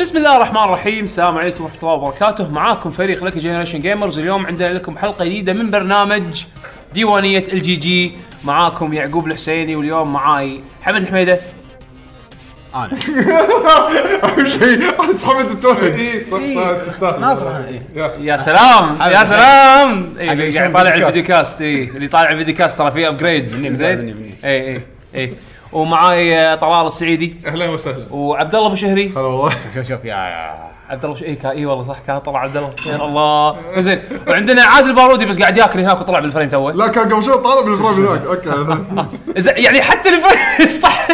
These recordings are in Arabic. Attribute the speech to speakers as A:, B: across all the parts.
A: بسم الله الرحمن الرحيم السلام عليكم ورحمه الله وبركاته معاكم فريق لك جنريشن جيمرز اليوم عندنا لكم حلقه جديده من برنامج ديوانيه الجي جي معاكم يعقوب الحسيني واليوم معاي حمد الحميده
B: انا
C: اهم شيء احس حمد التوهج
D: اي صح صح تستاهل
B: ناطر انا إيه.
A: يا سلام يا سلام إي، اللي قاعد
B: يشوف
A: يطالع
B: الفيديو
A: الفيديو كاست اي اللي طالع الفيديو كاست ترى فيه ابجريدز
B: مني،
A: زين
B: مني، مني.
A: اي اي اي ومعاي آه، طلال السعيدي
D: اهلا وسهلا
A: وعبد الله ابو شهري
C: هلا والله
B: شوف شوف يا- يا
A: عبد الله اي كا اي والله صح كان طلع عبد الله يا الله زين وعندنا عادل بارودي بس قاعد ياكل هناك وطلع بالفريم توه
C: لا كان قبل شوي طالع بالفريم هناك اوكي
A: زين، يعني حتى الفريم صح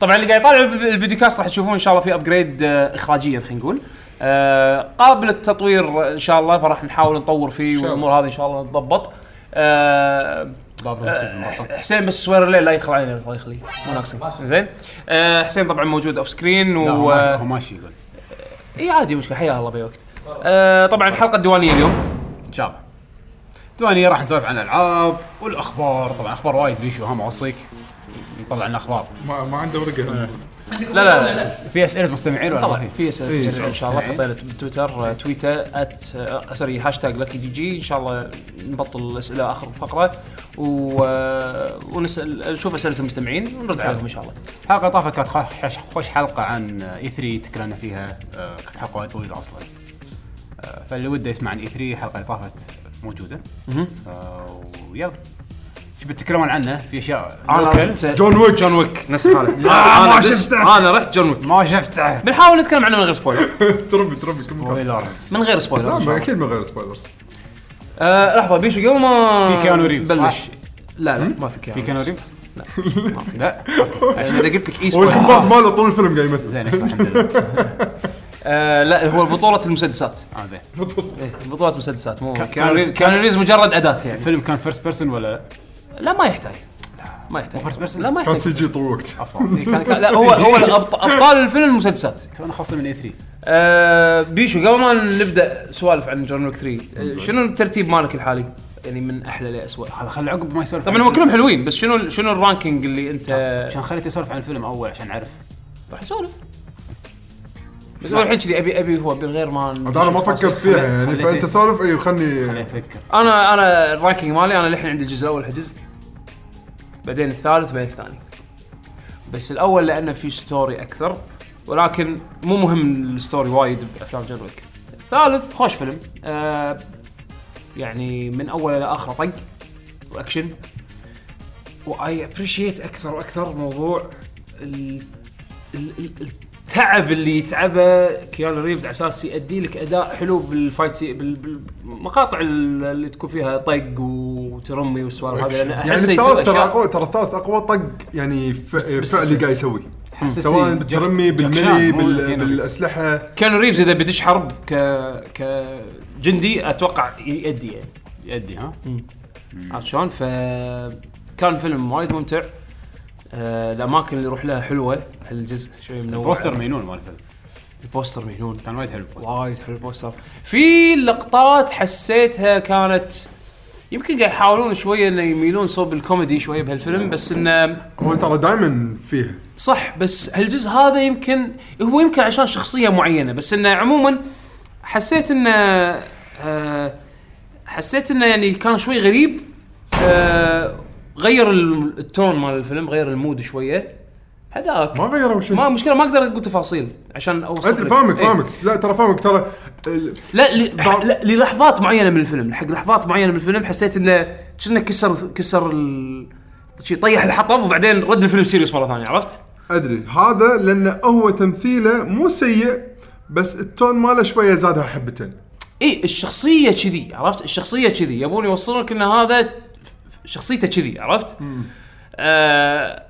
A: طبعا اللي قاعد يطالع الف- الفيديو كاست راح تشوفون ان شاء الله في ابجريد آه، اخراجيا خلينا نقول آه، قابل التطوير آه، ان شاء الله فراح نحاول نطور فيه
D: شاء
A: والامور هذه ان شاء الله تضبط آه،
B: بابا
A: آه، حسين بس سوير الليل لا يدخل علينا الله يخليه مو ناقصين زين آه، حسين طبعا موجود اوف سكرين
B: لا،
A: و
B: هو ما- هو ماشي يقول
A: اي عادي مشكله حيا الله بوقت آه، طبعا حلقه الديوانيه اليوم
B: ان شاء الله دواني راح نسولف عن الالعاب والاخبار طبعا اخبار وايد بيشو ها ما اوصيك نطلع لنا اخبار
D: ما, ما عنده ورقه
A: لا لا, لا.
B: في اسئله مستمعين ولا
A: طبعا
B: ما
A: في اسئله تسال ان شاء الله
B: إيه.
A: حطينا بتويتر آه، تويتر ات آه، سوري هاشتاج لكي جي جي ان شاء الله نبطل الاسئله اخر الفقره و... آه، ونسال نشوف اسئله المستمعين ونرد عليهم ان شاء الله
B: الحلقه اللي طافت كانت خوش, خوش حلقه عن اي 3 تكلمنا فيها آه، كانت حلقه وايد طويله اصلا آه، فاللي وده يسمع عن اي 3 الحلقه اللي طافت موجوده آه، ويلا شو بتتكلمون عنه في اشياء
A: انا
B: لوكال.
A: رحت
C: جون ويك
A: جون ويك نفس حاله
B: ما
A: انا دش-
B: شفته.
A: انا رحت جون ويك
B: ما شفته
A: بنحاول نتكلم عنه من غير سبويلر
C: تربي تربي كل مكان
B: بويلرز
A: من غير سبويلر
C: لا
A: إن شاء
C: ما-
A: الله.
C: اكيد من غير سبويلرز
A: آه، لحظه بيشو قبل ما
B: في كيانو ريفز، صح؟
A: بلش لا لا ما في كيانو
B: في
A: ريفز.
B: كانو ريفز؟
A: لا،
B: لا
A: يعني اذا قلت لك اي سبويلر
C: والكمبارت ماله طول الفيلم قاعد يمثل
B: زين الحمد لله
A: آه، لا هو بطوله المسدسات
B: اه زين
A: إيه، بطولة مسدسات مو
B: كان-
A: كان ريف- كان ريفز مجرد اداة يعني
B: الفيلم كان فيرست بيرسون ولا
A: لا ما يحتاج ما يحتاج
B: مو first person؟
A: لا ما
C: كان
A: يحتاج
C: سي جي طول الوقت
B: عفوا
A: إيه، كان- كان- لا هو هو الأبط- ابطال الفيلم المسدسات
B: انا خاصه طيب، من اي 3
A: آه، بيشو قبل ما نبدا سوالف عن جون ويك 3 آه، شنو الترتيب مالك الحالي؟ يعني من احلى لاسوء
B: هذا خل عقب ما يسولف
A: طبعا
B: عن
A: هو
B: الفيلم.
A: كلهم حلوين بس شنو ال- شنو الرانكينج اللي انت
B: عشان خليته يسولف عن الفيلم اول عشان اعرف
A: طيب. راح نسولف بس هو الحين كذي ابي ابي هو من غير ما
C: عاد انا ما فكرت فيها يعني
B: خليتي-
C: فانت سولف اي
B: خليني
C: خلني
B: افكر
A: انا انا الرانكينج مالي انا للحين عندي الجزء الاول حجز بعدين الثالث بعدين الثاني بس الاول لانه في ستوري اكثر ولكن مو مهم الستوري وايد بافلام جون ويك الثالث خوش فيلم آه يعني من اول الى اخره طق واكشن واي ابريشيت اكثر واكثر موضوع ال- ال- ال- التعب اللي يتعبه كيانو ريفز على اساس يؤدي لك اداء حلو بالفايت سي بال- بالمقاطع ال- اللي تكون فيها طق وترمي والسوالف هذه لان
C: يعني
A: احسه يسوي
C: الثالث ترى
A: اشياء
C: اقوى ترى الثالث اقوى طق يعني ف- فعلي
A: بالسلسلة.
C: قاعد يسوي
B: حسسني
C: سواء
B: جاك-
C: بالترمي
B: جاك
C: بالملي
B: شان، مو
C: بال-
B: كيانو ريفز.
C: بالاسلحه
A: كيانو ريفز اذا بيدش حرب ك كجندي اتوقع يؤدي يعني
B: يأدي ها
A: عرفت شلون؟ فكان فيلم وايد ممتع آه، الاماكن اللي يروح لها حلوه هالجزء شوي منوع
B: بوستر مينون مال الفيلم
A: البوستر مجنون
B: كان وايد حلو البوستر
A: وايد حلو البوستر في لقطات حسيتها كانت يمكن قاعد يحاولون شويه انه يميلون صوب الكوميدي شويه بهالفيلم بس انه
C: هو ترى دائما فيها
A: صح بس هالجزء هذا يمكن هو يمكن عشان شخصيه معينه بس انه عموما حسيت انه آه، حسيت انه يعني كان شوي غريب آه، غير ال- التون مال الفيلم غير المود شويه هذاك
C: ما غيروا شيء
A: ما مشكله ما اقدر اقول تفاصيل عشان اوصل
C: انت
A: لك.
C: فاهمك
A: إيه.
C: فاهمك لا ترى فاهمك ترى ال-
A: لا, ل... لا للحظات معينه من الفيلم حق لحظات معينه من الفيلم حسيت انه كنا كسر كسر ال... شي طيح الحطب وبعدين رد الفيلم سيريوس مره ثانيه عرفت؟
C: ادري هذا لانه هو تمثيله مو سيء بس التون ماله شويه زادها حبتين
A: اي الشخصيه إيه، كذي عرفت؟ الشخصيه كذي يبون يوصلونك ان هذا شخصيته كذي عرفت؟ آه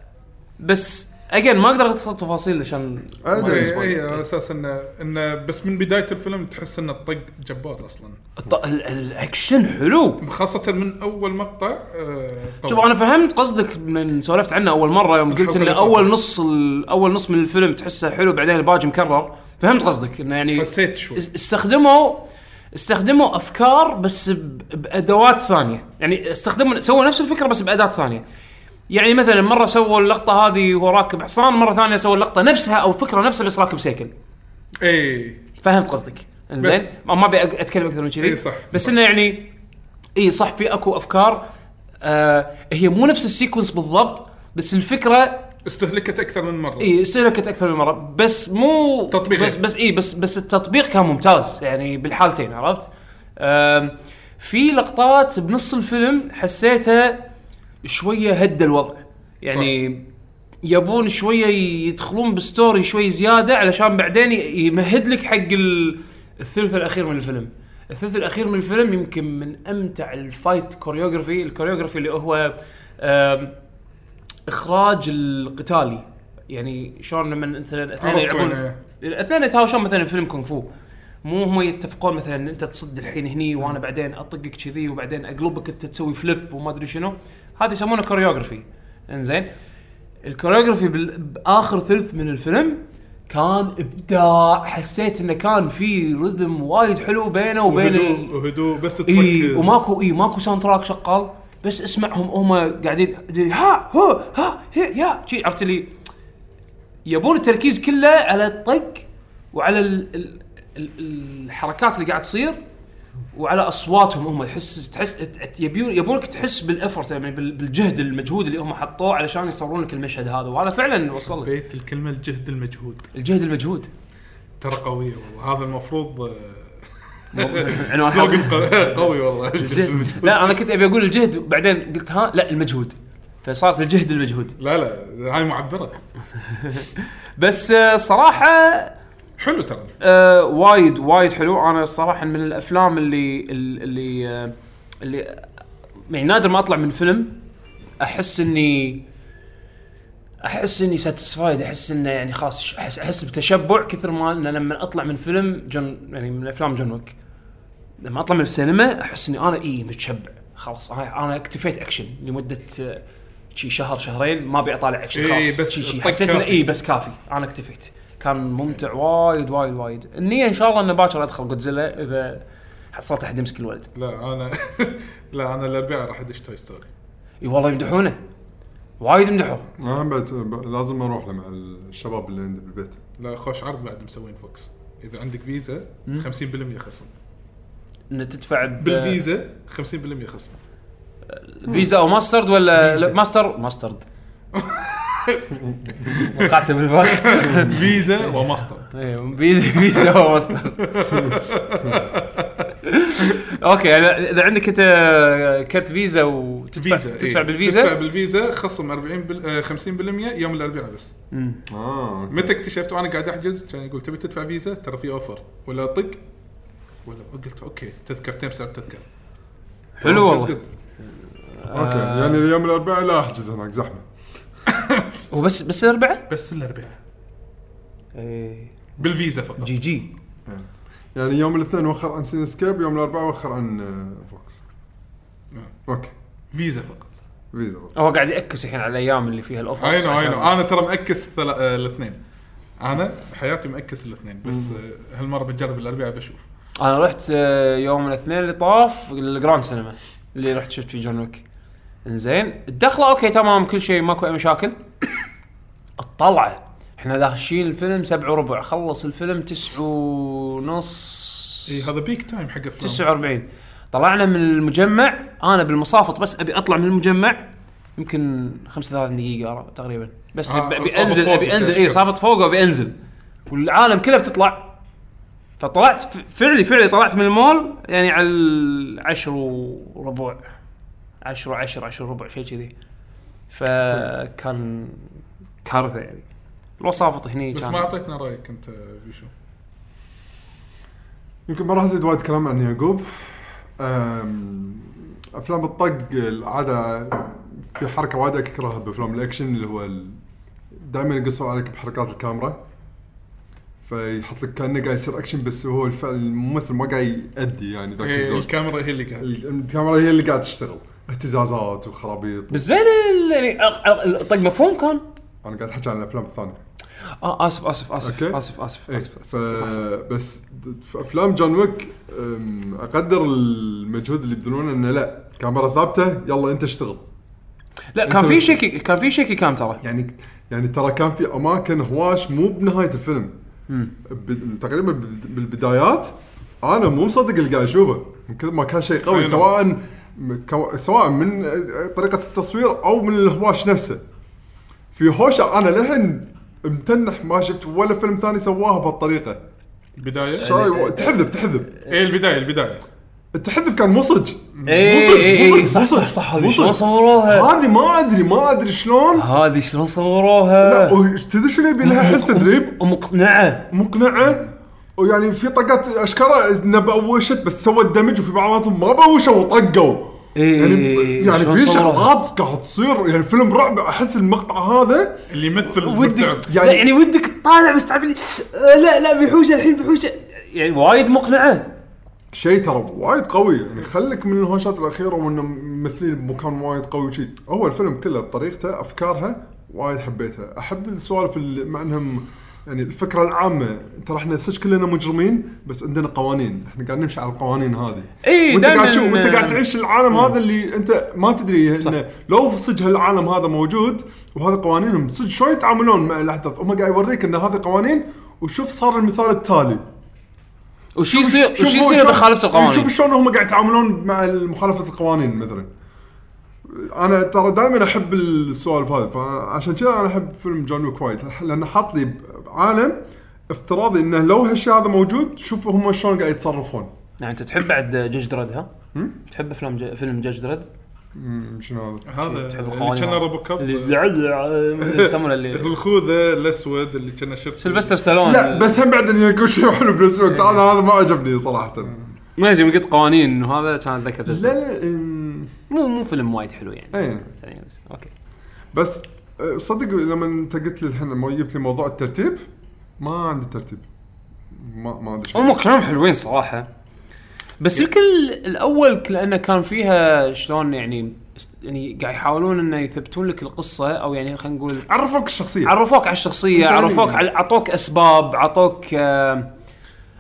A: بس اجين ما اقدر ادخل تفاصيل عشان ما
C: أدري،
A: يصير
D: اي
A: سبويلر.
D: اي إيه، على اساس انه انه بس من بدايه الفيلم تحس انه الطق جبار اصلا
A: الط- ال- الاكشن حلو
D: خاصه من اول مقطع آه، طول.
A: شوف انا فهمت قصدك من سولفت عنه اول مره يوم قلت ان
D: الحلقة
A: اول
D: اللي
A: نص ال- اول نص من الفيلم تحسه حلو بعدين الباقي مكرر فهمت قصدك انه يعني
D: حسيت شوي
A: اس- استخدموا استخدموا افكار بس ب- بادوات ثانيه يعني استخدموا سووا نفس الفكره بس بادوات ثانيه يعني مثلا مره سووا اللقطه هذه وهو راكب حصان مره ثانيه سووا اللقطه نفسها او فكره نفسها بس راكب سيكل
D: اي
A: فهمت قصدك انزين
D: بس.
A: ما ما ابي أق- اتكلم اكثر من كذي
D: إي صح.
A: بس انه يعني اي صح في اكو افكار آه هي مو نفس السيكونس بالضبط بس الفكره
D: استهلكت اكثر من مره
A: اي استهلكت اكثر من مره بس مو
D: تطبيق
A: بس
D: غير.
A: بس اي بس بس التطبيق كان ممتاز يعني بالحالتين عرفت؟ آم، في لقطات بنص الفيلم حسيتها شويه هد الوضع يعني يبون شويه يدخلون بستوري شوي زياده علشان بعدين ي- يمهد لك حق ال- الثلث الاخير من الفيلم الثلث الاخير من الفيلم يمكن من امتع الفايت كوريوغرافي الكوريوغرافي اللي هو آم، اخراج القتالي يعني شلون لما مثلا اثنين
D: عرفت
A: يلعبون
D: وين
A: الاثنين يتهاوشون مثلا فيلم كونغ فو مو هم يتفقون مثلا إن انت تصد الحين هني وانا بعدين اطقك كذي وبعدين اقلبك انت تسوي فليب وما ادري شنو هذا يسمونه كوريوغرافي انزين الكوريوغرافي بال- باخر ثلث من الفيلم كان ابداع حسيت انه كان في رذم وايد حلو بينه وبين ال- إيه،
D: وهدوء وهدوء بس تركز
A: اي وماكو اي ماكو ساوند تراك شغال بس اسمعهم هم قاعدين ها هو ها هي يا شي عرفت لي يبون التركيز كله على الطق وعلى ال ال ال الحركات اللي قاعد تصير وعلى اصواتهم هم تحس تحس ت- يبون يبونك تحس بالافرت يعني بال- بالجهد المجهود اللي هم حطوه علشان يصورون لك المشهد هذا وهذا فعلا وصل لك.
D: بيت الكلمه الجهد المجهود
A: الجهد المجهود
D: ترى قويه والله هذا المفروض آه،
A: عنوان حلقة.
D: سلوجن قو- قوي والله الجهد المجهود.
A: لا انا كنت ابي اقول الجهد وبعدين قلت ها لا المجهود فصارت الجهد المجهود
D: لا لا هاي معبره
A: بس آه، صراحه
D: حلو ترى
A: آه وايد وايد حلو انا الصراحه من الافلام اللي اللي آه، اللي آه، يعني نادر ما اطلع من فيلم احس اني احس اني ساتسفايد احس انه يعني خلاص ش- احس احس بتشبع كثر ما ان لما اطلع من فيلم جون يعني من افلام جون ويك لما اطلع من السينما احس اني انا اي إيه متشبع خلاص انا انا اكتفيت اكشن لمده آه، شي شهر شهرين ما ابي اطالع اكشن
D: إي
A: خلاص
D: إيه، بس
A: شي شي
D: طق
A: حسيت انه
D: كافي.
A: اي بس كافي انا اكتفيت كان ممتع وايد وايد وايد النيه ان شاء الله انه باكر ادخل جودزيلا اذا حصلت احد يمسك الولد
D: لا انا لا انا الاربعاء راح ادش توي ستوري
A: اي والله يمدحونه وايد مدحوه
C: انا آه، بعد ب- لازم اروح مع الشباب اللي عندي بالبيت
D: لا خوش عرض بعد مسوين فوكس اذا عندك فيزا 50% خصم
A: انه تدفع ب-
D: بالفيزا 50% خصم
A: فيزا او ماسترد ولا لا، ماستر ماسترد وقعت بالفرق
D: فيزا وماستر
A: إيه، فيزا فيزا او ماسترد اوكي يعني اذا عندك انت كرت فيزا وتدفع
D: فيزا
A: تدفع
D: إيه.
A: بالفيزا
D: تدفع بالفيزا خصم 40 بال... آه، 50% يوم الاربعاء بس
C: اه أوكي.
D: متى اكتشفت وانا قاعد احجز كان يقول تبي تدفع فيزا ترى في اوفر ولا طق ولا قلت اوكي تذكرتين بسعر تذكره
A: حلو والله
C: اوكي يعني اليوم الاربعاء لا احجز هناك زحمه
A: وبس بس الاربعه؟
D: بس الاربعاء بالفيزا فقط
A: جي جي
C: يعني يوم الاثنين وخر عن سين سكيب يوم الاربعاء وخر عن آه، فوكس
D: نعم.
C: اوكي
D: فيزا فقط
C: فيزا بس.
A: هو قاعد ياكس الحين على الايام اللي فيها الاوفر
D: اي نو اي نو انا ترى مأكس الثلا- آه، الاثنين انا حياتي مأكس الاثنين بس آه، هالمره بجرب الاربعاء بشوف
A: انا رحت آه، يوم الاثنين اللي طاف الجراند سينما اللي رحت شفت فيه جون ويك انزين الدخله اوكي تمام كل شيء ماكو اي مشاكل الطلعه احنا داخلين الفيلم سبع وربع خلص الفيلم تسع ونص
D: اي إيه، هذا بيك تايم حق افلام
A: 49 طلعنا من المجمع انا بالمصافط بس ابي اطلع من المجمع يمكن 35 دقيقه ورا تقريبا بس
D: آه،
A: آه ابي
D: صافط
A: انزل
D: فوق
A: ابي انزل اي
D: بالكشكول.
A: إيه، صافط فوق وابي انزل والعالم كلها بتطلع فطلعت ف- فعلي فعلي طلعت من المول يعني على العشر وربع عشر عشر عشر وربع شيء كذي فكان كارثه يعني الوصافط هني
D: بس
A: كان
D: ما اعطيتنا رايك انت بيشو
C: يمكن ما راح ازيد وايد كلام عن يعقوب أم، افلام الطق العاده في حركه وايد اكرهها بافلام الاكشن اللي هو دائما يقصوا عليك بحركات الكاميرا فيحط لك كانه قاعد يصير اكشن بس هو الفعل الممثل ما قاعد يأدي يعني ذاك
D: إيه،
C: الزود
D: الكاميرا هي اللي قاعد
C: ال- الكاميرا هي اللي قاعد تشتغل اهتزازات وخرابيط
A: بس زين ال- يعني أ- أ- الطق مفهوم كان
C: انا قاعد احكي عن الافلام الثانيه
A: اه اسف اسف اسف
C: أوكي.
A: اسف اسف
C: إيه،
A: اسف
C: ف...
A: اسف صح، صح.
C: بس في افلام جون ويك أم، اقدر المجهود اللي يبذلونه انه لا كاميرا ثابته يلا انت اشتغل
A: لا كان
C: أنت-
A: في شيكي كان في شيكي كام ترى
C: يعني يعني ترى كان في اماكن هواش مو بنهايه الفيلم ب- تقريبا بال- بالبدايات انا مو مصدق اللي قاعد اشوفه من كثر ما كان شيء قوي
D: أي نعم.
C: سواء م- كو- سواء من طريقه التصوير او من الهواش نفسه في هوشه انا لهن متنح ما شفت ولا فيلم ثاني سواها بهالطريقه
D: بدايه
C: شاي- تحذف تحذف
D: ايه البدايه البدايه
C: التحذف كان مو صج
A: اي
C: مو صج-
A: اي
C: مو
A: اي
C: صج-
A: إيه، صح
C: مو صج-
A: صح صح هذه
C: مو
A: شلون
C: صج.
A: صوروها
C: هذه ما ادري ما ادري شلون
A: هذه شلون
C: لا
A: صوروها
C: و- تدري شنو يبي لها حس تدريب
A: ومقنعه
C: مقنعه ويعني في طقات اشكره انه بوشت بس سوت دمج وفي بعضهم ما بوشوا وطقوا
A: إي
C: يعني
A: إي
C: يعني
A: إيه، شلون
C: في
A: صوروها؟
C: شغلات قاعد تصير يعني فيلم رعب احس المقطع هذا
D: اللي يمثل
A: ودك
D: مرتعب.
A: يعني,
C: يعني-
A: يعني ودك تطالع بس تعرف اللي، آه، لا لا بيحوشه الحين بيحوشه يعني وايد مقنعه
C: شيء ترى وايد قوي يعني خليك من الهوشات الاخيره وانه ممثلين بمكان وايد قوي وشي هو الفيلم كله طريقته افكارها وايد حبيتها احب السوالف اللي مع انهم يعني الفكره العامه ترى احنا صدق كلنا مجرمين بس عندنا قوانين احنا قاعد نمشي على القوانين هذه
A: إي،
C: وانت
A: دايماً-
C: قاعد تشوف وانت قاعد تعيش العالم هذا اللي انت ما تدري انه لو صدق هالعالم هذا موجود وهذا قوانينهم صدق شوي يتعاملون مع الاحداث هم قاعد يوريك ان هذا قوانين وشوف صار المثال التالي
A: وش يصير
C: شوف
A: وش
C: هو
A: يصير
C: شلون- يعني
A: اذا خالفت القوانين
C: شوف شلون هم قاعد يتعاملون مع مخالفه القوانين مثلا انا ترى دائما احب السوالف هذه فعشان كذا انا احب فيلم جون ويك وايد لانه حاط لي بعالم افتراضي انه لو هالشيء هذا موجود شوف هم شلون قاعد يتصرفون
A: يعني انت تحب بعد جاج درد ها؟ تحب افلام ج- فيلم جاج درد؟
C: أمم، شنو هذا؟
D: هذا
A: تحب
D: اللي
A: القوانين
D: كان
A: هذا.
D: روبو كاب
A: اللي اللي- اللي يسمونه اللي
D: الخوذه الاسود اللي كان شفت
A: سلفستر ستالون
C: لا بس هم بعد انه يقول شيء حلو بالاسلوب انا هذا ما عجبني صراحه
A: ما ادري من قلت قوانين وهذا كان اتذكر جاج درد.
C: لا إن-
A: مو مو فيلم وايد حلو يعني
C: ايه
A: يعني بس- اوكي
C: بس أه، صدق لما انت قلت لي الحين لما جبت لي موضوع الترتيب ما عندي ترتيب ما ما ادري شلون.
A: هم كلام حلوين صراحه بس يمكن ال- الاول ك- لانه كان فيها شلون يعني است- يعني قاعد يحاولون انه يثبتون لك القصه او يعني خلينا نقول
C: عرفوك الشخصيه
A: عرفوك على الشخصيه
C: يعني-
A: عرفوك على عطوك اسباب عطوك آه،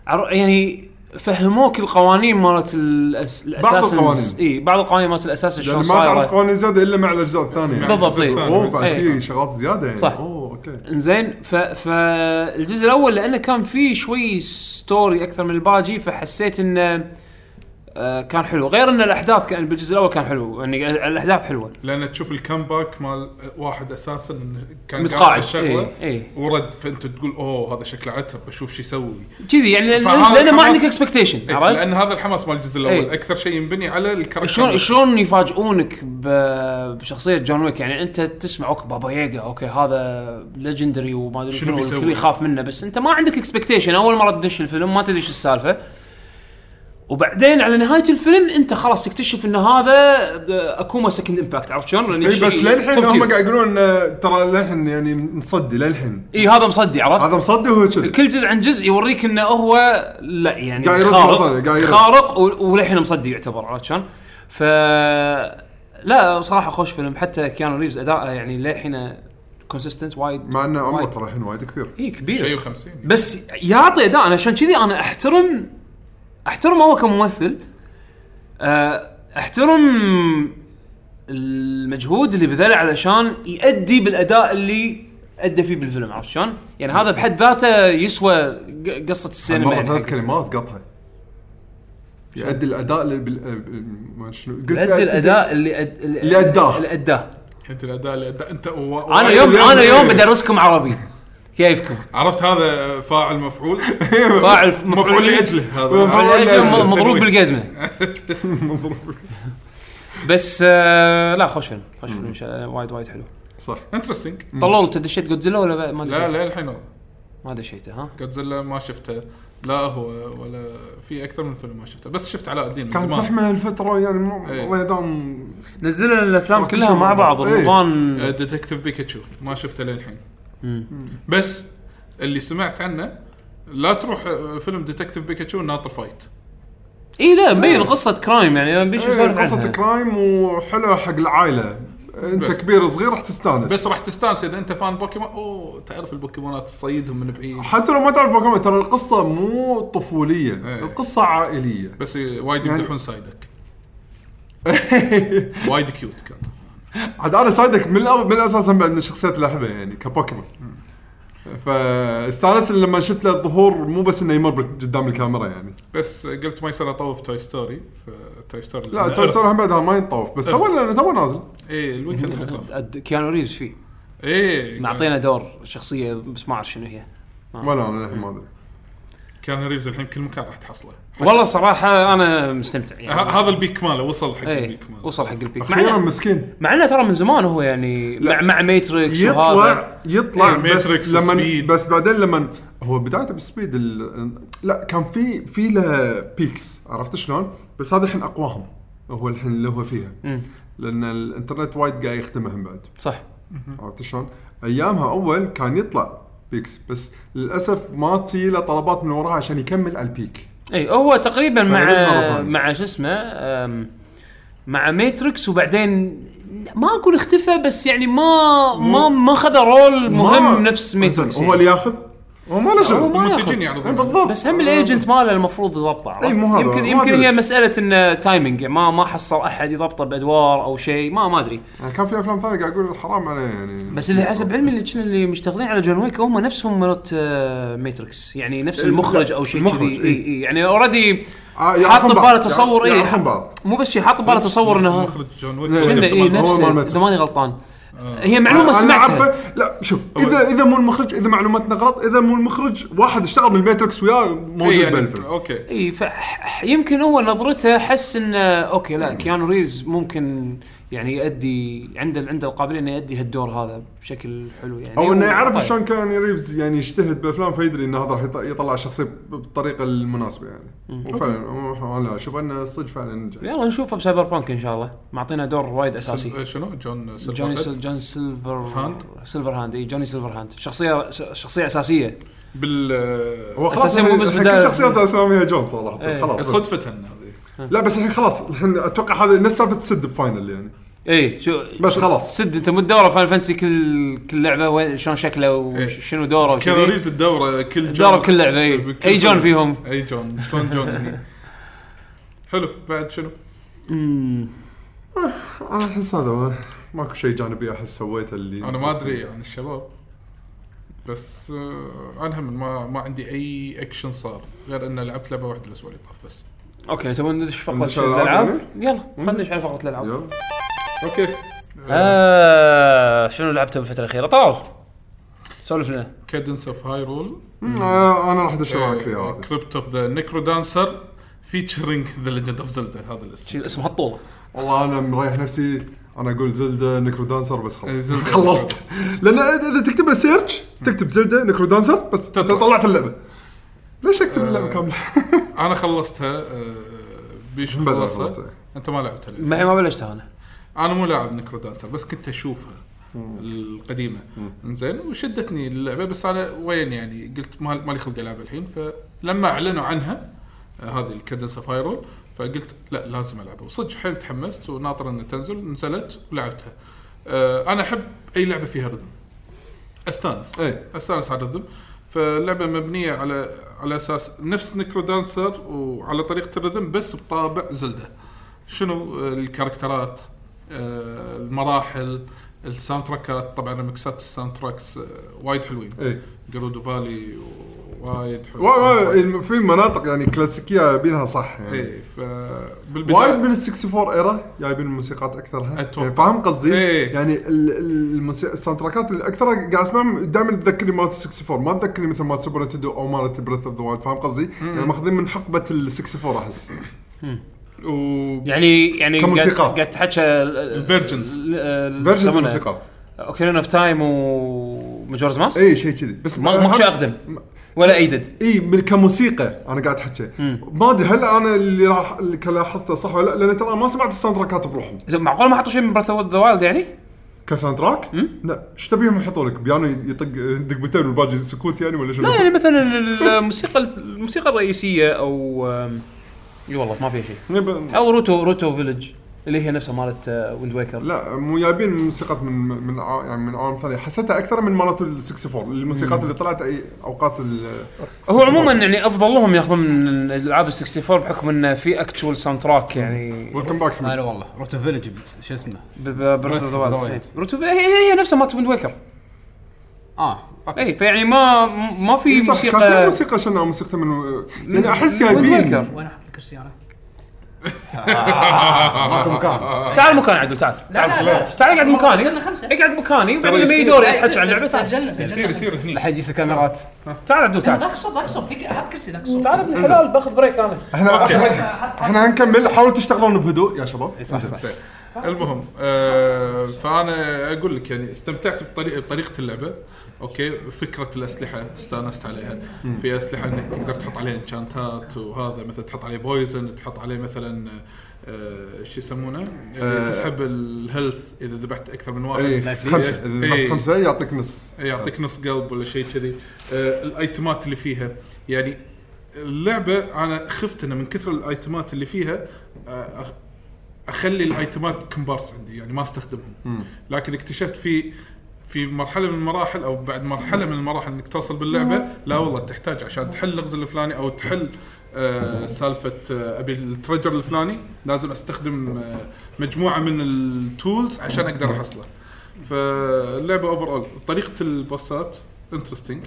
A: عر- يعني فهموك القوانين مالت الأس... الاساس
C: القوانين.
A: اي بعض القوانين مالت الاساس
C: يعني
A: شلون
C: ما تعرف
A: صايره
C: قوانين زياده الا مع يعني الاجزاء الثانيه
A: بالضبط، إي.
C: اوه بعد
A: إي.
C: في شغلات زياده يعني
A: صح.
C: اوه اوكي
A: انزين ف... فالجزء الاول لانه كان فيه شوي ستوري اكثر من الباجي فحسيت انه آه، كان حلو غير ان الاحداث كان بالجزء الاول كان حلو يعني الاحداث حلوه
D: لان تشوف الكامباك مال واحد اساسا كان
A: متقاعد، إيه،
D: الشغله
A: إي، إي.
D: ورد فانت تقول اوه هذا شكله عتب بشوف شو يسوي
A: كذي يعني لأن-
D: فهذا إيه،
A: لانه ما
D: الحماس-
A: عندك اكسبكتيشن
D: إي،
A: عرفت؟
D: لان هذا الحماس مال الجزء الاول
A: إي.
D: اكثر شيء ينبني على الكاركتر
A: شلون شلون يفاجئونك ب- بشخصيه جون ويك يعني انت تسمع اوكي بابا ييجا اوكي هذا ليجندري وما ادري
D: شنو
A: شنو
D: بيسوي؟
A: الكل يخاف منه بس انت ما عندك اكسبكتيشن اول مره تدش الفيلم ما تدري ايش السالفه وبعدين على نهايه الفيلم انت خلاص تكتشف ان هذا آه، د- اكوما سكند امباكت عرفت شلون؟ لأن
C: اي
A: شيء
C: بس للحين
A: توب
C: هم
A: تير.
C: قاعد يقولون إن ترى للحين يعني مصدي للحين
A: اي هذا مصدي عرفت؟
C: هذا مصدي وهو كذي
A: كل جزء عن جزء يوريك انه هو لا يعني
C: قاعد يرد مرة ثانية،
A: خارق
C: قاعد يرد.
A: خارق و- وللحين مصدق يعتبر عرفت شلون؟ ف لا صراحه خوش فيلم حتى كيانو ريفز اداءه يعني للحين كونسيستنت وايد
C: مع انه عمره
A: وايد.
C: ترى الحين وايد كبير
A: اي
D: شيء
A: كبير
D: 50
A: بس يعطي اداء انا عشان كذي انا احترم احترم هو كممثل آه، احترم المجهود اللي بذله علشان يؤدي بالاداء اللي ادى فيه بالفيلم عرفت شلون؟ يعني هذا بحد ذاته يسوى ق- قصه السينما
C: مره
A: يعني
C: ثلاث
A: حقه.
C: كلمات قطها يؤدي الاداء اللي بال... آه، ما شنو قلت
A: يؤدي الاداء اللي أد...
C: اللي أداه.
A: اللي اداه
D: انت الاداء اللي أداء- انت و... و-
A: انا يوم
C: اليوم-
A: انا يوم بدرسكم عربي كيفكم
D: عرفت هذا فاعل مفعول
A: فاعل
D: مفعول لاجله هذا
C: مفعول
A: مفعول لأجله
C: لأجله.
A: مضروب
D: تنوين.
A: بالجزمه
C: مضروب.
A: بس آه لا خوش فيلم خوش فيلم شا- وايد وايد حلو
C: صح
D: انترستنج
A: طلول انت دشيت جودزيلا ولا ب- ما
D: لا
A: دشيت؟
D: لا الحين هذا.
A: ما دشيته ها
D: جودزيلا ما شفته لا هو ولا في اكثر من فيلم ما شفته بس شفت علاء الدين من
C: كان
D: زمان
C: زحمه الفتره يعني مو-
D: إيه.
C: الله يدام
A: نزلنا الافلام
C: صح،
A: كلها
C: شو
A: مع بعض
C: إيه.
A: رمضان
D: آه، ديتكتيف بيكاتشو ما شفته للحين
A: مم.
D: بس اللي سمعت عنه لا تروح آه، فيلم ديتكتيف بيكاتشو ناطر فايت
A: اي إيه، لا مبين قصه كرايم يعني بيش
C: إيه،
A: يسولف
C: قصه
A: عنها
C: كرايم وحلوه حق العائله انت
D: بس.
C: كبير صغير راح تستانس
D: بس راح تستانس اذا انت فان بوكيمون اوه تعرف البوكيمونات تصيدهم من بعيد
C: حتى لو ما تعرف بوكيمون ترى القصه مو طفوليه
D: إيه.
C: القصه عائليه
D: بس آه، وايد
C: يعني-
D: يمدحون سايدك وايد كيوت كان
C: عاد انا صادق من الأول- من الاساس هم بعد من شخصيات لعبه يعني كبوكيمون فاستانست لما شفت له الظهور مو بس انه يمر قدام الكاميرا يعني
D: بس قلت ما يصير اطوف توي ستوري فتوي ستوري
C: لا توي ستوري هم بعدها ما ينطوف بس تو تو نازل
D: اي الويكند إيه، اللي طاف
A: أد- كيانو ريفز فيه
D: اي
A: معطينا دور شخصيه بس ما اعرف شنو هي
C: ولا انا للحين ما ادري
D: كان يعني ريفز الحين كل مكان راح تحصله
A: والله صراحه انا مستمتع
D: ه-
A: يعني
D: هذا البيك ماله وصل حق
A: ايه
D: البيك ماله
A: وصل حق البيك مع
C: اخيرا
A: إنه-
C: مسكين
A: مع انه ترى من زمان هو يعني مع مع ماتريكس وهذا
C: يطلع يطلع
D: إيه،
C: بس
D: Matrix
C: لما
D: speed.
C: بس بعدين لما هو بدايته بالسبيد ال- لا كان في في له بيكس عرفت شلون؟ بس هذا الحين اقواهم هو الحين اللي هو فيها
A: مم.
C: لان الانترنت وايد قاعد يخدمهم بعد
A: صح
C: عرفت شلون؟ ايامها اول كان يطلع بيكس بس للاسف ما تجي له طلبات من وراها عشان يكمل على البيك
A: اي إيه، هو تقريبا مع
C: فغير مرة ثانية.
A: مع شو اسمه أم، مع ماتريكس وبعدين ما اقول اختفى بس يعني ما ما ما خذ رول
C: ما-
A: مهم نفس ماتريكس
C: زين، هو اللي
A: يعني.
C: ياخذ هو ما له
A: هو
C: شغل
A: ما ياخذ.
D: المنتجين يعرضون
C: إيه، بالضبط
A: بس هم الايجنت ماله المفروض يضبطه عرفت؟
C: إي، إيه، مو هذا،
A: يمكن
C: ما
A: يمكن
C: أدري.
A: هي مساله انه تايمنج يعني ما ما حصل احد يضبطه بادوار او شيء ما ما ادري
C: يعني كان في افلام ثانيه قاعد اقول حرام عليه يعني
A: بس اللي حسب علمي اللي كنا اللي مشتغلين على جون ويك هم نفسهم مرات ماتريكس يعني نفس المخرج او شيء
C: إيه، المخرج، إيه.
A: كذي
C: إي.
A: اي اي يعني اوريدي
C: آه، يعرفون
A: حاط
C: بعض.
A: بباله تصور إيه. اي
C: يعرفون بعض
A: مو بس شيء حاط بباله تصور انه
D: مخرج جون
C: كنا
A: كنا
D: ويك
A: اي
C: إيه،
D: نفس
C: نفس-
A: نفسه
C: مال
A: اذا
C: ماتريكس.
A: ماني غلطان هي معلومه
C: آه، أنا
A: سمعتها
C: عارفه لا شوف اذا اذا مو المخرج اذا معلوماتنا غلط اذا مو المخرج واحد اشتغل بالماتريكس وياه موجود
D: إيه،
C: يعني
D: يعني
C: بالفيلم
D: اوكي
A: اي فيمكن هو نظرته حس انه اوكي لا كيانو ريفز ممكن يعني يؤدي عنده عنده القابليه انه يؤدي هالدور هذا بشكل حلو يعني
C: او انه يعرف
A: طيب.
C: شلون كان ريفز يعني يجتهد بافلام فيدري انه هذا راح يط- يطلع الشخصيه بالطريقه المناسبه يعني وفعلا والله شوف انه صدق فعلا نجح
A: يلا نشوفه بسايبر بانك ان شاء الله معطينا دور وايد اساسي
D: سل- إيه، طيب. شنو جون سيلفر
A: جوني
D: هيد؟
A: سل جون سيلفر
D: هاند؟
A: سيلفر هاند اي جوني سيلفر هاند شخصيه شخصيه اساسيه
D: بال آه،
C: هو خلاص يعني
A: أساساً مو بس
C: الحين
A: بداية-
C: كل شخصيات اساميها جون صراحه
A: إيه.
C: خلاص بس.
D: صدفة هذه
C: لا بس الحين خلاص الحين اتوقع هذا نفس سالفه السد بفاينل يعني
A: اي شو
C: بس خلاص
A: سد انت مو الدوره فاين فانسي كل كل لعبه وين شلون شكله
C: إيه.
A: وشنو دوره وشذي.
D: كان ريفز الدورة كل
A: الدورة بكل لعبة، إي.
D: بكل
A: أي جون
D: فيلم.
A: فيهم.
D: اي جون شلون جون حلو بعد شنو؟
A: أمم.
C: انا احس هذا هو. ماكو شيء جانبي احس سويته اللي
D: انا ما ادري عن الشباب بس آه، انا هم ما ما عندي اي اكشن صار غير ان لعبت لعبه واحده الاسبوع اللي طاف بس
A: اوكي تبون ندش فقره
C: ندش على الألعاب يعني؟
A: الالعاب يلا خلينا ندش على فقره الالعاب
C: يلا.
D: اوكي
A: آه شنو لعبته بالفتره الاخيره طلال سولف لنا
D: كادنس اوف هاي رول
C: مم، آه، انا راح ادش
D: إيه،
C: معك
D: Uh,
C: فيها هذه.
D: كريبت اوف ذا نيكرو دانسر فيتشرنج ذا ليجند اوف زلدا هذا الاسم
A: شيل اسم هالطوله
C: والله انا مريح نفسي انا اقول زلدا نكرو دانسر بس خلاص
D: إيه، زلدة.
C: خلصت لان اذا تكتبها سيرش تكتب زلدا نكرو دانسر بس انت
D: تطلع. آه.
C: طلعت اللعبه ليش اكتب اللعبه كامله؟
D: انا خلصتها آه، بيش
C: بدأ
D: خلصها
C: خلصتها.
D: انت ما لعبتها لعبة.
A: معي ما بلشتها انا
D: انا مو لاعب نكرو دانسر بس كنت اشوفها القديمه زين وشدتني اللعبه بس انا وين يعني قلت ما مالي خلق العب الحين فلما اعلنوا عنها آه، هذه الكادنس اوف هايرول فقلت لا لازم العبها وصدق حيل تحمست وناطر انها تنزل نزلت ولعبتها آه، انا احب اي لعبه فيها رذم استانس
C: إيه.
D: استانس على الرذم فاللعبه مبنيه على على اساس نفس نكرو دانسر وعلى طريقه الرذم بس بطابع زلده شنو آه، الكاركترات آه، المراحل الساوند تراكات طبعا ريمكسات الساوند تراكس آه، وايد حلوين
C: إيه.
D: جرودو فالي وايد حلو
C: و- و- في مناطق يعني كلاسيكيه بينها صح يعني
D: اي فبالبدايه
C: وايد من ال 64 ايرا جايبين الموسيقات اكثرها
D: أتوقع.
C: يعني فاهم قصدي؟
D: إيه.
C: يعني ال- ال- الموسيقى الساوند تراكات الاكثر قاعد اسمعهم دائما تذكرني مالت 64 ما تذكرني مثل مالت سوبر نتندو او مالت بريث اوف ذا وايلد فاهم قصدي؟ يعني ماخذين من حقبه ال 64 احس
D: و...
A: يعني يعني
C: كموسيقات.
A: قاعد- قاعد تحكى
D: Virgins.
C: فيرجنز موسيقات
A: اوكيرين اوف تايم وماجورز ماسك
C: اي شيء كذي بس
A: ما ما شيء اقدم ولا ايدد
C: اي من كموسيقى انا قاعد احكي ما ادري هل انا اللي راح اللي كان لاحظته صح ولا لا لان ترى ما سمعت الساوند تراكات بروحهم
A: زين، معقول ما حطوا شيء من براث اوف ذا وايلد يعني؟
C: كساوند تراك؟ لا ايش تبيهم يحطوا لك بيانو يطق دقمتين والباقي سكوت يعني ولا شنو؟
A: لا يعني مثلا الموسيقى الموسيقى الرئيسيه او أم، اي والله ما فيها شيء
C: يب-
A: او روتو روتو فيلج اللي هي نفسها مالت آه، ويند ويكر
C: لا مو جايبين موسيقات من من عو- يعني من عوام ثانيه حسيتها اكثر من مالت ال 64 الموسيقات اللي طلعت اي اوقات ال
A: هو عموما يعني افضل لهم ياخذون من الالعاب ال 64 بحكم انه في اكتشوال ساوند تراك يعني
C: ويلكم باك حمد
B: هلا والله روتو فيلج بس- شو اسمه
A: ب- ب- Breath of the Wild.
B: Breath of the Wild.
A: إيه. روتو هي هي- هي نفسها مالت ويند ويكر
B: اه اوكي
A: اي فيعني ما ما في
C: إيه صح، كان في
A: موسيقى
C: موسيقى شنو موسيقى من يعني احس
A: ويند
C: جايبين
A: ويكر.
E: وين احط لك السياره؟
B: ماكو مكان
A: تعال مكان عدل تعال
E: لا لا لا
A: تعال اقعد مكاني
E: سجلنا خمسه
A: اقعد مكاني وبعدين لما
C: طيب، إيه،
D: ترى يصير-
A: يجي
E: إيه،
A: دوري اتحكى عن لعبه تعال
E: سجلنا سجلنا
D: يصير يصير
E: خمسة.
D: هني
B: الحين يجيس الكاميرات
A: تعال عدل
E: لا،
A: تعال
E: ذاك صوب ذاك صوب فيك حط كرسي ذاك صوب
A: تعال ابن الحلال باخذ بريك انا
C: احنا احنا احنا هنكمل حاولوا تشتغلون بهدوء يا شباب
B: إيه، صح صح
D: زين. المهم آه فانا اقول لك يعني استمتعت بطريقه بطريقه اللعبه اوكي فكره الاسلحه استانست عليها في اسلحه انك تقدر تحط عليه انشانتات وهذا مثلا تحط عليه بويزن تحط عليه مثلا آه شو يسمونه
C: آه.
D: آه تسحب الهيلث اذا ذبحت اكثر من واحد
C: اي
B: في-
C: خمسه اذا ضغطت
D: إيه.
C: خمسه يعطيك نص
D: يعطيك نص قلب ولا شيء كذي آه الايتمات اللي فيها يعني اللعبه انا خفت انه من كثر الايتمات اللي فيها آه أخ- اخلي الايتمات كمبارس عندي يعني ما استخدمهم
C: مم.
D: لكن اكتشفت في في مرحله من المراحل او بعد مرحله من المراحل انك توصل باللعبه لا والله تحتاج عشان تحل اللغز الفلاني او تحل آه سالفه آه ابي التريجر الفلاني لازم استخدم آه مجموعه من التولز عشان اقدر احصله فاللعبه اوفر اول طريقه البوسات انترستنج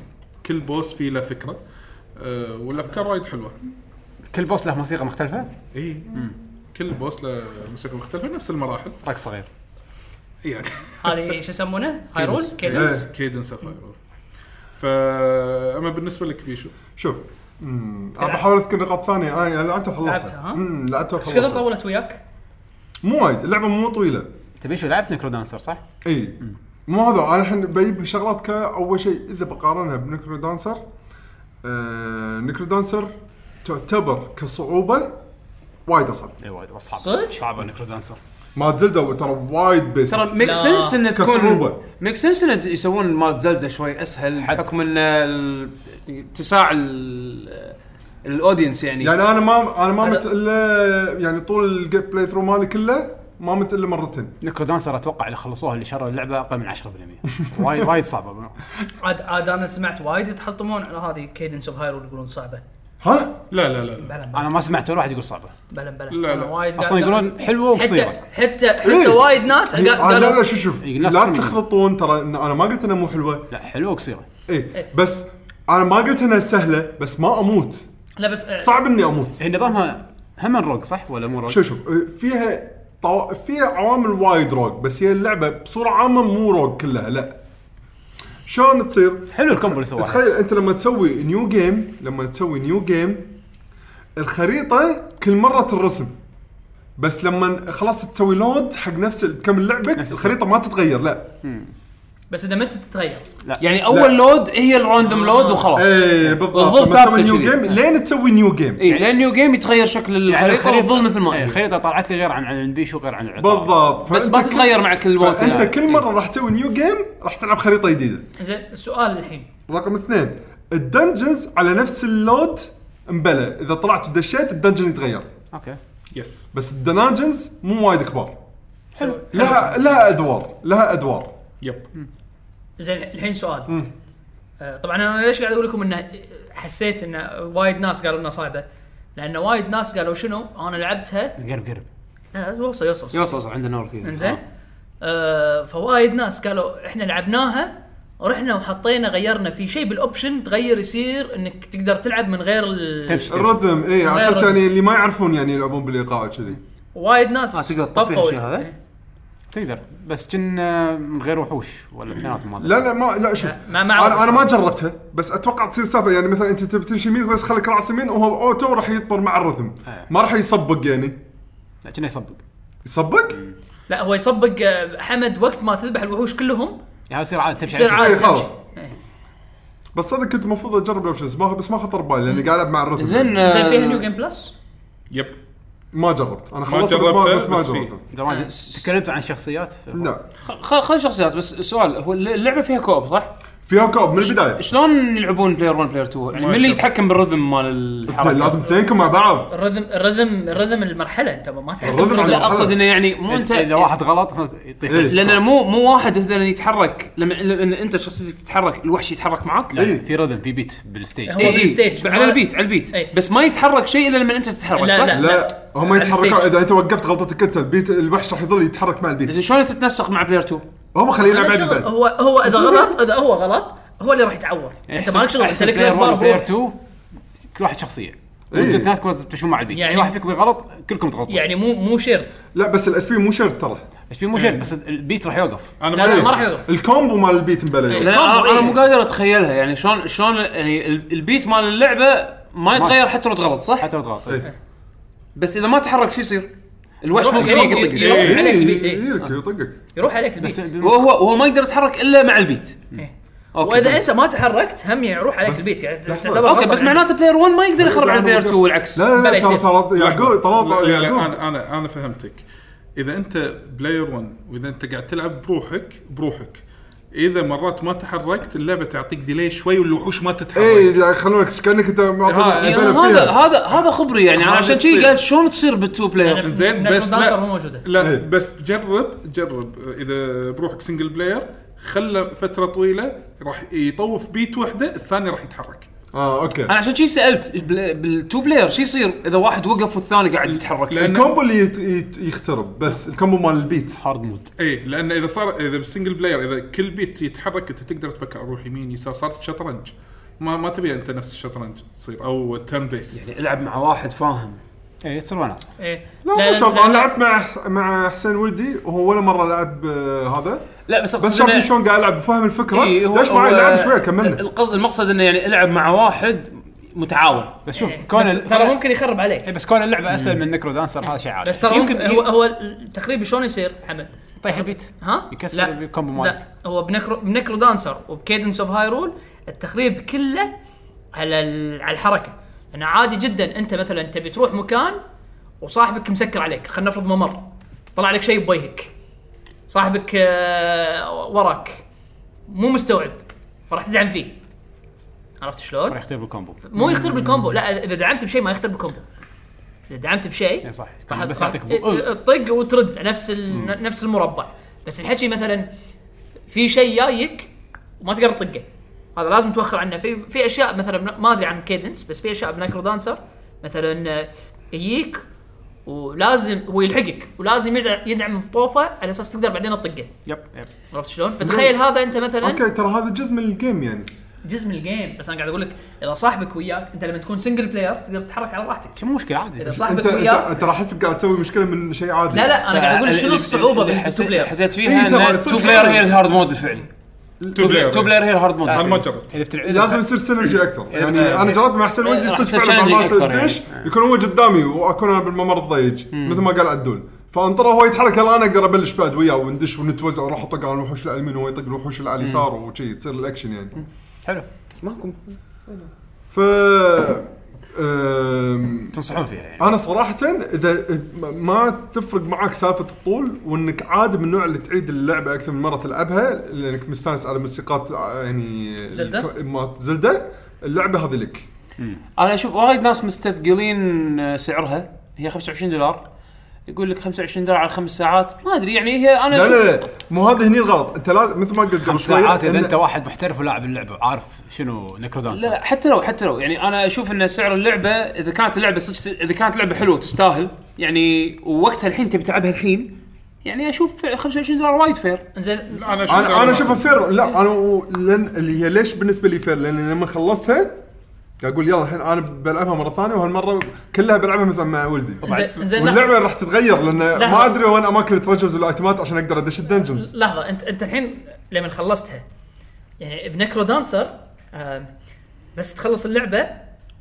D: كل بوس فيه له فكره آه والافكار وايد حلوه
B: كل بوس له موسيقى مختلفه
D: اي كل بوس له موسيقى مختلفه نفس المراحل
B: رقص غير
D: يعني
E: هذه شو يسمونه؟ هايرول
D: كيدنس
E: كيدنس
D: كيدنس اوف هايرول فاما بالنسبه لك بيشو
C: شوف امم أنا بحاول اذكر نقاط ثانيه انا يعني لعبتها
E: لعبتها، ها؟
C: وخلصتها امم لعبتها
E: ايش قدر
C: وخلصتها
E: طولت وياك؟
C: مو وايد اللعبه مو طويله
B: تبي شو لعبت نيكرو دانسر صح؟
C: اي مو هذا انا الحين بجيب شغلات كاول شيء اذا بقارنها بنكرو دانسر آه نكرو دانسر تعتبر كصعوبه وايد اصعب
B: اي إيه، وايد صعب
E: صدق؟
B: صعبه نيكرو دانسر
C: ما زلدة ترى وايد بيسك
A: ترى ميك
E: لا.
A: سنس انه تكون
C: كصعوبة.
A: ميك سنس انه يسوون مال زلدة شوي اسهل
B: حد.
A: بحكم ان ال- اتساع ال- الاودينس يعني
C: يعني انا ما انا ما
E: أنا-
C: مت الا يعني طول الجيم بلاي ثرو مالي كله ما مت الا مرتين
B: نيكرو دانسر اتوقع اللي خلصوها اللي شروا اللعبه اقل من 10% وايد وايد صعبه
E: عاد عاد انا سمعت وايد يتحلطمون على هذه كيدنس اوف هايرول يقولون صعبه
C: ها
D: لا لا لا لا
E: بلا بلا
B: انا ما سمعت ولا واحد يقول صعبه
E: بلا بلا
D: لا،
E: أنا
D: لا.
E: وايد قاعد-
B: اصلا يقولون حلوه
E: حتى
B: وقصيره
E: حتى
C: إيه.
E: حتى وايد ناس قا-
C: آه لا لا
E: قالوا
C: شوف شوف
B: الناس
C: لا
B: كلهم.
C: تخلطون ترى إن انا ما قلت انها مو حلوه
B: لا حلوه وقصيره
C: اي بس انا ما قلت انها سهله بس ما اموت
E: لا بس آه،
C: صعب اني اموت
B: هي نظامها هم روج صح ولا مو روج؟
C: شوف شوف آه، فيها طو... فيها عوامل وايد روج بس هي اللعبه بصوره عامه مو روج كلها لا شلون تصير؟
B: حلو الكومبو اللي سواه
C: تخيل انت لما تسوي نيو جيم لما تسوي نيو جيم الخريطه كل مره ترسم بس لما خلاص تسوي لود حق نفس تكمل لعبك
B: نفس
C: الخريطه ما تتغير لا
E: بس اذا مت تتغير
A: يعني اول لود هي الراندوم
B: آه.
A: لود وخلاص
D: إيه.
C: اي إيه، بالضبط
A: بالضبط
C: لما
A: ثابتة
C: تسوي نيو
A: كذي. إيه.
C: جيم لين تسوي نيو جيم
A: اي لان نيو جيم يتغير شكل
B: يعني
A: الخريطه وتظل مثل ما
B: إيه،
A: هي
B: الخريطه طلعت لي غير عن عن البيشو غير عن العطار.
C: بالضبط
A: بس
C: فأنت
A: ما
C: كل-
A: تتغير مع كل وقت
C: فانت
A: يعني.
C: كل مره راح تسوي نيو جيم راح تلعب خريطه جديده
E: زين السؤال الحين
C: رقم اثنين الدنجنز على نفس اللود مبلى اذا طلعت ودشيت الدنجن يتغير
B: اوكي
D: يس
C: بس الدناجنز مو وايد كبار
E: حلو
C: لها لها ادوار لها ادوار
D: يب
E: زين الحين سؤال آه، طبعا انا ليش قاعد اقول لكم انه حسيت انه وايد ناس قالوا انها صعبه لانه وايد ناس قالوا شنو انا لعبتها
B: قرب قرب
E: آه، وصل يوصل
A: يوصل يوصل عندنا نور فيه
E: انزين آه فوايد ناس قالوا احنا لعبناها رحنا وحطينا غيرنا في شيء بالاوبشن تغير يصير انك تقدر تلعب من غير ال...
B: تمشي تمشي.
C: الرذم اي على
E: غير
C: اساس
E: الرذم.
C: يعني اللي ما يعرفون يعني يلعبون بالايقاع كذي
E: وايد ناس
A: آه، تقدر تطفي
E: طفوا
A: هالشيء هذا؟
B: إيه. تقدر بس كنا من غير وحوش ولا بيناتهم ما أدري.
C: لا لا ما لا شوف
E: ما-
C: انا
E: ما أعرف.
C: انا ما جربتها بس اتوقع تصير سالفه يعني مثلا انت تبي تمشي يمين بس خليك راس يمين وهو اوتو راح يطبر مع الرذم
B: إيه.
C: ما راح يصبق يعني
B: لا كنا يصبق
C: يصبق؟
E: لا هو يصبق آه، حمد وقت ما تذبح الوحوش كلهم
B: يعني يصير عادي تمشي
E: يصير
B: على
E: عادي
C: إيه، خلاص.
E: تمشي. إيه.
C: بس صدق كنت المفروض اجرب الاوبشنز ما بس ما خطر ببالي لاني قاعد العب مع الرذم
A: زين
C: يعني.
E: زين فيها نيو
A: آه،
E: جيم بلس
D: يب
C: ما جربت انا خلصت بس ما
D: جربته،
C: بس ما
D: بس فيه.
C: جربته
B: كيفك. زمان تكلمتوا عن شخصيات
C: لا
A: خ- خ- خل شخصيات بس سؤال هو اللعبه فيها كوب صح؟
C: فيها كوب من البدايه
A: شلون يلعبون بلاير 1 بلاير 2 يعني
D: ما
A: من اللي
D: أدري.
A: يتحكم بالرذم مال الحركه؟
C: لازم اثنينكم مع بعض
E: الرذم الرذم الرذم المرحله انت ما تحكم
C: الرذم على
E: بالرذم.
A: لا اقصد انه يعني مو انت
B: اذا واحد غلط يطيح
C: إيه.
B: السكور.
A: لان مو مو واحد مثلا يتحرك لما لما انت شخصيتك تتحرك الوحش يتحرك معك
B: لا، لا،
C: إيه.
B: يعني في رذم في بيت بالستيج
E: هو
A: إيه،
E: بالستيج.
A: إيه، على البيت على البيت
E: إيه.
A: بس ما يتحرك شيء الا لما انت تتحرك
E: لا،
A: صح؟
E: لا.
C: لا هم
E: على
C: يتحركون
E: الستيج.
C: اذا انت وقفت غلطتك انت البيت الوحش راح يظل يتحرك مع البيت
E: إيه.
A: زين شلون تتنسق مع بلاير 2؟
C: هم خليه يلعب عدل
E: شغل-
C: بعد
E: هو هو اذا غلط اذا هو غلط هو اللي راح يتعور انت مالك شغل انت لك
B: بلاير
E: بار
B: 1 بلاير
E: بروح
B: 2 كل واحد شخصيه
C: إيه.
B: وانتم اثنيناتكم لازم تمشون مع البيت
E: يعني-
B: يعني واحد فيكم يغلط كلكم تغلطون
E: يعني مو مو شرط
C: لا بس الاس بي مو شرط ترى إيه.
B: ايش في مو شرط بس البيت راح يوقف
D: انا
E: لا لا
D: ما-
E: ما راح يوقف
C: الكومبو مال البيت مبلى
E: إيه.
A: لأن
E: كومبو،
A: انا انا
E: إيه.
A: مو قادر اتخيلها يعني شلون شلون يعني ال- البيت مال اللعبه ما يتغير حتى لو تغلط صح؟
B: حتى لو تغلط
C: إيه.
A: بس اذا ما تحرك شو يصير؟ الوحش
E: يروح-
A: ممكن
E: يروح-
A: يطقك
E: يروح- عليك البيت، إيه.
C: يلك يطقك
E: يروح عليك
B: بس
E: البيت
A: وهو وهو ما يقدر يتحرك الا مع البيت
E: إيه.
A: اوكي
E: واذا
A: فهمت.
E: انت ما تحركت هم يروح عليك
C: بس-
E: البيت يعني
C: لحظة.
E: تعتبر
A: اوكي
E: غلط
A: بس
E: عنك.
A: معناته بلاير 1 ما يقدر يخرب على بلاير 2 والعكس
C: لا لا
E: بلا
C: لا ترى
E: يصير.
C: ترى يعقوب
D: لا-
C: ترى
D: لا- لا،
C: يعقوب
D: انا انا انا فهمتك اذا انت بلاير 1 واذا انت قاعد تلعب بروحك بروحك اذا مرات ما تحركت اللعبه تعطيك ديلي شوي والوحوش ما تتحرك
C: اي خلونك كانك انت ماخذ
A: يعني
C: بالك
A: هذا
C: فيها.
A: هذا هذا خبري يعني انا
D: هذا
A: عشان كذي
D: تصير.
A: قاعد شلون تصير بالتو بلاير
E: يعني
D: زين،
E: نجم
D: بس لا.
E: دانسر مو موجوده
C: إيه.
D: لا بس جرب جرب اذا بروحك سنجل بلاير خله فتره طويله راح يطوف بيت وحده الثاني راح يتحرك
C: اه اوكي
A: انا عشان كذي سالت بل- بالتو بلاير شو يصير اذا واحد وقف والثاني قاعد يتحرك
D: لأن-
C: الكومبو اللي يت- يت- يخترب بس الكومبو مال البيت
B: هارد مود
D: ايه لان اذا صار اذا بالسنجل بلاير اذا كل بيت يتحرك انت تقدر تفكر اروح يمين يسار صارت شطرنج ما ما تبي انت نفس الشطرنج تصير او تيرن بيس
A: يعني العب مع واحد فاهم
B: اي تصير وناسه
E: إيه.
C: لا
E: لا-
C: ما شاء
E: لا-
C: الله
E: لا.
C: أنا لعبت مع مع حسين ولدي وهو ولا مره لعب آه، هذا
A: لا بس
C: بس
A: أقصد إنه-
C: شافني شلون قاعد العب وفاهم الفكره
A: إيه، هو-
C: ليش معي
A: هو-
C: لعب شويه كملنا
A: القصد المقصد انه يعني العب مع واحد متعاون
B: بس شوف
E: إيه.
B: كون
E: بس
B: ال-
E: ترى ممكن يخرب عليك
B: إيه، بس كون اللعبه اسهل من نكرو دانسر هذا شيء عادي
E: بس ترى
A: يمكن-
E: ممكن هو هو تقريبا شلون يصير حمد؟
B: يطيح البيت
E: ها؟
B: يكسر
E: لا.
B: الكومبو
E: لا
B: مالك
E: هو بنكرو بنكرو دانسر وبكيدنس اوف هايرول التخريب كله على ال- على الحركه انا عادي جدا انت مثلا تبي تروح مكان وصاحبك مسكر عليك خلينا نفرض ممر طلع لك شيء بوجهك صاحبك آه، وراك مو مستوعب فراح تدعم فيه عرفت شلون؟
B: راح يختار بالكومبو
E: مو يختار بالكومبو لا اذا دعمت بشيء ما يختار بالكومبو اذا دعمت بشيء
B: اي صح كان
E: راح
B: بس
E: راح
B: يعطيك
E: ت-
B: بو-
E: تطق وترد نفس ال... نفس المربع بس الحكي مثلا في شيء جايك وما تقدر تطقه هذا لازم توخر عنه في في اشياء مثلا ما ادري عن كيدنس بس في اشياء بنايكرو دانسر مثلا آه، يجيك ولازم هو يلحقك ولازم يدعم, يدعم بطوفه على اساس تقدر بعدين تطقه
B: يب يب
E: عرفت شلون؟ فتخيل هذا انت مثلا
C: اوكي ترى هذا جزء من الجيم يعني
E: جزء من الجيم بس انا قاعد اقول لك اذا صاحبك وياك انت لما تكون سنجل بلاير تقدر تتحرك على راحتك
B: شو مشكله عادي
E: اذا
C: انت
E: صاحبك
C: أنت-
E: وياك
C: انت راح احسك قاعد تسوي مشكله من شيء عادي
E: لا لا انا قاعد اقول
A: ال-
E: شنو
A: ال-
E: الصعوبه
A: اللي
E: بالتو
A: حسيت-
E: بلاير
A: حسيت
C: إيه،
A: فيها
C: ترى
A: ان
C: صدق
A: تو بلاير هي
C: فعلاً.
A: الهارد مود الفعلي
D: تو بلاير
A: تو بلاير هي الهارد مود
D: انا
A: الفعلي.
D: ما جربت
B: اذا بتلعب
C: لازم يصير سينرجي اكثر يعني
B: إيه.
C: انا جربت مع حسين ولدي
A: راح
C: صدق
A: تصير
C: فعلا
A: challenging
C: مرات
A: أكثر يعني.
C: الدش يكون هو قدامي واكون انا بالممر الضيج مثل ما قال عدول فانطره هو يتحرك يلا انا اقدر ابلش بعد وياه وندش ونتوزع ونروح اطق على الوحوش اللي على اليمين وهو يطق الوحوش اللي على اليسار وشي تصير الاكشن يعني
B: حلو
A: ماكو
C: ف أم،
B: تنصحون فيها يعني
C: انا صراحه اذا ما تفرق معاك سالفه الطول وانك عاد من النوع اللي تعيد اللعبه اكثر من مره تلعبها لانك مستانس على موسيقات آه، يعني
E: زلدة؟
C: الك- مالت زلده اللعبه هذه لك
A: انا اشوف وايد ناس مستثقلين آه، سعرها هي 25 دولار يقول لك 25 دولار على خمس ساعات ما ادري يعني هي انا
C: لا
A: أشوف-
C: لا لا مو هذا هني الغلط انت لا مثل ما قلت قبل
B: خمس
C: شوي
B: ساعات اذا
C: إن-
B: انت واحد محترف ولاعب اللعبه عارف شنو نكرو
A: لا
B: دانسر
A: لا حتى لو حتى لو يعني انا اشوف ان سعر اللعبه اذا كانت اللعبه صدق اذا كانت لعبه حلوه تستاهل يعني ووقتها الحين تبي تلعبها الحين يعني اشوف 25 دولار وايد فير
E: زين
D: انا أشوف
C: انا
D: سعر
C: انا
D: ما-
C: اشوفها فير لا انا و- لان اللي هي ليش بالنسبه لي فير لان لما خلصتها قاعد اقول يلا الحين انا بلعبها مره ثانيه وهالمره كلها بلعبها مثلا مع ولدي
E: زين- زين لحظة.
C: واللعبه راح تتغير لان ما
E: لحظة.
C: ادري وين اماكن الترجرز والايتمات عشان اقدر ادش الدنجنز
E: لحظه انت انت الحين لما خلصتها يعني بنكرو دانسر آم، بس تخلص اللعبه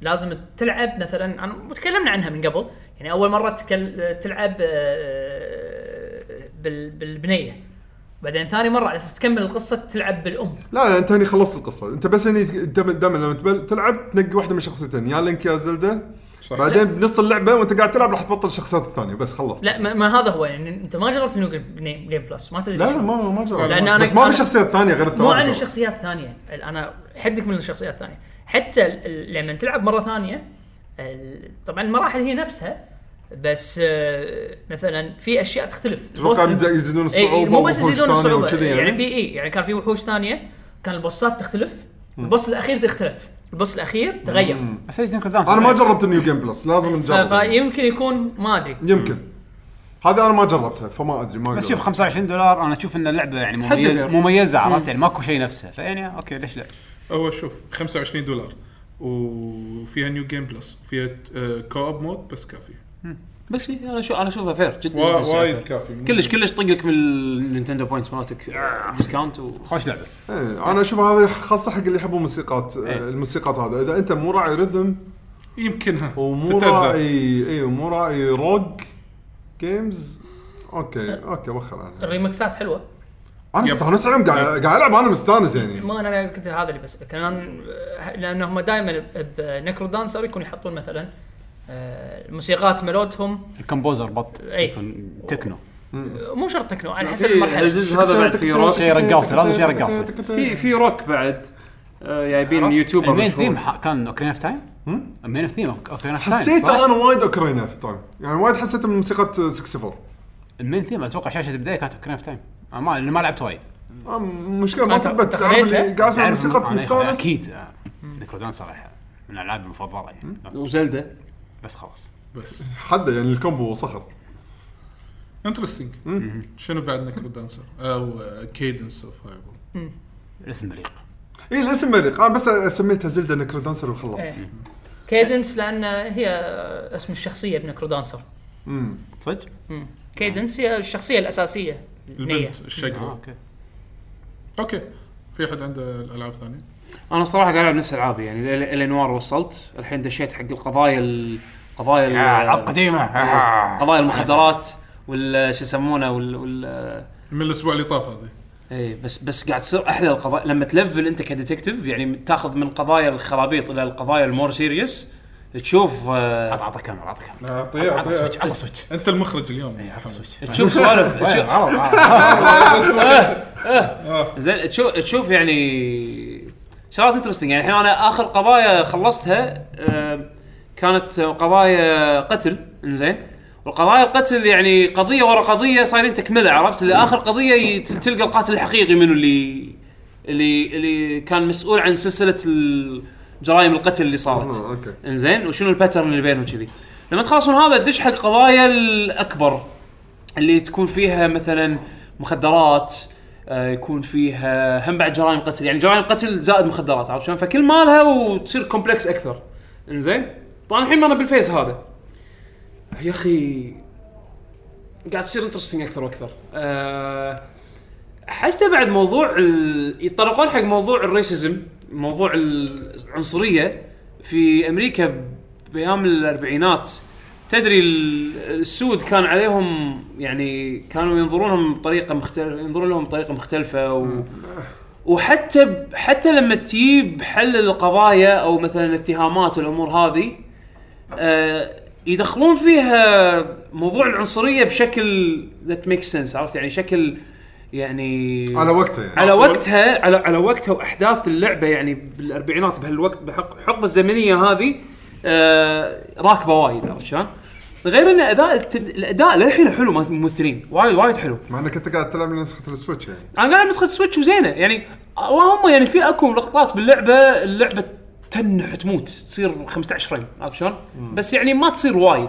E: لازم تلعب مثلا عن تكلمنا عنها من قبل يعني اول مره تكل... تلعب آه، بال... بالبنيه بعدين ثاني مره على اساس تكمل القصه تلعب بالام
C: لا لا انت هني خلصت القصه انت بس هني دائما دائما لما تبل- تلعب تنقي واحده من شخصيتين يا لينك يا زلده
D: صح.
C: بعدين بنص اللعبه وانت قاعد تلعب راح تبطل الشخصيات الثانيه بس خلص
E: لا ما, ما هذا هو يعني انت ما جربت نيو جيم, جيم بلس ما تدري
C: لا
E: شو.
C: لا ما ما جرب
E: لأن أنا-
C: بس ما في
E: أنا-
C: شخصيات ثانيه غير الثلاثه
E: مو عن
C: ترى.
E: الشخصيات الثانيه ال- انا حدك من الشخصيات الثانيه حتى ال- ال- لما تلعب مره ثانيه ال- طبعا المراحل هي نفسها بس آه، مثلا في اشياء تختلف
C: تتوقع
E: البوس-
C: بيز- يزيدون
E: إي- إي،
C: الصعوبه
E: مو بس
C: ووحوش
E: يزيدون
C: ثانية
E: الصعوبه
C: وكذي
E: يعني, في اي يعني كان في وحوش ثانيه كان البوسات تختلف البوس الاخير تختلف البوس الاخير تغير
B: بس هي نكرو دانسر
C: انا ما جربت النيو جيم بلس لازم نجرب
E: فيمكن يكون ما ادري
C: يمكن هذه انا ما جربتها فما ادري ما
B: بس
C: أقدر.
B: شوف 25 دولار انا اشوف ان اللعبه يعني مميزه
A: غير.
B: مميزه عرفت يعني ماكو شيء نفسه فيعني اوكي ليش لا؟
D: هو شوف 25 دولار وفيها نيو جيم بلس وفيها كوب مود آه، بس كافي
A: بس إيه، انا شو انا اشوفها فير جدا
D: وا-
A: جداً
D: وايد
A: فير.
D: كافي
A: كلش كلش طقك من النينتندو بوينتس مالتك ديسكاونت و...
B: خوش لعبه
C: إيه، انا اشوف هذه خاصه حق اللي يحبوا موسيقات آه،
B: إيه.
C: الموسيقات هذا اذا انت مو راعي رذم
D: يمكنها
C: ومو راعي
D: تتأذى
C: اي ومو راعي روك جيمز اوكي اوكي وخر عنها
E: الريمكسات حلوه
C: انا
D: يب.
C: مستانس عليهم قاعد قاعد العب انا مستانس يعني
E: ما انا أنا كنت هذا اللي بسالك لان لان هم دائما بنكرو دانسر يكون يحطون مثلا آه، الموسيقات ملودهم
B: الكمبوزر بط
E: أي.
B: يكون تكنو
E: مو شرط تكنو على حسب إيه.
A: في
E: المرحله
A: الجزء هذا بعد في روك
B: شيء رقاصة، لازم شيء رقاصة.
A: في في روك بعد آه، جايبين
E: عرفت؟
A: يوتيوبر
B: المين
A: مشهور.
B: ثيم ح- كان اوكرين اوف تايم؟ المين ثيم اوكرين اوف تايم
C: حسيت انا وايد اوكرين اوف تايم يعني وايد حسيت من موسيقى 64
B: المين ثيم اتوقع شاشه البدايه كانت اوكرين اوف تايم أنا ما أنا ما لعبت وايد
C: آه، مشكله ما
E: أنت-
C: ثبت
E: أنت
C: أنا اللي
E: خليتها؟
C: قاعد اسمع
B: تعرف
C: موسيقى
B: أنا- أنا
C: مستانس
B: اكيد آه، نيكرودان صراحه من الالعاب المفضله يعني
A: وزلدا
B: بس خلاص
D: بس
C: حده يعني الكومبو صخر
D: انترستنج شنو بعد نكرو دانسر او كيدنس اوف هايبر
B: الاسم بليق
C: اي الاسم إيه، مليق انا بس سميتها زلدا نكرو دانسر وخلصت
E: إيه. كيدنس لان هي اسم الشخصيه بنكرو دانسر
C: مم.
B: صدق؟
E: كيدنس هي الشخصيه الاساسيه النية.
D: البنت
B: آه،
D: الشقراء
B: اوكي
D: اوكي في احد عنده العاب ثانيه؟
A: انا صراحه قاعد العب نفس العابي يعني ال- الانوار وصلت الحين دشيت حق القضايا ال- قضايا ال-
B: آه، العاب قديمه آه.
A: قضايا المخدرات وال شو يسمونه وال, وال...
D: من الاسبوع اللي طاف هذه
A: اي بس بس قاعد تصير احلى القضايا لما تلفل انت كديتكتيف يعني تاخذ من قضايا الخرابيط الى القضايا المور سيريس تشوف آه،
B: عط عط الكاميرا عط الكاميرا
D: اعطيه
B: عط سويتش عط سويتش
D: انت المخرج اليوم
B: عط سويتش
A: تشوف سوالف
B: وين؟
A: تشوف-
B: غلط آه.
A: زين تشوف تشوف يعني شغلات انترستنج يعني الحين انا اخر قضايا خلصتها آه، كانت قضايا قتل انزين والقضايا القتل يعني قضيه ورا قضيه صايرين تكمله عرفت لاخر قضيه ي- تلقى القاتل الحقيقي منو اللي اللي اللي كان مسؤول عن سلسله ال- جرائم القتل اللي صارت
C: آه، اوكي
A: انزين وشنو الباترن اللي بينهم كذي لما تخلص من هذا تدش حق قضايا الاكبر اللي تكون فيها مثلا مخدرات آه، يكون فيها هم بعد جرائم قتل يعني جرائم قتل زائد مخدرات عرفت شلون فكل مالها وتصير كومبلكس اكثر انزين طبعا الحين انا بالفيز هذا يا اخي قاعد تصير انترستنج اكثر واكثر أه حتى بعد موضوع ال... يتطرقون حق موضوع الريسيزم موضوع العنصريه في امريكا بايام الاربعينات تدري ال- السود كان عليهم يعني كانوا ينظرونهم بطريقه مختلفه ينظرون لهم بطريقه مختلفه و... وحتى ب... حتى لما تجيب حل القضايا او مثلا الاتهامات والامور هذه آه، يدخلون فيها موضوع العنصريه بشكل ذات ميك سنس عرفت يعني شكل يعني
C: على وقته يعني
A: على وقتها على على وقتها واحداث اللعبه يعني بالاربعينات بهالوقت بحق- بحقبه الزمنيه هذه آه راكبه وايد عرفت شلون؟ غير ان اداء التد... الاداء للحين حلو مال الممثلين وايد وايد حلو
C: مع انك انت قاعد تلعب من نسخه السويتش يعني
A: انا قاعد نسخه سويتش وزينه يعني اللهم يعني في اكو لقطات باللعبه اللعبه تنح تموت تصير 15 فريم عرفت شلون؟ بس يعني ما تصير وايد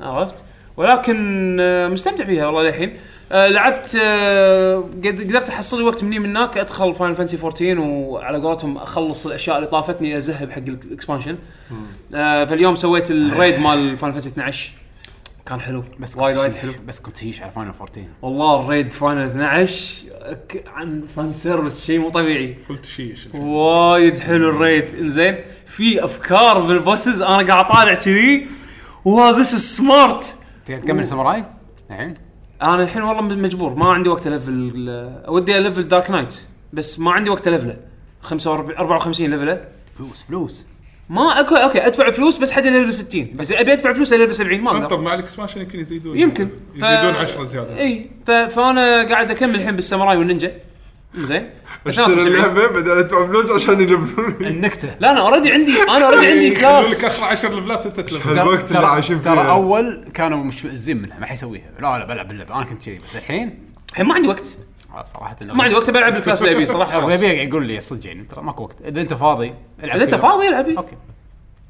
A: عرفت؟ ولكن آه، مستمتع فيها والله للحين آه، لعبت آه، قد- قدرت احصل لي وقت مني من هناك ادخل فاينل فانسي 14 وعلى قولتهم اخلص الاشياء اللي طافتني ازهب حق الاكسبانشن آه، فاليوم سويت الريد مال فاينل فانسي 12 كان حلو
B: بس
A: بس
B: كنت
A: وايد وايد
B: هيش-
A: حلو
B: بس كنت هيش على فاينل 14
A: والله الريد فاينل 12 ك- عن فان سيرفس شيء مو طبيعي
D: فلت شيش
A: وايد حلو الريد انزين في افكار بالبوسز انا قاعد اطالع كذي واو ذس از سمارت
B: تقدر تكمل ساموراي؟ الحين
A: انا الحين والله مجبور ما عندي وقت الفل ال- ودي الفل دارك نايت بس ما عندي وقت الفله 45 54 ليفله
B: فلوس فلوس
A: ما اكو اوكي ادفع فلوس بس حد ليفل 60 بس ابي ادفع فلوس ليفل 70 ما
D: انطر
A: اقدر
D: مع الاكسبانشن يمكن يزيدون
A: يمكن. ف-
D: يزيدون 10 زياده
A: اي ف- فانا قاعد اكمل الحين بالساموراي والنينجا زين
C: اشتري
A: 72.
C: اللعبه بعدين ادفع فلوس عشان يلفلوني
B: النكته
A: لا انا اوريدي عندي انا اوريدي عندي
D: يخلون لك
A: كلاس
D: اخر 10 لفلات انت تلفل
C: الوقت اللي
B: ترى-
C: عايشين فيه
B: ترى اول كانوا مشمئزين منها ما حيسويها لا لا بلعب اللعبه انا كنت كذي بس الحين
A: الحين ما عندي وقت
B: آه، صراحه
A: ما عندي وقت بلعب الكلاس اللي ابيه صراحه خلاص.
B: اغلبيه يقول لي صدق يعني ترى ماكو وقت اذا انت فاضي العب
A: اذا انت
B: كذا.
A: فاضي العبي
B: اوكي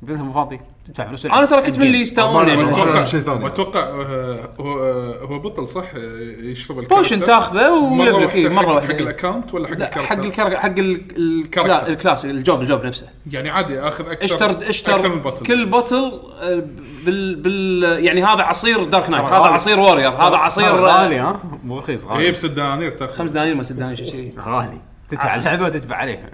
B: بذلهم فاضي تدفع فلوس
A: انا ترى كنت من اللي يستاءون
C: أبغى-
A: يعني.
C: أبغى-
D: اتوقع
C: شيء ثاني.
D: اتوقع آه، هو آه، هو بطل صح آه، يشرب
A: بوشن تاخذه
D: مره
A: وليفلك
D: واحده
A: إيه، مره
D: حق- حق
A: واحده
D: الاكونت ولا حق
A: لا
D: الكاركتر؟
A: حق الكر... حق ال- الكلا...
D: كاركتر.
A: الكلاس الجوب الجوب نفسه
D: يعني عادي اخذ اكثر
A: اشتر
D: اكثر من
A: اشتر
D: بطل
A: كل بطل آه، بال بال يعني هذا عصير دارك نايت
B: ترى
A: هذا
B: غالي.
A: عصير وورير هذا عصير
B: غالي
A: آه،
B: ها مو رخيص
D: هي
C: إيه.
B: غالي
D: بست دنانير إيه، تاخذ
A: خمس دنانير ولا ست دنانير شيء شيء
B: غالي تدفع اللعبه وتدفع عليها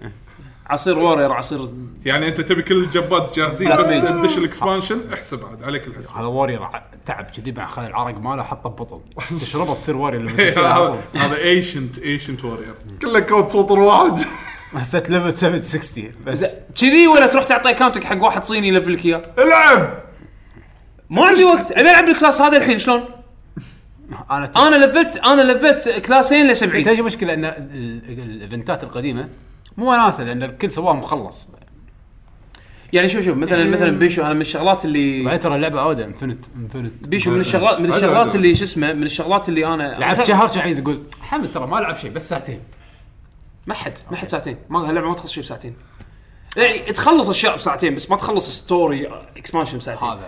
A: عصير وورير عصير
D: يعني انت تبي كل الجبات جاهزين
A: بلاك
D: بس
A: ميج.
D: تدش الاكسبانشن احسب عاد عليك الحسب
B: هذا وارير ع- تعب كذي بعد خذ العرق ماله حطه ببطل تشربه تصير وارير لما
D: إيه،
B: ستة على
D: هذا
B: طول.
D: هذا ايشنت ايشنت وورير
C: كله كود سطر واحد
B: حسيت ليفل 760 بس
A: كذي ولا تروح تعطي اكونتك حق واحد صيني يلفلك اياه
C: العب
A: ما عندي وقت ابي العب الكلاس هذا الحين شلون؟
B: انا ت-
A: انا لفلت انا لفلت كلاسين ل 70
B: تجي مشكله ان ال- ال- الايفنتات القديمه مو وناسه لان الكل سواه مخلص
A: يعني شوف شوف مثلا مثلا بيشو انا من الشغلات اللي
B: بعدين ترى اللعبه اودا انفنت انفنت
A: بيشو من الشغلات من
C: عدل-
A: الشغلات
C: عدل.
A: اللي شو اسمه من الشغلات اللي انا
B: لعبت
A: مثلاً-
B: شهر شهر عايز يقول حمد ترى ما العب شيء بس ساعتين
A: ما حد ما حد ساعتين ما اللعبه ما تخلص شيء بساعتين يعني تخلص اشياء بساعتين بس ما تخلص ستوري اكسبانشن بساعتين
B: هذا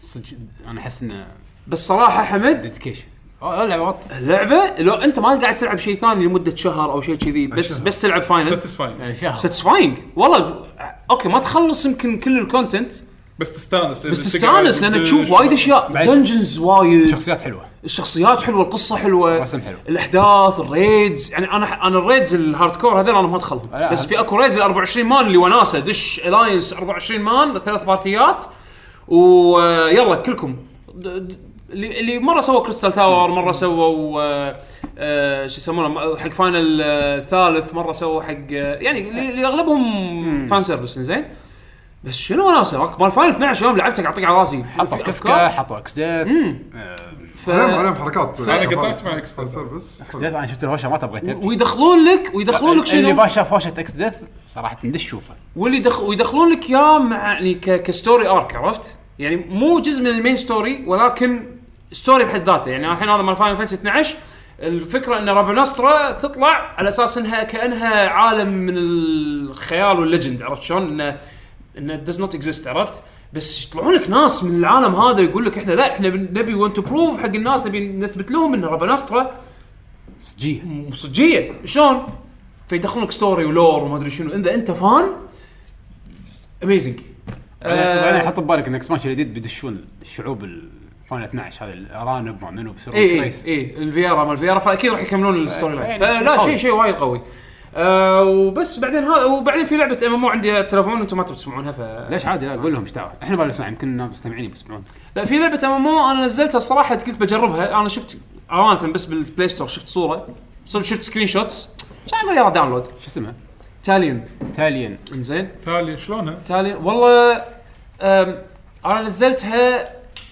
B: صدق انا احس انه
A: بس صراحه حمد
B: ديديكيشن اه اللعبه وقت
A: اللعبه لو انت ما قاعد تلعب شيء ثاني لمده شهر او شيء كذي بس
C: شهر.
A: بس تلعب فاينل
D: ساتيسفاينج
B: يعني شهر
A: ساتسفاينج والله اوكي ما تخلص يمكن كل الكونتنت
D: بس تستانس
A: بس تستانس لان تشوف وايد اشياء
B: بعد-
A: دنجنز وايد
B: شخصيات حلوه
A: الشخصيات حلوه القصه حلوه
B: رسم حلو.
A: الاحداث الريدز يعني انا انا الريدز الهارد كور هذول انا ما ادخلهم
B: لا،
A: بس
B: هذا-
A: في اكو ريدز ال 24 مان اللي وناسه دش الاينس 24 مان ثلاث بارتيات ويلا كلكم د- د- اللي اللي مره سووا كريستال تاور مره سووا آه، آه، شو يسمونه م- حق فاينل آه، ثالث مره سووا حق آه، يعني اللي اللي اغلبهم فان سيرفس زين بس شنو وناسه مال فاينل 12 يوم لعبته قاعد اطق على راسي
B: حطوا
A: في
B: كفكه
A: أفكار.
B: حطوا اكس ديث
A: ف...
C: عليهم عليهم حركات
D: أنا قطعت مع إكس
C: سيرفس
B: اكس ديث انا شفت الهوشه ما تبغى تبكي
A: ويدخلون لك ويدخلون لك
B: اللي
A: شنو
B: ما شاف هوشه اكس ديث صراحه ندش شوفه
A: واللي دخ... ويدخلون لك يا مع يعني ك... كستوري ارك عرفت؟ يعني مو جزء من المين ستوري ولكن ستوري بحد ذاته يعني الحين هذا مال فاينل فانتسي 12 الفكره ان رابنسترا تطلع على اساس انها كانها عالم من الخيال والليجند عرفت شلون؟ انه انه داز نوت اكزيست عرفت؟ بس يطلعون لك ناس من العالم هذا يقول لك احنا لا احنا بن- نبي ونت بروف حق الناس نبي نثبت لهم ان رابنسترا
B: صجيه
A: صجيه شلون؟ فيدخلونك ستوري ولور وما ادري شنو اذا انت فان اميزنج آه.
B: بعدين حط ببالك ان اكسبانشن الجديد بيدشون الشعوب الفاينل 12 هذا الارانب ما منو بسرعه
A: اي اي اي الفيرا إيه، مال الفيرا فاكيد راح يكملون
B: إيه،
A: الستوري لاين فلا شيء شيء وايد قوي آه وبس بعدين هذا وبعدين في لعبه ام ام عندي على التلفون انتم ما تبون تسمعونها ف
B: ليش عادي لا قول لهم ايش دعوه احنا ما نسمع يمكن الناس مستمعين بيسمعون
A: لا في لعبه ام انا نزلتها الصراحه قلت بجربها انا شفت امانه بس بالبلاي ستور شفت صوره شفت سكرين شوتس عشان ما يلا داونلود
B: شو اسمها؟
A: تاليون
B: تاليان
A: انزين
D: تالي شلونها؟
A: تالي والله أم، انا نزلتها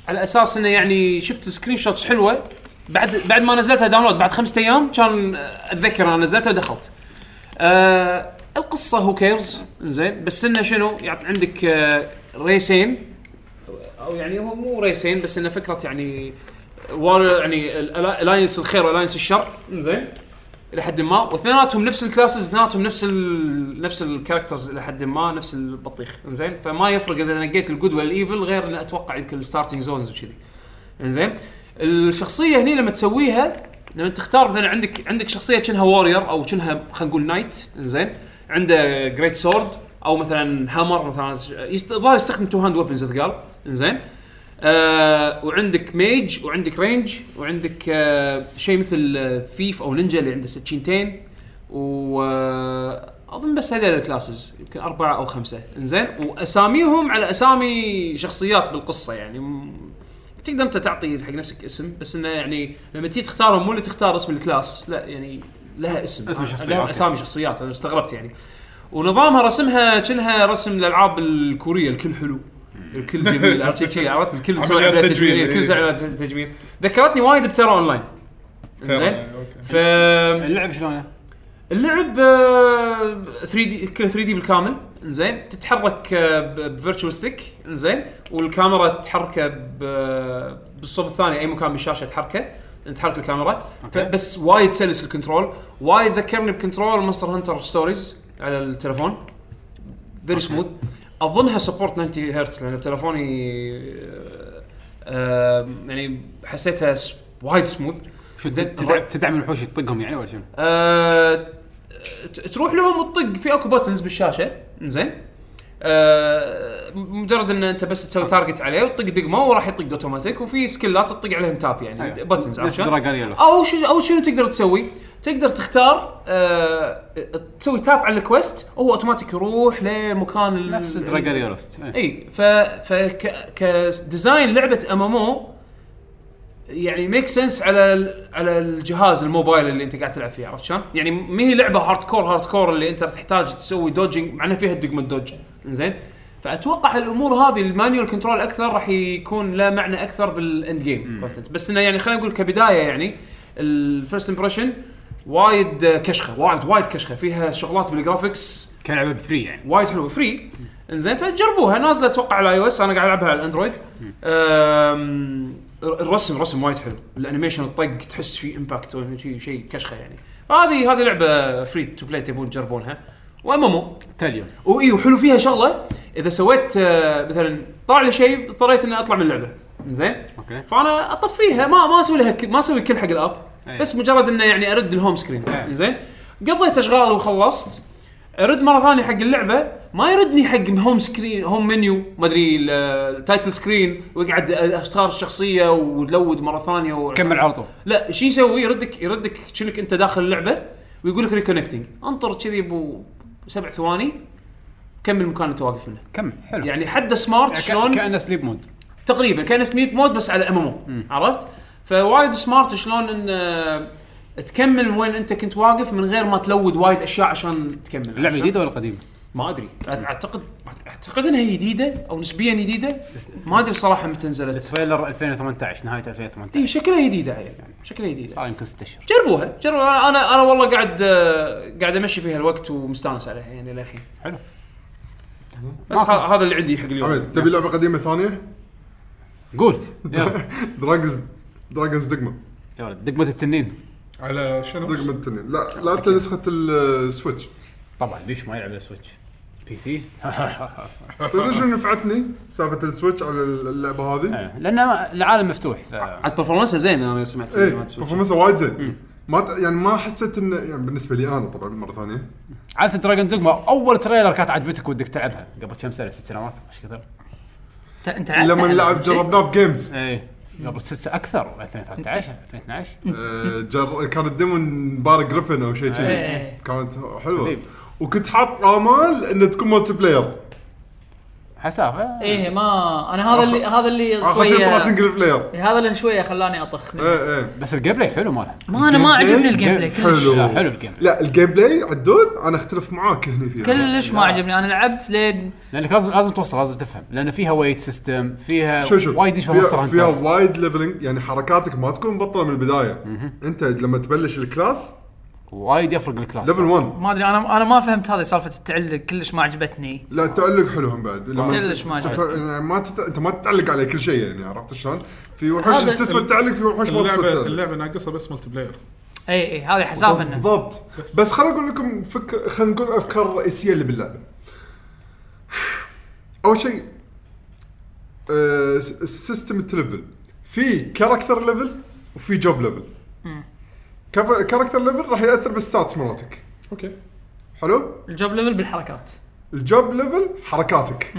A: على اساس انه يعني شفت سكرين شوتس حلوه بعد بعد ما نزلتها داونلود بعد خمسة ايام كان اتذكر انا نزلتها ودخلت. أه القصه هو كيرز زين بس انه شنو يعني عندك أه، ريسين او يعني هو مو ريسين بس انه فكره يعني وار يعني الالاينس الخير والالاينس الشر زين الى حد ما واثنيناتهم نفس الكلاسز اثنيناتهم نفس ال... نفس الكاركترز الى حد ما نفس البطيخ انزين فما يفرق اذا نقيت الجود ولا الايفل غير ان اتوقع يمكن الستارتنج زونز وكذي انزين الشخصيه هني لما تسويها لما تختار مثلا عندك عندك شخصيه كأنها وورير او كأنها خلينا نقول نايت انزين عنده جريت سورد او مثلا هامر مثلا يست- الظاهر يستخدم تو هاند ويبنز اثقال انزين آه وعندك ميج وعندك رينج وعندك آه شيء مثل آه، ثيف او نينجا اللي عنده سكينتين و آه، اظن بس هذول الكلاسز يمكن اربعه او خمسه انزين واساميهم على اسامي شخصيات بالقصه يعني م- تقدر انت تعطي حق نفسك اسم بس انه يعني لما تيجي تختارهم مو اللي تختار اسم الكلاس لا يعني لها اسم
B: اسم شخصية،
A: لها
B: أوكي.
A: اسامي شخصيات انا استغربت يعني ونظامها رسمها كأنها رسم الالعاب الكوريه الكل حلو الكل جميل عرفت شي- شي عرفت الكل مسوي
D: عمليات
A: عمليات
D: تجميل،
A: تجميل الكل
D: إيه.
A: مسوي عمليات تجميل ذكرتني وايد بترا اونلاين زين ف
B: اللعب شلونه؟
A: اللعب آه، 3 دي كله 3 دي بالكامل زين تتحرك آه، بفيرتشوال ستيك زين والكاميرا تحركه ب- بالصوب الثاني اي مكان بالشاشه تحركه تحرك الكاميرا
B: أوكي.
A: بس وايد سلس الكنترول وايد ذكرني بكنترول مونستر هانتر ستوريز على التلفون فيري سموث اظنها سبورت 90 هرتز لان بتلفوني آه، يعني حسيتها س- وايد سموث
B: شو
A: زين،
B: تدعم
A: هو-
B: تدعم الوحوش تطقهم يعني ولا شنو؟
A: آه، ت- تروح لهم وتطق في اكو باتنز بالشاشه زين آه، مجرد ان انت بس تسوي تارجت عليه وتطق دقمه وراح يطق اوتوماتيك وفي سكلات تطق عليهم تاب يعني
B: أيوة.
A: باتنز
B: نفس Dragon Yellow.
A: او شو او شنو تقدر تسوي؟ تقدر تختار آه، تسوي تاب على الكويست وهو اوتوماتيك يروح لمكان ال-
B: نفس دراجون لوست
A: اي ف إيه، ف ك- كديزاين لعبه ام ام او يعني ميك سنس على ال- على الجهاز الموبايل اللي انت قاعد تلعب فيه عرفت شلون؟ يعني ما هي لعبه هارد كور هارد كور اللي انت تحتاج تسوي دوجنج مع انها فيها دقمه دوج زين فاتوقع الامور هذه المانيوال كنترول اكثر راح يكون له معنى اكثر بالاند جيم كونتنت بس انه يعني خلينا نقول كبدايه يعني الفيرست امبريشن وايد كشخه وايد وايد كشخه فيها شغلات بالجرافكس
B: كلعبه بفري يعني
A: وايد حلوه فري انزين فجربوها نازله اتوقع على اي او اس انا قاعد العبها على الاندرويد أم، الرسم رسم وايد حلو الانيميشن الطق تحس فيه امباكت شيء شيء كشخه يعني هذه هذه لعبه فري تو بلاي تبون تجربونها وامامو
B: تاليوم
A: واي وحلو فيها شغله اذا سويت آه، مثلا طلع لي شيء اضطريت اني اطلع من اللعبه زين
B: اوكي
A: فانا اطفيها ما ما اسوي لها ك- ما اسوي كل حق الاب
B: أي.
A: بس مجرد انه يعني ارد الهوم سكرين
B: أي.
A: زين قضيت اشغال وخلصت ارد مره ثانيه حق اللعبه ما يردني حق هوم سكرين هوم منيو ما ادري ال- التايتل سكرين واقعد اختار الشخصيه ولود مره ثانيه و...
B: كمل على طول
A: لا شو يسوي يردك يردك شنك انت داخل اللعبه ويقول لك ريكونكتنج انطر كذي بو سبع ثواني كمل المكان اللي انت واقف منه
B: كمل حلو
A: يعني حد سمارت
B: ك-
A: شلون
B: كانه سليب مود
A: تقريبا كان سنيب مود بس على ام عرفت؟ فوايد سمارت شلون ان آه، تكمل وين انت كنت واقف من غير ما تلود وايد اشياء عشان تكمل
B: اللعبه
A: عشان-
B: جديده ولا قديمه؟
A: ما ادري أت- اعتقد اعتقد انها جديده او نسبيا جديده ما ادري صراحه متى نزلت
B: تريلر 2018 نهايه 2018
A: اي شكلها جديده عيل يعني شكلها جديده
B: صار آه، يمكن ست اشهر
A: جربوها جربوها انا انا والله قاعد آه، قاعد امشي فيها الوقت ومستانس عليها يعني للحين
B: حلو.
A: بس ه- هذا اللي عندي حق اليوم
C: حمد تبي لعبه قديمه ثانيه؟
B: قول يلا
C: دراجز دراجز دقمه
B: يا ولد دقمه التنين
D: على شنو؟
C: دقمه التنين لا لعبت نسخه السويتش
B: طبعا ليش ما يلعب على سويتش بي سي آه،
C: تدري شنو نفعتني سالفه السويتش على اللعبه هذه؟
B: لان العالم مفتوح ف
A: عاد برفورمانسها زين انا سمعت
C: ايه
A: مالت سويتش.
C: برفورمانسه وايد زين ما ت- يعني ما حسيت انه يعني بالنسبه لي انا طبعا مره ثانيه
B: عاده دراجون دوغما اول تريلر كانت عجبتك ودك تلعبها قبل كم سنه ست سنوات مش كثر
E: انت انت لعبتها
C: لما
E: على
C: نلعب
E: كل شيء؟
C: جربناه بجيمز
B: اي قبل ست سنوات اكثر 2013 2012
C: آه، جر... كان الديمون بار جريفن او شيء كذي
E: إيه.
C: كانت حلوه
B: طيب.
C: وكنت حاط امال انه تكون مالتي بلاير
B: حسافه
E: ايه ما انا هذا اللي هذا اللي
C: اخر شيء طلع
E: شويه
C: سنجل بلاير
E: هذا اللي شويه خلاني اطخ منه.
C: ايه ايه
B: بس الجيم بلاي حلو مالها
E: ما انا ما
C: الجيم
E: عجبني
C: بلاي
E: الجيم بلاي
B: جيم
E: كلش
C: حلو.
B: لا حلو الجيم بلاي
C: لا الجيم بلاي عدول انا اختلف معاك هنا فيها
E: كلش ما عجبني انا لعبت لين
B: لانك لازم لازم توصل لازم تفهم لان فيها ويت سيستم فيها
C: شو شو
B: وايد يشبه مونستر
C: فيها, فيها
B: هانتر
C: وايد ليفلنج يعني حركاتك ما تكون مبطله من البدايه انت لما تبلش الكلاس
B: وايد يفرق الكلاس
C: ليفل 1
E: ما ادري انا انا ما فهمت هذه سالفه التعلق كلش ما عجبتني
C: لا تعلق حلو هم بعد لما
E: كلش ما
C: تف-
E: عجبتني.
C: يعني ما تت... انت ما تتعلق على كل شيء يعني عرفت شلون؟ في وحوش
E: هذا-
C: تسوى التعلق في وحوش ما تسوى
D: اللعبه
C: التعلق
D: اللعبه ناقصها بس ملتي بلاير
E: اي اي إيه، هذه حساب انه
C: بالضبط بس خليني اقول لكم فكر خلينا نقول الافكار الرئيسيه اللي باللعبه. اول شيء آه، س- السيستم التلفل في كاركتر ليفل وفي جوب ليفل. كاركتر ليفل راح ياثر بالستاتس مالتك
D: اوكي
C: حلو؟
E: الجوب ليفل بالحركات
C: الجوب ليفل حركاتك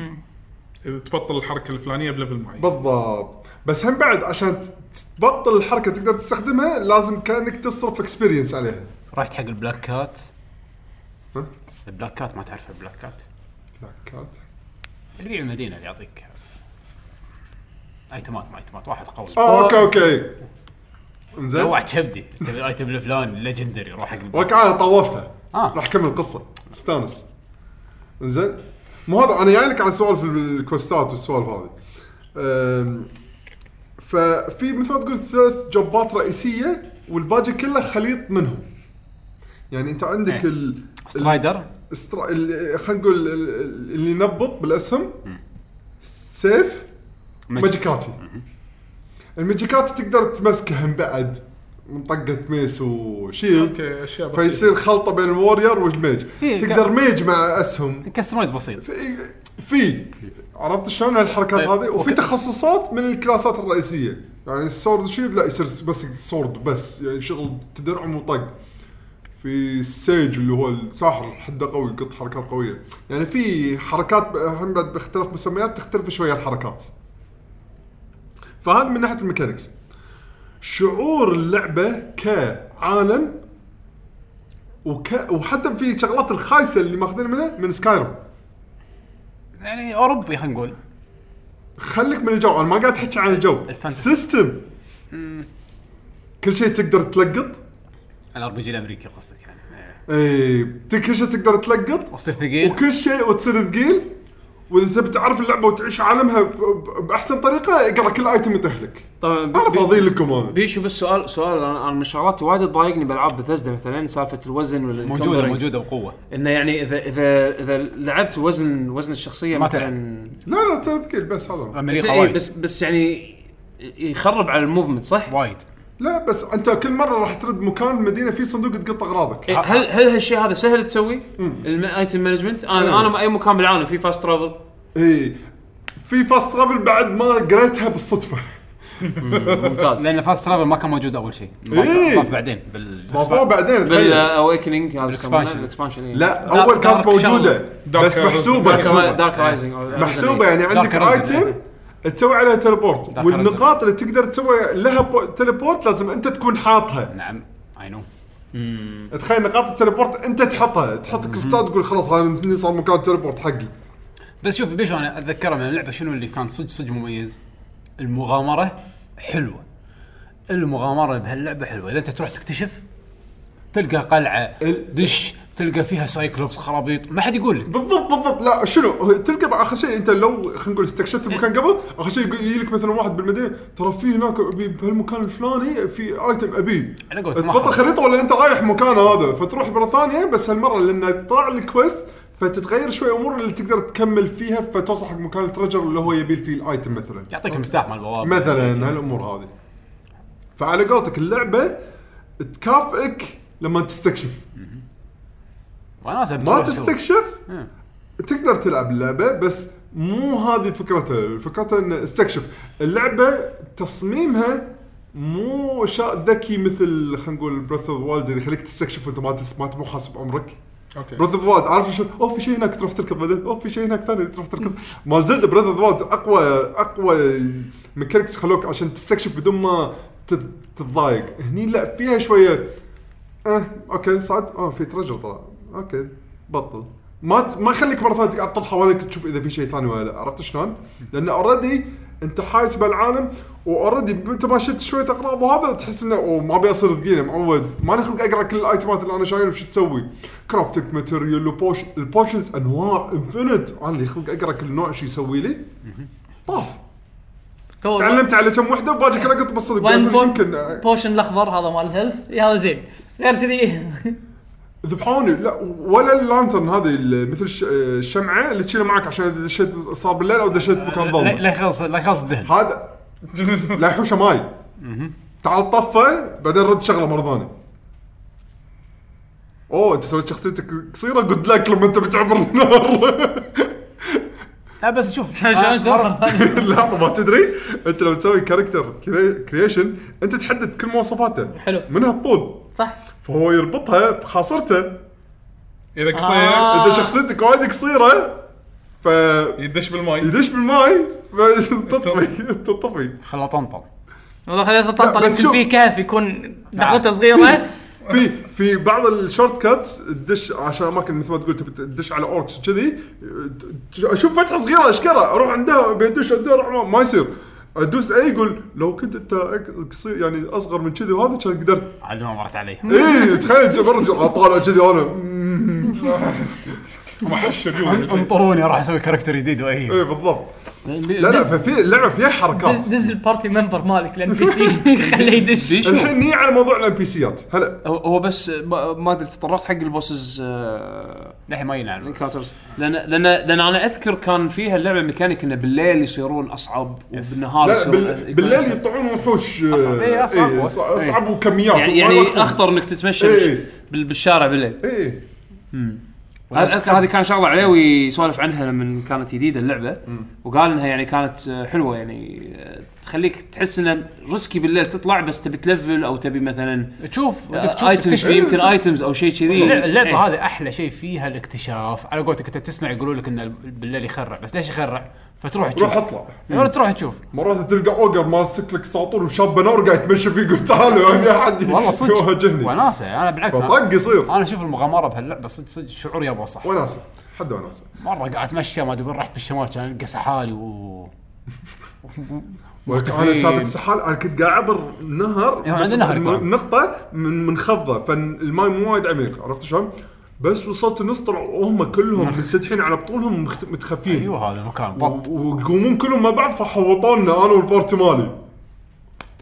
D: اذا تبطل الحركه الفلانيه بليفل معين
C: بالضبط بس هم بعد عشان ت- تبطل الحركه تقدر تستخدمها لازم كانك تصرف اكسبيرينس عليها
B: رحت حق البلاك كات
C: ها؟
B: البلاك كات ما تعرف البلاك كات
C: لا كات
B: اللي يبيع المدينه اللي يعطيك ايتمات ما ايتمات واحد قوي
C: آه اوكي اوكي انزين
B: جوع كبدي تبي الايتم الفلاني ليجندري روح حق البلاك
C: ركعه طوفتها
B: آه.
C: راح اكمل القصه استانس انزين مو هذا انا جاي لك على سوالف الكوستات والسوالف هذه أم، ففي مثل ما تقول ثلاث جوبات رئيسيه والباقي كله خليط منهم يعني انت عندك
B: إيه.
C: ال
B: سترايدر
C: استرا... ال- خلينا نقول ال- ال- اللي ينبط بالاسهم سيف ماجيكاتي الماجيكاتي تقدر تمسكهم بعد من طقه ميس وشيلد
D: اوكي اشياء بسيطه
C: فيصير خلطه بين الورير والميج
B: في ك-
C: تقدر ميج مع اسهم
B: كستمايز بسيط
C: في- في عرفت شلون هالحركات
B: طيب،
C: هذه وفي
B: وك-
C: تخصصات من الكلاسات الرئيسيه يعني السورد شيلد لا يصير بس سورد بس يعني شغل تدرعم وطق في السيج اللي هو الساحر حده قوي يقط حركات قويه يعني في حركات ب- هم بعد باختلاف مسميات تختلف شويه الحركات فهذا من ناحيه الميكانكس شعور اللعبه كعالم وك... وحتى في شغلات الخايسه اللي ماخذين منها من سكايرم
B: يعني اوروبي خلينا نقول
C: خليك من الجو انا ما قاعد احكي عن الجو
B: الفانتسي.
C: سيستم كل شيء تقدر تلقط
B: الار بي جي الامريكي قصدك يعني إيه.
C: اي كل شيء تقدر تلقط
B: وصير ثقيل
C: وكل شيء وتصير ثقيل واذا تبي تعرف اللعبه وتعيش عالمها ب- ب- باحسن طريقه اقرا كل ايتم يطيح لك
A: طبعا بي-
C: انا
A: بي-
C: فاضي لكم هذا
A: بيشو بس سؤال سؤال انا أنا من الشغلات وايد تضايقني بالعاب بثزدا مثلا سالفه الوزن ولا
B: موجوده موجوده بقوه
A: انه يعني اذا اذا اذا لعبت وزن وزن الشخصيه
B: ما
A: مثلا
C: لا لا تصير ثقيل بس هذا
A: بس,
B: امريكا
A: إيه
B: وايد
A: بس بس يعني يخرب على الموفمنت صح؟
B: وايد
C: لا بس انت كل مره راح ترد مكان مدينه فيه صندوق تقط اغراضك
A: إيه، هل هل هالشيء هذا سهل تسوي؟ الايتم مانجمنت انا انا اي مكان بالعالم في فاست ترافل
C: اي إيه، في فاست ترافل بعد ما قريتها بالصدفه
A: ممتاز
B: لان فاست ترافل ما كان موجود اول شيء
C: إيه.
B: ضاف بعدين بال
C: موضوع بعدين تخيل
A: بالاويكننج هذا
B: بالإكسبانشن.
A: يسمونه، الاكسبانشن إيه.
C: لا
B: دارك-
C: اول كانت
B: دارك
C: موجوده
D: شغلة.
C: بس
D: دارك-
C: محسوبه
D: دارك-
A: دارك- دارك رايزنج
C: محسوبه يعني عندك
B: دارك ريزن،
C: ايتم تسوي عليها تليبورت
B: دارك
C: والنقاط اللي تقدر تسوي لها بو- تليبورت لازم انت تكون حاطها
B: نعم اي نو
C: تخيل نقاط التليبورت انت تحطها تحط كريستال تقول خلاص هذا صار مكان التليبورت حقي
B: بس شوف بيشو انا اتذكره من اللعبه شنو اللي كان صدق صدق مميز المغامره حلوه المغامره بهاللعبه حلوه اذا انت تروح تكتشف تلقى قلعه
C: ال-
B: دش تلقى فيها سايكلوبس خرابيط ما حد يقول لك
C: بالضبط بالضبط لا شنو هو تلقى بقى اخر شيء انت لو خلينا نقول استكشفت المكان قبل اخر شيء يجي لك مثلا واحد بالمدينه ترى في هناك أبي بهالمكان الفلاني في ايتم ابيه
B: على قولتك ما
C: تبطل
B: أخذ.
C: خريطه ولا انت رايح مكان هذا فتروح مره ثانيه بس هالمره لان طلع الكويست فتتغير شوي امور اللي تقدر تكمل فيها فتوصل حق مكان الترجر اللي هو يبي فيه الايتم مثلا
B: يعطيك المفتاح مال البوابه
C: مثلا هالامور هذه فعلى قولتك اللعبه تكافئك لما تستكشف
B: وناسه
C: ما
B: بتروح تسوي.
C: تستكشف
B: مم.
C: تقدر تلعب اللعبه بس مو هذه فكرتها فكرتها ان استكشف اللعبه تصميمها مو شيء ذكي مثل خلينا نقول بريث اوف وايلد اللي يخليك تستكشف وانت ما تس- ما تبغى حاسب عمرك
D: اوكي
C: بريث اوف وايلد عارف شو اوه في شيء هناك تروح تركض بعدين اوه في شيء هناك ثاني تروح تركض مال زلدا بريث اوف وايلد اقوى اقوى ميكانكس خلوك عشان تستكشف بدون ما تت- تتضايق هني لا فيها شويه اه اوكي صعد اه في ترجر طلع اوكي بطل ما ت... ما يخليك مره ثانيه تقعد تطلع حواليك تشوف اذا في شيء ثاني ولا لا عرفت شلون؟ لان اوريدي انت حايس بالعالم واوريدي انت ما شلت شويه اغراض وهذا تحس انه اوه ما ابي اصير ثقيله معود ما لي خلق اقرا كل الايتمات اللي انا شايلها شو تسوي؟ كرافتنج ماتيريال وبوش البوشنز انواع انفنت انا لي خلق اقرا كل نوع شو يسوي لي؟ طاف تعلمت على كم وحده وباجي كل اقط بالصدق
E: وين
C: قبل يمكن
E: بون بوشن الاخضر هذا مال الهيلث إي هذا زين غير كذي
C: ذبحوني لا ولا اللانترن هذه اللي مثل الش- الشمعه اللي تشيلها معك عشان اذا دشيت صار بالليل او دشيت مكان
B: لا
C: ظلمه
B: لا يخلص لا يخلص الدهن
C: هذا لا يحوشه ماي تعال طفه بعدين رد شغله مره ثانيه اوه انت سويت شخصيتك قصيره جود لك لما انت بتعبر النار
B: لا بس شوف
C: آه،
E: شلون
B: أنا مرة-
E: شلون
C: لحظه ما تدري انت لما تسوي كاركتر كريشن انت تحدد كل مواصفاته
E: حلو.
C: منها الطول
E: صح
C: فهو يربطها بخاصرته
D: اذا
E: آه.
D: قصير
C: اذا شخصيتك وايد قصيره ف
D: يدش بالماي
C: يدش بالماي تطفي تطفي
B: خلا طنطن
E: والله خليته طنطل
C: لا، بس
E: يمكن
C: شوف.
E: في كهف يكون دخلته
B: نعم.
E: صغيره
C: في في بعض الشورت كاتس تدش عشان اماكن مثل ما تقول تبي تدش على اوركس كذي اشوف فتحه صغيره اشكره اروح عندها بيدش عندها أروح- ما يصير ادوس اي يقول لو كنت انت أك- قصير يعني اصغر من كذي وهذا كان قدرت
B: عاد ما مرت علي
C: اي تخيل جبر طالع كذي انا مم.
D: ما حش اليوم
B: انطروني راح اسوي كاركتر جديد واي
C: اي إيه، بالضبط لا لا ففي اللعبه فيها حركات
E: دز دز البارتي ممبر مالك الام بي سي خليه يدش
C: الحين نيجي على موضوع الام بي سيات هلا
A: هو- هو بس ما ما ادري تطرقت حق البوسز آه،
B: للحين ما ينعلم
A: انكاونترز لان لان لان انا اذكر كان فيها اللعبه ميكانيك انه بالليل يصيرون اصعب
B: آه،
A: وبالنهار
C: لا
A: يصيرون
C: بال- بالليل يطلعون وحوش آه،
B: أصعب. إيه، أصعب.
C: إيه، أص- اصعب وكميات
A: يعني
C: وما
A: يعني
C: يوقفون.
A: اخطر انك تتمشى
C: إيه.
A: بال- بالشارع بالليل
C: ايه
A: اذكر هذه كان شغله عليوي يسولف عنها لما كانت جديده اللعبه وقال انها يعني كانت آه، حلوه يعني آه، تخليك تحس انه ريسكي بالليل تطلع بس تبي تلفل او تبي مثلا
B: تشوف
E: آه،
B: بدك تشوف
A: ايتمز
B: تكتشف.
A: يمكن ايتمز او شيء كذي
B: اللعبه اللعبة
A: إيه.
B: هذه احلى شيء فيها الاكتشاف على قولتك انت تسمع يقولوا لك ان بالليل يخرع بس ليش يخرع؟ فتروح
C: روح
B: تشوف
C: اطلع
B: مرة تروح تشوف
C: مرات تلقى اوجر ماسك لك ساطور وشاب نار قاعد يتمشى فيك يقول تعالوا يا حد
B: والله صدق آه.
C: يواجهني
B: وناسه انا بالعكس
C: فطق
B: انا
C: يصير
B: أنا اشوف المغامره بهاللعبه صدق صدق شعور يابا صح
C: وناسه حد وناسه
B: مره قاعد اتمشى ما ادري وين رحت بالشمال كان القى سحالي و
C: ولكن انا
B: مختفين.
C: سالفه السحال انا كنت قاعد اعبر نهر
B: إيه، عندنا
C: بس
B: نهر
C: من-
B: طبعاً.
C: نقطه من منخفضه فالماي مو وايد عميق عرفت شلون؟ بس وصلت النص طلعوا وهم كلهم
B: نعم.
C: مستدحين على بطولهم مخت- متخفين
B: ايوه هذا المكان بط
C: ويقومون كلهم مع بعض فحوطونا انا والبارتي مالي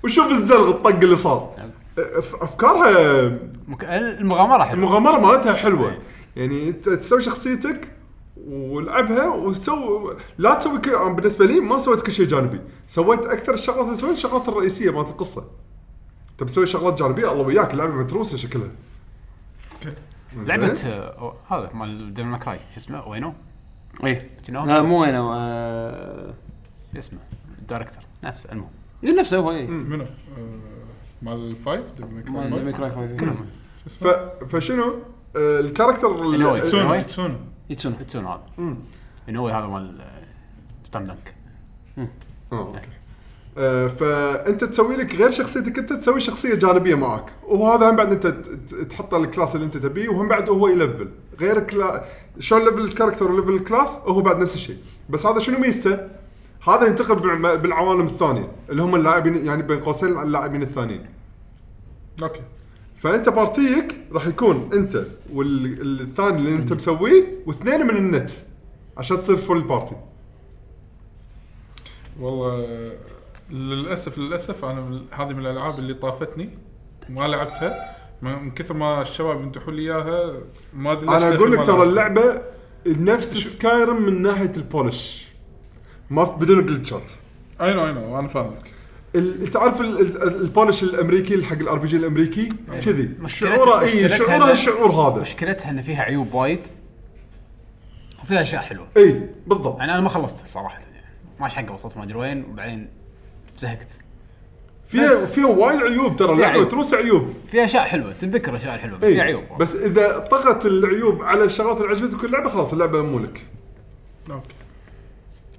C: وشوف الزلغ الطق اللي صار أف- افكارها
B: مك... المغامره حلوه
C: المغامره مالتها حلوه يعني انت تسوي شخصيتك ولعبها وسو لا تسوي كل... أنا بالنسبه لي ما سويت كل شيء جانبي سويت اكثر الشغلات اللي سويت الشغلات الرئيسيه مالت القصه انت بتسوي شغلات جانبيه الله وياك اللعبه متروسه شكلها
B: لعبه
C: زين؟
B: آه، هذا مال ديفل ماكراي شو اسمه وينو
A: ايه
B: شنو؟
A: لا مو وين آه،
B: شو اسمه الدايركتر نفس المهم
A: نفسه هو ايه
D: منو؟ آه، مال الفايف ديفل ماي كراي
A: مال
D: فايف؟
A: ميكراي 5
C: ف... فشنو آه، الكاركتر ال-
B: اللي هو يسوي.
D: تسونو
B: إيه.
D: تسونو
A: يتسون
B: تسون هذا
C: مم.
B: انوي هذا مال ستام دنك
C: آه، أوكي. آه، فانت تسوي لك غير شخصيتك انت تسوي شخصيه جانبيه معاك وهذا هم بعد انت ت- ت- تحط الكلاس اللي انت تبيه وهم بعد هو يلفل غير كلا... شلون ليفل الكاركتر وليفل الكلاس هو بعد نفس الشيء بس هذا شنو ميزته؟ هذا ينتقل بالع- بالعوالم الثانيه اللي هم اللاعبين يعني بين قوسين اللاعبين الثانيين
D: اوكي
C: فانت بارتيك راح يكون انت والثاني اللي انت مسويه واثنين من النت عشان تصير فول بارتي
D: والله للاسف للاسف انا من- هذه من الالعاب اللي طافتني ما لعبتها من من كثر ما الشباب يمدحوا لي اياها ما ادري ليش
C: انا اقول لك
D: ما
C: ترى
D: لعبتها.
C: اللعبه نفس سكايرم من ناحيه البولش ما في بدون جلتشات
D: اي نو اي نو انا فاهمك
C: ال- تعرف ال- ال- البولش الامريكي اللي حق الار بي جي الامريكي كذي
B: إيه. مشكلتها-
C: شعوره اي
B: مشكلتها
C: شعوره
B: إن-
C: الشعور هذا
B: مشكلتها ان فيها عيوب وايد وفيها اشياء حلوه
C: اي إيه، بالضبط
B: يعني انا ما خلصتها صراحه يعني ماش حقه وصلت ما ادري وين وبعدين زهقت
C: فيها
B: بس-
C: فيها وايد عيوب ترى اللعبه
B: عيوب.
C: تروس عيوب
B: فيها اشياء حلوه تنذكر اشياء حلوه بس فيها
C: اي
B: عيوب
C: إيه، بس اذا طغت العيوب على الشغلات اللي عجبتك اللعبه خلاص اللعبه مولك
D: اوكي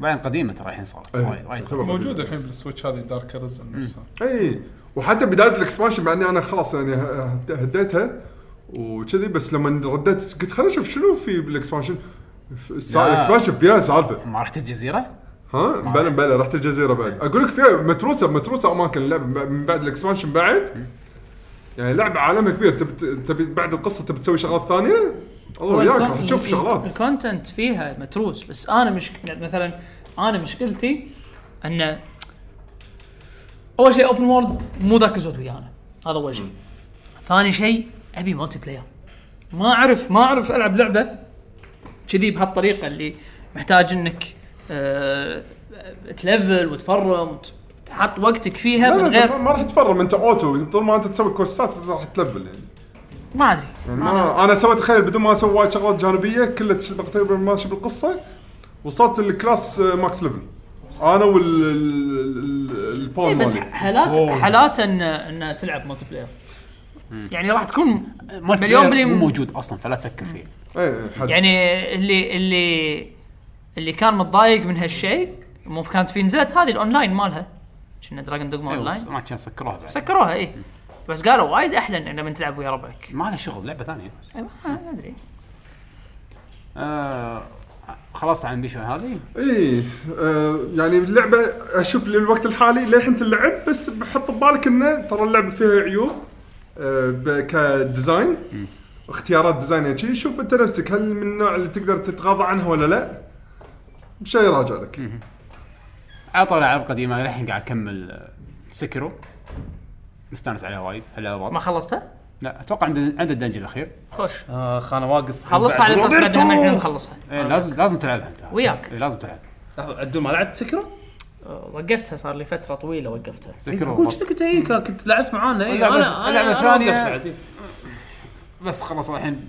B: بعدين قديمه ترى الحين صارت
C: إيه،
B: وايد وايد
C: تعتبر
D: موجوده الحين بالسويتش هذه دارك ريزن نفسها
C: اي وحتى بدايه الاكسبانشن مع اني انا خلاص يعني ه- هديتها وكذي بس لما رديت قلت خليني اشوف شنو في بالاكسبانشن ف- السا-
B: لا.
C: الاكسبانشن فيها سالفه
B: ما رحت الجزيره؟
C: ها بلا بلا رحت الجزيره بعد اقول لك فيها متروسه متروسه اماكن اللعبه ب- من بعد الاكسبانشن بعد يعني لعبه عالمها كبير تبي تبي بعد القصه تبي تسوي شغلات ثانيه الله وياك راح تشوف
E: يعني
C: شغلات
E: الكونتنت فيها متروس بس انا مش مثلا انا مشكلتي ان اول شيء اوبن وورلد مو ذاك الزود ويانا هذا اول شيء ثاني شيء ابي مالتي بلاير ما اعرف ما اعرف العب لعبه كذي بهالطريقه اللي محتاج انك آه، تلفل وتفرم وتحط وقتك فيها
C: لا لا
E: من غير
C: أنت ما- ما راح تفرم انت اوتو طول ما انت تسوي كوستات راح تلبل يعني
E: ما ادري
C: يعني ما انا سويت تخيل بدون ما اسوي وايد شغلات جانبيه كلها تش- تقريبا ماشي بالقصه وصلت الكلاس آه، ماكس ليفل انا وال ال- ال-
E: إيه
C: الباور
E: بس
C: مالي
E: حالات حالات ان ان تلعب مالتي بلاير يعني راح تكون
B: مالتي
E: مليون
B: بلاير
E: بالمية
B: مو
E: م-
B: موجود اصلا فلا تفكر فيه
C: اي إي، إيه، حد.
E: يعني اللي اللي اللي كان متضايق من هالشيء مو كانت في نزلت هذه الاونلاين مالها كنا دراجون دوغما
B: أيوة،
E: اونلاين
B: بس ما كان سكروها بعد
E: سكروها اي بس قالوا وايد احلى إن لما تلعب ويا ربعك
B: ما له شغل لعبه ثانيه
E: إي، ما ما ادري
B: آه خلصت عن بيشو هذه
C: اي آه يعني اللعبه اشوف للوقت الحالي للحين تلعب بس بحط ببالك انه ترى اللعبه فيها عيوب آه ب- كديزاين اختيارات ديزاين يعني شي، شوف انت نفسك هل من النوع اللي تقدر تتغاضى عنها ولا لا؟ شيء راجع لك
B: على طول العاب قديمه للحين قاعد اكمل آه، سكرو مستانس عليها وايد هلا
E: ما
B: والله.
E: خلصتها؟
B: لا اتوقع عند عند الدنجل الاخير
E: خوش
A: اخ انا آه، واقف
E: خلصها على اساس بعدها
A: روبرتو!
E: نحن نخلصها
B: إيه لازم لازم تلعبها انت
E: وياك.
B: إيه لازم تلعب
A: لحظة، عدول ما لعبت سكره؟
E: آه، وقفتها صار لي فتره طويله وقفتها
B: سكرو
A: قلت لك انت إيه، كنت لعبت معانا إيه،
B: اللعبة-
A: انا
B: اللعبة
A: انا
B: الثانية-
A: انا وقفت بعد، إيه.
B: بس خلاص الحين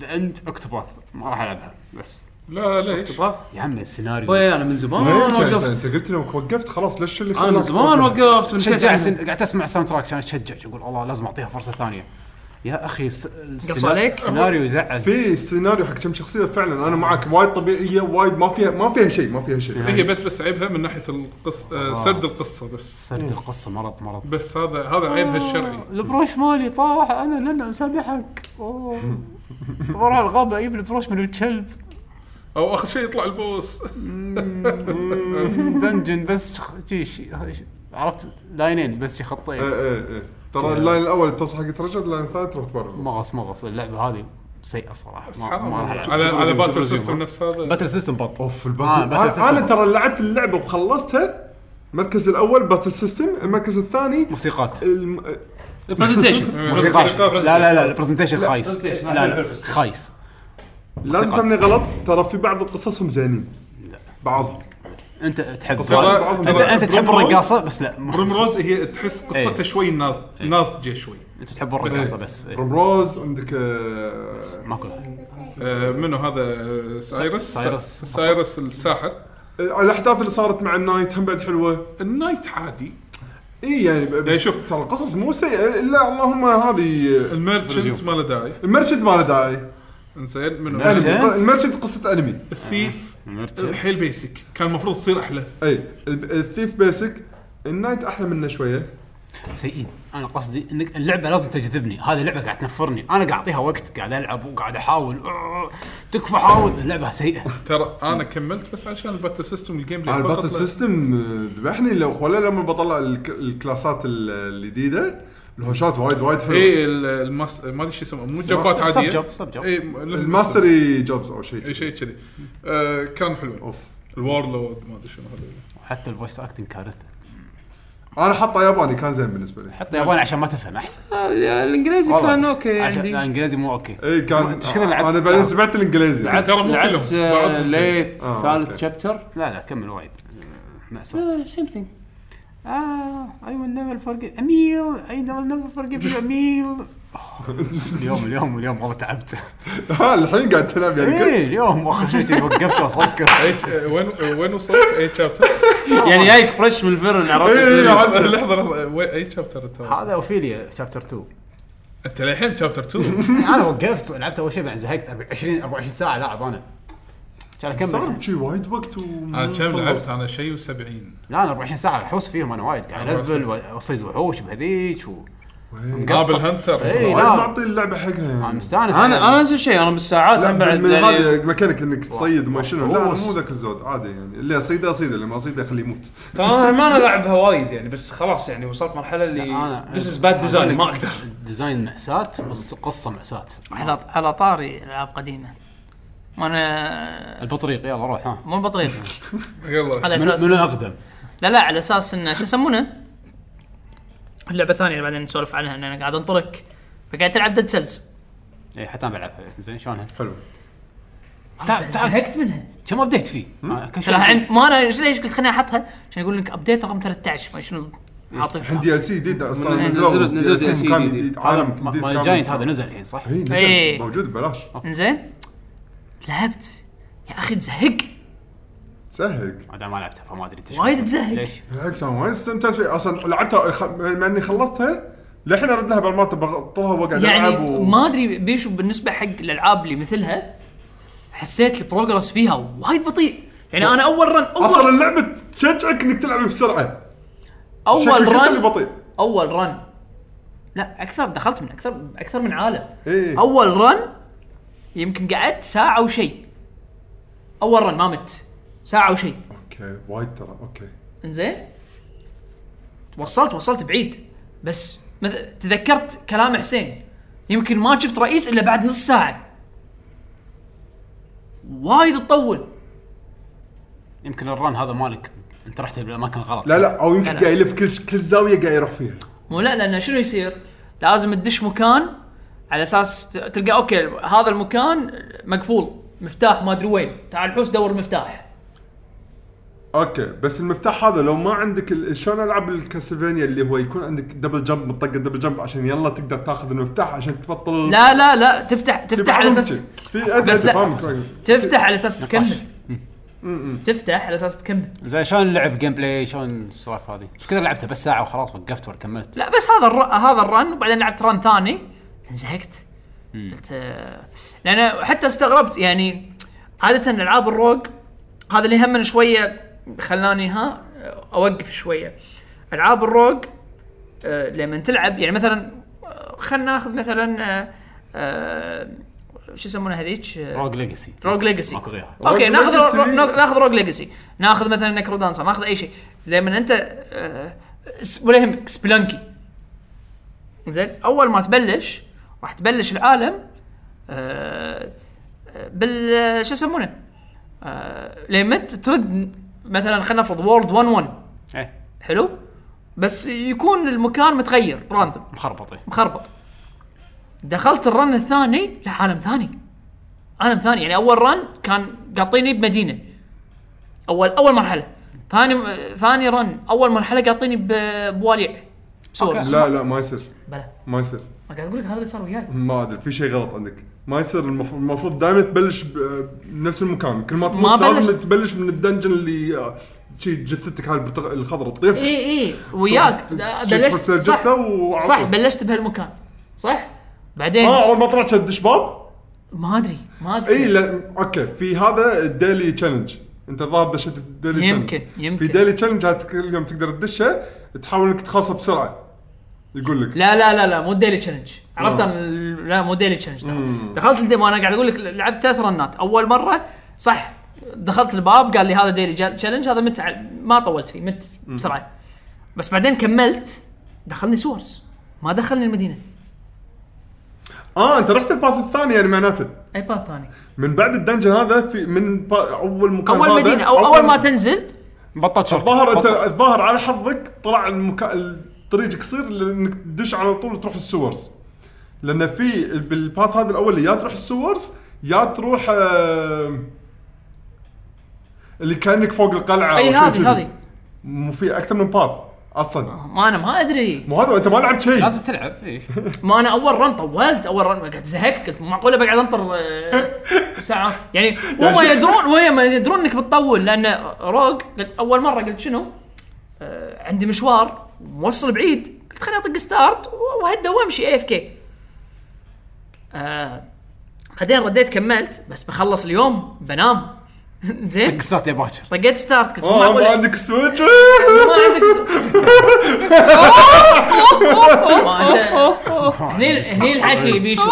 B: ذا اند اكتوباث ما راح العبها بس
D: لا ليش؟
A: تبغى؟
B: يا عم السيناريو
A: وي انا من زمان
C: وين كان؟
A: وقفت
C: انت قلت لو وقفت خلاص ليش اللي
A: انا من
C: خلاك
A: زمان
C: توقف؟
A: وقفت ونسيت
B: شجعت
A: عنها.
B: قاعد اسمع الساوند تراك كان اتشجع اقول الله لازم اعطيها فرصه ثانيه يا اخي الس- السينا-
E: عليك؟
B: السيناريو يزعل
C: في سيناريو حق كم شخصيه فعلا انا معك وايد طبيعيه وايد ما فيها ما فيها شيء ما فيها
B: يعني-
C: شيء
D: هي بس بس عيبها من ناحيه القص آه، سرد القصه بس
B: صرت القصه مرض مرض
D: بس هذا هذا عيبها الشرعي
B: البروش مالي طاح انا لن اسامحك اوه بروح الغابه اجيب البروش من الكلب
D: او اخر شيء يطلع البوس
B: دنجن بس شخ- شي- شي- شي- عرفت لاينين بس شي
C: إيه،
B: خطين
C: إيه، إيه. ترى اللاين الاول تصحى حق رجل اللاين الثالث رحت برا
B: مغص مغص اللعبه هذه سيئه الصراحه ما
D: حرام
B: ما راح
D: والله.
B: العبها.
D: على على
B: شوف رزيوم- شوف
D: باتل
B: رزيوم.
D: سيستم نفس هذا
B: باتل سيستم بط
C: اوف
B: آه،
C: الباتل
B: باتل
C: انا,
B: سيستم.
C: أنا ترى لعبت اللعبه وخلصتها المركز الاول باتل سيستم المركز الثاني
B: موسيقات
C: الم...
A: البرزنتيشن
D: آه،
B: موسيقات لا لا لا البرزنتيشن خايس
A: presentation.
B: لا لا خايس
C: لا تفهمني غلط ترى في بعض قصصهم زينين بعض
B: انت تحب
C: ترى-
B: انت
C: ترى
B: انت تحب
D: برومروز-
B: الرقاصه بس لا مو-
D: بريمروز هي تحس قصتها
B: إيه.
D: شوي ناض- ناضجه شوي
B: انت تحب الرقاصه بس إيه.
C: برومروز عندك آه،
B: ماكو
D: آه، منو هذا آه، سايرس
B: سايرس.
D: سايرس الساحر
C: آه، الاحداث اللي صارت مع النايت هم بعد حلوه
D: النايت عادي
C: اي يعني ب-
D: يعني
C: بس
D: شوف.
C: ترى القصص مو سيئه الا اللهم هذه آه،
D: الميرشنت ما له داعي
C: المرشد ما له داعي
D: انزين منو
B: الميرشنت.
C: أنمي. ق- المرشد قصه انمي
D: الثيف
B: المرشنت.
D: حيل بيسك كان المفروض تصير احلى
C: اي ال- الثيف بيسك النايت احلى منه شويه
B: سيئين انا قصدي انك اللعبه لازم تجذبني هذه اللعبه قاعد تنفرني انا قاعد اعطيها وقت قاعد العب وقاعد احاول آه، تكفى حاول اللعبه سيئه
D: ترى انا كملت بس عشان الباتل سيستم الجيم بلاي
C: على
D: فقط
C: آه، الباتل
D: لا-
C: سيستم آه، ذبحني لو ولا لما بطلع الك- الكلاسات ال- الجديده الهوشات وايد وايد حلوه
D: ايه ال- الماس ما ادري شو اسمه مو جبات
B: سب- سب
D: عاديه
B: جوب، سب جوب.
D: إيه، م-
C: الماستري جوبز او شيء
D: اي
C: كذي.
D: إيه، شيء كذي آه، كان حلو
C: اوف
D: الوارلورد ما ادري شنو هذا
B: حتى الفويس اكتنج كارثه
C: انا حاطه ياباني كان زين بالنسبه لي
B: حتى ياباني عشان ما تفهم احسن
A: الانجليزي
B: والله.
A: آه، كان اوكي
B: عشان يعني
A: عندي
B: الانجليزي مو اوكي
C: اي إيه، كان
B: أنت إيش كذا لعبت؟
C: انا بعدين سمعت الانجليزي
D: لعبت. ترى مو
A: لعبت
D: كلهم،
A: آه،
D: بعضهم
A: ليه
C: آه،
A: ثالث
C: أوكي.
A: شابتر
B: لا لا كمل وايد آه، مأساة
A: سمثينج
B: اه اي ويل نيفر فورجيف اميل اي ويل نيفر فورجيف يو اميل اليوم اليوم اليوم والله تعبت
C: ها الحين قاعد تلعب يعني كل-
B: ايه اليوم اخر شيء جي وقفت وسكر
D: إيه، آه، وين آه، وين وصلت اي شابتر
A: يعني جايك فريش من الفرن
C: إيه،
A: عرفت
D: لحظه لحظه وين- إيه، اي شابتر انت وصلت؟
B: هذا اوفيليا شابتر 2
D: انت للحين شابتر 2
B: انا وقفت لعبت اول شيء بعد زهقت 20 24 ساعه لاعب انا كان
C: صار
B: اكمل
C: شي وايد وقت و
D: انا كم لعبت انا شيء و70
B: لا انا 24 ساعه حوس فيهم انا وايد قاعد الفل واصيد وحوش بهذيك و
D: قابل هنتر
B: اي
C: وايد
B: لا
C: معطي اللعبة حقها
B: انا
C: يعني.
B: مستانس
A: انا
B: على-
A: انا نفس الشيء انا بالساعات
C: لا
A: هم بعد
C: من من
A: يعني
C: هذه ميكانيك انك تصيد ما شنو لا أنا
A: محروس.
C: مو ذاك الزود عادي يعني اللي اصيده اصيده اللي ما اصيده اخليه يموت
A: ترى انا ما انا العبها وايد يعني بس خلاص يعني وصلت مرحله اللي
B: أنا-
A: ذيس از باد ديزاين ما
B: أقول لك،
A: اقدر
B: الديزاين مأساة والقصة مأساة
E: على على طاري العاب قديمه وانا
B: البطريق يلا روح ها
E: مو البطريق
D: يلا
E: على
B: من
E: اساس
B: من الاقدم
E: لا لا على اساس انه شو يسمونه؟ اللعبه الثانيه اللي بعدين نسولف عنها ان انا قاعد انطلق فقاعد تلعب ديد سيلز
B: اي إيه، حتى انا
E: إيه.
B: بلعبها زين شلونها؟
C: حلو
B: تعال تعال
E: زهقت منها
B: كم ابديت فيه؟ أنا كل شوي-
E: ترى عن- ما انا إيش ليش قلت خليني احطها عشان اقول لك ابديت رقم 13 ما شنو حاطين
C: الحين دي ال سي جديد اصلا
A: نزل-
C: نزلوا
A: نزل- نزل
C: DLC
A: DLC
C: مكان
A: جديد.
C: جديد
B: هذا
C: عالم جديد
B: مال
C: كامل.
B: جاينت هذا نزل الحين صح؟
C: اي
E: إيه.
C: نزل موجود ببلاش
E: انزين لعبت يا اخي تزهق
C: سهق
B: انا ما لعبته فما ادري تشوف.
E: وايد تزهق
B: ليش؟
C: بالعكس انا وايد استمتعت فيه اصلا لعبتها خ- مع اني خلصتها للحين ارد لها بالمات بغطها واقعد
E: يعني
C: العب و-
E: ما ادري بيشو بالنسبه حق الالعاب اللي مثلها حسيت البروجرس فيها وايد بطيء يعني انا اول رن
C: اصلا
E: اول
C: اللعبه تشجعك انك تلعب بسرعه شكلك
E: اول
C: أنت اللي
E: رن
C: بطيء
E: اول رن لا اكثر دخلت من اكثر اكثر من عالم
C: إيه.
E: اول رن يمكن قعدت ساعه وشي اول رن ما مت ساعه وشي
C: اوكي وايد ترى اوكي
E: انزين وصلت وصلت بعيد بس مث... تذكرت كلام حسين يمكن ما شفت رئيس الا بعد نص ساعه وايد تطول
B: يمكن الران هذا مالك انت رحت بالاماكن غلط
C: لا لا او يمكن
E: لا لا.
C: قاعد يلف كل كل زاويه قاعد يروح فيها
E: مو لا لان شنو يصير؟ لازم تدش مكان على اساس ت- تلقى اوكي هذا المكان مقفول مفتاح ما ادري وين تعال حوس دور مفتاح
C: اوكي بس المفتاح هذا لو ما عندك ال- شلون العب الكاسلفينيا اللي هو يكون عندك دبل جمب مطق دبل جمب عشان يلا تقدر تاخذ المفتاح عشان تبطل
E: لا لا لا تفتح
C: في
E: تفتح على
C: بعضهم
E: اساس
C: شي. في أدري
E: بس لا.
C: فاهمك
E: تفتح على اساس تكمل
B: نقاش.
E: تفتح على اساس تكمل
B: زين شلون اللعب جيم بلاي شلون السوالف هذه؟ ايش كثر لعبتها بس ساعه وخلاص وقفت ولا كملت؟
E: لا بس هذا الر... هذا الرن وبعدين لعبت رن ثاني انزهقت قلت آه، لان حتى استغربت يعني عاده العاب الروج هذا اللي همني شويه خلاني ها اوقف شويه العاب الروج آه، لما تلعب يعني مثلا آه، خلنا ناخذ مثلا آه، آه، شو يسمونها هذيك آه،
B: روج ليجسي
E: روج ليجاسي
B: ماكو غيرها.
E: اوكي
C: روج
E: ناخذ
C: ليجاسي.
E: رو- رو- ناخذ روج ليجاسي ناخذ مثلا نكرو دانسر ناخذ اي شيء لما انت آه، س- ولا يهمك سبلانكي زين اول ما تبلش راح تبلش العالم آه، آه، بال آه، شو يسمونه آه، لما انت ترد مثلا خلينا نفرض وورلد 1 1
B: ايه
E: حلو بس يكون المكان متغير راندوم
B: مخربطه
E: مخربط دخلت الرن الثاني لا عالم ثاني عالم ثاني يعني اول رن كان قاطيني بمدينه اول اول مرحله ثاني ثاني رن اول مرحله قاطيني ب- بواليع سورس
C: لا لا ما يصير
E: بلا
C: ما يصير
E: ما قاعد اقول لك هذا اللي صار وياي
C: ما ادري في شيء غلط عندك ما يصير المف- المفروض دائما تبلش ب- بنفس المكان كل ما
E: ما
C: تموت لازم
E: بلش.
C: تبلش من الدنجن اللي آه، شي جثتك هاي البطاق- الخضرة تطيح
E: اي اي إيه، وياك
C: تروح
E: بلشت
C: تفسر
E: صح
C: جثة طيب. وعطل.
E: صح بلشت بهالمكان صح بعدين
C: اه اول ما طلعت شد شباب
E: ما ادري ما ادري
C: اي إيه، لا اوكي في هذا الديلي تشالنج انت الظاهر دشيت الديلي تشالنج
E: يمكن- يمكن.
C: في ديلي تشالنج هات كل يوم تقدر تدشه تحاول انك تخلصه بسرعه يقول لك
E: لا لا لا لا مو ديلي تشالنج عرفت
C: آه.
E: انا ال- لا مو ديلي تشالنج دخلت الديمو انا قاعد اقول لك لعبت ثلاث رنات اول مره صح دخلت الباب قال لي هذا ديلي تشالنج هذا مت ع- ما طولت فيه مت بسرعه بس بعدين كملت دخلني سورس ما دخلني المدينه
C: اه انت رحت الباث الثاني يعني معناته
E: اي باث ثاني
C: من بعد الدنجن هذا في من با- اول مكان هذا-
E: اول مدينه أو اول ما تنزل
B: بطلت شورت
C: الظاهر انت
B: بطلت-
C: الظاهر على حظك طلع المكا... الطريق قصير لانك تدش على طول تروح السورز لان في بالباث هذا الاول يا تروح السورز يا تروح آم، اللي كانك فوق القلعه
E: اي
C: أو شيء كذي.
E: هذه هذه آه.
C: مو في اكثر من باث اصلا
E: ما انا ما ادري
C: مو هذا انت ما لعبت شيء
B: لازم تلعب إيه. اي
E: ما انا اول رن طولت اول رن قعدت زهقت قلت معقوله بقعد انطر آه، ساعه يعني وهم يدرون وهم يدرون انك بتطول لان روج قلت اول مره قلت شنو؟ آه، عندي مشوار موصل بعيد قلت خليني اطق ستارت وهدى وامشي اي اف كي. آه، بعدين رديت كملت بس بخلص اليوم بنام زين
B: قصات لي باكر
E: طقيت ستارت قلت مو
C: اه ما
E: معقولة.
C: عندك سويتش
E: ما عندك هني هني الحكي بيشو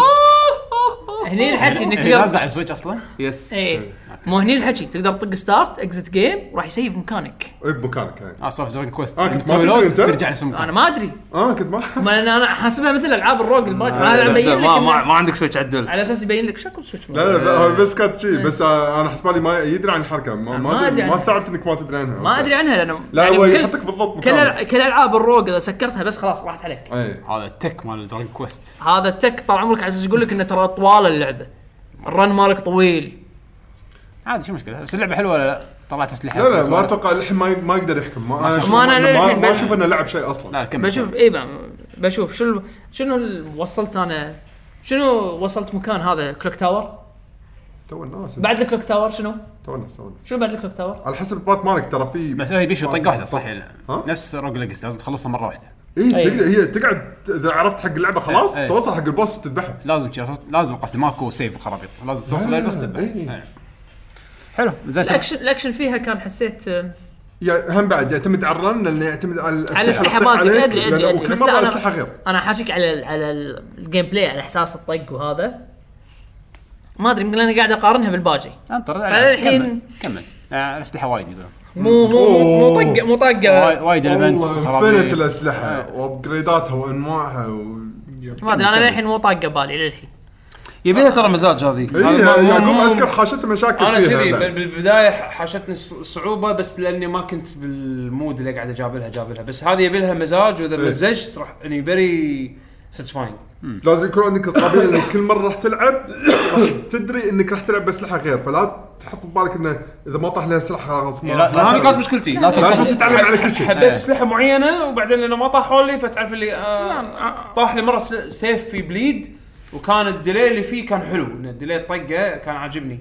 E: هني الحكي انك
B: هي نازله إيه،
E: إيه، تقدر
B: على سويتش اصلا
D: يس
E: ايه مو هني الحكي تقدر تطق ستارت اكزت جيم وراح يسيف مكانك
C: اي بمكانك يعني.
B: اه سوالف دراجون كويست
C: آه، كنت
B: أنت
C: ما
B: تسوي
C: تدري
B: لود
C: أنت؟
B: ترجع نفس
E: انا
B: المكان
E: ما ادري
C: اه كنت ما
E: ما انا انا حاسبها مثل العاب الروج الباقي انا أبين لك
A: ما, ما,
E: إنه-
A: ما عندك سويتش عدل
E: على اساس يبين لك شكل سويتش
C: لا لا لا هو بس كانت شيء بس آه، انا حسبالي ما يدري عن الحركه ما
E: إيه. ما
C: ما
E: أدري
C: أدري- ما
E: عنها.
C: استوعبت انك ما تدري عنها
E: ما ادري عنها لان
C: لا
E: يعني
C: هو
E: كل-
C: يحطك بالضبط
E: كل
C: مكانك
E: كل العاب الروج اذا سكرتها بس خلاص راحت عليك
C: اي
B: هذا التك مال دراجون كويست
E: هذا التك طال عمرك على اساس يقول لك انه ترى طوال اللعبه الرن مالك طويل
B: عادي شو مشكله بس اللعبه حلوه ولا لا؟ طلعت اسلحه
C: لا لا ما
B: سوالف.
C: اتوقع الحين ما ما يقدر يحكم ما انا أشوف-
E: ما أنا
C: ما,
E: للحين
C: ما
E: بل-
C: اشوف انه لعب شيء
E: آه.
C: اصلا
B: لا كمل
E: بشوف اي ب- بشوف شنو ال- شنو ال- وصلت انا شنو وصلت مكان هذا كلوك تاور
C: تو الناس
E: بعد الكلوك تاور شنو
C: تو الناس تو الناس.
E: شنو بعد الكلوك تاور
C: على حسب البات مالك ترى في طيب.
B: بس هي بيشو طيب، طقه واحده صح لا.
C: ها؟
B: نفس روج ليجسي لازم تخلصها مره واحده
C: اي
E: أي.
C: إيه، تقدر هي تقعد اذا عرفت حق اللعبه خلاص
B: إيه.
C: توصل حق البوس تذبحه
B: لازم شي أساس- لازم قصدي ماكو سيف وخرابيط لازم توصل
C: لا،
B: للبوس
C: لا،
B: تذبح
C: إيه.
B: إيه. حلو زين تمام.
E: الاكشن الاكشن فيها كان حسيت آه،
C: يا هم بعد يعتمد على الرن لانه يعتمد على الاسلحه اللي
E: على الاسلحه
C: تطيح
E: مالتك
C: عليك،
E: ادري
C: لأنه-
E: ادري ادري
C: وكل
E: بس لا
C: مره
E: انا
C: اسلحه غير
E: انا حاشك على ال- على ال- الجيم بلاي على احساس الطق وهذا ما ادري يمكن انا قاعد اقارنها بالباجي
B: انطر
E: فالحين-
B: كمل كمل آه، الاسلحه وايد يقولون
E: مو مو مو
C: أوه.
E: طق مو
B: وايد-
E: طقه
B: وايد المنتس
C: فينت الاسلحه وابجريداتها وانواعها و...
E: ما ادري انا للحين مو طاقه بالي للحين
A: يبي لها ترى مزاج هذه هذا
C: اي
A: ما- ما-
C: إيه، يعقوب
A: ما-
C: اذكر حاشته مشاكل
A: انا
C: فيها
A: كذي
C: بعد.
A: بال- بالبدايه ح- حاشتني الص- صعوبه بس لاني ما كنت بالمود اللي قاعد اجابلها جابلها بس هذه يبي لها مزاج واذا
C: إيه.
A: مزجت راح يعني فيري ساتسفاينج
C: لازم يكون عندك القابليه انك كل مره راح تلعب راح تدري انك راح تلعب باسلحه غير فلا تحط ببالك انه اذا ما طاح لها سلاح خلاص ما
B: إيه، لا-
C: راح
B: لا
A: هذه
B: ترد.
A: كانت مشكلتي
B: لا
C: لازم
B: ترد.
C: تتعلم على كل شيء إيه.
A: حبيت اسلحه معينه وبعدين لانه ما طاحوا لي فتعرف اللي آه طاح لي مره س- سيف في بليد وكان الديلي اللي فيه كان حلو ان الديلي طقه كان عاجبني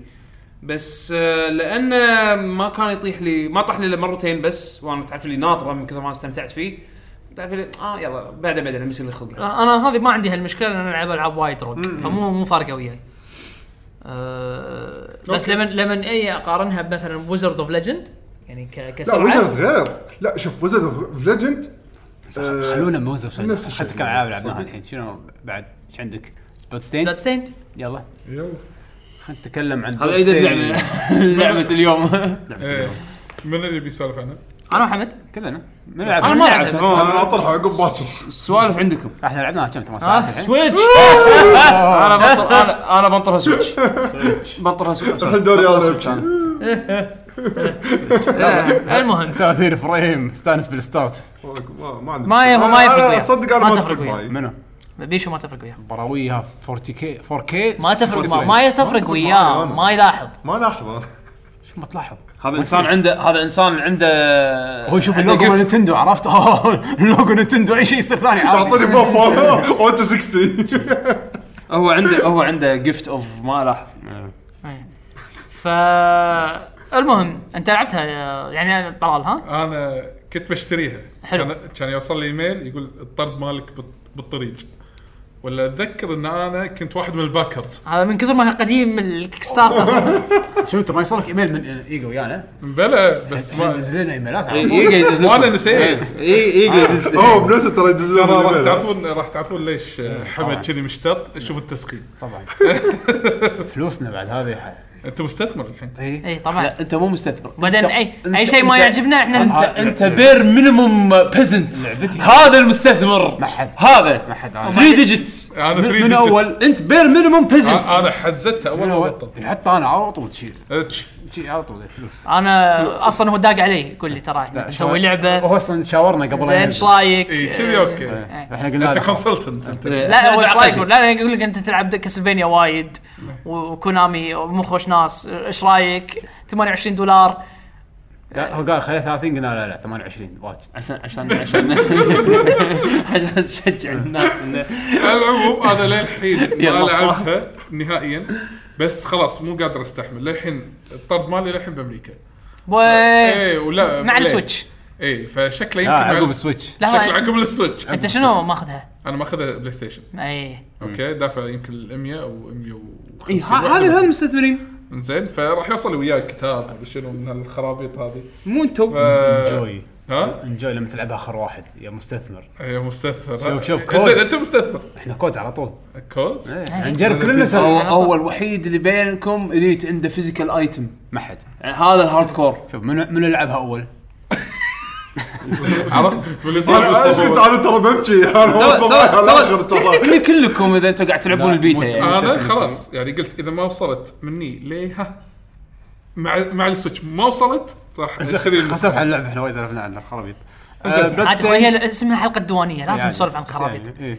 A: بس آه لانه ما كان يطيح لي ما طاح لي الا مرتين بس وانا تعرف اللي ناطره من كثر ما استمتعت فيه تعرف اللي اه يلا بعدين بعدين بيصير لي خلق
E: انا هذه ما عندي هالمشكله لان أنا العب العاب وايد روك فمو مو فارقه وياي أه بس لما لما اي اقارنها بمثلا ويزرد اوف ليجند يعني ك-
C: لا
E: كسرعه
C: وزرد غير لا شوف وزرد اوف ليجند آه،
B: خلونا موزة
C: نفس
B: وسجل
C: الشيء.
B: حتى كالعاب لعبناها
C: صدق.
B: الحين شنو بعد ايش عندك؟ بلود
E: بلاد
B: ستين
E: ستيند
B: يلا خلينا نتكلم عن
A: هذا
B: Bloodstained.
A: ايدك لعبه لعبه يعني اليوم
B: لعبة
D: إيه.
B: اليوم.
D: من اللي بيسولف عنها؟
E: انا وحمد
B: كلنا من
E: أنا
B: لعبنا
E: ما-
C: انا
A: العب
C: ناطرها عقب باكر
A: السوالف عندكم
B: احنا لعبناها كم ثمان
E: آه
B: ساعات الحين
E: سويتش
A: انا بنطر انا انا بنطرها سويتش بنطرها سويتش
C: الحين دوري
B: خلاص
C: انا
B: شفتها.
C: ابكي أه،
E: آه، المهم
B: 30 فريم استانس بالستارت
C: ما- ما عندي
E: ما
C: مشكلة.
E: يهمه، ما
C: أنا-
E: يفرق
C: أنا
E: وياه.
C: أه، صدق انا
E: ما
C: ما
E: تفرق
C: تفرق
E: وياه.
C: معي
B: منو؟
E: بيشو ما تفرق وياه
B: براويها 4K 4K
E: ما تفرق ما,
B: 60
E: ما تفرق وياه
C: أنا.
E: ما يلاحظ
C: ما لاحظ انا
B: شو ما تلاحظ
A: هذا انسان عنده هذا انسان عنده
B: هو شوف
A: عنده
B: اللوجو
A: قف.
B: مال نتندو عرفت أوه، اللوجو نتندو اي شيء يصير ثاني
C: تعطيني
B: عادي
C: بوف وأنا- وانت 60
A: هو عنده هو عنده جفت اوف ما لاحظ
E: ف إيه. المهم انت لعبتها آه، يعني طلال ها
D: انا كنت بشتريها
E: حلو.
D: كان كان يوصل لي ايميل يقول الطرد مالك بال- بالطريق ولا اتذكر ان انا كنت واحد من الباكرز
E: هذا من كثر ما هي قديم الكيك ستارتر
B: شو انت ما يصيرك ايميل من ايجو ويانا
D: بلا بس ما
B: نزل لنا ايميلات
C: إيه.
B: على طول.
A: ايجا يدز لكم.
D: وأنا نسيت.
B: إيه.
A: اي ايجا يدز
C: هو بنفسه ترى يدز لي
D: ترى راح
C: بالإيميل.
D: تعرفون راح تعرفون ليش
B: طبعاً.
D: حمد كذي مشتط شوف التسخين
B: طبعا فلوسنا بعد هذه ح-
D: انت مستثمر الحين
C: إيه.
E: اي طبعا
A: لا انت مو مستثمر
E: إيه، بعدين
A: أنت-
E: اي
A: أنت-
E: اي شيء ما
A: أنت-
E: يعجبنا
A: انت
E: احنا
A: انت بير مينيموم بيزنت
B: لعبتي.
A: هذا المستثمر
B: ما حد.
A: هذا
B: ما حد عارف.
A: 3 ديجيتس
D: انا
B: من,
D: ثري
B: من
D: ديجيت.
B: اول
A: انت بير مينيموم
D: أ-
A: بيزنت
D: انا حزتها اول
B: من
D: ما
B: اول
D: بطلت إيه،
B: حتى انا على طول تشيل
D: أتش.
B: شي على طول الفلوس
E: انا اصلا هو داق علي يقول لي ترى نسوي لعبه
B: هو اصلا شاورنا قبل
E: زين ايش رايك؟
D: اي كذي
E: آه،
D: اوكي
B: إيه، احنا قلنا
D: انت
B: له خلاص.
D: كونسلتنت انت
E: لا هو ايش رايك؟
A: طيب.
E: يقول- لا لا يقول لك انت تلعب كاسلفينيا وايد وكونامي مو خوش ناس ايش رايك؟ 28 دولار
B: قال- هو قال خليه 30 قلنا لا لا 28 واجد
A: عشان عشان عشان عشان تشجع الناس انه
D: على العموم انا للحين
A: يلا
D: ما
A: صح.
D: لعبتها نهائيا بس خلاص مو قادر استحمل للحين الطرد مالي للحين بامريكا
E: بوي
D: ايه ولا
E: إيه. مع
D: بلاي.
E: السويتش
D: ايه فشكله يمكن
B: لا
D: مع
B: آه، عقب
D: الس-
B: السويتش
E: لا إيه.
D: شكله
E: هو-
D: عقب السويتش
E: انت شنو ماخذها؟
D: انا ماخذها بلاي ستيشن
E: اي
D: اوكي دافع يمكن ال 100 او 100
A: إي، ه- هذه هذه المستثمرين
D: زين فراح يوصل لي وياي كتاب مدري شنو من هالخرابيط هذه
A: مو
D: ف...
A: انتم
B: انجوي
D: ها
B: انجوي لما تلعب اخر واحد يا مستثمر
D: يا مستثمر
B: شوف- شوف كود.
D: زين انت مستثمر
B: احنا كود على طول
E: إيه.
D: كوز
B: نجرب كلنا سوا
A: هو هو الوحيد اللي بينكم اليت عنده فيزيكال ايتم
B: ما حد
A: يعني هذا الهارد كور
B: شوف من من يلعبها اول
D: عرفت واللي يطير
C: انا اسكت
D: بالصبورة.
C: انا ترى ببكي انا وصلت على الاخر ترى
A: تكنيكلي كلكم اذا انتم قاعد تلعبون
B: لا،
A: البيتا
B: مو-
A: يعني
D: انا خلاص يعني قلت اذا ما وصلت مني ليها مع مع السويتش ما وصلت راح اشتري
B: خسف عن اللعبه احنا وايد سولفنا عن الخرابيط
E: عاد هو هي اسمها حلقه الديوانيه لازم نسولف عن الخرابيط
B: يعني إيه.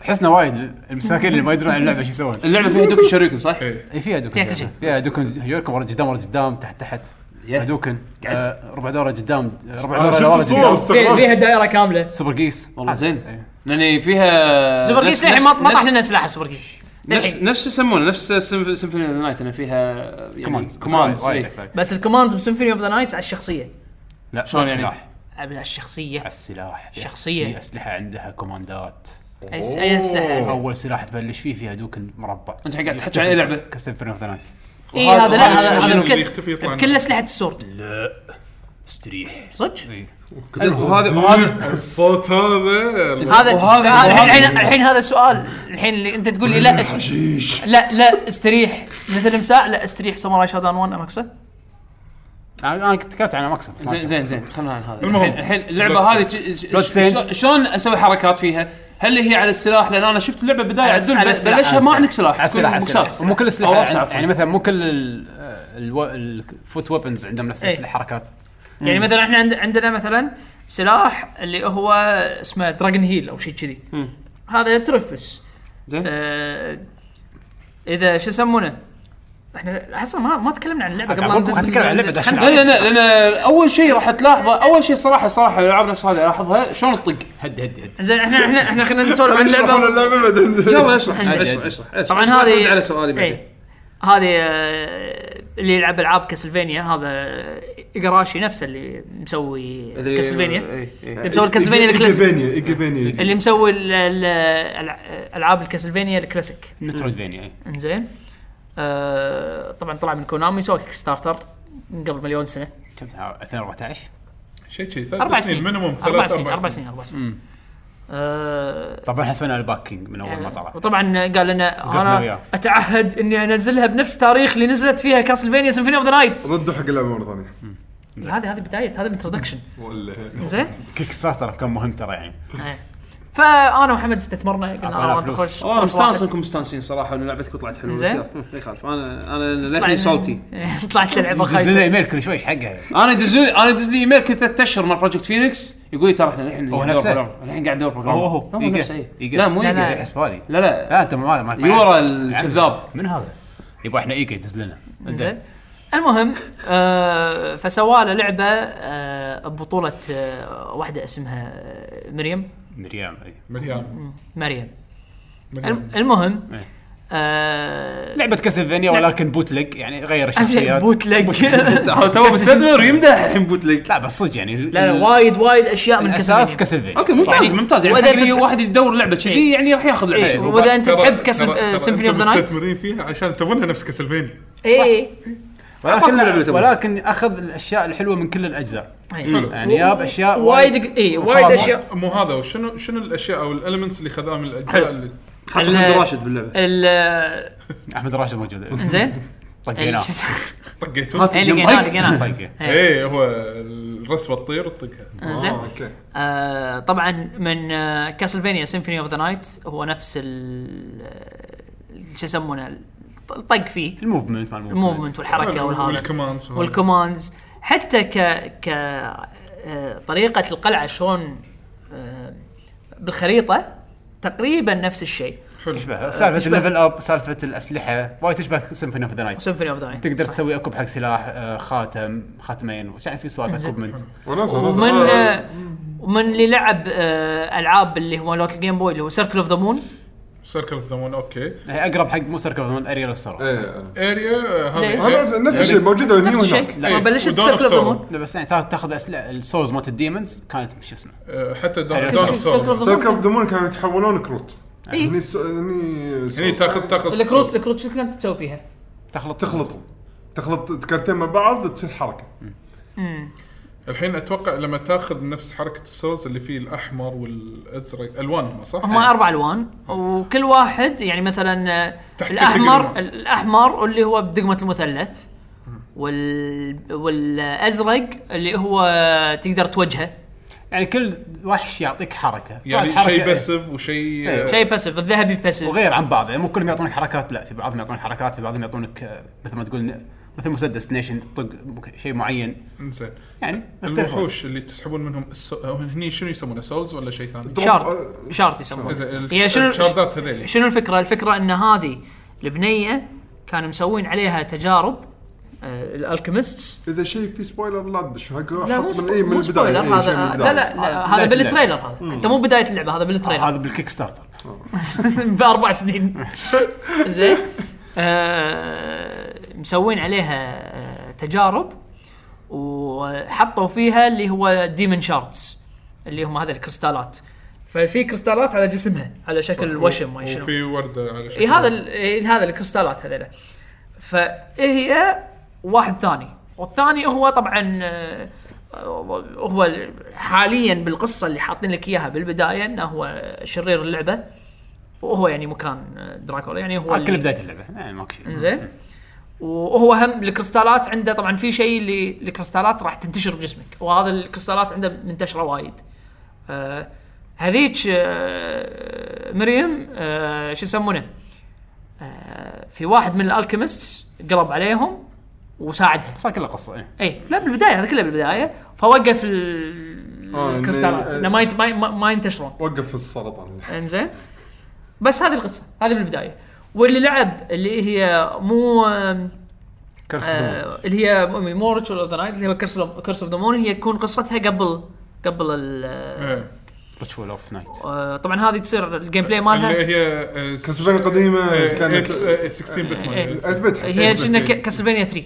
B: حسنا وايد المساكين اللي ما يدرون عن اللعبه شو يسوون
A: اللعبه فيها دوكن شريكن صح؟
D: إيه.
B: اي فيها دوكن
E: فيها كل شيء.
B: فيها دوكن يركب ورا قدام ورا قدام تحت تحت
A: يه.
B: دوكن
A: قعد.
B: آه، ربع دوره قدام ربع
C: انا
B: دوره
C: شفت
B: لورا
C: الصور
B: قدام
E: فيها
C: استغربت
E: دائره كامله
B: سوبر قيس
A: والله زين
B: إيه.
A: لان فيها
E: سوبر
A: نفس-
E: جيس للحين ما
A: نفس-
E: ما طاح
A: نفس-
E: لنا سلاح سوبر جيس
A: نفس
E: للحين.
A: نفس شو يسمونه نفس سيمفوني اوف ذا نايت ان فيها يعني
B: كوماندز
A: كوماندز
B: وايد
A: إيه.
B: أكثر.
E: بس الكوماندز بسيمفوني اوف ذا نايتس على الشخصيه
B: لا
A: شلون
B: شلون
A: يعني؟
B: السلاح
E: على الشخصيه
B: على السلاح في أس-
E: شخصية.
B: في اسلحه عندها كوماندات
E: اي س- أي اسلحه
B: اول سلاح تبلش فيه فيها دوكن مربع
A: انت قاعد تحكي عن اي لعبه؟
B: كسفن اوف ذا نايت
E: اي إيه، هذا لا
A: وهذا
E: هذا
A: شنو
E: هذا
A: اللي
E: بكل-
D: يختفي يطلع
E: بكل
D: منه؟
E: اسلحه
A: إيه.
E: السورد
B: لا استريح
E: صدق
A: وهذا وهذا
D: الصوت هذا
A: وهذا-
E: هذا هذا
A: وهذا-
E: الحين الحين هذا السؤال الحين اللي انت تقول لي لا
C: حشيش
E: لا لا استريح مثل مساع لا استريح ساموراي شادان 1 اماكسه
B: انا كنت تكلمت عن مكسب
A: زين زين زين خلينا عن هذا
D: المهم.
A: الحين الحين اللعبه هذه
D: بلوت
A: ج- ج-
B: بلوت سينت.
A: شلون- شلون اسوي حركات فيها؟ هل هي على السلاح لان انا شفت اللعبه بدايه
E: على
A: عدل
E: على
A: بس
E: السلاح،
A: بلشها طيب، ما عندك سلاح
B: على السلاح على
A: بوكسات.
B: السلاح مو كل
A: أو
B: الاسلحه
A: رفس
B: يعني,
A: عفواً.
B: يعني مثلا مو كل آه، الفوت ويبنز عندهم نفس
E: إيه.
B: الحركات
E: يعني مثلا احنا عند- عندنا مثلا سلاح اللي هو اسمه دراجون هيل او شيء كذي هذا يترفس
A: زين
E: آه، اذا شو يسمونه احنا احس ما ما إيه، تكلمنا عن اللعبه
B: أنا قاعد أقول لكم
E: ندز-
B: حنتكلم عن اللعبة
E: ندز-
B: داش
E: خلنا-
A: لا لا لا لان اول شيء راح تلاحظه اول شيء صراحه صراحه الالعاب نفس هذه الاحظها شلون تطق
B: هدي هدي هدي
E: زين احنا احنا احنا خلينا نسولف عن
C: يشرحون
E: اللعبه
C: اللعبه بعدين
A: يلا اشرح
E: عادي،
A: اشرح
B: عادي.
A: اشرح اشرح.
E: طبعا
A: اشرح، رد
E: هذه
A: على سؤالي بعدين
E: إيه. هذه آه، اللي يلعب العاب كاسلفينيا هذا ايجاراشي نفسه اللي مسوي
A: اللي-
E: كاسلفينيا
A: إيه، إيه.
E: اللي مسوي الكاسلفينيا الكلاسيك
C: ايجيفينيا ايجيفينيا
E: اللي مسوي ال- ال- الع- العاب الكاسلفينيا الكلاسيك
B: مترويد فينيا اي
E: انزين آه، طبعا طلع من كونامي سوى كيك ستارتر من قبل مليون سنه
B: كم 2014
D: شيء شيء
E: اربع
D: ثلاث
E: سنين
D: سنين مينيموم ثلاث
E: اربع سنين اربع سنين اربع سنين آه،
B: طبعا احنا سوينا الباكينج من
E: إيه.
B: اول ما طلع
E: وطبعا قال لنا
B: وقفنا وياه.
E: انا اتعهد اني انزلها بنفس تاريخ اللي نزلت فيها كاسلفينيا سيمفوني اوف ذا نايت
C: ردوا حق اللعبه مره ثانيه
E: هذه هذه بدايه هذا الانترودكشن
C: ولا
E: زين
B: كيك ستارتر كان مهم ترى يعني
E: إيه. فانا ومحمد استثمرنا قلنا
B: أعطينا
E: آه،
B: فلوس.
E: نخش
A: والله
E: نخش
A: مستانس
E: واحد.
A: انكم مستانسين صراحه ان لعبتكم طلعت حلوه
E: زين.
A: زين لا يخالف انا انا
E: طلعنا-
A: للحين صوتي
E: طلعت لعبه
B: يدز لنا
E: خايسه
B: ايميل كل شوي ايش حقها
A: انا دزوني انا دزني ايميل كل ثلاث اشهر مال بروجكت فينيكس يقول لي ترى احنا الحين
B: هو
A: قاعد ندور
B: نفسه؟
A: بروجرام. الحين قاعد ندور بروجرام
B: هو هو.
A: هو
B: إيجا.
A: نفسه إيه.
B: إيجا.
A: لا مو
E: لا، لا.
A: ايجا
B: يحس بالي
A: لا لا
B: لا انت مو هذا يعني مالك
A: يورا الكذاب.
B: من هذا؟ يبا احنا ايجا يدز لنا
E: زين المهم آه فسواله لعبه آه ببطوله آه واحده اسمها آه، مريم
B: مريم اي
D: مليان
E: مريم
D: مليان
E: الم- المهم
B: إيه.
E: آه
B: لعبه كاسلفينيا ولكن بوتلج يعني غير الشخصيات
E: بوتلج
A: تو مستثمر يمدح الحين بوتليك
B: لا بس صدق يعني
E: لا لا وايد وايد اشياء من
B: الاساس
E: كاسلفينيا.
B: كاسلفينيا
A: اوكي ممتاز
E: صحيح.
A: ممتاز يعني
E: وإذا
A: حق اللي
E: تت-
A: واحد يدور لعبه كذي
E: إيه.
A: يعني راح ياخذ لعبه
E: إيه.
A: كذي.
E: وإذا أنت تحب كاس- آه، Symphony
D: سيمفوني
E: of the Night.
D: مستثمرين فيها عشان تبونها نفس كاسلفينيا
E: اي
A: أعطاك كل اللي
B: ولكن
A: تبغاه.
B: ولكن اخذ الاشياء الحلوه من كل الاجزاء
E: إي.
B: يعني ياب اشياء
E: إيه. وايد اي وايد
B: مخاضة.
E: اشياء
D: مو هذا وشنو شنو الاشياء او الالمنتس اللي خذاها من الاجزاء اللي
A: حط
E: ال-
A: حمد راشد باللعبه
E: ال
B: احمد راشد موجود
E: زين
B: طقيناه
D: طقيته
A: هات
E: إيه،
A: الجيم
E: لقيناه،
A: بايك.
E: لقيناه.
B: طقه
D: ايه هو الرسمه تطير وتطقها
E: زين.
C: آه، اوكي
E: آه، طبعا من آه، كاسلفينيا سيمفوني اوف ذا نايت هو نفس ال ال- شو يسمونه ال- الطق فيه
B: الموفمنت مع الموفمنت
E: الموفمنت والحركه والهذا
D: والكمانس وهذا.
E: والكوماندز حتى ك ك آه، طريقه القلعه شلون آه، بالخريطه تقريبا نفس الشيء
B: تشبه سالفه
E: تشبه.
B: الليفل اب سالفه الاسلحه وايد تشبه سيمفوني اوف ذا نايت
E: سيمفوني اوف ذا نايت
B: تقدر تسوي اكوب حق سلاح آه، خاتم خاتمين وش- يعني في سوالف اكوبمنت
C: وناسه
E: ومن آه، ومن اللي لعب آه، العاب اللي هو لوت الجيم بوي اللي هو سيركل اوف ذا مون
D: سيركل اوف ذا مون اوكي
B: هي اقرب يعني حق مو سيركل من اريال السرعه
C: ايه
D: اريا
E: ليه؟
D: هذا
C: هذا نفس الشيء موجوده هني
E: إيه. يعني نفس
C: وهناك
E: الشيء لما
D: إيه،
E: بلشت
D: ودون
E: سيركل اوف ذا
D: الثورة.
E: مون
B: لا بس يعني تا- تاخذ اسلحه السولز مالت الديمونز كانت شو اسمه
D: آه، حتى
B: أريا
D: دون دون
B: سورد.
E: سيركل
D: السورد
E: اوف ذا
C: سيركل
E: مون
C: اوف ذا مون كانوا يتحولون كروت
E: إيه.
C: هني س- هني س-
D: هني تاخذ تاخذ
E: الكروت
D: الصوت.
E: الكروت شو كنت تسوي فيها؟
B: تخلط
C: تخلطهم تخلط كارتين مع بعض تصير حركه
D: الحين اتوقع لما تاخذ نفس حركه السولز اللي فيه الاحمر والازرق الوانهم صح؟
E: هم اربع الوان وكل واحد يعني مثلا آه،
D: تحت
E: الاحمر
D: كل كلمة.
E: الاحمر اللي هو بدقمه المثلث وال والازرق اللي هو تقدر توجهه
B: يعني كل وحش يعطيك حركه سواء
D: يعني
B: حركة-
D: شيء بسف وشيء
B: إيه.
D: آه،
E: شيء باسف الذهبي باسف
B: وغير عن بعض يعني مو كلهم يعطونك حركات لا في بعضهم يعطونك حركات في بعضهم يعطونك آه، مثل ما تقول ن- مثل مسدس نيشن طق شيء معين
D: انزين
B: يعني يختلفون.
D: الوحوش اللي تسحبون منهم السو... أو هني شنو يسمونه سولز ولا شيء ثاني؟
E: شارت شارت يسمونه
D: إذا الش-
E: هي شنو
D: الشاردات هذيلي.
E: شنو الفكره؟ الفكره ان هذه البنيه كانوا مسوين عليها تجارب آه، الالكيمستس
C: اذا شيء في سبويلر لا تدش حق
E: لا
C: حط
E: مو
C: من
E: سبو-
C: اي من
E: مو
C: البدايه
E: سبويلر
C: إيه، شيء من
E: هذا لا لا,
B: آه،
E: لا
B: بداية
E: هذا
B: اللعبة.
E: بالتريلر هذا حتى مو بدايه اللعبه هذا بالتريلر
B: طيب، هذا بالكيك ستارتر
E: باربع سنين زين آه، مسوين عليها آه، تجارب وحطوا فيها اللي هو ديمن شاردز اللي هم هذا الكريستالات ففي كريستالات على جسمها على شكل وشم
C: إيه،
E: ما شنو
D: وفي ورده على
E: اي إيه، هذا ال- إي هذا الكريستالات هذول فهي واحد ثاني والثاني هو طبعا آه، آه، هو ال- حاليا بالقصه اللي حاطين لك اياها بالبدايه انه هو شرير اللعبه وهو يعني مكان آه، دراكولا يعني هو
B: على كل
E: اللي-
B: بدايه اللعبه يعني ماكو شيء
E: زين وهو هم الكريستالات عنده طبعا في شيء اللي الكريستالات راح تنتشر بجسمك وهذا الكريستالات عنده منتشره وايد آه هذيك آه مريم آه شو يسمونه آه في واحد من الالكيمستس قلب عليهم وساعدها
B: صار كله قصه إيه.
E: اي لا بالبدايه هذا كله بالبدايه فوقف ال-
C: آه، إنه-
E: الكريستالات انه ما ينت- ما- ما ما ينتشرون
C: وقف السرطان
E: انزين بس هذه القصه هذه بالبدايه واللي لعب اللي هي مو آم،
A: كرس آه.
E: آه اللي هي مو ريتشارد اوف ذا نايت اللي هو كيرس اوف ذا مون هي تكون قصتها قبل قبل ال
D: إيه.
B: ريتشوال اوف نايت
E: آه طبعا هذه تصير الجيم بلاي مالها
D: اللي هي آه، س-
C: كاسلفينيا قديمه
D: آه،
C: كانت
D: آه، آه، 16 بت
E: إيه.
D: موديل.
C: اثبت
E: هي
C: حتى
E: شنو كاسلفينيا 3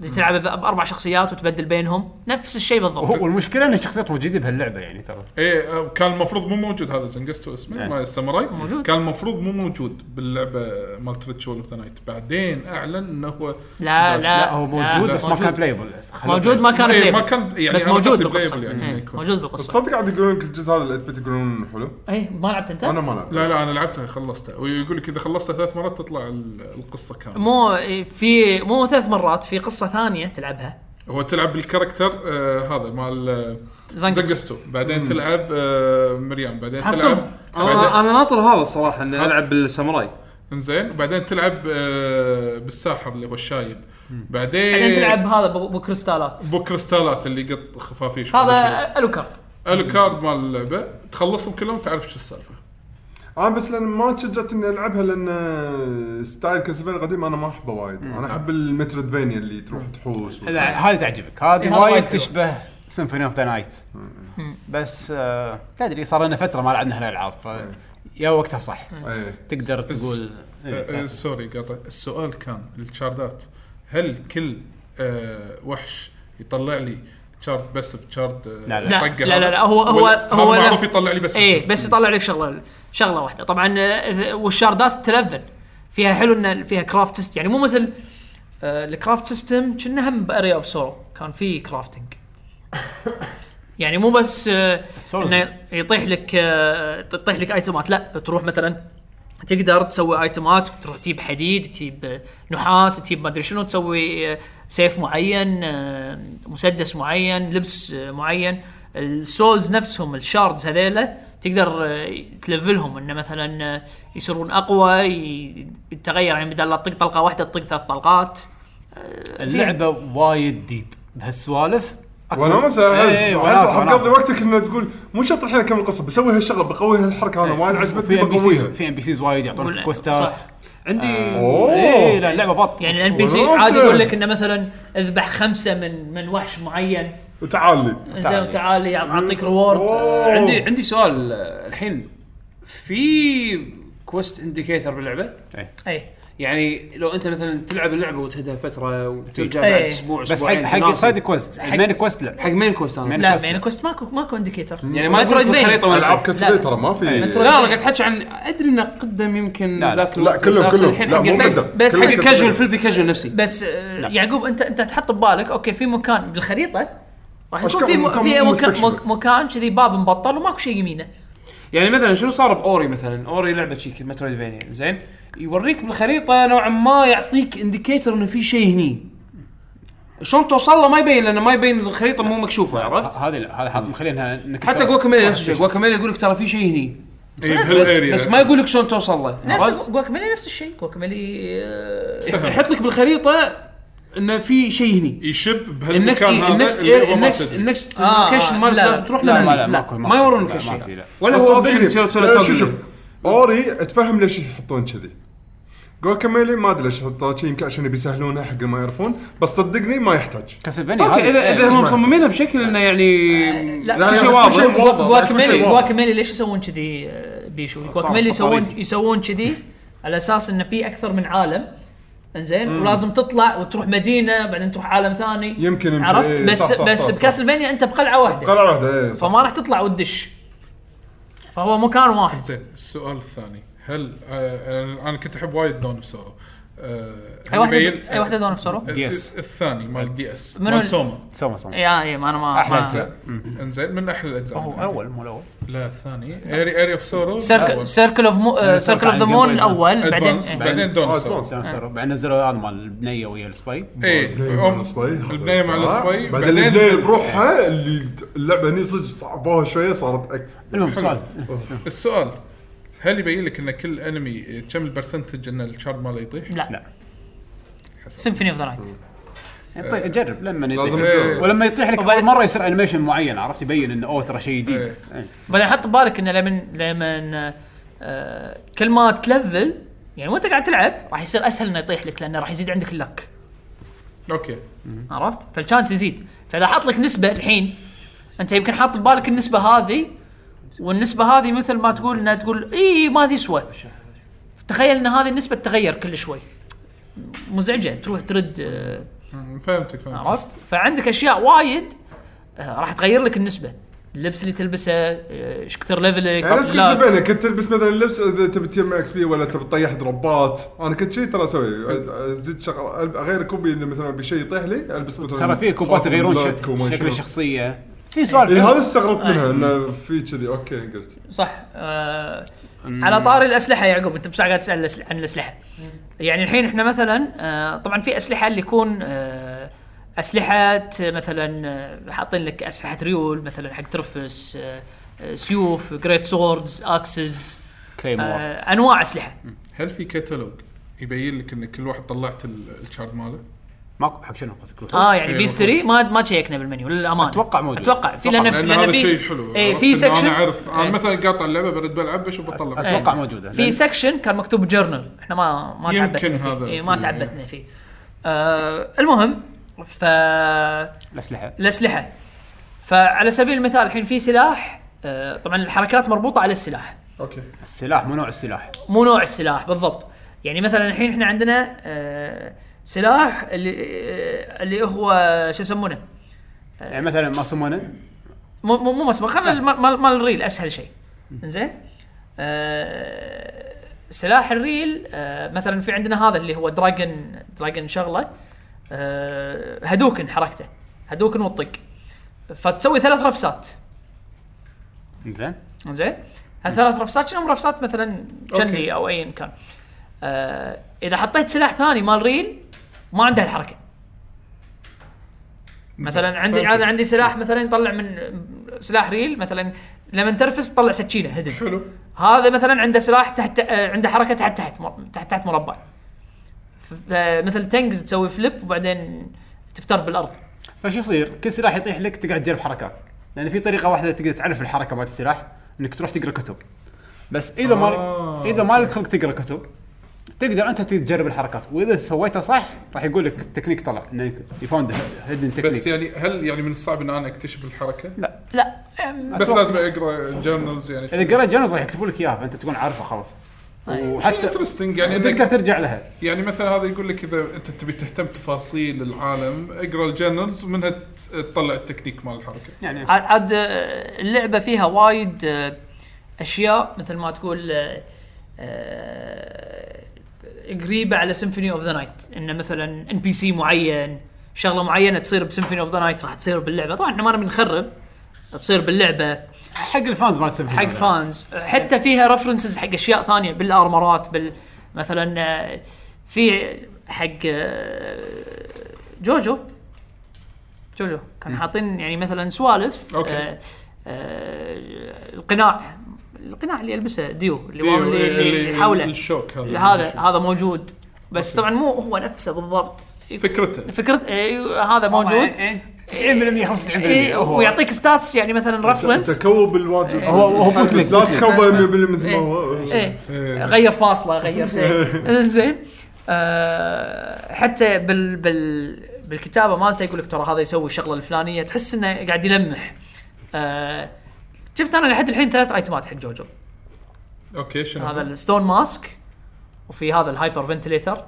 E: اللي تلعب ب- باربع شخصيات وتبدل بينهم نفس الشيء بالضبط
B: والمشكله ان الشخصيات موجوده بهاللعبه يعني ترى
D: ايه آه، كان المفروض مو موجود هذا زنجستو اسمه
B: إيه.
D: مال الساموراي
E: موجود.
D: كان المفروض مو موجود باللعبه مالت ريتشوال اوف ذا نايت بعدين اعلن انه هو
E: لا لا,
D: بس
B: لا هو موجود
E: لا.
B: بس ما كان بلايبل
E: موجود ما كان
D: إيه،
E: إيه
D: ما كان يعني
E: بس
D: أنا
E: موجود
D: قصدي
E: بالقصه
D: playable يعني إنه
E: يعني
D: يكون.
E: موجود بالقصه
C: تصدق قاعد يقولون لك الجزء هذا الاثبت يقولون إنه حلو
E: اي ما لعبت انت؟
C: انا ما لعبت
D: لا لا انا لعبتها خلصتها ويقول لك اذا خلصتها ثلاث مرات تطلع ال- القصه كامله
E: مو في مو ثلاث مرات في قصه ثانيه تلعبها
D: هو تلعب بالكاركتر آه هذا مال آه،
E: زنجستو.
D: زنجستو بعدين تلعب آه مريم بعدين
E: تحسن.
D: تلعب
A: انا
E: آه.
D: بعدين
A: انا ناطر هذا الصراحه اني العب بالساموراي
D: انزين وبعدين تلعب آه بالساحر اللي هو الشايب بعدين
E: بعدين تلعب هذا ب- بكريستالات
D: بكريستالات اللي يقط خفافيش
E: هذا الوكارد
D: الكارد مال اللعبه تخلصهم كلهم تعرف شو السالفه
C: انا بس لان ما تشجعت اني العبها لان ستايل كاسلفينيا القديم انا ما احبه وايد انا احب المترودفينيا اللي تروح تحوس وت-
B: هذه تعجبك
E: إيه،
B: هذه
E: هذا وايد
B: وايد
E: حلو.
B: تشبه سيمفوني اوف ذا نايت بس آه، تدري صار لنا فتره ما لعبنا هالالعاب ف- يا وقتها صح
C: ايه
B: تقدر تقول إيه،
D: آه، آه،
B: صح.
D: سوري قاطع السؤال كان الشاردات هل كل آه، وحش يطلع لي شارد بس آه، بشارد
B: لا، لا.
E: لا لا لا, لا هو هو هو
D: هو
E: لا-
D: معروف يطلع لي بس
E: ايه بس يطلع لك شغله شغله واحده طبعا آه، والشاردات تلفل فيها حلو ان فيها كرافت سيست يعني مو مثل آه، الكرافت سيستم كنا هم باريا اوف سورو كان في كرافتنج يعني مو بس آه،
B: السولز.
E: انه يطيح لك آه، تطيح لك ايتمات لا تروح مثلا تقدر تسوي ايتمات تروح تجيب حديد تجيب نحاس تجيب ما ادري شنو تسوي آه، سيف معين آه، مسدس معين لبس آه، معين السولز نفسهم الشاردز هذيلا تقدر آه، تلفلهم انه مثلا آه، يصيرون اقوى ي- يتغير يعني بدل لا تطق طلقه واحده تطق ثلاث طلقات آه،
B: اللعبه وايد ديب بهالسوالف أكبر-
C: وانا مثلا
B: إيه،
C: احس أحس
B: إيه، وناسة،
C: قبل
B: وناسة.
C: وقتك انه تقول مو شرط الحين اكمل القصه بسوي هالشغله بقوي هالحركه
E: إيه.
C: انا وايد عجبتني
B: في ام بي سيز
C: بقويها
B: في ام بي سيز وايد يعطونك
E: ولا-
B: كوستات
E: صح.
A: عندي
C: آه.
B: ايه
C: اوه
B: لا اللعبه بط
E: يعني الان بي سي
C: وناسة.
E: عادي يقول لك انه مثلا اذبح خمسه من من وحش معين
C: وتعال لي
E: زين
B: تعال.
E: وتعال يعطيك ريورد
C: أوه.
A: عندي عندي سؤال آه، الحين في كويست انديكيتر باللعبه
B: إيه.
E: اي
A: يعني لو انت مثلا تلعب اللعبه وتهدها فتره وترجع
E: إيه.
A: بعد اسبوع
B: بس
A: اسبوعين
C: يعني.
B: حق حق
A: تناسي.
B: سايد كويست
A: حق-
B: المين كويست لا
A: حق مين كويست انا
B: مين
E: لا
B: كوست.
E: مين كويست ماكو ماكو انديكيتر
A: يعني ما تقول
E: مترويدفينيا.
A: خريطه ولا
C: العاب
A: شيء.
E: لا.
C: كاسلفينيا ترى ما
A: لا
C: في
A: لا قاعد احكي عن ادري ان قدم يمكن
B: لا، لا.
A: ذاك
C: لا
A: الوقت، بس
C: كلهم
A: أقصد
C: كلهم
A: الحين
C: لا
A: حق
C: مو
A: الناس-
C: قدم
E: بس
A: حق
C: كلهم
A: الكاجوال فيلدي كاجوال نفسي
E: بس آه، يعقوب انت انت تحط ببالك اوكي في مكان بالخريطه راح يكون
C: أشكال
E: في م-
C: مكان
E: في
C: مو
E: مكان-
C: مستكشف.
E: مكان كذي باب مبطل وماكو شيء يمينه
A: يعني مثلا شنو صار باوري مثلا اوري لعبه شيك مترويدفينيا زين يوريك بالخريطه نوعا ما يعطيك انديكيتر انه في شيء هني شلون توصل له ما يبين لانه ما يبين الخريطه مو مكشوفه عرفت؟
B: ه- هذه لا، هذا حاط مخلينها انك
A: حتى
B: ترى-
A: جواكاميليا نفس الشيء
B: طيب.
A: جواكاميليا يقول لك ترى في شيء هني
D: إيه،
A: بس, بس ما يقول لك شلون توصل له
E: نفس
A: عرفت؟
E: جواكاميلي نفس الشيء جواكاميلي آه،
A: يحط لك بالخريطه انه في شيء هني
D: يشب
A: النكست إيه،
D: بهالمكان هذا
A: النكست
D: اللي هو ما
A: النكست
D: تدري.
A: النكست
E: آه،
A: لوكيشن
E: آه،
A: مالك
E: لا،
A: لازم تروح
B: لا
A: له
B: لا
A: هني.
B: لا ماكو
A: ما يورونك
B: لا، ما في،
A: هالشيء
B: لا.
A: ولا هو
C: أصلاً
A: اوبشن يصير
C: شنو؟ لا، شوف شوف.
A: تسوي
C: اوري اتفهم ليش يحطون كذي جواكاميلي ما ادري ليش يحطون كذي يمكن عشان يبي حق ما يعرفون بس صدقني ما يحتاج
B: كاسلفينيا
A: اوكي اذا
B: هذه-
A: اذا
B: إيه.
A: هم مصممينها بشكل انه يعني
E: لا،
A: كل
E: لا،
A: شيء
E: لا،
A: واضح
C: كل شيء واضح.
E: جواكاميلي
C: كل شيء واضح.
E: جواكاميلي ليش يسوون كذي آه، بيشو جواكاميلي
A: طبعاً،
E: يسوون
A: خريطي.
E: يسوون كذي على اساس انه في اكثر من عالم انزين ولازم تطلع وتروح مدينه بعدين تروح عالم ثاني
C: يمكن- يمكن،
E: عرفت
C: إيه،
E: بس
C: صح، صح، صح،
E: بس
C: صح.
E: بكاسلفينيا انت بقلعه واحده
C: قرار واحده ايه صح
E: فما راح تطلع وتدش فهو مكان واحد
D: زين السؤال الثاني هل آه انا كنت احب وايد دون اوف سورو آه
E: اي
D: هل
E: واحده
D: يبين-
E: اي واحده دون بسرعه
D: آه،
B: DS.
D: الثاني مال الدي اس
E: منو ال-
D: مال سوما
B: سوما سوما
E: يا اي آه، ما انا ما
B: أحلى
E: إيه. ما-
B: أجزاء.
D: انزين من احلى الاجزاء
B: هو
D: عندي.
B: اول مو الاول
D: لا الثاني اري اري اوف سورو
E: سيركل سيركل اوف مو- آه، سيركل اوف ذا
B: عن
E: مون
B: Game Boy
E: الاول بعدين
D: ادفانس
E: إيه.
D: بعدين دون اوف
C: آه،
D: سورو
C: Advance.
B: سوما سوما. بعدين نزلوا هذا مال البنيه ويا السباي
E: إيه.
D: اي
C: البنية مع الصبي.
D: البنيه مع الصبي
C: بعدين البنيه بروحها اللي اللعبه هني صدق صعبوها شويه صارت اكثر
B: المهم سؤال
D: السؤال هل يبين لك ان كل انمي كم البرسنتج ان الشارد ماله يطيح؟
E: لا
B: لا.
E: سيمفوني اوف ذا نايت إيه.
B: طيب جرب لما
C: لازم
B: يطيح
C: تجرب.
B: ولما يطيح لك اول
E: وبعدين-
B: مره يصير انيميشن معين عرفت يبين انه اوه ترى شيء جديد
D: إيه.
B: إيه.
E: بعدين حط ببالك انه لمن لمن آه كل ما تلفل يعني وانت قاعد تلعب راح يصير اسهل انه يطيح لك لانه راح يزيد عندك اللك
D: اوكي
E: عرفت؟ فالشانس يزيد، فاذا حط لك نسبه الحين انت يمكن حاط ببالك النسبه هذه والنسبه هذه مثل ما تقول انها تقول اي ما تسوى. تخيل ان هذه النسبه تتغير كل شوي. مزعجه تروح ترد آه،
D: مم، فهمتك فهمتك
E: عرفت؟ فعندك اشياء وايد آه، راح تغير لك النسبه. اللبس اللي تلبسه، آه، ايش كثر ليفلك،
C: يعني نفس
E: لا.
C: كنت بالك كنت تلبس مثلا لبس اذا تبي تجمع اكس بي ولا تبي تطيح دروبات انا كنت شيء ترى اسوي زدت شغله اغير كوبي اذا مثلا بشيء يطيح لي البس مثلا
B: ترى في كوبات يغيرون
C: خاتم
B: شك-
C: بلاك وما
B: شكل
C: شنو.
B: الشخصيه في سوالف
C: اي هذا استغربت منها انه في كذي اوكي قلت
E: صح آه على طاري الاسلحه يا يعقوب انت بساعه قاعد تسال الأسل- عن الاسلحه يعني الحين احنا مثلا آه طبعا في اسلحه اللي يكون آه اسلحه مثلا آه، حاطين لك اسلحه ريول مثلا حق ترفس آه آه، سيوف جريت سوردز اكسز
B: كريمور
E: آه انواع اسلحه
D: هل في كتالوج يبين لك ان كل واحد طلعت ال- الشارد ماله؟
B: ماكو حق شنو قصدك
E: اه يعني
D: إيه،
E: بيستري ما ما تشيكنا بالمنيو للامانه
B: أتوقع موجود.
E: اتوقع في
B: أتوقع
E: لان
D: لان
E: لأن
D: هذا
E: في-
D: شيء حلو
E: إيه،
D: عرفت
E: في إيه.
D: إن انا
E: سكشن
D: اعرف انا مثلا قاطع اللعبه برد بلعب بشوف بطلع
B: اتوقع
E: إيه.
B: موجوده
E: في سكشن كان مكتوب جورنال احنا ما ما
D: يمكن
E: تعبتنا فيه
D: هذا
E: إيه ما
D: في-
E: تعبتنا فيه آه المهم فالاسلحه
B: الاسلحه
E: فعلى سبيل المثال الحين في سلاح آه طبعا الحركات مربوطه على السلاح
D: اوكي
B: السلاح مو نوع السلاح
E: مو نوع السلاح بالضبط يعني مثلا الحين احنا عندنا آه سلاح اللي آه اللي هو شو يسمونه آه.
B: يعني مثلا ما سمونه
E: مو مو مو مسبق خلينا الم- مال مال الريل اسهل شيء زين آه سلاح الريل آه مثلا في عندنا هذا اللي هو دراجن دراجن شغله آه هدوكن حركته هدوكن والطق فتسوي ثلاث رفسات
B: زين
E: زين هالثلاث رفسات شنو رفسات مثلا
D: أوكي.
E: جني او ايا كان آه اذا حطيت سلاح ثاني مال ريل ما عنده الحركه مثلا عندي
D: فهمتك.
E: عادة عندي سلاح مثلا يطلع من سلاح ريل مثلا لما ترفس تطلع سكينه هدن
D: حلو
E: هذا مثلا عنده سلاح تحت آه، عنده حركه تحت تحت مر- تحت تحت مربع ف- ف- مثل تنقز تسوي فليب وبعدين تفتر بالارض
B: فشو يصير؟ كل سلاح يطيح لك تقعد تجرب حركات لان في طريقه واحده تقدر تعرف الحركه مالت السلاح انك تروح تقرا كتب بس اذا ما
D: آه.
B: اذا ما لك خلق تقرا كتب تقدر انت تجرب الحركات واذا سويتها صح راح يقول لك تكنيك طلع انك يفوند هيدن
D: بس
B: تكنيك
D: يعني هل يعني من الصعب ان انا اكتشف الحركه؟
B: لا
E: لا أم،
D: بس
B: أتوقع-
D: لازم اقرا جورنالز يعني
B: اذا قريت جنرز راح يكتبوا لك اياها فانت تكون عارفه خلاص
E: طيب.
B: وحتى
D: انترستنج يعني
B: تقدر
D: إنك-
B: ترجع لها
D: يعني مثلا هذا يقول لك اذا انت تبي تهتم تفاصيل العالم اقرا الجورنالز ومنها ت- تطلع التكنيك مال الحركه
B: يعني
E: عاد- عاد آه، اللعبه فيها وايد آه، اشياء مثل ما تقول آه، آه، قريبه على سيمفوني اوف ذا نايت انه مثلا ان بي سي معين شغله معينه تصير بسيمفوني اوف ذا نايت راح تصير باللعبه طبعا احنا ما نبي نخرب تصير باللعبه
B: حق الفانز مال سيمفوني
E: حق فانز حتى فيها رفرنسز حق اشياء ثانيه بالارمرات بال مثلا آه، في حق آه، جوجو جوجو كان حاطين يعني مثلا سوالف
D: أوكي.
E: آه، آه، القناع القناع اللي يلبسه ديو اللي,
D: ديو،
E: ديو اللي, اللي, اللي حوله
D: الشوك هذا
E: هذا هذا موجود بس طبعا مو هو نفسه بالضبط
D: فكرته
E: فكرة آه، هذا موجود
B: يعني 90% 95%
E: إيه،
B: هو
E: ويعطيك ستاتس يعني مثلا رفرنس
C: تكوب الواجب
B: هو- هو بوتلك،
C: بس لا
B: بوتلك.
C: تكوب 100% مثل ما هو
E: ايه
D: إيه.
E: غير فاصله غير شيء انزين آه، حتى بال بال بالكتابه مالته يقول لك ترى هذا يسوي الشغله الفلانيه تحس انه قاعد يلمح آه، شفت انا لحد الحين ثلاث ايتمات حق جوجو
D: اوكي شنو
E: هذا
D: هذا
E: الستون ماسك وفي هذا الهايبر فنتليتر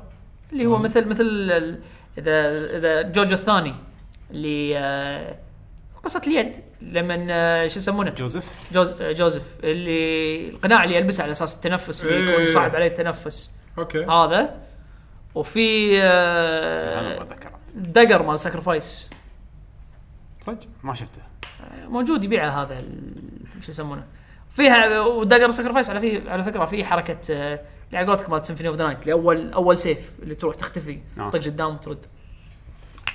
E: اللي هو مثل مثل ال- اذا اذا جوجو الثاني اللي آه، قصه اليد لما آه، شو يسمونه
B: جوزيف
E: جوز جوزيف اللي القناع اللي يلبسه على اساس التنفس اللي
D: إيه.
E: يكون صعب عليه التنفس
D: اوكي
E: هذا وفي
B: انا ما
E: آه،
B: اتذكره
E: دقر مال ساكرفايس
B: صدق ما شفته
E: موجود يبيعه هذا ال- شو يسمونه فيها ودقر ساكرفايس على في على فكره في حركه آه، اللي على قولتك مال سيمفوني اوف ذا نايت اللي اول اول سيف اللي تروح تختفي
B: آه.
E: طق قدام وترد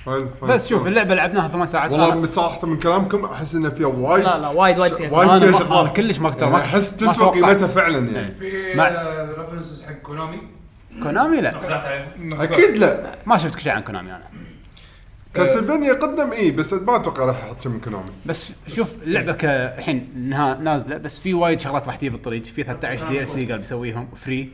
C: حلو، حلو.
B: بس شوف اللعبه لعبناها ثمان ساعات
C: والله
B: أنا-
C: من صراحه من كلامكم احس انه فيها وايد
E: لا لا وايد وايد فيها
C: وايد
B: انا
C: فيها
B: ما- أنا
C: شغلات
B: كلش ما اقدر
C: يعني
B: ما
C: احس
B: ما
C: تسوى
B: توقعت.
C: قيمتها فعلا يعني
F: في
B: مع-
F: ريفرنسز حق كونامي
B: كونامي لا إيه.
F: ركزت عليهم
C: اكيد لا
B: ما شفت شيء عن كونامي انا
C: كاسلفينيا قدم اي بس ما اتوقع راح احط شيء من كونامي
B: بس شوف اللعبه كالحين نها- نازله بس في وايد شغلات راح تجي بالطريق في 13 دي ال سي قال بيسويهم آه، فري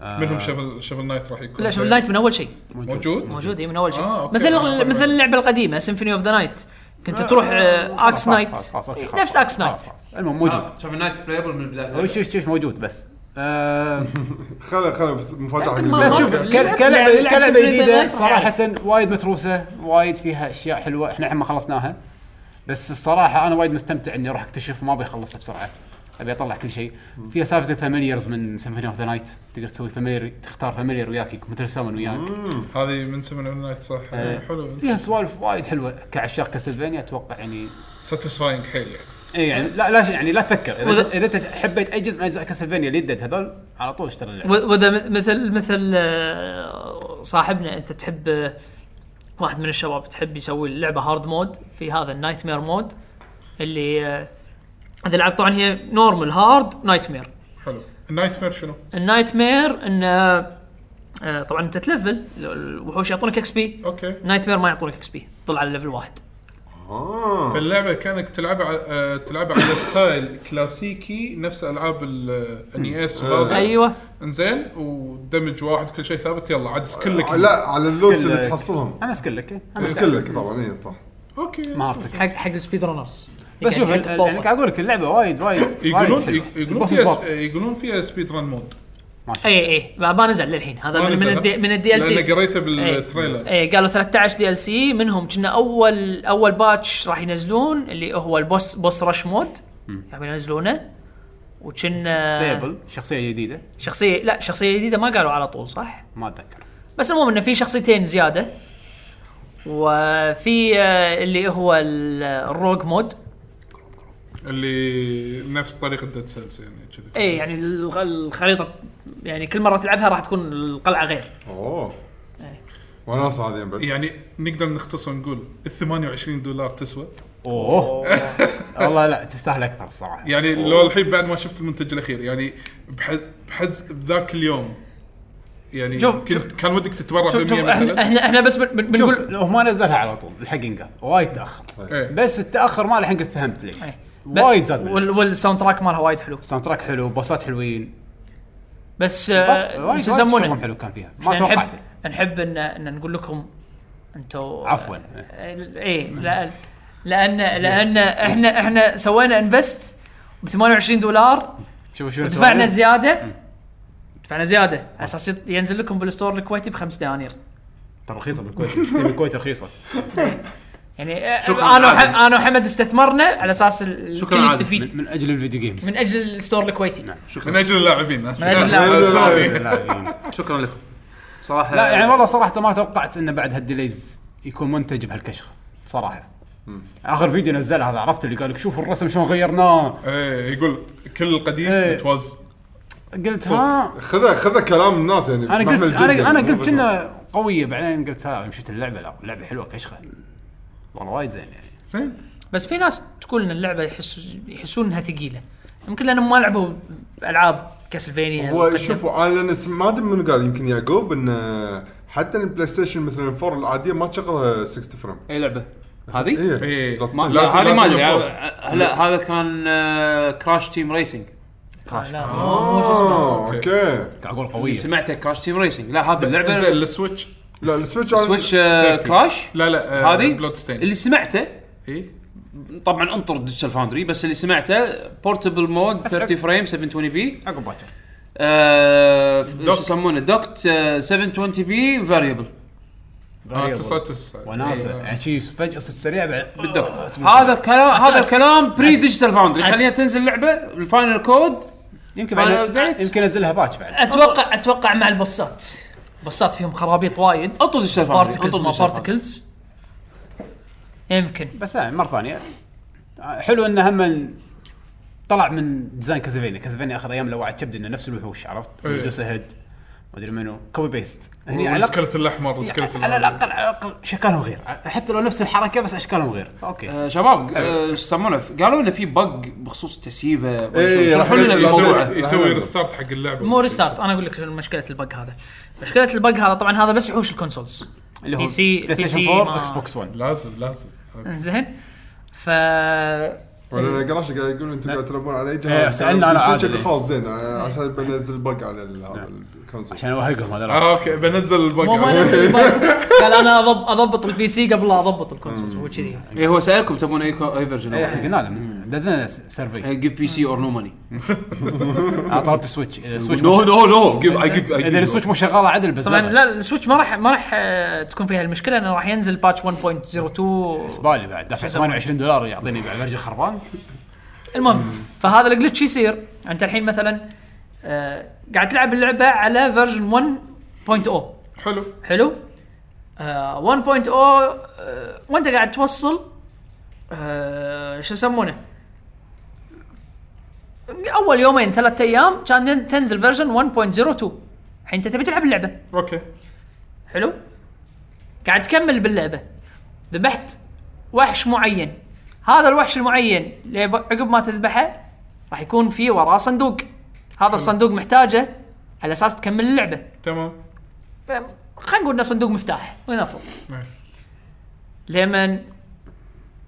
D: منهم شفل شفل نايت راح يكون
E: لا شوف النايت من اول شيء
D: موجود
E: موجود اي من اول شيء
D: آه، أوكي.
E: مثل
D: أنا أقول-
E: مثل اللعبه القديمه سيمفوني اوف ذا نايت كنت تروح آه، اكس نايت إيه، نفس آه. اكس نايت
B: المهم موجود
A: شوف النايت بلايبل من
B: هو
A: البدايه
B: شوف شوف موجود بس آه،
C: خل خل مفاتحه
E: لكن ما-
B: بس
E: ما-
B: شوف
E: لعب-
B: ك- كلعبه
E: لعب- لعب
B: كلعبه
E: شوف الإنترنت
B: جديده
E: راح
B: صراحه وايد متروسه وايد فيها اشياء حلوه احنا الحين ما خلصناها بس الصراحه انا وايد مستمتع اني اروح اكتشف ما ابي اخلصها بسرعه ابي اطلع كل شيء فيها سالفه الفاميليارز من سيمفوني اوف ذا نايت تقدر تسوي فاميليار تختار فاميليار وياك مثل سامن وياك
D: هذه من سمن نايت صح
B: إيه.
D: حلو
B: فيها سوالف وايد حلوه كعشاق كاسلفينيا اتوقع يعني
D: ساتيسفاينج حيل يعني
B: اي يعني لا لا شيء- يعني لا تفكر
E: وإذا-
B: اذا اذا انت حبيت اي جزء من اجزاء كاسلفينيا اللي يدد هبل على طول اشتري اللعبه
E: و- وذا م- مثل مثل آه، صاحبنا انت تحب آه، واحد من الشباب تحب يسوي اللعبه هارد مود في هذا النايت مير مود اللي آه، هذه الالعاب طبعا هي نورمال هارد نايت مير
D: حلو النايت مير شنو؟
E: النايت مير انه آه، طبعا انت تلفل الوحوش يعطونك اكس بي
D: اوكي
E: نايت مير ما يعطونك اكس بي طلع على ليفل واحد
C: اه
D: فاللعبه كانك تلعبها على آه، تلعبها على ستايل كلاسيكي نفس العاب الان اي اس
B: أيوة.
E: ايوه
D: انزين ودمج واحد كل شيء ثابت يلا عاد سكلك
C: آه، لا على اللوتس
B: سكلك.
C: اللي تحصلهم إيه،
B: انا اسكلك إيه، أنا
C: بس كلك طبعا اي صح
D: اوكي
B: مهارتك
E: حق حق السبيد رانرز
B: بس شوف
E: يعني
B: ال-
E: حق
B: ال-
E: الطوفة.
B: يعني قاعد اقول لك اللعبه وايد وايد
D: يقولون
B: وايد حلوة.
D: يقولون
B: البوسز
D: فيها إيه،
B: وايد.
D: يقولون فيها سبيد ران مود
B: ما شاء
E: اي اي ما ما نزل للحين هذا
D: ما
E: من, من
D: نزل.
E: الدي من الدي ال سي
D: لان قريته
E: إيه.
D: بالتريلر
E: اي قالوا 13 دي ال سي منهم كنا اول اول باتش راح ينزلون اللي هو البوس بوس رش مود راح ينزلونه وكنا
B: بيبل شخصيه جديده
E: شخصيه لا شخصيه جديده ما قالوا على طول صح
B: ما اتذكر
E: بس المهم انه في شخصيتين زياده وفي آه، اللي هو ال- الروج مود
D: اللي نفس طريقه ديد سيلز يعني كذي
E: اي يعني الغ- الخريطه يعني كل مره تلعبها راح تكون القلعه غير
C: اوه وناس هذه بعد
D: يعني نقدر نختصر نقول ال 28 دولار تسوى
B: اوه والله لا تستاهل اكثر الصراحه
D: يعني لو الحين بعد ما شفت المنتج الاخير يعني بحز بحز بذاك اليوم يعني
E: شوف-
D: كنت كان ودك تتبرع
E: شوف
D: ب 100
E: شوف احنا
D: مثلا
E: احنا احنا بس بن- بن-
B: شوف
E: بنقول
B: لو ما نزلها على طول الحق انقال وايد تاخر
D: إيه.
B: بس التاخر ماله الحين قد فهمت
E: إيه.
B: ليش وايد زاد باللعب.
E: وال- والساوند تراك مالها وايد حلو
B: ساوند تراك حلو بوسات حلوين
E: بس
B: بط-
E: آه،
B: وايد
E: شو
B: أه، يسمونه يعني
E: يسمونه
B: حلو كان فيها ما
E: إحنا نحب
B: توقعته
E: نحب ان ان نقول لكم آه، إيه، انتم
B: عفوا
E: اي لان لان لان احنا احنا سوينا انفست ب 28 دولار
B: شوف شو
E: ودفعنا
B: سوالف.
E: زياده دفعنا زياده على اساس يط- ينزل لكم بالستور الكويتي بخمس دنانير
B: ترى رخيصه بالكويت ستيم الكويت رخيصه
E: يعني آه،
D: شكراً
E: انا وح-
D: عادل.
E: انا وحمد استثمرنا على اساس ال-
D: شكراً
E: الكل
D: عادل.
E: يستفيد
B: من, نعم. من اجل الفيديو جيمز
E: من اجل الستور الكويتي
D: من اجل اللاعبين
E: من أجل
D: آه،
E: اللاعبين.
D: سوري
A: شكرا لكم صراحه
B: لا
C: آه.
B: يعني والله صراحه ما توقعت انه بعد هالديليز يكون منتج بهالكشخه صراحه اخر فيديو نزله هذا عرفت اللي قال لك شوف الرسم شلون غيرناه
D: ايه يقول كل القديم
B: إيه.
D: توز
B: قلت ها
C: خذ خذ كلام الناس يعني
B: انا
C: محمل
B: قلت انا
C: جداً،
B: انا
C: مو
B: قلت
C: بس-
B: كنا قويه بعدين قلت ها يوم شفت اللعبه لا اللعبه حلوه كشخه والله وايد زين يعني
D: زين
E: بس في ناس تقول ان اللعبه يحس يحسون انها ثقيله يمكن لانهم ما لعبوا العاب كاسلفينيا
C: هو شوفوا انا لأن س- ما ادري من قال يمكن يعقوب انه حتى البلاي ستيشن مثلا 4 العاديه ما تشغلها 60 فريم
A: اي لعبه هذه؟
D: إيه.
C: لازم-
A: ما لا
C: لازم-
A: هذه ما
C: لازم
A: ادري
C: الفور.
A: هلا هذا كان آه، كراش تيم ريسنج
B: كراش
E: لا
B: قاعد
E: مو شو اسمه
C: آه، اوكي
B: اقول
A: اللي
B: قويه
A: سمعته كراش تيم ريسنج لا هذه
D: زين
A: اللعبه
D: السويتش
C: لا السويتش
A: سويتش آه،
D: 30.
A: كراش
D: لا لا آه، إيه؟
A: هذه
D: بلود ستين
A: اللي سمعته
D: اي
A: طبعا انطر ديجيتال فاوندري بس اللي سمعته بورتبل مود 30 فريم 720 بي آه،
B: عقب باكر
A: شو
D: دوك.
A: يسمونه دوكت 720 بي فاريبل
D: اه 99
C: إيه.
B: وناسه يعني شي فجاه صرت سريع بعد
C: آه.
A: بالدوك هذا كلام هذا الكلام بري ديجيتال فاوندري خليها تنزل لعبه الفاينل كود
B: يمكن
A: فاينل
B: بعد
A: أبديت.
B: يمكن انزلها باتش بعد
E: اتوقع اتوقع مع البصات بصات فيهم خرابيط وايد
A: انطر ديجيتال فاوندري
E: بارتكلز ما بارتكلز يمكن
B: بس آه، مره ثانيه آه، حلو انه هم طلع من ديزاين كاسلفينيا كاسلفينيا اخر ايام لو وعد كبد انه نفس الوحوش عرفت
D: إيه.
B: يدوس هيد ما ادري منو كوبي بيست هني يعني على الأقل-
D: والسكلت الاحمر والسكلت
B: على
D: الاحمر
B: الاقل على الاقل شكلهم غير حتى لو نفس الحركه بس اشكالهم غير اوكي
A: آه، شباب آه، شو يسمونه ف- قالوا انه في بق بخصوص التسييفه
C: إيه، راح
A: شرحوا لنا
C: ينزل
A: الموضوع
C: يسوي-
D: يسوي ريستارت حق اللعبه
E: مو ريستارت انا اقول لك شنو مشكله البق هذا مشكله البق هذا طبعا هذا بس يحوش الكونسولز
B: اللي هو
E: بي سي-
B: بلاي
E: بي
B: ستيشن
E: سي
B: 4
E: ما-
B: اكس بوكس 1
D: لازم لازم أوكي.
E: زين ف
C: ولا انا قراش قاعد يقول انتم قاعد تلعبون على اي
B: إيه،
C: جهاز
B: سألنا أنا عادل.
C: شكله خلاص زين آه، عشان بنزل بق على ال- هذا الكونسول
B: نعم. عشان اوهقهم هذا
D: آه، اوكي بنزل
E: مو ما
D: الباقي
E: نفس البايع. قال انا أضب اضبط البي سي قبل لا اضبط الكونسول هو كذي
A: اي إيه، هو سالكم تبون اي كو- اي فيرجن
B: احنا إيه، قلنا له دزنا
E: إيه.
B: سيرفي
A: جيف بي سي اور نو ماني
B: انا طلبت سويتش اذا سويتش
A: نو نو نو جيف اي جيف
B: اذا السويتش مو شغاله عدل بس
E: طبعا
B: طبعا
E: لا السويتش ما راح ما راح آه، تكون فيها المشكله انه راح ينزل باتش 1.02
B: بالنسبه لي بعد دافع 28 دولار يعطيني بعد برجع خربان
E: المهم فهذا الجلتش يصير انت الحين مثلا آه، قاعد تلعب اللعبه على فيرجن 1.0
D: حلو
E: oh. حلو آه 1.0 آه وانت قاعد توصل آه شو يسمونه اول يومين ثلاثة ايام كان ين- تنزل فيرجن 1.02 الحين انت تبي تلعب اللعبه
D: اوكي
E: حلو قاعد تكمل باللعبه ذبحت وحش معين هذا الوحش المعين ليب- عقب ما تذبحه راح يكون في وراه صندوق هذا الصندوق محتاجه على اساس تكمل اللعبه
D: تمام
E: خلينا نقول انه صندوق مفتاح ولنفرض
D: نعم.
E: لمن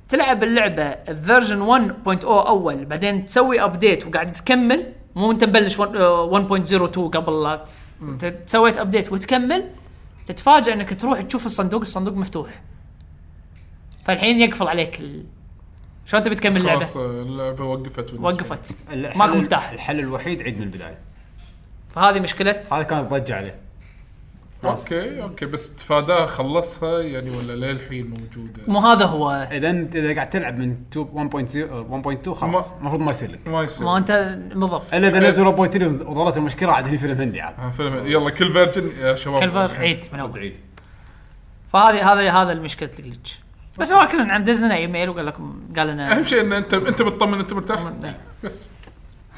E: تلعب اللعبه فيرجن 1.0 اول oh بعدين تسوي ابديت وقاعد تكمل مو انت مبلش آه، 1- 1.02 قبل لا أنت سويت ابديت وتكمل تتفاجئ انك تروح تشوف الصندوق الصندوق مفتوح فالحين يقفل عليك ال... شلون تبي تكمل اللعبه؟
D: خلاص آه، اللعبه وقفت بالنسبة لي.
E: وقفت
B: الحل-
E: مفتاح.
B: الحل الوحيد عيد من البدايه
E: فهذه مشكله
B: هذا كانت ضجه عليه
D: اوكي اوكي بس تفاداها خلصها يعني ولا للحين موجوده
E: مو هذا هو
B: اذا انت اذا قاعد تلعب من 2 1.0 1.2 خلاص
D: ما-
B: المفروض ما يعني- يصير لك
D: ما يصير
E: ما انت بالضبط
B: الا اذا نزلوا 1.3 وز- وظلت المشكله عاد هني فيلم هندي عاد
D: آه، فيلم يلا كل فيرجن يا شباب
E: كلفر عيد من اول
B: عيد
E: فهذه هذا هذا المشكله الجلتش بس هو كلنا عند دزنا ايميل وقال لكم قال
D: اهم
E: لنا
D: شيء ان انت انت مطمن انت مرتاح
E: إيه.
D: بس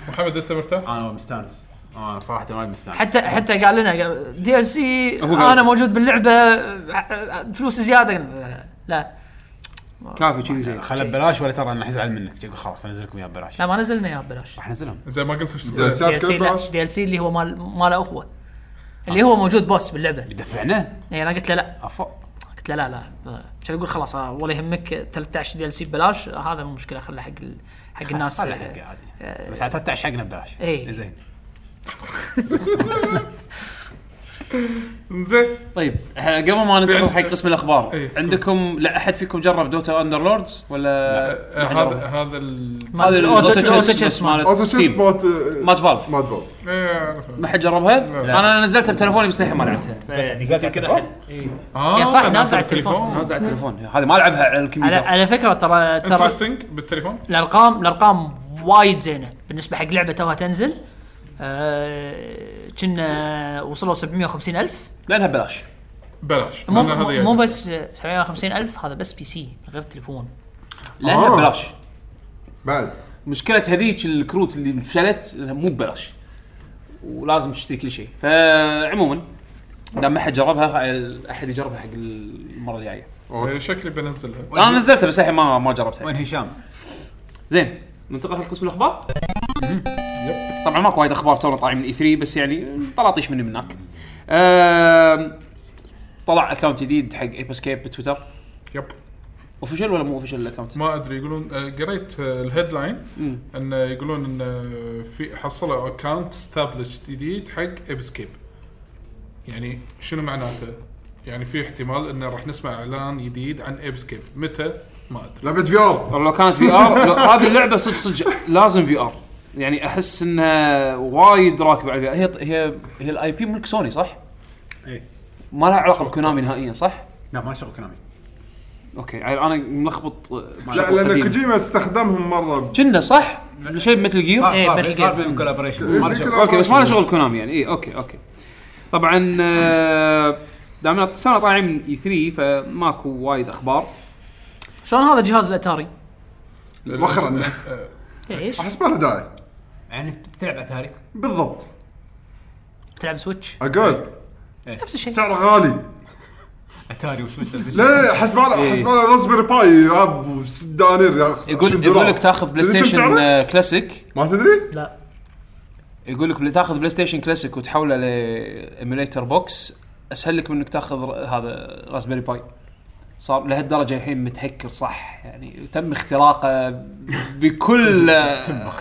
D: محمد انت مرتاح
B: انا مستانس انا صراحه ما مستانس
E: حتى حتى قال لنا دي ال سي
A: هو قال-
E: انا موجود باللعبه فلوس زياده قلنا لا
A: كافي كذي زين
B: خله ببلاش ولا ترى انا حزعل منك يقول خلاص انزل لكم اياه ببلاش
E: لا ما نزلنا اياه ببلاش
B: راح انزلهم
D: زي ما قلت وش
C: ده
D: تسوي؟
E: دي ال
C: ساعات
E: سي
C: كم
E: لا
C: بعش؟
E: دي ال سي اللي هو مال ماله هو اللي هو موجود بوس باللعبه
B: دفعنا
E: يعني انا قلت له لا
B: افا
E: قلت له لا لا كان يقول خلاص آه، ولا يهمك 13 دي ال سي ببلاش آه، هذا مو مشكله خله حق ال- حق الناس
B: هذا حقي
E: آه،
B: عادي بس عاد 13 حقنا ببلاش
E: إيه.
B: زين
D: زين
A: طيب ه- قبل ما
D: في
A: ندخل
D: عند-
A: حق قسم الاخبار
D: إيه.
A: عندكم لا احد فيكم جرب دوتا اندرلوردز ولا يعني
D: آه، هذا هذا ال
E: يعني ما-
A: هذا
E: الأوتو-
A: الأوتو
E: الأوتو
A: تشيس
E: تشيس
A: بس مالت
C: اوتو شيس
A: ستيم.
C: مات
A: مات فالف
C: مات فول
D: إيه، أعرفه.
A: ما حد جربها؟ انا نزلتها بتلفوني بس للحين ما لعبتها
B: نزلت يمكن احد
D: اه
E: يا صح،
D: طبعاً
E: نازل على
A: نازل على التليفون هذه ما العبها على
E: على
A: الكمبيوتر
E: على فكره ترى ترى
D: انترستنج بالتليفون
E: الارقام الارقام وايد زينه بالنسبه حق لعبه توها تنزل آه، كنا وصلوا 750 الف
A: لانها ببلاش
D: بلاش
E: مو
D: لأن هذا
E: مو-
D: يعني
E: مو بس 750 الف هذا بس بي سي من غير تليفون
A: لانها
C: آه.
A: ببلاش
C: بعد
A: مشكله هذيك الكروت اللي انفشلت لانها مو ببلاش ولازم تشتري كل شيء فعموما دام ما حد جربها احد يجربها حق المره الجايه
D: آه، شكلي بنزلها
A: انا نزلتها بس الحين ما ما جربتها
B: وين هشام؟
A: زين ننتقل حق قسم الاخبار طبعا ماكو وايد اخبار تونا طالعين من اي 3 بس يعني طلاطيش مني من هناك آم، طلع اكونت جديد حق ايب اسكيب بتويتر
D: يب
A: اوفيشال ولا مو اوفيشال الاكونت؟
D: ما ادري يقولون آه، قريت الهيدلاين
A: مم.
D: ان يقولون ان آه، في حصلوا اكونت ستابلش جديد حق ابسكيب يعني شنو معناته؟ يعني في احتمال انه راح نسمع اعلان جديد عن ابسكيب متى؟ ما ادري
C: لعبه في ار
A: لو كانت في ار هذه اللعبه صدق صدق لازم في ار يعني احس انها وايد راكبه على VR. هي هي هي الاي بي ملك سوني صح؟
B: إيه.
A: ما لها علاقه بكونامي نهائيا صح؟
B: لا ما شغل كلامي
A: اوكي يعني انا ملخبط مع
C: لا
A: شغل
C: لان
A: قديم.
C: كوجيما استخدمهم مره
A: كنا صح؟ شيء مثل جير
B: صار
E: إيه،
B: صار
E: Metal Gear.
B: صار بينهم كولابريشن بس ما له شغل.
A: اوكي بس ما له شغل كونامي يعني اي اوكي اوكي طبعا آه، دامنا صار طالعين من اي 3 فماكو وايد اخبار
E: شلون هذا جهاز الاتاري؟
C: مؤخرا
E: ايش؟
C: احس ما له داعي
B: يعني بتلعب اتاري
C: بالضبط
E: تلعب سويتش
C: اقول
E: نفس
B: إيه.
E: الشيء
C: سعره غالي
B: اتاري وسويتش
C: لا لا لا حسب على
A: إيه.
C: حسب على راسبيري باي ب 6 دنانير يا أخي،
A: يقول
C: 20 دولار.
A: يقول لك تاخذ بلاي
C: تدري كم
A: ستيشن
C: سعره؟
A: آه، كلاسيك
C: ما تدري؟
E: لا
A: يقول لك بل- تاخذ بلاي ستيشن كلاسيك وتحوله لايميليتر بوكس اسهل لك من انك تاخذ ر- هذا راسبيري باي صار لهالدرجه الحين متهكر صح يعني تم اختراقه بكل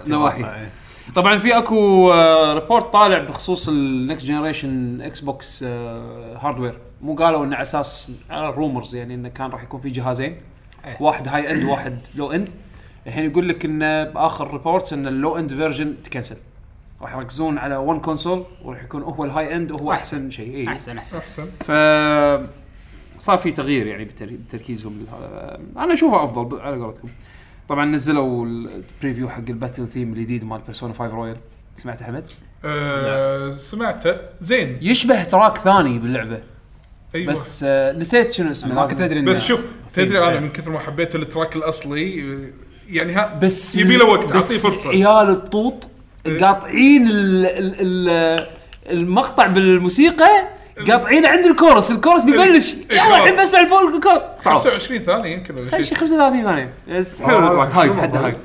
A: نواحي
B: إيه.
A: طبعا في اكو آه، ريبورت طالع بخصوص النكست جنريشن اكس بوكس هاردوير آه، مو قالوا انه على اساس على رومرز يعني انه كان راح يكون في جهازين
B: إيه.
A: واحد هاي اند واحد لو اند الحين يقول لك انه باخر ريبورت ان اللو اند فيرجن تكنسل راح يركزون على ون كونسول وراح يكون هو الهاي اند وهو احسن شيء إيه. اي
B: احسن احسن
D: احسن
A: ف صار في تغيير يعني بتر- بتركيزهم لهذا انا اشوفه افضل ب- على قولتكم طبعا نزلوا البريفيو حق الباتل ثيم الجديد مال بيرسونا 5 رويال سمعت احمد
D: آه سمعته زين
A: يشبه تراك ثاني باللعبه
D: ايوه بس
A: بس آه نسيت شنو اسمه
B: ما
A: لازم-
B: كنت ادري إنه-
D: بس شوف تدري
B: إيه.
D: انا من كثر ما حبيت التراك الاصلي يعني ها
A: بس
D: يبي له وقت إيه.
A: بس إيه،
D: اعطيه فرصه
A: عيال الطوط قاطعين ال ال ال المقطع بالموسيقى قاطعين عند الكورس الكورس بيبلش
D: إيه،
A: يلا
D: خلاص. طيب،
A: الحين بسمع البول الكورس تعال.
D: 25 ثانيه يمكن ولا
A: خلي
D: شيء
A: شي 35 ثانيه بس حلو
C: آه،
A: الأسواق. هايب
C: شنو
A: حد
C: هذا؟
A: هايب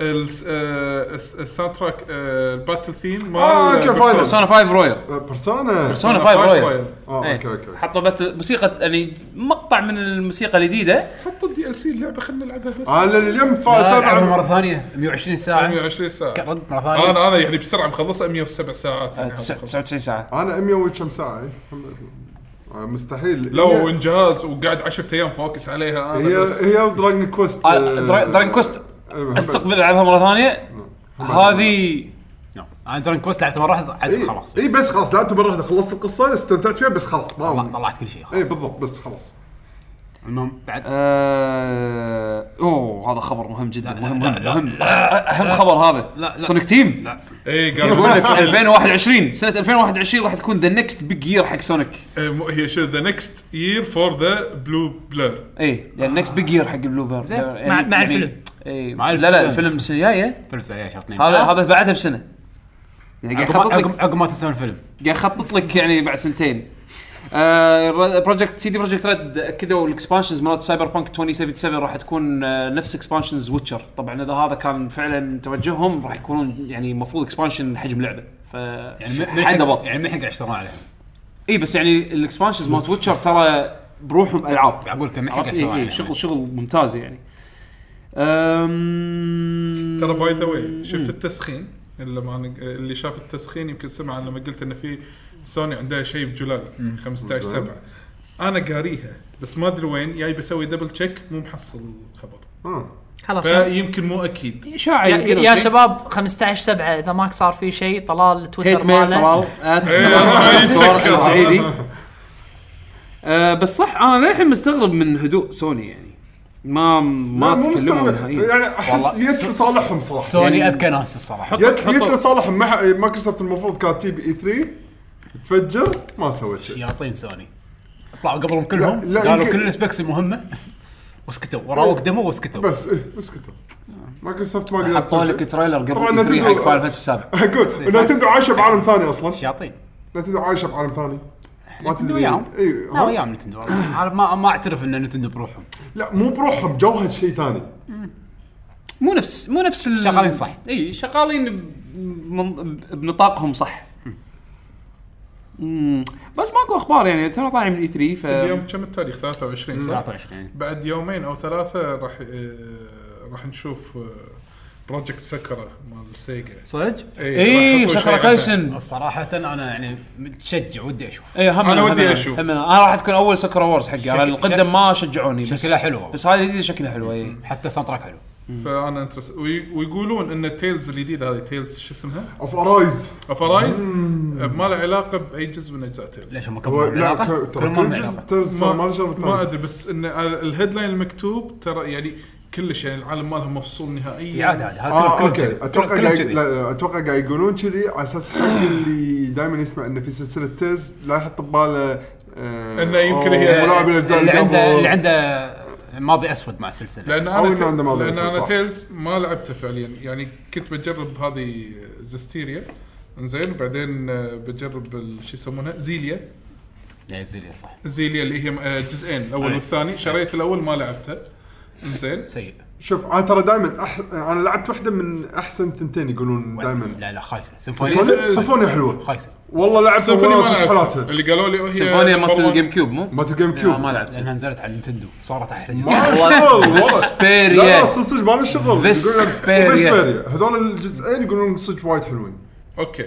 D: الس- آه، الس- الساوند تراك آه، الباتل ثيم مال
C: آه، أوكي،
D: بيرسونا.
C: فاينل.
A: بيرسونا 5 رويال
C: بيرسونا
A: بيرسونا 5 رويال
D: رويال.
C: اه اوكي اوكي
A: حطوا بت... موسيقى يعني مقطع من الموسيقى الجديده
D: حط الدي ال سي اللعبه خلينا نلعبها بس
C: انا اليوم فاز
B: لا، آه، لعبها
C: سبعه
B: مره ثانيه 120 ساعه
D: 120 ساعه
B: رد مره ثانيه
A: آه،
D: انا انا يعني بسرعه مخلصها 107 ساعات يعني هذا مخلص.
A: 99 ساعه
C: انا 100 وكم ساعه إيه. آه، مستحيل
D: لو
C: هي
D: انجاز وقاعد 10 ايام فوكس عليها انا
C: هي,
D: بس
C: هي دراجون كويست
A: آه،
C: آه،
A: درا- دراجون كويست
C: أيوة،
A: استقبل العبها مره ثانيه هذه
B: انا درن نعم. كوست لعبت مره واحده عدت
C: إيه.
B: خلاص
C: اي بس خلاص لعبته مره واحده خلصت القصه استمتعت فيها بس خلاص
B: طلع-
C: ما
B: طلعت كل شيء خلاص
C: اي بالضبط بس خلاص
B: المهم بعد
A: آه... اوه هذا خبر مهم جدا مهم
B: لا،
A: مهم
B: لا،
A: مهم اهم خبر هذا
B: لا.
A: سونيك تيم
D: اي
A: يقول لك
D: قالوا
A: 2021 سنه 2021 راح تكون ذا نكست بيج يير حق سونيك
D: إيه، مو- هي شو ذا نكست يير فور ذا بلو بلر
A: اي يعني نكست بيج يير حق البلو بيرد
B: زين.
A: يعني
E: مع- مع
A: يعني-
E: الفيلم.
A: اي
B: مع
A: لا لا
B: الفيلم.
A: الفيلم السنه الجايه
B: فيلم سريع شهر اثنين
A: هذا
B: عقب-
A: هذا بعدها بسنه يعني قاعد يخطط لك
B: عقب عقب ما تسوون الفيلم
A: قاعد يخطط لك يعني بعد سنتين بروجكت سي دي بروجكت ريد اكدوا الاكسبانشنز مالت سايبر بانك 2077 راح تكون آه، نفس اكسبانشنز ويتشر طبعا اذا هذا كان فعلا توجههم راح يكونون يعني المفروض اكسبانشن حجم لعبه ف
B: يعني من- من
A: حد
B: الحين-
A: بط
B: يعني من الحين قاعد يشتغلون عليهم
A: اي بس يعني الاكسبانشنز مالت ويتشر ترى بروحهم العاب
B: قاعد يعني. اقول لك من الحين
A: عرفت
B: قاعد
A: إي-
B: يشتغلون
A: إي،
B: عليهم
A: شغل شغل ممتاز يعني أم...
D: ترى باي ذا واي شفت التسخين اللي ما أنا- اللي شاف التسخين يمكن سمع لما قلت ان في سوني عندها شيء بجولاي 15
C: زين.
D: 7 انا قاريها بس ما ادري وين جاي بسوي دبل تشيك مو محصل الخبر
C: آه.
E: خلاص يا,
D: فيمكن مو اكيد
A: اشاعه يمكن
E: يا
A: أو شيء.
E: شباب 15 7 اذا ما صار في شيء طلال
A: هيت
E: التويتر
A: ميل طلال
E: ماله
D: إيه،
A: طلال
D: يتذكر.
A: السعيدي آه، بس صح انا للحين مستغرب من هدوء سوني يعني ما ما
C: لا، مو
A: تكلموا
C: مستوعب.
A: نهائيا
C: يعني احس
B: إيه. والله،
C: جت
B: س-
C: لصالحهم صراحه
B: سوني
A: يعني-
B: اذكى ناس الصراحه
C: جت جت لصالحهم مح- مايكروسوفت المفروض كانت تجيب اي 3 تفجر ما سوت شيء
B: شياطين سوني طلعوا قبلهم كلهم
C: لا، لا،
B: قالوا
C: يمكن- إيه.
B: كل السبيكس المهمه وسكتوا وراوك دمو وسكتوا
C: بس ايه بس كتب مايكروسوفت ما قدرت
A: حطوا
C: تسوي شيء.
A: لك تريلر قبل
C: طبعاً
A: E3
C: نتيجة-
A: حق فاير فانتسي السابع
C: اقول نتندو عايشه بعالم ثاني اصلا
B: شياطين
C: نتندو عايشه بعالم ثاني ما
B: نتندو
C: تدري إيه،
B: وياهم
C: اي
B: لا وياهم نتندو انا ما ما اعترف ان نتندو بروحهم
C: لا مو بروحهم جوها شيء ثاني
A: مو نفس مو نفس ال-
B: شغالين صح.
A: اي شغالين ب- من- بنطاقهم صح مم. بس ماكو اخبار يعني تونا طالعين من اي 3 ف
D: اليوم كم التاريخ 23 صح؟
B: 23
D: بعد يومين او ثلاثه راح آه، راح نشوف بروجكت سكره مال سيجا إيه،
B: صدق؟
A: اي شكرا
D: راح يحطوا شيء يعني. عنه.
A: إيه، تايسون
B: صراحة انا يعني متشجع ودي اشوف
A: اي هم
D: أنا
A: هم
D: ودي أشوف.
A: هم انا راح تكون اول سكر وورز حقي انا
B: شكل-
A: القدم ما شجعوني بس
B: شكلها حلو والله.
A: بس هذه الجديده شكلها حلوه اي
B: حتى ساوند تراك حلو
D: فانا انترس وي- ويقولون ان تيلز الجديده هذه تيلز شو اسمها؟
C: اوف ارايز
D: افرايز ما له علاقه باي جزء من اجزاء تيلز
B: ليش هم
C: هو
B: كملوا
C: لا
B: العلاقة؟
C: ك- ترى
B: كلهم
C: كل
B: ما
C: جزء
B: علاقة
C: ترى صار ما له شغل
D: ما
C: ثاني
D: ادري بس ان الهيدلاين المكتوب ترى يعني كلش يعني العالم مالهم مفصول نهائيا
B: عادي عادي هذا
C: اه
B: كلهم
C: اوكي
B: كذي.
C: اتوقع
B: كلهم
C: قاعد
B: كذي.
C: لا، لا، اتوقع قاعد يقولون كذي على اساس حق اللي دائما يسمع انه في سلسله تيز لا يحط بباله آه،
D: إنه يمكن
C: أوه،
D: هي-
C: ملاعب الاجزاء
B: اللي عنده اللي
C: قبل.
B: عنده ماضي اسود مع السلسلة
D: لان
C: أو
D: انا
C: إنه
D: ت-
C: عنده ماضي
D: لان
C: أسود،
D: انا
C: صح.
D: تيلز ما لعبته فعليا يعني كنت بجرب هذه زستيريا انزين وبعدين آه، بجرب ال- شو يسمونها زيليا
B: لا، زيليا صح
D: زيليا اللي هي آه، جزئين الاول
B: أي.
D: والثاني شريت الاول ما لعبته زين
B: سيء
C: شوف انا ترى دائما أح... انا لعبت واحده من احسن ثنتين يقولون دائما
B: لا لا خايسه سيمفوني
C: سيمفوني- سيمفونيا حلوه
B: خايسه
C: والله لعبت
D: سيمفوني ما
C: وناسة
D: لعبتها
C: حالاتها
D: اللي قالوا لي هي
A: سيمفونيا مالت
D: برضو-
A: الجيم كيوب مو؟
D: آه،
C: مالت الجيم
B: آه،
C: كيوب
A: لا ما لعبتها
B: لانها نزلت على نينتندو صارت احلى جزء
C: ما
A: والله
C: شغل، والله.
A: Vesperia.
C: لا لا صدق صدق ما له شغل
A: Vesperia.
C: فيسبيريا هذول الجزئين يقولون صدق وايد حلوين
D: اوكي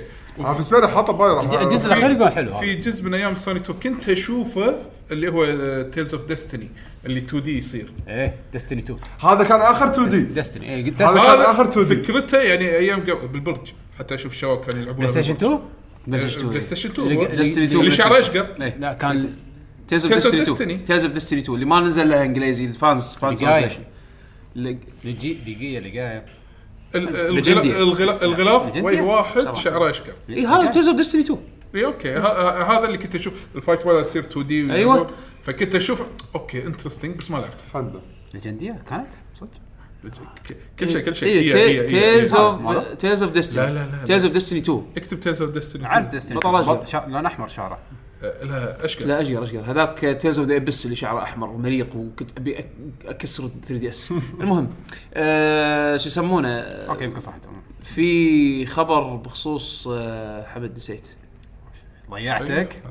C: فيسبيريا حاطه باي راح
B: الجزء الاخير يقول حلو
D: في
B: هذا.
D: جزء من ايام سوني 2 كنت اشوفه اللي هو uh, تيلز اوف ديستني اللي 2 دي يصير
B: ايه ديستني 2
C: هذا كان اخر 2 دي
B: ديستني ايه قلت
C: هذا
B: Destiny.
C: كان اخر 2 دي
D: فكرته يعني ايام قبل بالبرج حتى اشوف الشباب كانوا يلعبون
B: بلاي ستيشن 2
D: بلاي ستيشن 2 بلاي ستيشن 2
A: Destiny 2.
D: اللي شعره اشقر
A: إيه.
B: لا كان
A: تيرز اوف
D: Tales of
A: ديستني 2
D: Destiny.
A: تيرز اوف ديستني 2 اللي ما نزل لها انجليزي الفانز فانز
B: دقايق.
A: ترانزليشن اللي-
B: لجي دقيقه دقيقه
D: ال-
A: ليجنديا.
D: الغلا- الغلا- الغلاف
B: ليجنديا.
D: وجه واحد
A: صراحة.
D: شعره اشقر
A: اي هذا تيرز اوف ديستني 2
D: اي اوكي ه- ه- هذا اللي كنت اشوف الفايت مالها تصير 2 دي
A: أيوة.
D: فكنت اشوف اوكي انترستنج بس ما لعبته
C: حدا.
B: ليجندية كانت صدق
D: ك- كل شيء كل شيء
A: إيه،
D: إيه، هي- هي- هي-
A: اي تيرز
D: هي.
A: اوف
B: مرة.
A: تيرز اوف ديستني
D: لا، لا، لا، لا.
A: تيرز اوف ديستني 2
D: اكتب تيلز اوف ديستني
B: عرفت ديستني
A: بطل أجنبي.
B: لون احمر شعره
D: لا اشقر
A: لا اشقر اشقر هذاك تيرز اوف ذا ابس اللي شعره احمر ومليق وكنت ابي أك- اكسر 3 دي اس المهم آه شو يسمونه
B: اوكي يمكن صح انت
A: في خبر بخصوص آه حمد نسيت
B: ضيعتك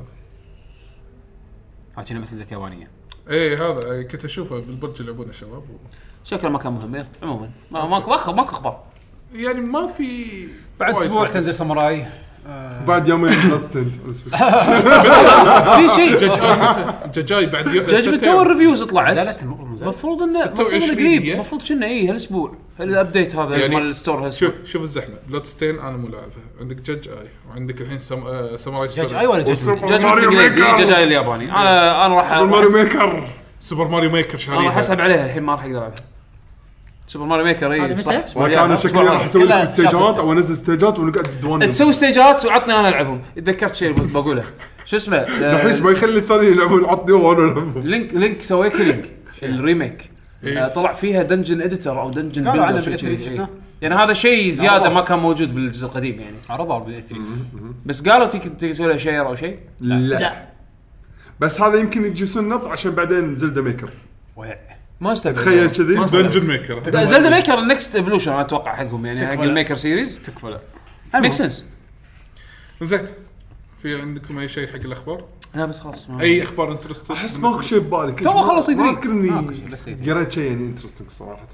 B: عشان بس نزلت يابانيه
D: اي إيه، هذا أي كنت اشوفه بالبرج يلعبونه الشباب و...
A: شكله ما كان مهم يلا، عموما ما ماكو ماكو ماكو اخبار
D: يعني ما في
B: بعد
D: وايد
B: اسبوع
D: فرق.
B: تنزل ساموراي آه،
C: بعد يومين لا تستنت آه،
A: في شيء
D: جاي متى؟ جاي- جاي بعد يو...
A: جاجمنت تاور ريفيوز طلعت
B: نزلت مو- مو نزلت.
A: المفروض انه المفروض انه
D: 26
A: قريب
D: هي.
A: المفروض كنا اي هالاسبوع هالابديت هذا
D: يعني-
A: مال الستور هالاسبوع
D: شوف شوف الزحمه بلود ستين انا مو لاعبها عندك جج اي وعندك الحين سم... آه، ساموراي
B: جاج اي ولا جاج
C: والسوبر-
A: جاجمنت
C: ماريو
A: الانجليزي
C: ميكر.
A: جاجمنت الياباني انا انا راح
C: ماريو
A: راح-
C: ميكر
D: سوبر ماريو ميكر
A: انا راح
D: شاريها
A: اسحب عليها الحين ما راح اقدر العبها سوبر ماريو ميكر
E: هذا
A: اي
E: متى؟
A: صح أسبوع
C: وكان
A: الجاي.
C: شكلي راح اسوي لكم
B: كلها
C: استيجات
B: شاسة.
C: او انزل استيجات ونقعد دوان
A: تسوي ستيجات وعطني انا العبهم تذكرت شيء بقوله شو اسمه
C: الحين ما يخلي الثاني يلعبون عطني وانا العبهم
A: لينك لينك اويكننج الريميك
D: إيه.
A: آه، طلع فيها دنجن اديتر او دنجن
B: قالوا عنه بال E3
A: بلدر
B: شفناه.
A: يعني هذا شيء زياده
B: والله.
A: ما كان موجود بالجزء القديم يعني
B: عرضها بالاي 3
A: بس قالوا تيك- تيك تسوي لها شير او شيء
C: لا
E: لا
C: بس هذا يمكن يجلسون نط عشان بعدين زلدا ميكر
B: وقع
A: ما استبعد
C: تخيل كذي
D: دنجن ميكر
A: لا، زلدا ميكر النكست ايفولوشن انا اتوقع حقهم يعني حق
B: تكفى لا.
A: الميكر سيريز
B: تكفى لا
A: ميك سنس
D: زين في عندكم اي شيء حق الاخبار؟
A: لا بس خلاص ما-
D: اي اخبار انترستد
C: احس ماكو شيء ببالي
A: تو خلص
C: ما
A: يدري.
C: اذكر
B: ماكو شيء، بس
C: اني
B: يدري.
C: قريت شيء يعني انترستنج صراحه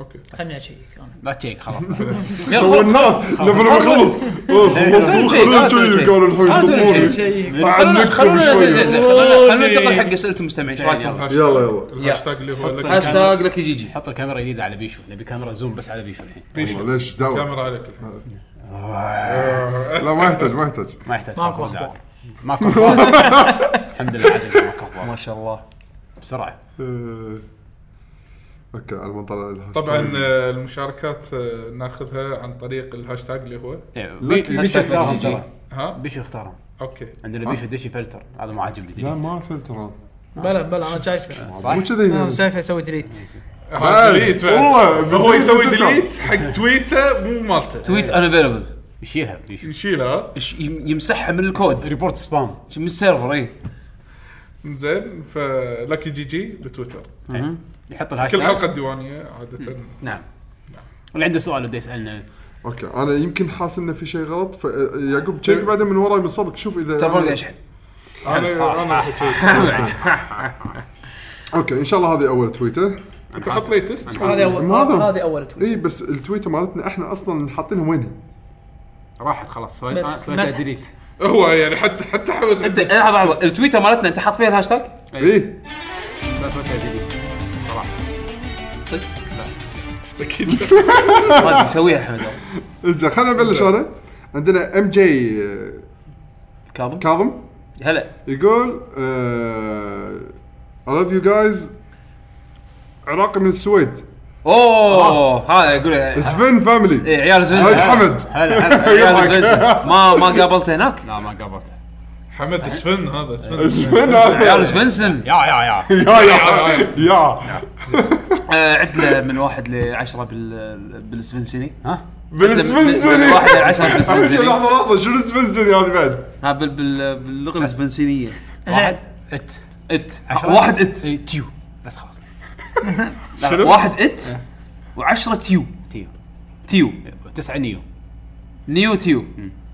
D: اوكي
E: خليني اشيك انا
B: لا تشيك خلاص
A: يلا، خلاص.
C: تو الناس لما لما خلص إيه، أوه، خلصت
A: سوي شيء،
C: وخليت
A: سوي شيء.
C: شيء قالوا الحين
A: آه، سوي
C: ضبوني.
A: شيء. خلونا
E: شيك
C: بعلقكم
A: خلونا
C: شوي.
A: زين، زين، زين، خلونا خلونا ننتقل حق اسئله المستمعين ايش رايكم؟
C: يلا، يلا.
D: الهاشتاج اللي هو لك
A: هاشتاج لك جيجي
B: حط الكاميرا الجديده على بيشو نبي كاميرا زوم بس على بيشو الحين
D: بيشو.
C: والله ليش دعوه
D: كاميرا عليك الحين.
C: لا ما يحتاج ما يحتاج
B: ما يحتاج
E: ماكو
B: خلاص
E: أخبار.
B: ندعم. ماكو أخبار. الحمد لله عاد ماكو اخبار
A: ما شاء الله
B: بسرعه
C: آه. اوكي على ما نطلع الهاشتاج.
D: طبعا آه، المشاركات آه، ناخذها عن طريق الهاشتاج اللي هو
B: إيه،
C: لا،
B: بي- بيشو اختارهم ترى
D: ها
B: بيشو اختارهم
D: اوكي
B: عندنا بيشو دشي فلتر هذا ما عاجبني
C: لا
B: ديليت
C: ما فلتر
E: بلا بلا انا شايفه
B: صح
C: مو كذي
E: انا
C: يعني.
E: شايفه يسوي ديليت
D: هذا ديليت بعد.
C: والله،
D: هو يسوي
C: تويتر.
D: ديليت حق تويته مو مالته
A: تويت انافيلبل
B: يشيلها بيشو
D: يشيلها
A: يمسحها من الكود
B: ريبورت سبام
A: من السيرفر إيه. اي
D: زين فلاكي جي جي بتويتر
B: يحط
D: كل حلقه
B: الهاشتاج
D: ديوانيه عاده
B: نعم اللي عنده سؤال وده يسالنا
C: اوكي انا يمكن حاسس انه في شيء غلط فيعقوب
B: إيه.
C: تشيك بعدين من وراي من صبك شوف يعني. اذا
A: ترى فرق اشحن
D: انا انا راح أشيك.
C: اوكي ان شاء الله هذه اول تويته
D: انت حط ريتست
E: هذه اول
C: ماذا؟
E: هذه اول تويت
C: اي إيه، بس التويته مالتنا احنا اصلا حاطينها وين هي؟
B: راحت خلاص سويت
E: بس
B: آه،
E: مسحت.
B: سويتها ديليت
D: هو يعني حتى
A: انت
D: حتى حمد
A: لحظه لحظه إيه، التويتر مالتنا انت حاط فيها الهاشتاج؟
B: إيه.
C: اي
B: سويتها ديليت
A: صدق؟
D: اكيد
A: ما ادري سويها حمد
C: زين خلينا نبلش انا عندنا ام جي آه،
A: كاظم
C: كاظم
A: هلا
C: يقول آه، اي لاف يو جايز عراقي من السويد
A: اوه هذا اقول إيه،
C: سفن فاميلي
A: عيال
C: هاي
A: زفنسن
C: حمد
B: هلا هلا
A: عيال
C: يضحك.
A: زفنسن ما ما قابلته هناك
B: لا ما قابلته
D: حمد سفن هذا سفن
C: سفن
A: عيال
C: هذا.
A: زفنسن
B: يا يا يا
C: يا يا يا
A: آه، عدله من واحد ل 10 بال بالسفنسني
B: ها
A: من
C: بالسفنسني
A: واحد ل 10
C: لحظه
A: بالسفنسني
C: لحظه شنو سفنسني هذه بعد؟
A: ها بال بال باللغه السفنسنيه
E: زين
B: ات
A: ات
B: عشرة.
A: آه، واحد ات
B: إيه، تيو أه، بس خلاص شنو؟ إيه.
A: واحد ات و10 تيو
B: تيو
A: تيو
B: تسعه نيو
A: نيو تيو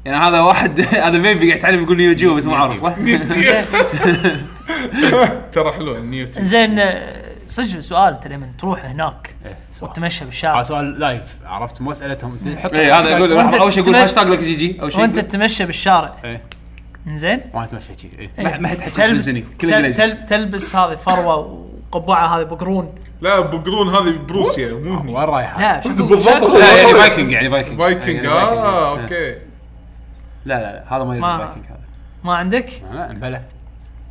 A: يعني هذا واحد هذا بيبي قاعد يتعلم يقول نيو جيو بس ما عارف صح؟
D: ترى حلوه النيوتي
E: زين آه، صدق سؤال انت لما تروح هناك
B: إيه، صح. إيه،
E: وتمشى
B: هذا
E: بالشارع
B: آه، سؤال لايف عرفت مو اسئلتهم تحط
A: اي إيه، هذا يقول
E: وأنت
A: اول شيء يقول
E: تمشي-
A: هاشتاج لك جي جي اول شيء
E: وانت
A: وانت
E: تتمشى بالشارع
B: إيه.
E: زين
B: وانا اتمشى شي إيه.
A: ما ما حد حتحس
E: تلب-
A: بالزني كله
E: تل
A: جليزي
E: تل تلبس هذه فروه وقبعه هذه بقرون
D: لا بقرون هذه بروسيا مو هني
B: وين رايح؟
E: لا شو
C: بالضبط.
A: لا يعني فايكنج يعني فايكنج
D: فايكنج
A: يعني
D: اه
A: فايكنج.
D: اوكي
A: لا لا لا هذا ما يلبس
E: ما-
A: فايكنج هذا
E: ما عندك؟
B: لا بلا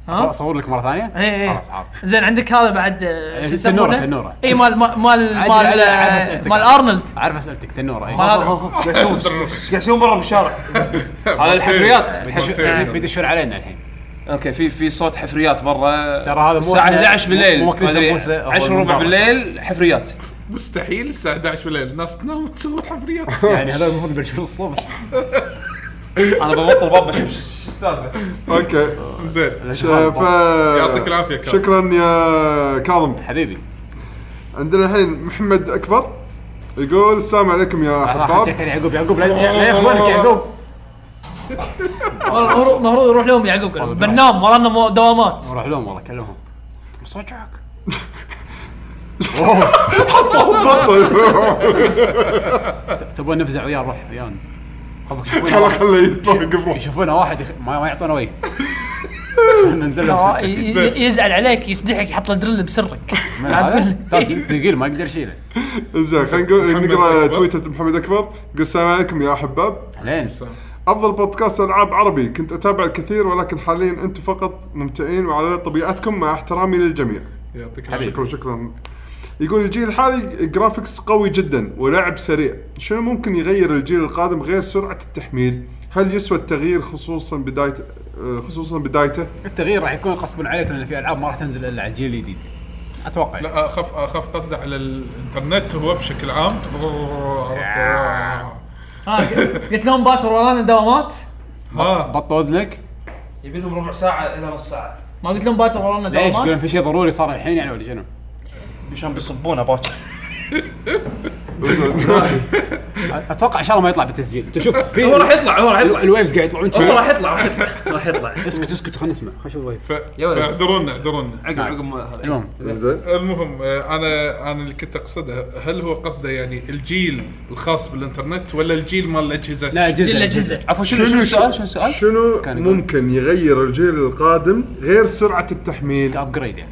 B: أص-
E: ها؟
B: اصور لك مره ثانيه؟
E: إيه، إيه.
B: خلاص عارف
E: زين عندك هذا بعد آه،
B: إيه،
E: شو يسمونه؟
B: تنورة، تنورة.
E: اي مال مال مال
B: عادي،
E: مال
B: عادي، عادي،
E: آه،
B: أسئلتك.
E: مال ارنولد
B: عارف اسئلتك تنوره
E: مال
B: إيه.
E: هذا
A: قاعد يسوون برا بالشارع هذا الحفريات
B: بيدش-
D: مرتين.
B: بيدشون علينا الحين
A: اوكي في في صوت حفريات برا
B: ترى هذا مو
A: الساعه
B: إحنا-
A: 11 بالليل
B: مو- مو كنيسة موسى، هو
A: 10 وربع
B: المنبر.
A: بالليل حفريات
D: مستحيل الساعه 11 بالليل الناس تنام وتسوي حفريات
B: يعني هذا المفروض بيدشون الصبح
A: انا ببطل باب بشوف شو شو السالفه
C: اوكي
D: زين
C: ش- ف-
D: يعطيك العافية، كاظم.
C: شكرا يا كاظم
B: حبيبي
C: عندنا الحين محمد اكبر يقول السلام عليكم يا
B: راح
C: احباب
B: أفجأك يا يعقوب يعقوب لا- لا لا يخبرك يا يعقوب
E: والله المفروض يروح لهم يعقوب قال، بنام ورانا مو- دوامات
B: نروح لهم والله كلمهم مصجعك تبون نفزع وياه نروح ويانا خلفك
C: خله
B: يشوفونا
C: خله يطلق بروحه
B: يشوفونا واحد يخ- ما ما يعطونا وي ننزل لهم
E: آه،
B: سكة شي.
E: ي- ي- يزعل عليك يسدحك يحط له درل بسرك
B: من هذا؟ طيب. ترى ثقيل ما اقدر اشيله
C: زين خلينا نقول
D: محمد
C: نقرا
D: أكبر.
C: تويتر محمد اكبر يقول السلام عليكم يا احباب
B: لين
C: افضل بودكاست العاب عربي كنت اتابع الكثير ولكن حاليا انتم فقط ممتعين وعلى طبيعتكم مع احترامي للجميع
D: يعطيك
B: حبيبي.
D: العافيه
C: شكرا شكرا يقول الجيل الحالي جرافيكس قوي جدا ولعب سريع شنو ممكن يغير الجيل القادم غير سرعه التحميل هل يسوى التغيير خصوصا بدايته آه، خصوصا بدايته
B: التغيير راح يكون غصبا عليك لان في العاب ما راح تنزل الا على الجيل الجديد اتوقع
D: لا اخاف اخاف قصده على الانترنت هو بشكل عام عرفت آه.
E: آه، قلت لهم باشر ورانا دوامات
D: ها
B: بط اذنك
A: يبي لهم ربع ساعه الى نص ساعه
E: ما قلت لهم باشر ورانا
B: ليش يقولون
E: دوامات
B: في شيء ضروري صار الحين يعني ولا شنو؟
A: عشان بيصبونه باكر
B: اتوقع ان شاء الله ما يطلع بالتسجيل انت شوف في
A: هو راح يطلع هو راح يطلع
B: الويفز قاعد يطلعون
A: هو راح يطلع راح يطلع راح يطلع
B: اسكت اسكت خلينا نسمع خلينا نشوف الويف
D: ف-
A: يا ولد.
D: فاعذرونا اعذرونا
A: عقب عقب ما هذا
B: المهم
C: زين
D: المهم آه، انا انا اللي كنت اقصده هل هو قصده يعني الجيل الخاص بالانترنت ولا الجيل مال الاجهزه؟
B: لا جزء
E: جل جزء
A: عفوا شنو شنو السؤال شنو السؤال؟
C: شنو
B: كان يقول.
C: ممكن يغير الجيل القادم غير سرعه التحميل
B: ابجريد يعني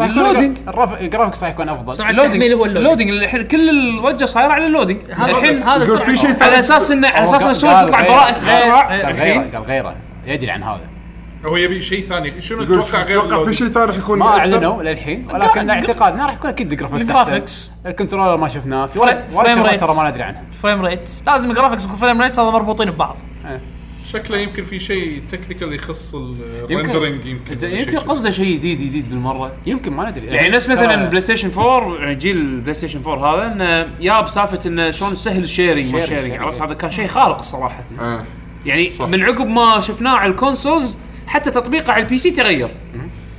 A: اللودينج.
B: الجرافكس راح يكون افضل
E: سرعه التحميل هو اللودينج
A: اللودينج الحين كل الضجه صايره على اللودينج
E: هذا
A: الحين
E: هذا
C: يقول في
E: سرعه
C: شيء
A: على
C: ثاني
A: اساس انه على اساس ان السوق
B: قال
A: تطلع
B: غير-
A: براءه
B: طيب، غير-
A: اختراع
B: قال غيره
A: الحين
B: قال غيره يدري عن هذا
D: هو يبي شيء ثاني شنو
C: يقول
D: تتوقع غير
C: اتوقع في
D: اللودينج؟
C: شيء ثاني راح يكون
B: ما
C: أكثر.
B: اعلنوا للحين ولكن اعتقادنا راح يكون اكيد الجرافكس
E: الجرافكس.
B: احسن الكنترولر ما شفناه في
E: فريم-
B: وايد وايد
E: فريم
B: شغلات
E: ريت.
B: ترى ما ندري عنها
E: فريم ريت لازم الجرافكس والفريم ريت هذا مربوطين ببعض
D: شكله يمكن في شيء تكنيكال يخص الرندرنج يمكن ولا شيء
A: يمكن
D: كذا.
A: قصده شيء جديد جديد بالمره
B: يمكن ما ندري
A: يعني نفس مثلا
B: ترى
A: بلاي ستيشن 4 يعني جيل البلاي ستيشن 4 هذا انه يا بسالفه انه شلون سهل الشيرنج ما
B: Sharing،
A: الشيرنج
B: sharing.
A: عرفت هذا كان شيء خارق الصراحه
C: آه.
A: يعني من عقب ما شفناه على الكونسولز حتى تطبيقه على البي سي تغير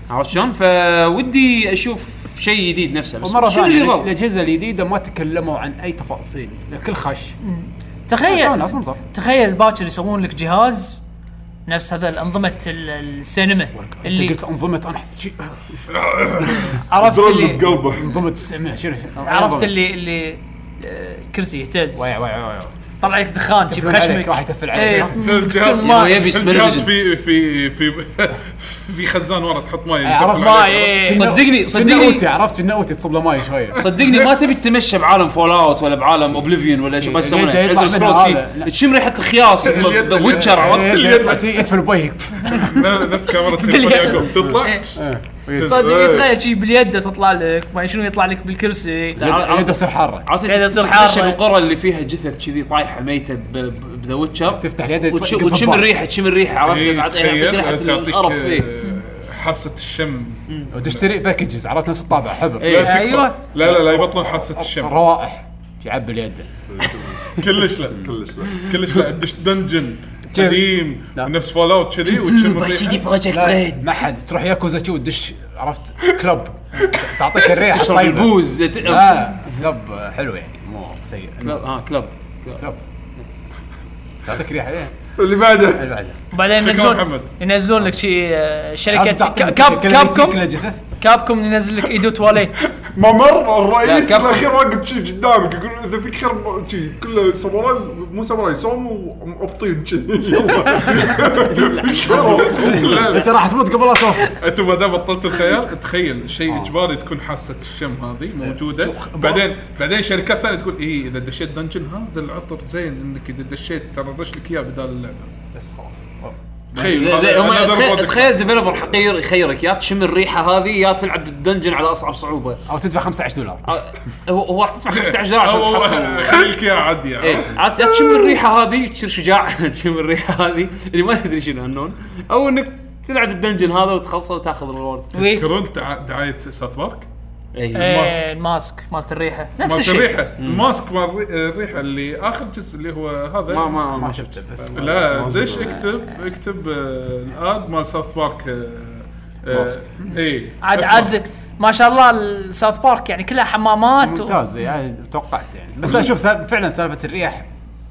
A: عرفت شلون؟ فودي اشوف شيء جديد نفسه بس
B: ومره
A: شنو اللي
B: ثانيه
A: غلط؟
B: الاجهزه الجديده ما تكلموا عن اي تفاصيل الكل خش
E: تخيل
B: أنا اصلا صح
E: تخيل باكر يسوون لك جهاز نفس هذا الانظمه ال- السينما
B: اللي
E: اللي
B: قلت انظمه انا شي-
E: عرفت
C: درل
E: اللي
C: بقلبه
B: انظمه السمع شنو شنو
E: عرفت اللي اللي آه، كرسي يهتز
B: وي وي وي
E: طلع لك دخان شي
B: يتفل عليك راح
E: بخشمك
B: يتفل
E: إيه.
B: عليك
D: الجهاز
E: ما-
A: هو يبي
D: الجهاز
A: سبيرجن
D: في في في في خزان ورا تحط ماي
B: عرفت
D: تقفل عليه.
E: ماي، إيه.
A: صدقني
B: صدقني
A: صدقني
B: اوتي عرفت انه اوتي تصب له ماي شويه
A: صدقني ما تبي تتمشى بعالم فول اوت ولا بعالم اوبليفيون ولا شو ما
B: شي.
A: يسمونه
B: يبدأ يطلع
A: Elder Scrolls
B: منها
A: شي.
B: يعني هذا. لا. يعني
A: تشم ريحه الخياس
D: اليد-
A: ويتشر
B: إيه،
A: عرفت؟
D: اللي يطلع.
B: شي يدفن بوجهك
D: ن- نفس كاميرا تليفون يعقوب تطلع
E: إيه.
C: إيه.
E: صدق تخيل شي باليد تطلع لك ما شنو يطلع لك بالكرسي أيوه.
B: يده تصير حاره
A: عرفت
E: قاعدة تصير حارة.
A: تتمشى بالقرى اللي فيها جثث كذي طايحه ميته بذا ويتشر
B: تفتح اليد
A: وتش-
B: يطلع-
A: وتشم الريحه تشم الريحه عرفت
D: إيه،
A: يعطيك
D: تخيل،
A: ريحه
D: تعطيك
A: القرف إيه.
D: آه، حاسه الشم
B: وتشتري باكجز عرفت نفس الطابع حبر
A: إيه.
D: لا، تكفى.
E: أيوة.
D: لا لا لا يبطلون حاسه الشم
B: روائح يعبي اليد
D: كلش لا
C: كلش لا.
D: كلش لا دش دنجن قديم
B: لا.
D: نفس فول اوت كذي وتشم الريحة.
E: بروجكت
B: لا ما حد تروح ياكوزا تشو تدش عرفت كلب تعطيك الريحه
A: تشرب
B: الطيبة.
A: البوز
B: طيب. لا كلب حلو يعني مو سيء
A: آه، كلب ها كلب
B: كلب تعطيك ريحه ايه
C: اللي بعده
B: اللي بعده
E: بعدين
D: شكراً
E: ينزلون
D: محمد.
E: ينزلون لك شي آه،
A: إيه،
E: شركه
B: لازم تعطيك
E: كاب
B: كل- كل-
E: كابكم
B: كل جثث
E: كابكم ينزل لك ايدو تواليت
C: ممر الرئيس
B: لا، كفو.
C: الاخير واقف شي قدامك يقول اذا فيك خير شي كله ساموراي مو ساموراي صوم ومقبطين شي يلا خلاص.
D: لا،
B: انت راح تموت قبل لا توصل
D: انتم ما دام بطلتوا الخيال تخيل شيء اجباري تكون حاسه الشم هذه موجوده بعدين بعدين شركات ثانيه تقول اي اذا دشيت دنجن هذا العطر زين انك اذا دشيت ترى رش لك اياه بدال اللعبه
B: بس خلاص
D: تخيل
A: زي- زي-
D: هذا-
A: هم
D: هذا
A: تخيل-
D: البرودكت.
A: تخيل ديفلوبر حقير يخيرك يا تشم الريحه هذه يا تلعب الدنجن على اصعب صعوبه
B: او تدفع 15 دولار
A: آه، هو هو راح تدفع 15 دولار
D: أو-
A: عشان
D: أو-
A: تحصل
D: خليك اياه عادي
A: ايه عاد يا تشم الريحه هذه تصير شجاع تشم الريحه هذه اللي ما تدري شنو النون او انك تلعب الدنجن هذا وتخلصه وتاخذ الريورد
D: تذكرون دع- دعايه ساوث بارك؟
A: اي
E: إيه، الماسك مالت الريحه نفس
D: مالت
E: الشيء
D: الريحه الماسك مال الري- الريحه اللي اخر جزء اللي هو هذا
A: ما ما ما
B: ما شفته بس
D: لا دش اكتب اكتب آه، الاد مال ساوث بارك آه، آه،
B: ماسك.
D: اي
E: عاد عاد ما شاء الله الساوث بارك يعني كلها حمامات و...
B: ممتاز يعني توقعت يعني بس اشوف سا- فعلا سالفه الريح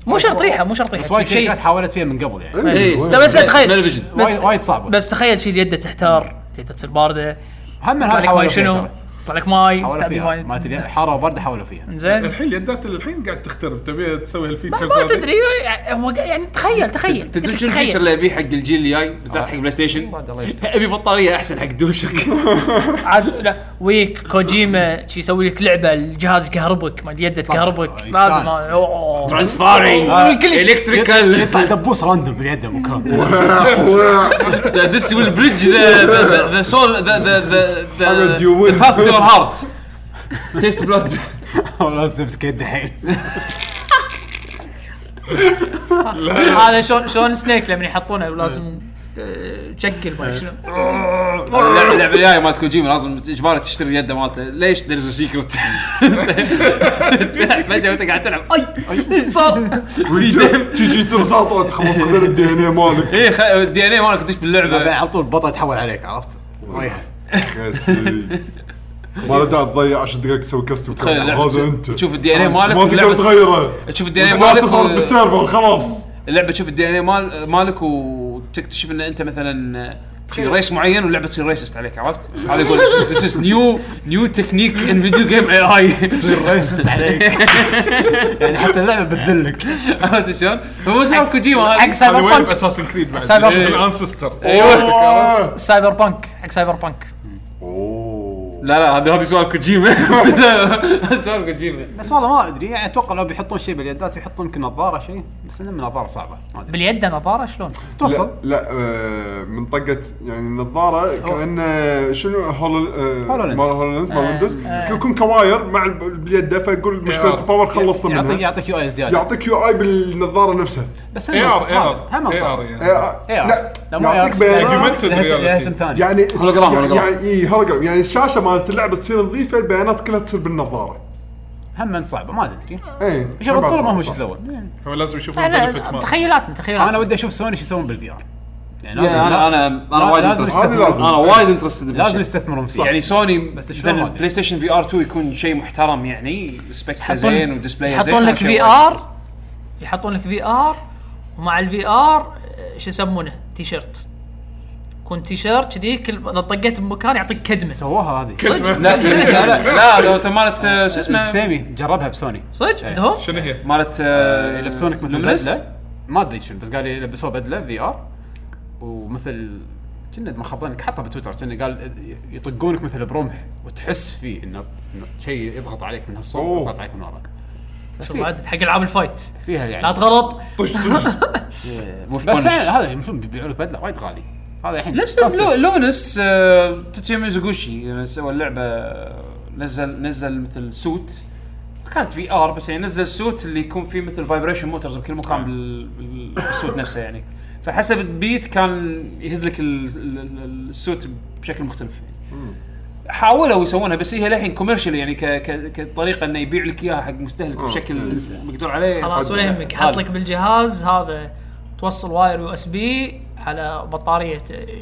E: مو شرط ريحه مو شرط ريحه
B: بس وايد
E: شيء- إيه.
B: شركات حاولت فيها من قبل يعني
A: اي
E: لا طيب، بس
A: سميل
E: اتخيل
A: فيجن
E: بس-
B: وايد وايد صعبه بس
E: بس تخيل شي يده تحتار يده تصير بارده
B: هم من هذا
E: يطلع لك ماي
B: حاولوا فيها
E: شنو
B: ترى.
E: يطلع لك ماي
B: حاولوا
E: تستعمل
B: فيها
E: ماي إيه،
B: مالت اليد- حاره وبرده حاولوا فيها
E: زين
D: الحين اليدات الحين قاعد تخترب تبي تسوي
E: ما,
D: الفيتشرز
E: ما
D: هذه؟
E: تدري هو قا- يعني تخيل تخيل
A: تدري
E: أنت
A: شنو
E: تخيل.
A: الفيتشر اللي ابيه حق الجيل الجاي بالذات حق بلاي ستيشن
B: آه. بعد الله يستر.
A: ابي بطاريه احسن حق دوشك
E: عاد لا ويك كوجيما شي يسوي لك لعبه الجهاز يكهربك ما يده تكهربك
B: طبعاً،
E: لازم آه،
B: يستانس.
E: أوه.
A: ترانسفارينج
B: آه.
A: الكتريكال
B: يطلع دبوس راندوم باليد مكان
A: ذس ويل بريدج ذا ذا سول ذا ذا ذا
C: How do you win?
A: ذا يور هارت تيست بلاد
B: والله امسك يده الحين
E: هذا شلون شلون سنيك لما يحطونه ولازم آه، تشكل ما شنو
A: اللعبه اللعبه الجايه مالت كوجيما لازم اجباري تشتري اليد مالته ليش ذيرز سيكرت فجاه انت قاعد تلعب اي ايش صار؟
C: تجي يصير ساطع تخلص خذ الدي ان اي إيه مالك
A: اي الدي ان اي إيه، مالك تدش
C: إيه.
B: بعدين
A: باللعبه
B: على طول البطل يتحول عليك عرفت ريح
C: ما له داعي تضيع 10 دقائق تسوي كاستم
A: تخيل اللعبة
C: هذا انت
A: تشوف الدي ان اي إيه، مالك
C: ما تقدر
A: واللعبة-
C: تغيره
A: تشوف الدي ان اي
C: ما
A: مالك
C: اتصلت
A: و-
C: بالسيرفر خلاص
A: اللعبه تشوف الدي ان اي مال مالك وتكتشف ان انت مثلا في ريس معين واللعبه تصير ريسست عليك عرفت؟ هذا يقول ذيس از نيو نيو تكنيك ان فيديو جيم اي اي
B: تصير ريسست عليك يعني حتى اللعبه بتذلك
A: عرفت شلون؟ هو شلون كوجيما هذا
E: حق
D: هذا
E: سايبر
D: وين
E: بانك
D: باساسن كريد بعد
E: سايبر
D: إيه.
E: بانك.
D: الانسسترز
C: أوه.
E: سايبر بانك حق سايبر بانك
C: اوه
A: لا لا هذا هذه سؤال كوجيما هذا سؤال كوجيما
B: بس والله ما ادري يعني اتوقع لو بيحطون شيء باليدات بيحطون يمكن نظاره شيء بس انه نظاره صعبه ما ادري
E: باليد نظاره شلون؟
B: توصل
C: لا آه، من طقه يعني النظاره كانه شنو هولو آه،
B: هولولينز.
C: مال هولولينز مال
E: آه،
C: ويندوز
E: آه.
C: يكون كواير مع الب- اليد فاقول مشكله
D: AR.
C: الباور خلصنا
B: يعطيك
C: منها
B: يعطيك يو اي زياده
C: يعطيك يو اي بالنظاره نفسها
B: بس
D: اي
B: هم
D: ار
B: صعب هم
D: اي ار اي ار
B: صعب
C: آه،
D: يعني.
C: آه،
B: AR.
C: لا
B: إيه، لا مو إيه،
C: يعطيك
B: AR.
C: بيانات
D: Augmented
B: لها اسم- لها
D: reality.
B: اسم ثاني
C: يعني
A: هولوجرام، هولوجرام.
C: يعني اي هولوجرام يعني الشاشه مالت اللعبه تصير نظيفه البيانات كلها تصير إيه، بالنظاره
B: هم صعبه ما ادري
C: اي
B: شوف الطلبه هم ايش يسوون
D: هو لازم يشوفون البنفيت
E: انا
D: مال
E: تخيلاتنا تخيلاتنا
B: انا ودي اشوف سوني شو يسوون بالفي ار يعني لازم
A: انا انا انا
B: لا-
A: وايد
B: لازم
A: interested.
C: هذه لازم
A: انا وايد انترستد
B: لازم يستثمرون فيه
A: يعني سوني
B: بس شلون ما
A: مثلا
B: أدري.
A: بلاي ستيشن في ار 2 يكون شيء محترم يعني سبيكتها
E: يحطون-
A: زين وديسبلاي زين
E: يحطون
A: هذا
E: لك
A: شيء
E: في
A: وايد.
E: ار يحطون لك في ار ومع الفي ار آه، شو يسمونه تي شيرت يكون تي شيرت كذي كل اذا طقيت بمكان يعطيك كدمه
B: سووها هذه
A: لا لا لا لا لو انت مالت آه، شو اسمه
B: سيمي جربها بسوني
E: صدق
A: إيه.
E: عندهم؟
D: شنو هي؟
A: مالت
B: يلبسونك مثل بدله ما ادري شنو بس قال لي لبسوه بدله في ار ومثل كنا ما خبرنك حطها بتويتر كنا قال يطقونك مثل برمح وتحس فيه انه إنه شيء يضغط عليك من هالصوب
C: أوه.
B: يضغط عليك من ورا
E: شوف عاد حق العاب الفايت
B: فيها
E: لا طيب،
B: يعني
E: تغلط
A: طيب.
B: بس يعني هذا المفروض بيبيعوا لك بدله وايد غالي هذا الحين
A: نفس
B: كاسيت.
A: لو- لومنس آه، تاتسويا ميزوغوشي لما سوى اللعبه آه، نزل نزل مثل سوت كانت في ار بس يعني نزل سوت اللي يكون فيه مثل فايبريشن موتورز بكل مكان بال- بال- بالسوت نفسه يعني فحسب البيت كان يهز لك ال- ال- ال- السوت بشكل مختلف يعني. حاولوا يسوونها بس هي للحين كوميرشال يعني ك- ك- كطريقه انه يبيع لك اياها حق مستهلك بشكل مقدور عليه
E: خلاص ولا يهمك حاط لك بالجهاز هذا
F: توصل واير يو اس بي على بطاريه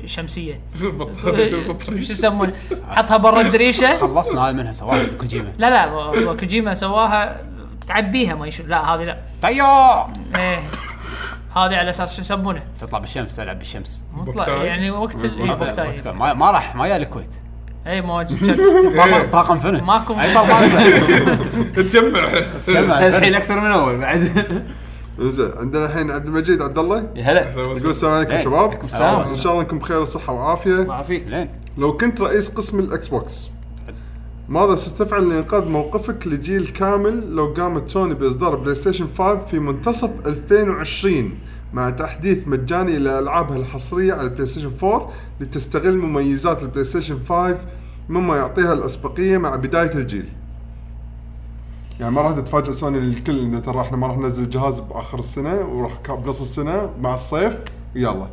F: شمسيه
E: إيه.
F: شو يسمون حطها برا الدريشه
B: خلصنا هاي منها سوالف كوجيما
F: لا لا و- وكوجيما سواها تعبيها ما يشوف لا هذه لا
B: طيار
F: ايه هذه على اساس شو يسمونه
B: تطلع بالشمس تلعب بالشمس
F: مطلع
D: بوكتاي.
F: يعني وقت ال- إيه،
E: طيب.
F: بوكتاي. إيه،
B: ما ما راح ما يا الكويت
C: إيه.
F: اي مواجهه
B: طاقم طاقم فنت
F: ماكو-
B: اي طاقم
D: تجمع
A: الحين
B: فنت
A: اكثر من اول بعد
C: زين عندنا الحين عبد المجيد عبد الله
A: يا هلا
C: يقول السلام عليكم
B: إيه.
C: شباب
A: عليكم السلام.
C: ان شاء الله انكم بخير صحه وعافيه
A: ما فيك
B: لين
C: لو كنت رئيس قسم الاكس بوكس ماذا ستفعل لانقاذ موقفك لجيل كامل لو قامت سوني باصدار بلاي ستيشن 5 في منتصف 2020 مع تحديث مجاني لالعابها الحصريه على البلاي ستيشن 4 لتستغل مميزات البلاي ستيشن 5 مما يعطيها الاسبقيه مع بدايه الجيل. يعني ما راح تتفاجئ سوني الكل انه ترى احنا ما راح ننزل جهاز باخر السنه وراح كا- بنص السنه مع الصيف يلا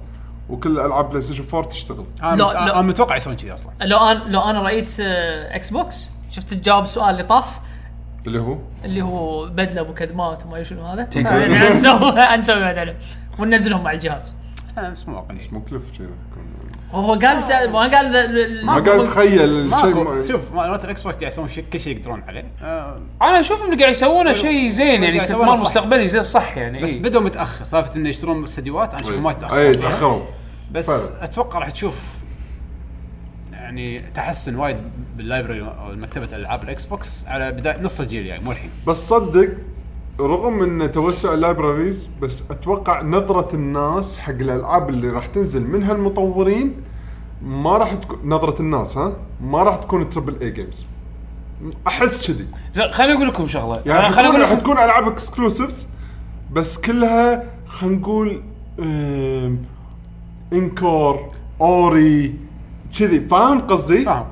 C: وكل العاب بلاي ستيشن 4 تشتغل.
B: انا
F: لا،
B: مت-
F: لا.
B: أنا متوقع يسوون كذي اصلا
F: لو انا لو انا رئيس آه، اكس بوكس شفت تجاوب سؤال اللي طاف
C: اللي هو
F: اللي هو بدله مكدمات وما أدري شنو هذا يعني نسوي نسوي بعد عليه وننزلهم مع الجهاز
B: أنا أه، بس مو واقعي
C: مكلف إيه. شيء راح يكون.
F: هو قال سأل ما قال ال- ال-
C: ما قاعد اتخيل شيء
B: ماكو
C: ما-
B: شوف مالت الاكس بوكس قاعد يسوون شي- كل شيء يقدرون عليه آه،
A: انا اشوف انه قاعد يسوونه شيء زين يعني
B: قاعد
A: استثمار
B: يسوونه صح.
A: مستقبلي زين صح يعني
B: بس
A: إيه.
B: بدوا متاخر سالفه انه يشترون استديوهات انا
C: إيه.
B: اشوف ما
C: اي
B: يتاخر
C: تاخروا
B: بس
C: فعلا.
B: اتوقع راح تشوف يعني تحسن وايد باللايبرري او مكتبه العاب الاكس بوكس على بدايه نص الجيل يعني مو الحين
C: بس صدق رغم ان توسع اللايبراريز بس اتوقع نظره الناس حق الالعاب اللي راح تنزل من هالمطورين ما راح تكون نظره الناس ها ما راح تكون تربل اي جيمز احس كذي
A: زين خليني اقول لكم شغله
C: يعني
A: أنا
C: راح
A: خليني اقول
C: تكون, راح
A: لكم
C: تكون العاب اكسكلوسيفز بس كلها خلينا نقول أم، انكور اوري كذي فاهم قصدي؟
B: فاهم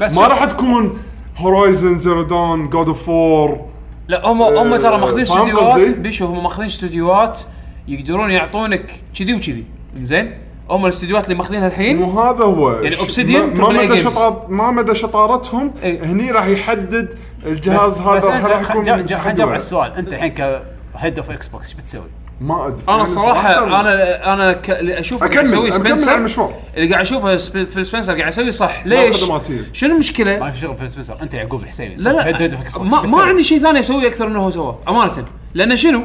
B: بس
C: ما
B: شوف،
C: راح تكون هورايزن زيرو دون جود اوف 4
A: لا هم هم ترى ماخذين
C: آه، فاهم
A: استديوهات
C: قصدي؟
A: بيشو هم ماخذين استديوهات يقدرون يعطونك كذي وكذي زين هم الاستديوهات اللي ماخذينها الحين
C: مو هذا هو
A: يعني
C: ش-
A: Obsidian
C: ما- ما
A: Triple A
C: مدى
A: games.
C: شطار ما مدى شطارتهم
A: إيه.
C: هني راح يحدد
B: بس-
C: الجهاز
B: بس
C: هذا
B: أنت
C: راح يكون
B: خل- جا- جا- خل
C: متحدد
B: نجاوب على
C: ولا.
B: السؤال انت الحين كهيد اوف اكس بوكس ايش بتسوي؟
C: ما ادري
A: انا
C: يعني
A: الصراحه انا انا ك... اللي اشوف اللي قاعد يسويه
C: اكمل اكمل على
A: سبنسر
C: المشوار
A: اللي قاعد اشوفه سب- في سبنسر قاعد يسوي صح ليش؟
C: خدماتية.
A: شنو المشكله؟
B: ما في شغل في سبنسر انت يعقوب الحسيني
A: لا
B: صرت Head of
A: لا
B: Xbox.
A: ما,
B: بس
A: ما
B: سوي.
A: عندي شيء ثاني اسويه اكثر منه هو سواه امانه لان شنو؟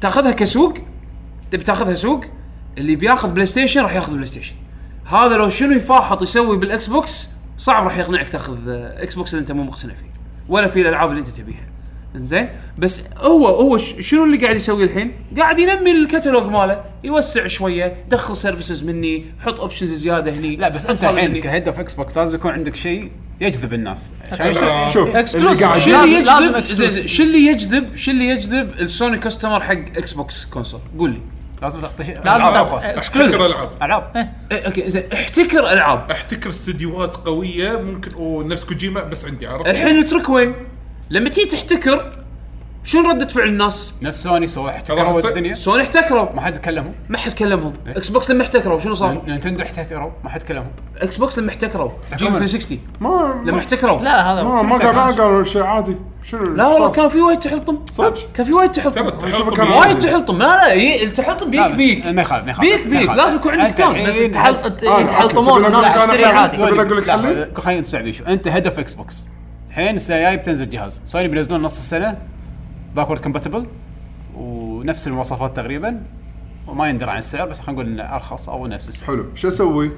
A: تاخذها كسوق تبي تاخذها سوق اللي بياخذ بلاي ستيشن راح ياخذ بلاي ستيشن هذا لو شنو يفاحط يسوي بالاكس بوكس صعب راح يقنعك تاخذ آه، اكس بوكس اللي انت مو مقتنع فيه ولا في الالعاب اللي انت تبيها زين بس هو هو ش- شنو اللي قاعد يسوي الحين؟ قاعد ينمي الكتالوج ماله، يوسع شويه، دخل سيرفيسز مني، حط اوبشنز زياده هني
B: لا بس انت
A: أطلع
B: الحين
A: مني.
B: كهيد اوف اكس بوكس لازم يكون عندك شيء يجذب الناس
C: شوف اللي
A: اكسكلوسيف
C: قاعد
A: شو
F: لازم-
A: اللي
F: لازم
A: يجذب
F: exclusive.
A: زين زين شو اللي يجذب شو اللي يجذب السوني كاستمر حق اكس بوكس كونسول قول لي
B: لازم تعطي شيء
F: لازم
B: ألعاب.
F: تعطي-
D: احتكر العاب
B: العاب
A: إيه، اوكي زين احتكر العاب
D: احتكر استديوهات قويه ممكن او نفس كوجيما بس عندي عرفت
A: الحين الترك وين؟ لما تيجي تحتكر شنو ردة فعل الناس؟
B: نفس سوني سووا احتكروا
D: ترى س-
B: الدنيا
A: سوني احتكروا
B: ما حد كلمهم
A: ما حد كلمهم اكس بوكس لما احتكروا شنو صار؟
B: نينتندو احتكروا ما حد كلمهم
A: اكس بوكس لما احتكروا جيل 360
C: ما
A: لما احتكروا
F: لا لا، هذا
C: ما ما قال ما قالوا شيء عادي شنو
A: لا والله
C: صار؟
A: كان في وايد تحلطم
C: صدق؟
A: كان في وايد
D: ترى
A: تحلطم
D: التحلطم
C: كان
D: يعني-
A: وايد تحلطم لا لا ي- التحلطم
B: لا،
A: بيك
B: بس-
A: بيك
B: ما يخالف ما يخالف
A: بيك
B: ما
A: بيك
B: يخالف.
A: لازم يكون عندك
B: أنت
A: كام
B: الحين-
F: تحلط-
C: آه،
F: يتحلطمون
C: أوكي،
F: الناس
C: أنا
F: تشتري
C: فعلاً-
F: عادي
C: إيه، أقول لك- أقول لك
B: لا،
C: خلي.
B: خلينا نسمع بيشو انت هدف اكس بوكس الحين السنه الجايه بتنزل جهاز سوني بينزلون نص السنه باكورد كومباتبل ونفس المواصفات تقريبا وما يندرى عن السعر بس خلينا نقول انه ارخص او نفس السعر
C: حلو شو اسوي؟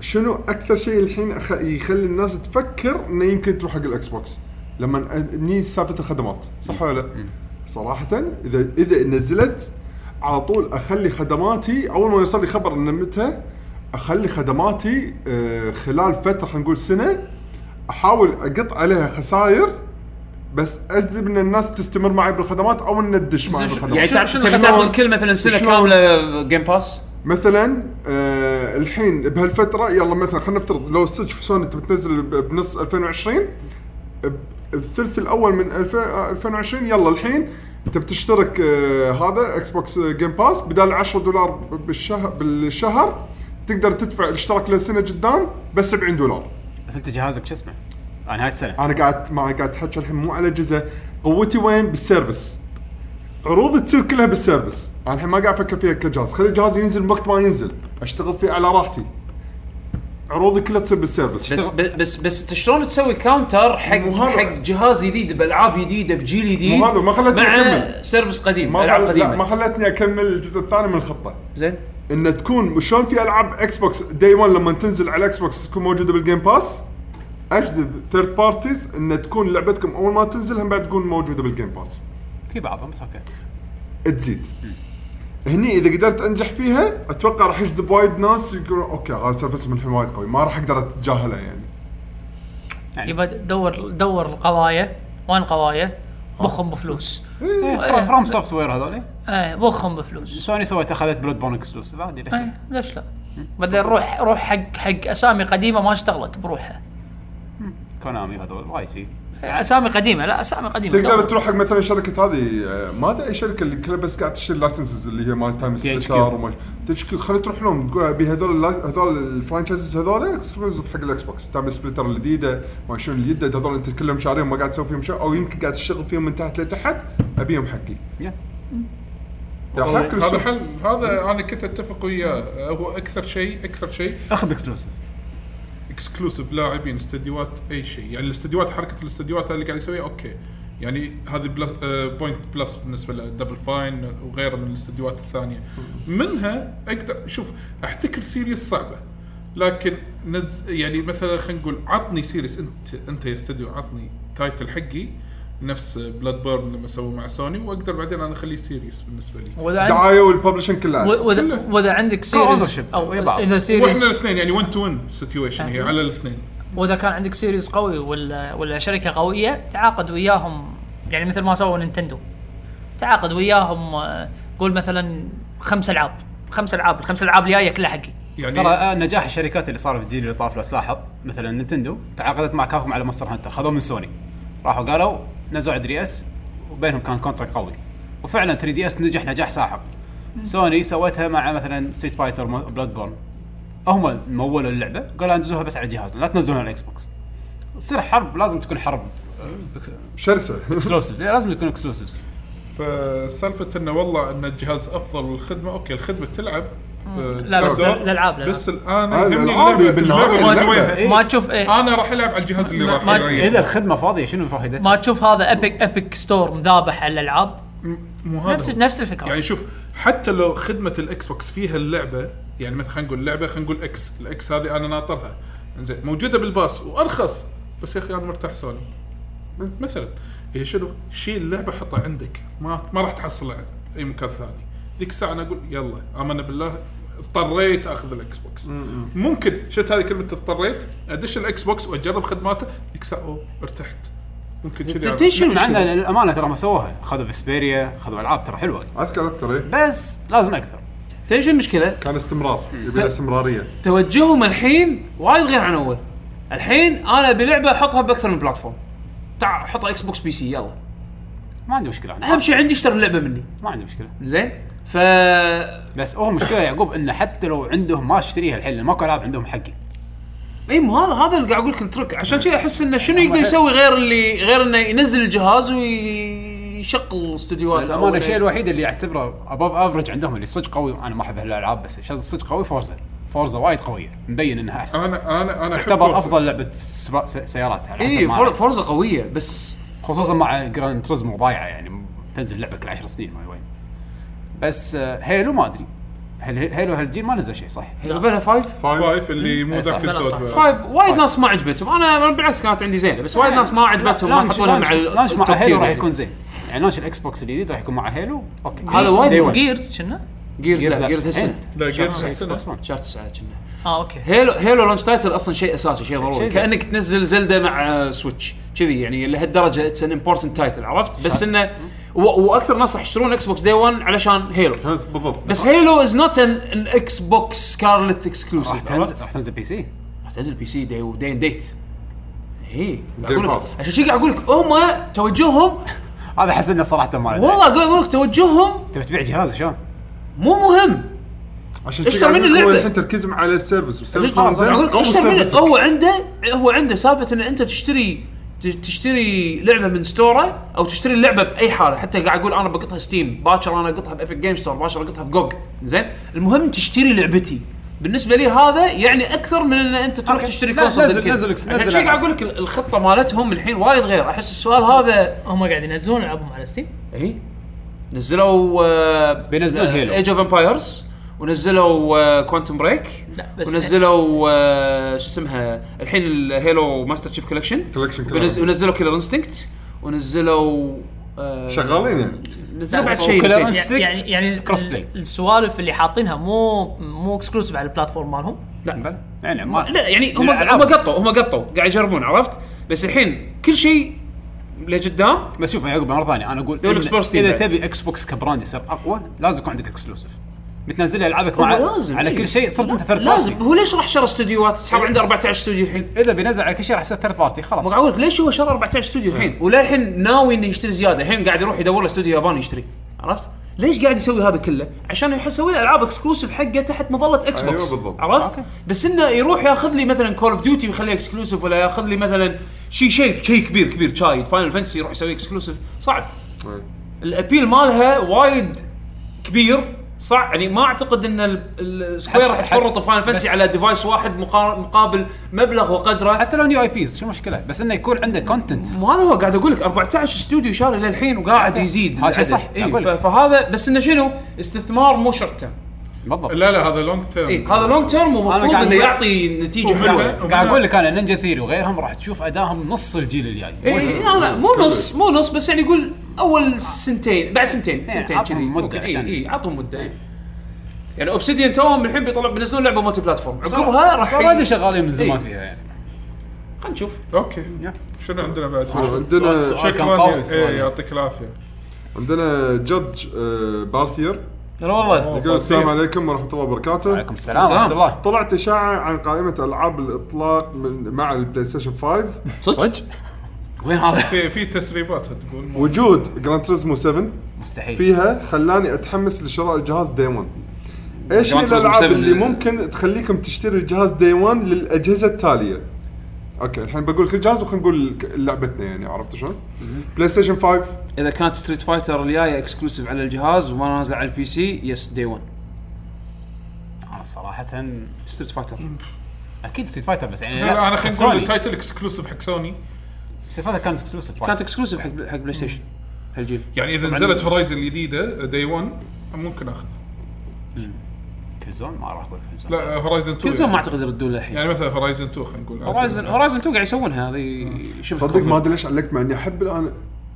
C: شنو اكثر شيء الحين أخ- يخلي الناس تفكر انه يمكن تروح حق الاكس بوكس؟ لما اني سالفه الخدمات صح ولا لا؟ صراحه اذا اذا نزلت على طول اخلي خدماتي اول ما يوصل لي خبر ان متى اخلي خدماتي آه، خلال فتره خلينا نقول سنه احاول اقط عليها خسائر بس اجذب ان الناس تستمر معي بالخدمات او ان تدش معي بالخدمات
A: يعني تعرف
F: شنو-
A: تبي
F: شنو-
A: تعطي الكل مثلا سنه
C: شلون؟
A: كامله جيم باس
C: مثلا آه الحين بهالفتره يلا مثلا خلينا نفترض لو صدق سوني تبي تنزل ب- بنص 2020 ب- الثلث الاول من 2000 آه، 2020 يلا الحين تبي تشترك آه هذا اكس بوكس آه، جيم باس بدال 10 دولار ب- بالشهر بالشهر تقدر تدفع الاشتراك لسنه قدام بس 70 دولار
B: بس انت جهازك شو اسمه؟
C: آه.
B: على نهايه السنه
C: انا قاعد ما قاعد اتحكى الحين مو على جزء قوتي وين بالسيرفس عروضي تصير كلها بالسيرفس انا الحين ما قاعد افكر فيها كجهاز خلي جهازي ينزل وقت ما ينزل اشتغل فيه على راحتي عروضي كلها تصير بالسيرفس
A: بس بس بس انت شلون تسوي كاونتر حق
C: مو هذا.
A: حق جهاز جديد بالعاب جديده بجيل جديد
C: مو هذا، ما خلتني
A: مع
C: أكمل.
A: سيرفس قديم
C: ما
A: العاب
C: خل... لا
A: قديمه
C: ما خلتني اكمل الجزء الثاني من الخطه
A: زين
C: ان تكون شلون في العاب اكس بوكس داي 1 لما تنزل على الاكس بوكس تكون موجوده بالجيم باس اجذب ثيرد بارتيز ان تكون لعبتكم اول ما تنزل هم بعد تكون موجوده بالجيم باس
B: في بعضهم بس اوكي
C: تزيد هني اذا قدرت انجح فيها اتوقع راح يجذب وايد ناس يقولون اوكي هذا سيرفس من الحين وايد قوي ما راح اقدر اتجاهله يعني
F: يبقى دور دور القضايا وين القضايا؟
C: آه.
F: بخهم بفلوس
B: إيه، فروم سوفت وير هذول
F: ايه بخهم بفلوس
B: سوني سوت اخذت بلود بورن اكسلوسيف عادي ليش لا؟
E: إيه.
F: ايه ليش لا؟ بعدين روح روح حق حق اسامي قديمه ما اشتغلت بروحها
B: كونامي هذول وايد في
F: اسامي قديمه لا اسامي قديمه
C: تقدر
F: دور.
C: تروح حق مثلا شركه هذه آه، ما ادري اي شركه اللي كلها بس قاعد تشتري لايسنسز اللي هي مال تايم
B: THQ.
C: ستار وما تشكي خلي تروح لهم تقول ابي هذول اللايس- هذول الفرانشايزز هذول اكسكلوزف حق الاكس بوكس تايم سبليتر الجديده ما شنو الجديد هذول انت كلهم شاريهم ما قاعد تسوي فيهم شيء او يمكن قاعد تشتغل فيهم من تحت لتحت ابيهم حقي
B: يا.
C: يا
D: هذا
C: حق
D: هذا
C: السوق.
D: حل هذا انا كنت اتفق وياه هو اكثر شيء اكثر شيء
B: اخذ اكسلوسيف
D: اكسكلوسيف لاعبين استديوهات اي شيء يعني الاستديوهات حركه الاستديوهات اللي قاعد يسويها اوكي يعني هذه بلس بوينت بلس بالنسبه لدبل فاين وغيره من الاستديوهات الثانيه منها اقدر شوف احتكر سيريس صعبه لكن نز يعني مثلا خلينا نقول عطني سيريس انت انت يا استديو عطني تايتل حقي نفس بلاد بيرن لما سووا مع سوني واقدر بعدين انا اخليه سيريس بالنسبه لي
F: واذا عندك
C: دعايه والببلشن كلها
F: و- واذا
D: كله. إيه،
F: واذا عندك سيريز
B: ownership
F: او
B: ويا بعض.
F: اذا
D: واحنا
F: سيريز
D: الاثنين يعني 1 تو 1 سيتويشن هي على الاثنين
F: واذا كان عندك سيريز قوي ولا ولا شركه قويه تعاقد وياهم يعني مثل ما سووا نينتندو تعاقد وياهم آه، قول مثلا خمس العاب خمس العاب الخمس العاب الجايه كلها حقي
D: يعني
B: ترى آه، نجاح الشركات اللي صار في الجيل اللي طاف لو تلاحظ مثلا نينتندو تعاقدت مع كابكم على مونستر هانتر خذوه من سوني راحوا قالوا نزلوا على 3 اس وبينهم كان كونتراكت قوي وفعلا 3 دي اس نجح نجاح ساحق سوني سوتها مع مثلا ستريت فايتر بلاد بورن هم مولوا اللعبه قالوا انزلوها بس على جهازنا لا تنزلونها على الاكس بوكس تصير حرب لازم تكون حرب
C: شرسه
B: اكسلوسيف لازم يكون اكسلوسيفز
D: فسالفه انه والله ان الجهاز افضل والخدمه اوكي الخدمه تلعب آه،
F: لا، بس
D: تلعب.
F: الألعاب، الألعاب.
D: بس الان
C: آه،
D: يهمني
C: الألعاب
D: اللعبة،
C: بالنهار،
D: اللعبة إيه. آه. ما
C: اللعبة.
D: جويها.
F: ما تشوف ايه
D: انا راح العب على الجهاز اللي
F: ما-
D: راح
F: ما-
D: يريح.
B: اذا الخدمه فاضيه شنو فائدتها؟
F: ما تشوف هذا ابيك ابيك ستور مذابح على الالعاب
D: مو هذا
F: نفس
D: هو.
F: نفس
E: آه.
F: الفكره
D: يعني شوف حتى لو خدمه الاكس بوكس فيها اللعبه يعني مثلا خلينا نقول لعبه خلينا نقول اكس الاكس هذه انا ناطرها زين موجوده بالباص وارخص بس يا اخي انا مرتاح سوني مثلا هي شنو شيل اللعبه حطها عندك ما ما راح تحصلها اي مكان ثاني ذيك الساعه انا اقول يلا امنا بالله اضطريت اخذ الاكس بوكس ممكن شفت هذه كلمه اضطريت ادش الاكس بوكس واجرب خدماته ذيك الساعه أوه، ارتحت ممكن شنو يعني؟
B: شنو عندنا الامانه ترى ما سووها خذوا فيسبيريا خذوا العاب ترى حلوه
C: اذكر اذكر إيه.
B: بس لازم اكثر
A: تدري شو المشكله؟
C: كان استمرار يبي
B: طيب.
C: له استمراريه
A: توجههم الحين وايد غير عن اول الحين انا بلعبه احطها باكثر من بلاتفورم تعال حطها اكس بوكس بي سي يلا
B: ما عندي مشكله أنا.
A: اهم شيء عندي اشتري اللعبه مني
B: ما عندي مشكله
A: زين ف
B: بس هو مشكله يا يعقوب انه حتى لو عندهم ما اشتريها الحين لأن ماكو العاب عندهم حقي
A: اي إيه، مو هذا هذا اللي قاعد اقول لك الترك عشان شي احس انه شنو يقدر يسوي غير اللي غير انه ينزل الجهاز
C: يعني
A: ويشغل استديوهاته أو
B: الامانه الشيء
D: إيه.
A: شيء
B: الوحيد اللي اعتبره ابوف افرج عندهم اللي صدق قوي انا ما احب هالالعاب بس الشيء صدق قوي فورزا فورزا وايد قويه مبين انها احسن
D: انا انا انا أحب
B: تعتبر
D: فورزا. إيه،
B: افضل لعبه سبا- س- سيارات على حسب
A: اي
B: ما
A: إيه، فور-
B: أعرف.
A: فورزا قويه بس
B: خصوصا مع جراند تريزمو ضايعه يعني م- تنزل لعبه كل 10 سنين ما وين بس آه، هيلو ما ادري هل هيلو هالجيل ما نزل شيء صح؟
A: غبلها فايف
D: فايف اللي مو
B: إيه، صح.
D: ذاك
B: لا،
F: لا، صح،
D: السود
F: صح.
A: فايف وايد ناس ما عجبتهم انا بالعكس كانت عندي زينه بس وايد ناس ما عجبتهم ما
B: لانش
A: حطونها
B: لانش-
A: مع ال-
B: لانش مع
A: التوب
B: هيلو
A: تير
B: راح
A: يعني.
B: يكون زين يعني لانش الاكس بوكس الجديد راح يكون مع هيلو اوكي
A: هذا وايد
B: Day one.
F: جيرز كنا
A: جيرز لا
B: لا.
A: جيرز هالسنه
B: شهر
D: لا جيرز
B: تسعة
D: السنه
B: Xbox One.
A: شهر 9 كنا
F: اه اوكي
A: هيلو هيلو لونش تايتل اصلا شيء اساسي شيء ضروري
B: شيء زين.
A: كانك تنزل زلدا مع آه، سويتش كذي يعني لهالدرجه اتس ان امبورتنت تايتل عرفت بس انه و- واكثر ناس راح يشترون اكس بوكس دي 1 علشان هيلو
C: هز- بالضبط
A: بس هيلو از نوت ان اكس بوكس سكارلت
B: راح
A: اكسكلوسيف
B: تنزل
A: راح
B: راح تنزل بي سي
A: تنزل بي سي دي ودي ديت اي اقول لك
C: Pass.
A: عشان شي قاعد اقول لك هم توجههم
B: هذا حسنا صراحه ما ادري
A: والله قاعد اقول لك توجههم
B: تبي تبيع جهاز شلون؟
A: مو مهم
C: عشان
A: اشتري
C: كذا
A: من
C: عندكم
A: اللعبة.
C: هو الحين تركيزهم على السيرفس والسيرفس
A: ليش ما
C: مو زين
A: اقول لك
C: قوي
A: اشتري من
C: السيرفس
A: هو عنده هو عنده سالفه ان انت تشتري ت- تشتري لعبه من ستوره او تشتري اللعبه باي حاله حتى قاعد اقول انا بقطها ستيم باكر انا اقطها بابيك جيم ستور باكر اقطها بجوج زين المهم تشتري لعبتي بالنسبه لي هذا يعني اكثر من ان انت تروح
B: أوكي.
A: تشتري
B: لا،
A: كونسول
B: نزل-
A: بالكل.
B: نزل إكس-
A: عشان
B: نزل
A: شي قاعد
B: ألعاب.
A: اقول لك الخطه مالتهم الحين وايد غير احس السؤال هذا
F: هم قاعد ينزلون العابهم على ستيم
A: اي إيه؟ نزلوا آه،
B: بينزلون هيلو.
A: ايج اوف امبايرز ونزلوا كوانتم بريك
F: لا، بس-
A: ونزلوا آه، شو اسمها الحين الهيلو ماستر تشيف كولكشن
C: Collection
A: ونز-
C: كلها.
A: ونزلوا كيلر انستنكت ونزلوا آه،
C: شغالين يعني
A: نزلوا بعد شيء
B: وكلر
A: نسيت.
B: Instinct.
F: يعني يعني, يعني
B: كروس
F: ال-
B: بلاي.
F: السوالف اللي حاطينها مو مو اكسكلوسيف على البلاتفورم مالهم
B: بلى يعني ما
A: لا يعني هم
B: بالألعاب.
A: هم قطوا هم قطوا قاعد يجربون عرفت بس الحين كل شيء لقدام
B: بس شوف يا يعقوب مره ثانيه انا اقول
A: دول
B: إن-
A: إكسبلور ستيم
B: اذا
A: بعد.
B: تبي اكس بوكس كبراند يصير اقوى لازم يكون عندك اكسكلوسيف بتنزل لي العابك مع
A: هو لازم
B: على
A: إيه.
B: كل شيء صرت انت ثيرد
A: لازم
B: بارتي
A: هو ليش راح شرى استديوهات اصحاب عنده 14 استوديو الحين
B: اذا بينزل على كل شيء راح يصير ثيرد بارتي خلاص
A: بقول لك ليش هو شرى 14 استوديو الحين وللحين ناوي انه يشتري زياده الحين قاعد يروح يدور له استوديو ياباني يشتري عرفت ليش قاعد يسوي هذا كله عشان يسوي له العاب اكسكلوسيف حقه تحت مظله اكس بوكس
C: أيوة بالضبط.
A: عرفت بس انه يروح ياخذ لي مثلا كول اوف ديوتي ويخليه اكسكلوسيف ولا ياخذ لي مثلا شيء شيء شيء كبير كبير شاي فاينل فانتسي يروح يسوي اكسكلوسيف صعب
C: أي.
A: الابيل مالها وايد كبير صح يعني ما اعتقد ان ال- ال- السكوير
B: حتى-
A: راح تفرط
B: حتى-
A: فاينل فانتسي
B: بس-
A: على ديفايس واحد مقار- مقابل مبلغ وقدره
B: حتى لو نيو اي بيز شو المشكله بس انه يكون عنده كونتنت
A: مو هذا هو قاعد اقول لك 14 استوديو شاري للحين وقاعد يزيد
B: هذا شيء
A: العدد.
B: صح،
A: إيه،
B: أقول لك.
A: ف- فهذا بس انه شنو استثمار مو شورت تيرم
B: بالضبط
D: لا لا هذا لونج تيرم
A: إيه هذا لونج تيرم
B: أنا
A: ومفروض
B: قاعد
A: انه
B: أقول-
A: يعطي نتيجه
D: ومنها-
A: حلوه
B: يعني قاعد اقول لك انا نينجا ثيري وغيرهم راح تشوف ادائهم نص الجيل الجاي
A: إيه، إيه انا مو نص مو نص بس يعني قول اول سنتين بعد سنتين
B: آه. إيه،
A: سنتين
B: عطهم
A: كذي
B: مدة
A: ممكن.
B: عشان-
A: اي اي عطهم مده إيه. يعني اوبسيديان توهم الحين بيطلع بينزلون لعبه مالتي بلاتفورم
B: صار-
A: عقبها راح
B: صار
A: ي-
B: اوريدي شغالين من زمان
A: إيه.
B: فيها يعني
A: خلينا نشوف
D: اوكي شنو عندنا بعد؟
C: عندنا
B: سؤال- سؤال. كان
D: شكرا
B: قوي
D: يا-
B: السؤال.
D: إيه، يعطيك العافيه
C: عندنا جدج آه، بارثير
A: هلا والله
D: أوه،
C: يقول السلام
D: بارثير.
C: عليكم ورحمه الله وبركاته
B: عليكم السلام ورحمه الله
C: طلعت اشاعه عن قائمه العاب الاطلاق من مع البلاي ستيشن 5
A: صدق وين هذا؟
D: في في تسريبات تقول مو-
C: وجود جراند تريزمو 7
B: مستحيل
C: فيها خلاني اتحمس لشراء الجهاز دي 1 ايش
A: Gran
C: هي
A: Turismo
C: الالعاب
A: 7
C: اللي ممكن تخليكم تشتري الجهاز دي 1 للاجهزه التاليه اوكي الحين بقول لك الجهاز وخلينا نقول ك- لعبتنا يعني عرفت شلون؟ بلاي ستيشن 5
A: اذا كانت ستريت فايتر الجايه اكسكلوسيف على الجهاز وما نازله على البي سي يس دي 1
B: انا صراحه
A: ستريت فايتر
B: اكيد ستريت فايتر بس يعني
D: لا، انا خلينا نقول
B: سوني.
D: التايتل اكسكلوسيف حق سوني
B: ستريت فايتر كانت اكسكلوسيف
A: كانت اكسكلوسيف حق حق بلاي ستيشن هالجيل
B: طيب.
D: يعني اذا نزلت هورايزن الجديده دي 1 ممكن اخذ
B: كل زون ما راح اقول كل زون
D: لا هورايزن 2
A: كل زون ما
D: يعني.
A: اعتقد يردون له الحين
D: يعني مثلا هورايزن 2 خلينا نقول
A: هورايزن هورايزن 2 قاعد يسوونها هذه شوف
C: صدق ما ادري ليش علقت مع اني احب الان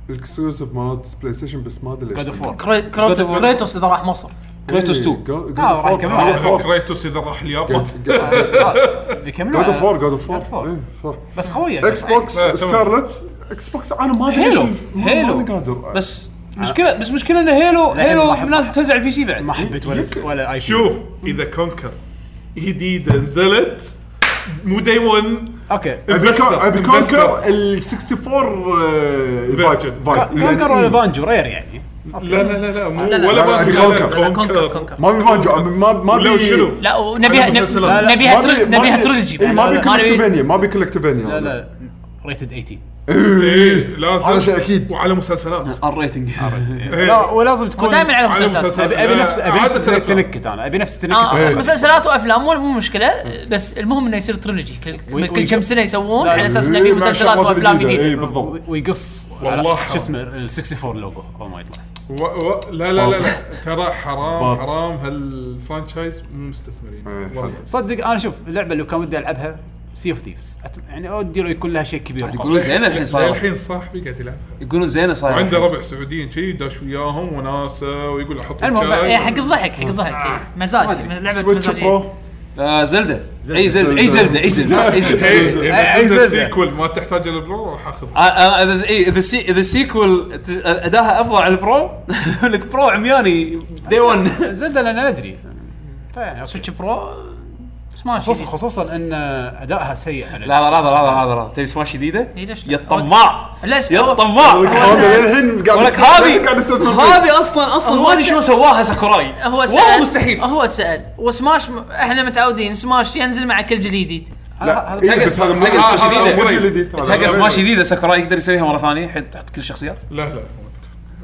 C: الاكسكلوسيف مالت بلاي ستيشن بس ما ادري ليش إيه،
B: جاد اوف وور
F: كري-
A: God of War.
F: كرا- كريتوس اذا راح مصر
A: كريتوس 2
B: آه، راح يكملون على
D: كريتوس اذا راح اليابان
B: بيكملون
C: جاد اوف وور جاد اوف
B: God of War.
C: وور صح
B: بس قويه
C: اكس بوكس
D: لا، تمام.
C: سكارلت اكس بوكس انا ما ادري
A: هيلو
C: ليش- ما-
A: هيلو
C: ماني قادر
A: بس مشكله بس مشكله ان هيلو
B: لا،
A: هيلو
B: ما أحب-
A: نازل
B: ما أحب.
A: تنزل على البي سي بعد
B: ما حبيت ولا ولا اي شيء
D: شوف اذا كونكر جديده نزلت مو دي 1
B: اوكي
D: Investor.
C: ابي
D: Investor.
C: كونكر ال 64 آه،
D: Virgin.
C: Vibe.
B: كا-
C: يعني
B: كونكر ولا بانجو رير يعني
D: لا لا لا لا مو
F: لا، لا.
D: ولا
C: لا،
D: بانجو،
C: لا،
D: ولا
C: كونكر.
F: لا، كونكر كونكر
C: ما ابي مانجو أبي ما ما
D: ولا
C: ابي
D: شنو؟
F: لا ونبيها
D: على
E: نب-
D: مسلسلات.
B: لا،
E: نبيها
C: ما أبي-
E: تري-
C: ما
E: نبيها
C: أبي-
E: تريلوجي
C: إيه، ما ابي
E: بعد. ما نبي-
C: كولكتيفينيا ما ابي كولكتيفينيا
B: لا لا ريتد 18
D: إيه، لازم
C: هذا شيء أكيد.
D: وعلى مسلسلات
A: نعم. الريتنج
D: إيه.
B: لا ولازم تكون
F: ودائما على
D: على
F: المسلسلات
D: مسلسلات.
B: ابي ابي
D: لا،
B: نفس ابي نفس
D: عادة
B: التنكت انا ابي نفس
F: اه
C: إيه.
B: التنكت
F: آه، مسلسلات وافلام مو مو مشكله بس المهم انه يصير تريلوجي كل,
B: وي-
F: كل كم
B: وي-
F: سنه يسوون
B: لا،
F: على اساس انه
C: إيه،
F: في
C: مع
F: مسلسلات
C: شغلات
F: وافلام
C: جديدة. إيه،
F: جديده
C: بالضبط
B: ويقص
D: والله
B: على- شو
D: حرام.
B: اسمه ال 64 لوجو اول ما يطلع
D: و... و... لا لا لا, لا. ترى حرام
C: بط.
D: حرام هالفرانشايز مو مستثمرين
C: إيه، حلو.
D: والله.
B: صدق انا شوف اللعبه اللي كان ودي العبها سي اوف ثيفز يعني ودي لو يكون لها شيء كبير
A: يقولون زينه الحين صايره
D: الحين صاحبي قاعد يلعبها
A: يقولون زينه صايره
D: وعنده ربع سعوديين كذي داش وياهم وناسه ويقول احط
F: المهم
D: الشاي.
F: إيه، حق الضحك حق الضحك إيه. مزاج لعبه
C: آه. سويتش
F: مزاجيه
C: برو
A: آه، زلده اي زلده اي زلده اي زلده اي زلده
D: إيه،
B: إيه،
D: اذا نزل
B: زلدة.
D: السيكول ما تحتاج الا برو راح اخذ
A: آه، آه، اذا إيه، اذا السي- اذا السيكول ت- اداها افضل على البرو لك برو عمياني دي 1
B: زلده لان ندري فيعني أوكي.
F: سويتش برو سماش
B: خصوصا خصوصا ان ادائها سيء على
A: لا لا لحظه لحظه لحظه لحظه تبي سماش جديده؟
F: إيه، ليش لا؟
A: يا الطماع
F: ليش
A: يا
F: هو-
A: الطماع
C: هذا للحين قاعد
A: ولك
C: قاعد يستثمر
A: هذه
C: فيه.
A: هذه اصلا اصلا
F: هو
A: ما ادري
F: س-
A: شلون سواها ساكوراي
F: هو
A: والله
F: سأل
A: مستحيل
F: هو سأل وسماش م... احنا متعودين سماش ينزل مع كل جيل جديد
C: لا
B: هذا-
C: إيه، بس هذا مو-
A: تهجس
C: هذا
A: جديدة.
C: مو جديد
A: بس هاجر سماش جديده ساكوراي يقدر يسويها مره ثانيه حيت تحط كل الشخصيات
D: لا لا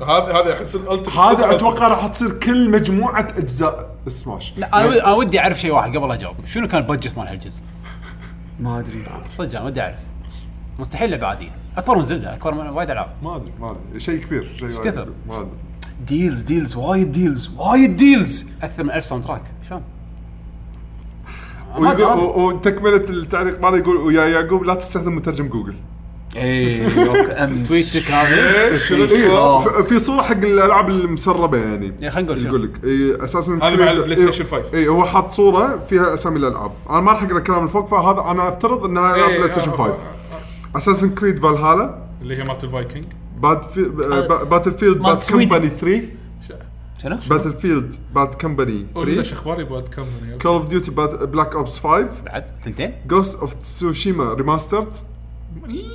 D: هذا هذا احس الالتر
C: هذا اتوقع راح تصير كل مجموعه اجزاء سماش
B: لا انا ودي- أنا ودي اعرف شيء واحد قبل اجاوب شنو كان البادجت مال هالجزء؟
A: ما ادري
B: صدق انا ودي اعرف مستحيل لعبه عاديه اكبر من زلده اكبر من وايد العاب
C: ما ادري ما ادري شيء كبير شيء وايد
B: كثر؟
C: كبير. ما ادري
A: ديلز ديلز وايد ديلز وايد ديلز
B: اكثر من 1000 ساوند تراك شلون؟ ما
C: ويقول-
B: أدري،
C: و- وتكمله التعليق ماله يقول ويا يعقوب لا تستخدم مترجم جوجل
A: اي
B: تويتك هذا
C: إيه،
A: آه.
C: ف- في صوره حق الالعاب المسربه يعني
B: إيه، خلينا نقول شنو.
C: يقول لك إيه اساسا
D: هذا مع البلاي ستيشن 5.
C: اي إيه، هو حاط صوره فيها اسامي الالعاب انا ما راح اقرا الكلام اللي فوق فهذا انا افترض
D: إيه،
C: انها العاب بلاي ستيشن 5 اساسا كريد فالهالا
D: آه، اللي هي مالت الفايكنج
C: باد في باتل فيلد
F: مال
C: باد
F: سويدن.
C: كمباني 3
A: شنو؟
C: باتل فيلد باد كمباني
D: ليش
C: 3
D: اخباري بعد كم
C: كول اوف ديوتي بلاك اوبس 5
B: بعد ثنتين
C: جوست اوف تسوشيما ريماسترد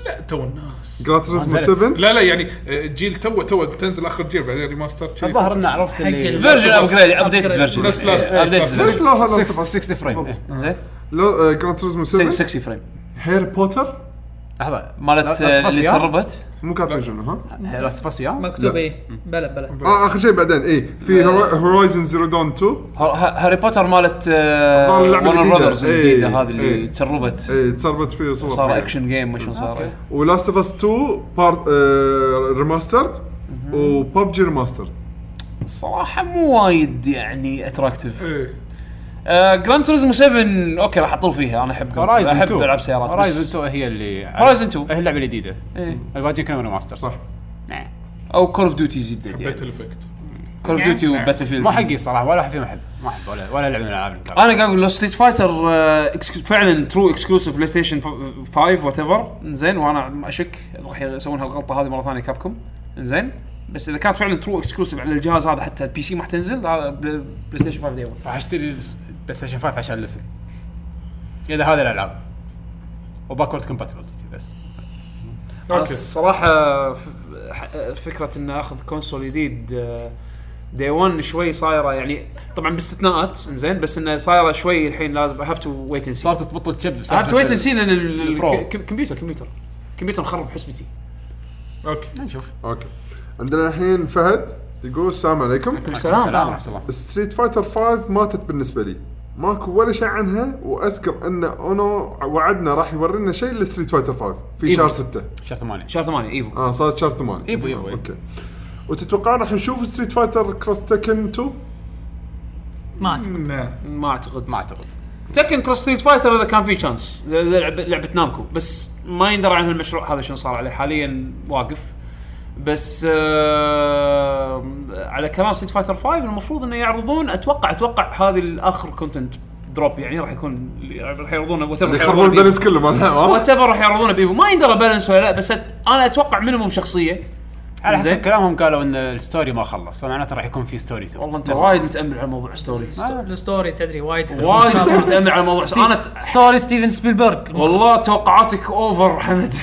D: لا تو الناس
C: جراتريزمو
B: نزلت.
C: 7
D: لا لا يعني آه، جيل تو تو تنزل اخر جيل بعدين ريماستر شي.
B: الظاهر انه عرفت
F: ال-
B: اللي
A: فيرجن ابجريد ابديت فيرجن
D: بس لا،
A: ابديت
D: بس
C: ليش لا هذا
B: 60 فريم إيه.
A: زين
C: لا جراتريزمو 7
A: 60 فريم
C: هير بوتر
B: لحظه
A: مالت آه، اللي تسربت
C: مو كاتب شنو ها
B: لاست فاس وياه
F: مكتوب
C: لا.
F: ايه بلا بلا
C: اه اخر شيء بعدين اي في هورايزن زيرو دون 2
A: هار- ها- هاري بوتر مالت uh,
C: أظن اللعبة
A: ورنر
C: الجديدة.
A: براذرز
C: إيه،
A: الجديده هذه اللي
C: إيه.
A: تسربت
C: اي تسربت فيه صور
A: صار اكشن جيم ما شنو صار
C: ولاست اوف اس 2 بارت آه، ريماسترد وببجي ريماسترد
A: الصراحه مو وايد يعني آه، اتراكتيف
D: إيه.
A: جراند توريزمو 7 اوكي راح اطول فيها انا احب Gran Turismo.
B: هورايزن 2
A: احب العب سيارات
B: هورايزن
A: بس
B: 2 هي اللي
A: Horizon 2.
B: هي اللعبه الجديده
A: إيه.
B: الباقيين كانوا ريماستر
C: صح.
B: نعم.
A: او كول اوف ديوتي زدت
D: بيت
A: يعني
D: الافكت
A: كول اوف ديوتي وباتل فيلد
B: مو حقي صراحه ولا واحد فيهم احب ما احب ولا ولا لعبه من الالعاب اللي كانت.
A: انا قاعد اقول لو ستريت فايتر آه، إكس- فعلا ترو اكسكلوسيف بلاي ستيشن 5 وات ايفر زين وانا اشك راح يسوون هالغلطه هذه مره ثانيه كابكم زين بس اذا كانت فعلا ترو اكسكلوسيف على الجهاز هذا حتى البي سي ما حتنزل هذا بل- بلاي ستيشن 5 دي 1
B: راح اشتري بلاي ستيشن 5 عشان لسن اذا هذه الالعاب وباكورد كومباتبلتي بس
A: أنا
D: اوكي
A: الصراحه ف- ح- فكره ان اخذ كونسول جديد دي 1 شوي صايره يعني طبعا باستثناءات زين بس انه صايره شوي الحين لازم هاف تو ويت اند سي
B: صارت تبطل تشب بسالفة
A: هاف تو ويت اند سي لان
B: البرو.
A: الكمبيوتر كمبيوتر كمبيوتر مخرب حسبتي
D: اوكي
B: نشوف
C: اوكي عندنا الحين فهد يقول السلام عليكم
A: السلام
B: السلام ورحمه الله
C: ستريت فايتر 5 ماتت بالنسبه لي ماكو ولا شيء عنها واذكر ان اونو وعدنا راح يورينا شيء لستريت فايتر 5 في شهر 6
B: شهر 8
A: شهر 8 ايفو
C: اه صارت شهر 8
A: إيه،
B: إيفو، إيفو، إيفو.
C: اوكي وتتوقع راح نشوف ستريت فايتر كروس تكن 2
F: ما أعتقد.
D: نعم.
A: ما اعتقد
B: ما اعتقد
A: تكن كروس ستريت فايتر اذا كان في تشانس لعبه لعبة نامكو بس ما يندرى عن هالمشروع هذا شنو صار عليه حاليا واقف بس آه على كلام ستريت فايتر 5 المفروض انه يعرضون اتوقع اتوقع هذه الاخر كونتنت دروب يعني راح يكون راح يعرضونه
C: اللي يخربون البالانس كله مالها
A: وات راح يعرضونه بايفو ما يندرى بالانس ولا لا بس أت- انا اتوقع مينيموم شخصيه
B: على
A: زين.
B: حسب كلامهم قالوا ان الستوري ما خلص فمعناته راح يكون في ستوري تو
A: والله انت وايد متامل على موضوع ستوري
F: الستوري تدري وايد
A: وايد انت متامل على موضوع انا ت-
F: ستوري ستيفن سبيلبرغ
A: والله توقعاتك اوفر حمد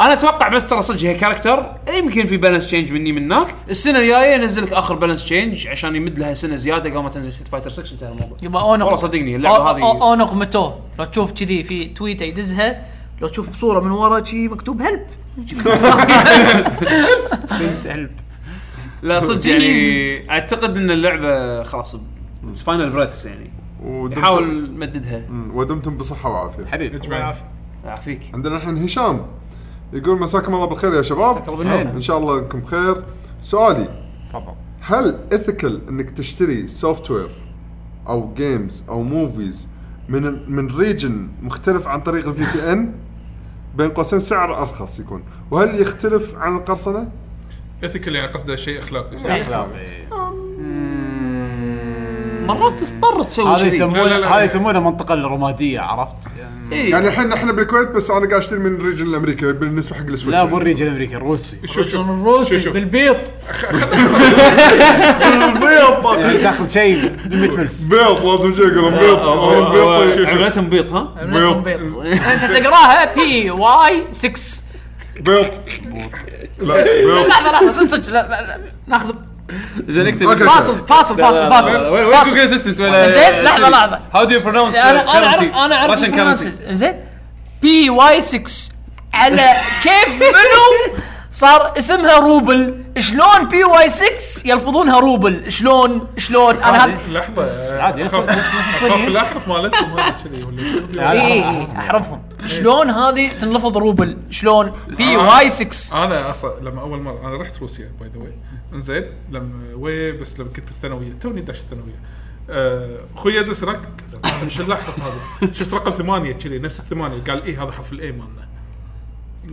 A: انا اتوقع بس ترى صدق هي كاركتر يمكن في بالانس تشينج مني منك السنه الجايه ينزل لك اخر بالانس تشينج عشان يمد لها سنه زياده قبل ما تنزل ستريت فايتر 6 انتهى الموضوع
F: يبا اونق
A: والله صدقني اللعبه هذه
F: اونق متوه لو تشوف كذي في تويته يدزها لو تشوف صوره من ورا شي مكتوب هلب
A: لا صدق يعني اعتقد ان اللعبه خلاص فاينل بريثس يعني
C: ودمتم-
A: يحاول مددها
C: مم، ودمتم بصحه وعافيه
B: حبيبي
A: يعافيك
C: عندنا الحين هشام يقول مساكم الله بالخير يا شباب ان شاء الله انكم بخير سؤالي
B: تفضل
C: هل اثيكال انك تشتري سوفت وير او جيمز او موفيز من من ريجن مختلف عن طريق الفي بي ان بين قوسين سعر ارخص يكون وهل يختلف عن القرصنه؟
D: اثيكال يعني قصده شيء اخلاقي صح؟
B: اخلاقي
A: مرات تضطر تسوي
B: هذا
A: كذي
D: لا، لا، لا.
B: يسمونه هذا يسمونه المنطقه الرماديه عرفت؟
A: إيه.
C: يعني الحين احنا بالكويت بس انا قاعد اشتري من ريجن الامريكي بالنسبه حق السويتش
B: لا مو الريجن الامريكي الروسي
D: شوف شوف شوف
F: الروسي
D: شوف.
F: بالبيض
B: يعني تاخذ شيء ب 100 فلس
C: بيض لازم شيء يقولون بيض
D: آه،
C: يقولون بيض طيب.
A: عملتهم بيض ها
F: عملتهم بيض انت تقراها بي واي 6
C: بيض لا بيض
F: لحظه لحظه صدق صدق لا لا لا ناخذ
G: زين اكتب
C: أوكي.
E: فاصل فاصل فاصل فاصل
G: وين وين جوجل اسيستنت ولا
E: زين، لحظة، لحظة.
G: هاو دو يو برونونس
E: انا انا اعرف انا اعرف
G: رشن
E: البرونسز.
G: كرنسي
E: زين بي واي 6 على كيف منو صار اسمها روبل شلون بي واي 6 يلفظونها روبل شلون شلون انا هذا
D: لحظه
B: عادي، نفس-
D: أخاف-
B: نفس- نفس
D: آه، أخاف
B: الصينية.
D: الاحرف مالتهم هذا كذي ولا شو؟
B: لا، لا،
E: اي
B: أعرف-
E: اي احرفهم إيه، شلون هذه تنلفظ روبل شلون بي واي 6
D: انا اصلا لما اول مره انا رحت روسيا باي ذا واي انزين لما وي بس لما كنت بالثانويه توني داش الثانويه آه، اخوي يدرس رك مش الاحرف هذا شفت رقم ثمانيه كذي نفس الثمانيه قال اي هذا حرف الاي مالنا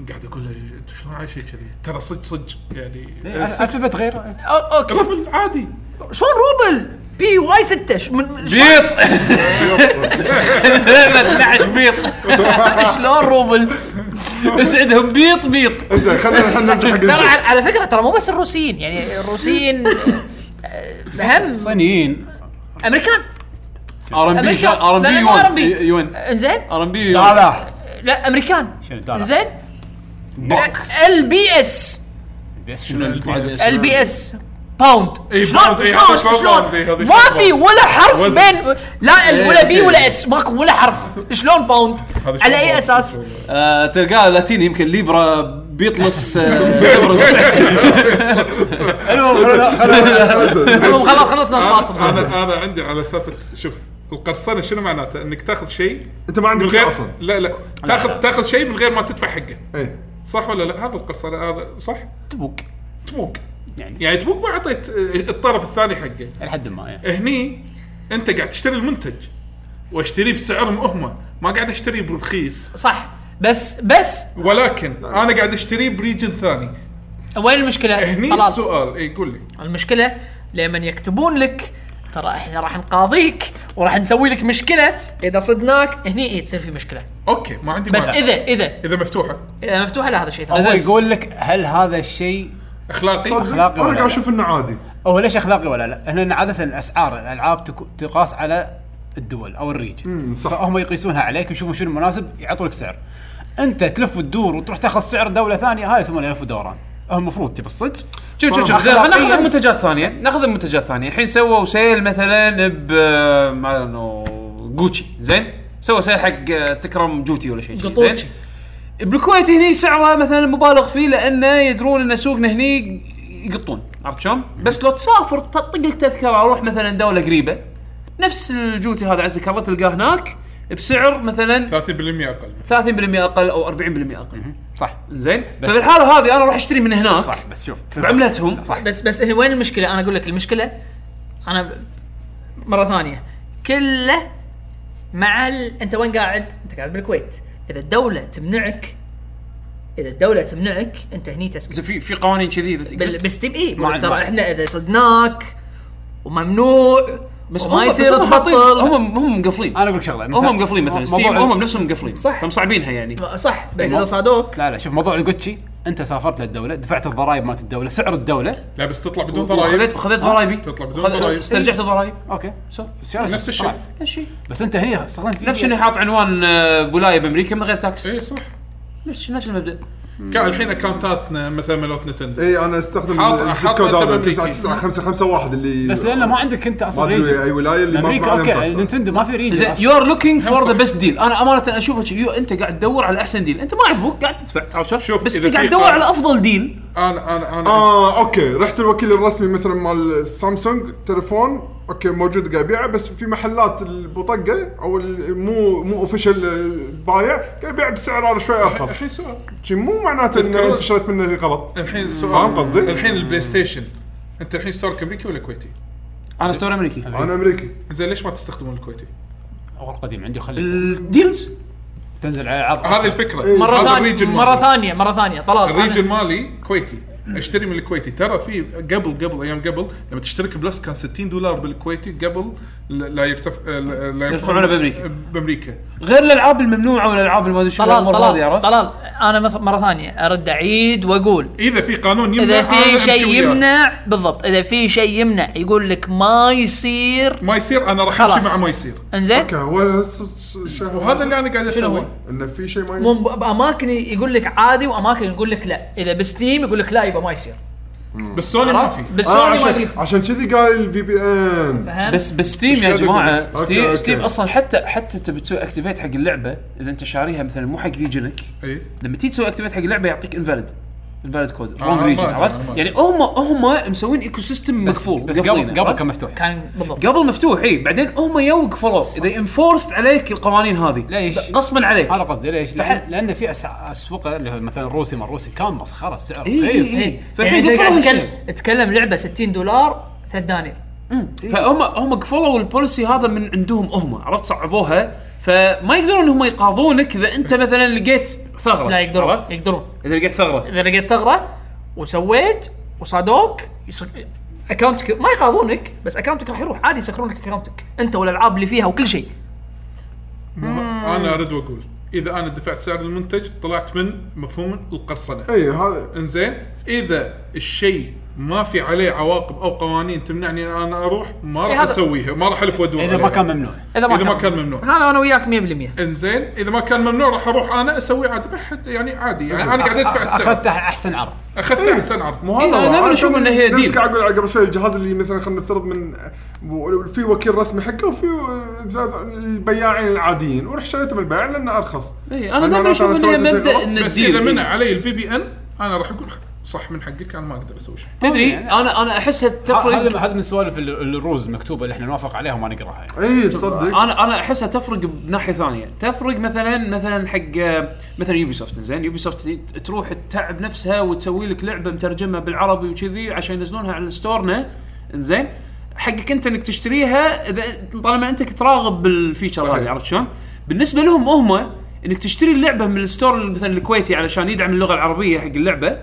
D: قاعد اقول له انتم شلون عايشين كذي ترى صدق صدق يعني
B: الفبت غير
E: اوكي
D: ربل عادي
E: شلون روبل بي واي 6 شلون
G: بيط نعش بيط
E: شلون روبل
G: بس عندهم بيط بيط
C: زين خلينا الحين نرجع حق
E: ترى
C: الجزء.
E: على- على فكره ترى مو بس الروسيين يعني الروسيين آه، مهم
B: الصينيين
E: امريكان
G: ار ام بي
E: امريكا
G: ار ام بي
E: لا، لا، مو R&B.
G: يون يون
E: زين
G: ار ام بي
B: لا
G: يون
B: لا يعني
E: لا امريكان
B: شنو دارع؟
E: زين
B: بوكس
E: ال بي اس
B: بس
G: شنو
B: شنو
G: ال-
E: ال بي اس باوند
D: إي،
E: شلون
D: باوند، إي، إيه، هذا
E: شلون
D: شلون
E: شلون
D: باوند، إي، هذا
E: ما
D: شلون
E: في
D: باوند.
E: ولا حرف
D: وزن.
E: بين لا ال ولا بي
G: إيه.
E: ولا اس ماكو ولا حرف شلون باوند
D: هذا شلون
E: على اي
D: باوند؟
E: اساس
G: آه، تلقاه لاتيني يمكن ليبرا بيطلس آه، سبرس
B: المهم خلونا- خلونا-
E: المهم خلاص خلصنا
D: أنا-
E: الفاصل
D: انا انا عندي على سالفه شوف القرصنه شنو معناته؟ انك تاخذ شيء
C: انت ما عندك
D: من غير
C: شيء اصلا
D: لا لا تاخذ تاخذ شيء من غير ما تدفع حقه
C: اي
D: صح ولا لا؟ هذا القرصنه هذا صح؟
B: تبوك
D: تبوك
B: يعني.
D: يعني يعني تبوك ما اعطيت آه، الطرف الثاني حقه
B: لحد ما يعني
D: هني انت قاعد تشتري المنتج واشتريه بسعر مهمه ما قاعد اشتريه برخيص
E: صح بس بس
D: ولكن انا قاعد اشتريه بريجن ثاني
E: وين المشكله؟
D: إيه، هني
E: طلال.
D: السؤال اي قول لي
E: المشكله لمن يكتبون لك ترى احنا راح نقاضيك وراح نسوي لك مشكله اذا صدناك هني إيه تصير في مشكله
D: اوكي ما عندي
E: بس
D: مانع.
E: اذا اذا
D: اذا مفتوحه
E: اذا مفتوحه لا هذا شيء
B: هو
E: ثاني
B: يقول لك هل هذا الشيء
D: اخلاقي
C: صدق انا
B: أخلاقي ولا
C: قاعد
B: لا؟
C: اشوف انه عادي
B: هو ليش اخلاقي ولا لا؟ هنا عاده الاسعار الالعاب تك- تقاس على الدول او الريجن
C: صح.
B: فهم يقيسونها عليك ويشوفون شنو المناسب يعطونك سعر. انت تلف وتدور وتروح تاخذ سعر دوله ثانيه هاي يسمونها لف ودوران. هو المفروض تبي الصدق
A: شوف شوف شوف زين خلينا
B: إيه.
A: ناخذ منتجات ثانيه ناخذ منتجات ثانيه الحين سووا سيل مثلا ب آه، ما نو جوتشي زين سووا سيل حق آه، تكرم جوتي ولا شيء شي، زين
E: قطوتشي.
A: بالكويت هني سعره مثلا مبالغ فيه لانه يدرون ان سوقنا هني يقطون عرفت شلون؟ بس لو تسافر تطق لك تذكره روح مثلا دوله قريبه نفس الجوتي هذا عزك الله تلقاه هناك بسعر مثلا
D: 30% اقل
A: 30% اقل او 40% اقل
B: صح
A: زين فبالحاله هذه انا راح اشتري من هناك
B: صح بس شوف
A: بعملتهم
B: صح.
E: بس بس هي وين المشكله؟ انا اقول لك المشكله انا ب- مره ثانيه كله مع ال... انت وين قاعد؟ انت قاعد بالكويت اذا الدوله تمنعك اذا الدوله تمنعك انت هني تسكت
A: زين، في في قوانين كذي that
E: بال-
A: exist.
E: بالستيم اي
B: ما عندنا.
E: ترى احنا اذا صدناك وممنوع
A: بس
E: وما
A: هم-
E: يصير
A: بس هم حاطين-
E: تبطل
A: هم هم مقفلين
B: انا اقول لك شغله مثلاً-
A: هم مقفلين مثلا
B: موضوع
A: ستيم
B: ال-
A: هم نفسهم مقفلين
E: صح.
A: فمصعبينها يعني
E: صح بس
B: مو-
E: اذا صادوك
B: لا لا شوف موضوع الجوتشي انت سافرت للدوله دفعت الضرائب مالت الدوله سعر الدوله
D: لا بس تطلع بدون ضرائب
A: وخذيت خذيت ضرايبي
D: تطلع بدون
A: خذ-
D: ضرايب.
A: استرجعت ضرايب
B: اوكي
A: سو
B: بس يلا
D: نفس الشيء.
B: طلعت.
A: نفس شيء
B: بس انت هنا استخدمت
A: نفس اني حاط عنوان آه، بولايه بامريكا من غير تاكس
D: اي صح
A: نفس الشيء، نفس المبدا
D: كان الحين اكونتاتنا مثلا مالتنا تندر
C: اي انا استخدم
D: حاط-
C: الزب
D: حاط
C: كود هذا
D: أمريكي.
C: 99551 اللي
B: بس لانه ما عندك انت
C: ما
B: اصلا
C: ادري اي
B: ريجن
C: ولايه اللي ما- ما
B: امريكا
C: عليها
B: اوكي
C: مسلسل.
B: نينتندو ما في
A: زين
B: ريجن
A: يو ار لوكينج فور ذا بيست ديل انا امانه اشوفها شي، يو انت قاعد تدور على احسن ديل انت ما عجبك قاعد تدفع تعرف شلون؟
D: شوف،
A: بس
D: إذا
A: انت قاعد
D: في
A: تدور
D: قانون- إيه.
A: على افضل ديل
D: انا انا انا
C: اه اوكي رحت الوكيل الرسمي مثلا مال سامسونج تليفون اوكي موجود قاعد يبيعه بس في محلات البطقه او ال- مو مو اوفيشال بايع قاعد يبيع بسعر أنا شوي ارخص
D: الحين سؤال
C: شي مو معناته ان
D: تذكرون-
C: انت شريت منه غلط
D: الحين سؤال
C: فاهم قصدي؟
D: الحين البلاي ستيشن انت الحين ستورك امريكي ولا كويتي؟
A: انا ستور امريكي
C: انا امريكي
D: زين ليش ما تستخدمون الكويتي؟
B: اول قديم عندي خليته
A: الديلز
B: تنزل على العرض
D: هذه الفكره
C: إيه.
E: مره
D: هذا
E: ثانيه
D: الريجن
E: مره
D: مالي.
E: ثانيه مره ثانيه طلال أنا-
D: الريجن مالي كويتي اشتري من الكويتي ترى في قبل قبل ايام قبل لما تشترك بلس كان 60 دولار بالكويتي قبل لا لا يرتف لا- لا
A: يرفعونه بأمريكا.
D: بامريكا
A: غير الالعاب الممنوعه والالعاب اللي ما ادري شنو
E: طلال
A: الأمور هذه،
E: طلال
A: عرفت؟
E: طلال انا مث- مره ثانيه ارد اعيد واقول
D: اذا في قانون يمنع
E: اذا
D: أنا
E: في
D: أمشي
E: شيء
D: وياه.
E: يمنع بالضبط اذا في شيء يمنع يقول لك ما يصير
D: ما يصير انا راح
E: خلاص.
D: امشي مع ما يصير
E: انزين
C: اوكي هو هس- س- الشيء هو
D: وهذا اللي انا قاعد
E: شنو هو؟
D: اسويه
C: انه في شيء ما
E: مو
C: يصير
E: ب- باماكن يقول لك عادي واماكن يقول لك لا اذا بستيم يقول لك لا يبقى ما يصير
D: بس سوني ما في
E: بس
C: آه
E: سوني ما
C: عشان
E: يدري.
C: عشان كذي قال الفي بي ان
E: فهمت؟
A: بس بس ستيم
C: إيش
A: يا
C: قاعد
A: جماعه
C: أقول؟ أوكي،
A: ستيم
C: أوكي.
A: ستيم اصلا حتى حتى تبي تسوي اكتيفيت حق اللعبه اذا انت شاريها مثلا مو حق ريجنك
D: اي
A: لما تيجي تسوي اكتيفيت حق اللعبه يعطيك انفاليد انفاليد كود
D: آه،
A: رونج ريجن
D: ما أدري،
A: عرفت
D: ما أدري.
A: يعني هم هم مسوين ايكو سيستم مقفول
B: بس
A: مقفلينه،
B: قبل قبل
A: عرفت؟
B: كان مفتوح
E: كان بالضبط
A: قبل مفتوح اي بعدين هم يو قفلوا اذا انفورست عليك القوانين هذه
B: ليش؟
A: غصبا عليك
B: هذا قصدي ليش؟ لان, لأن في أسع- اسواق اللي هو مثلا روسي ما روسي كان مسخره السعر
A: إي، إي،
B: رخيص
A: إي.
E: يعني
A: فالحين
E: انت
A: قفلوا
E: قاعد
A: هالشيء.
E: تتكلم تتكلم لعبه 60 دولار ثلاث دنانير
A: فهم هم قفلوا البوليسي هذا من عندهم هم عرفت صعبوها فما يقدرون هم يقاضونك اذا انت مثلا لقيت ثغره
E: لا يقدرون
A: عرفت؟
E: يقدرون
A: اذا لقيت ثغره
E: اذا لقيت ثغره وسويت وصادوك يص- اكونتك ما يقاضونك بس اكونتك راح يروح عادي يسكرون لك اكونتك انت والالعاب اللي فيها وكل شيء
D: انا ارد واقول اذا انا دفعت سعر المنتج طلعت من مفهوم القرصنه
C: اي إيه، هذا
D: انزين اذا الشيء ما في عليه عواقب او قوانين تمنعني ان انا اروح ما
E: إيه
D: راح
E: هذا-
D: اسويها ما راح الف وادور
B: اذا ما
D: عليها.
B: كان ممنوع
D: اذا ما كان ممنوع
E: هذا انا وياك 100%
D: انزين اذا ما كان ممنوع راح اروح انا اسوي عادي بحد يعني عادي يعني انا قاعد ادفع
B: أخ-
D: السعر
B: اخذته احسن عرض
D: اخذت احسن عرض
C: مو هذا
A: إيه، أنا
C: هو.
A: دايماً أشوف
C: كان
A: إن هي
C: نفس
A: ديل.
C: قاعد اقول قبل شوي الجهاز اللي مثلا خلينا نفترض من و- في وكيل رسمي حقه وفي ذا- البياعين العاديين ورح شريته من البياع لانه ارخص
A: اي انا
C: لأن
A: دائما اشوف
C: أنا
A: ان هي
C: سويت شيء
A: مبدا
C: غلط،
A: ان
D: بس اذا
A: الديل
D: منع
A: إي.
D: علي الفي بي ان انا راح اقول صح من حقك انا ما اقدر اسوي شيء
A: تدري انا انا احسها تفرق
B: هذا هذا من السوالف ال- الرولز المكتوبه اللي احنا نوافق عليها وما نقراها يعني.
C: اي إيه، صدق
A: انا انا احسها تفرق بناحيه ثانيه تفرق مثلا مثلا حق مثلا يوبي سوفت زين يوبي سوفت تروح تتعب نفسها وتسوي لك لعبه مترجمه بالعربي وكذي عشان ينزلونها على ستورنا زين حقك انت انك تشتريها اذا طالما انت كنت راغب بالفيتشر هذه عرفت شلون؟ بالنسبه لهم هم انك تشتري اللعبه من الستور مثلا الكويتي علشان يدعم اللغه العربيه حق اللعبه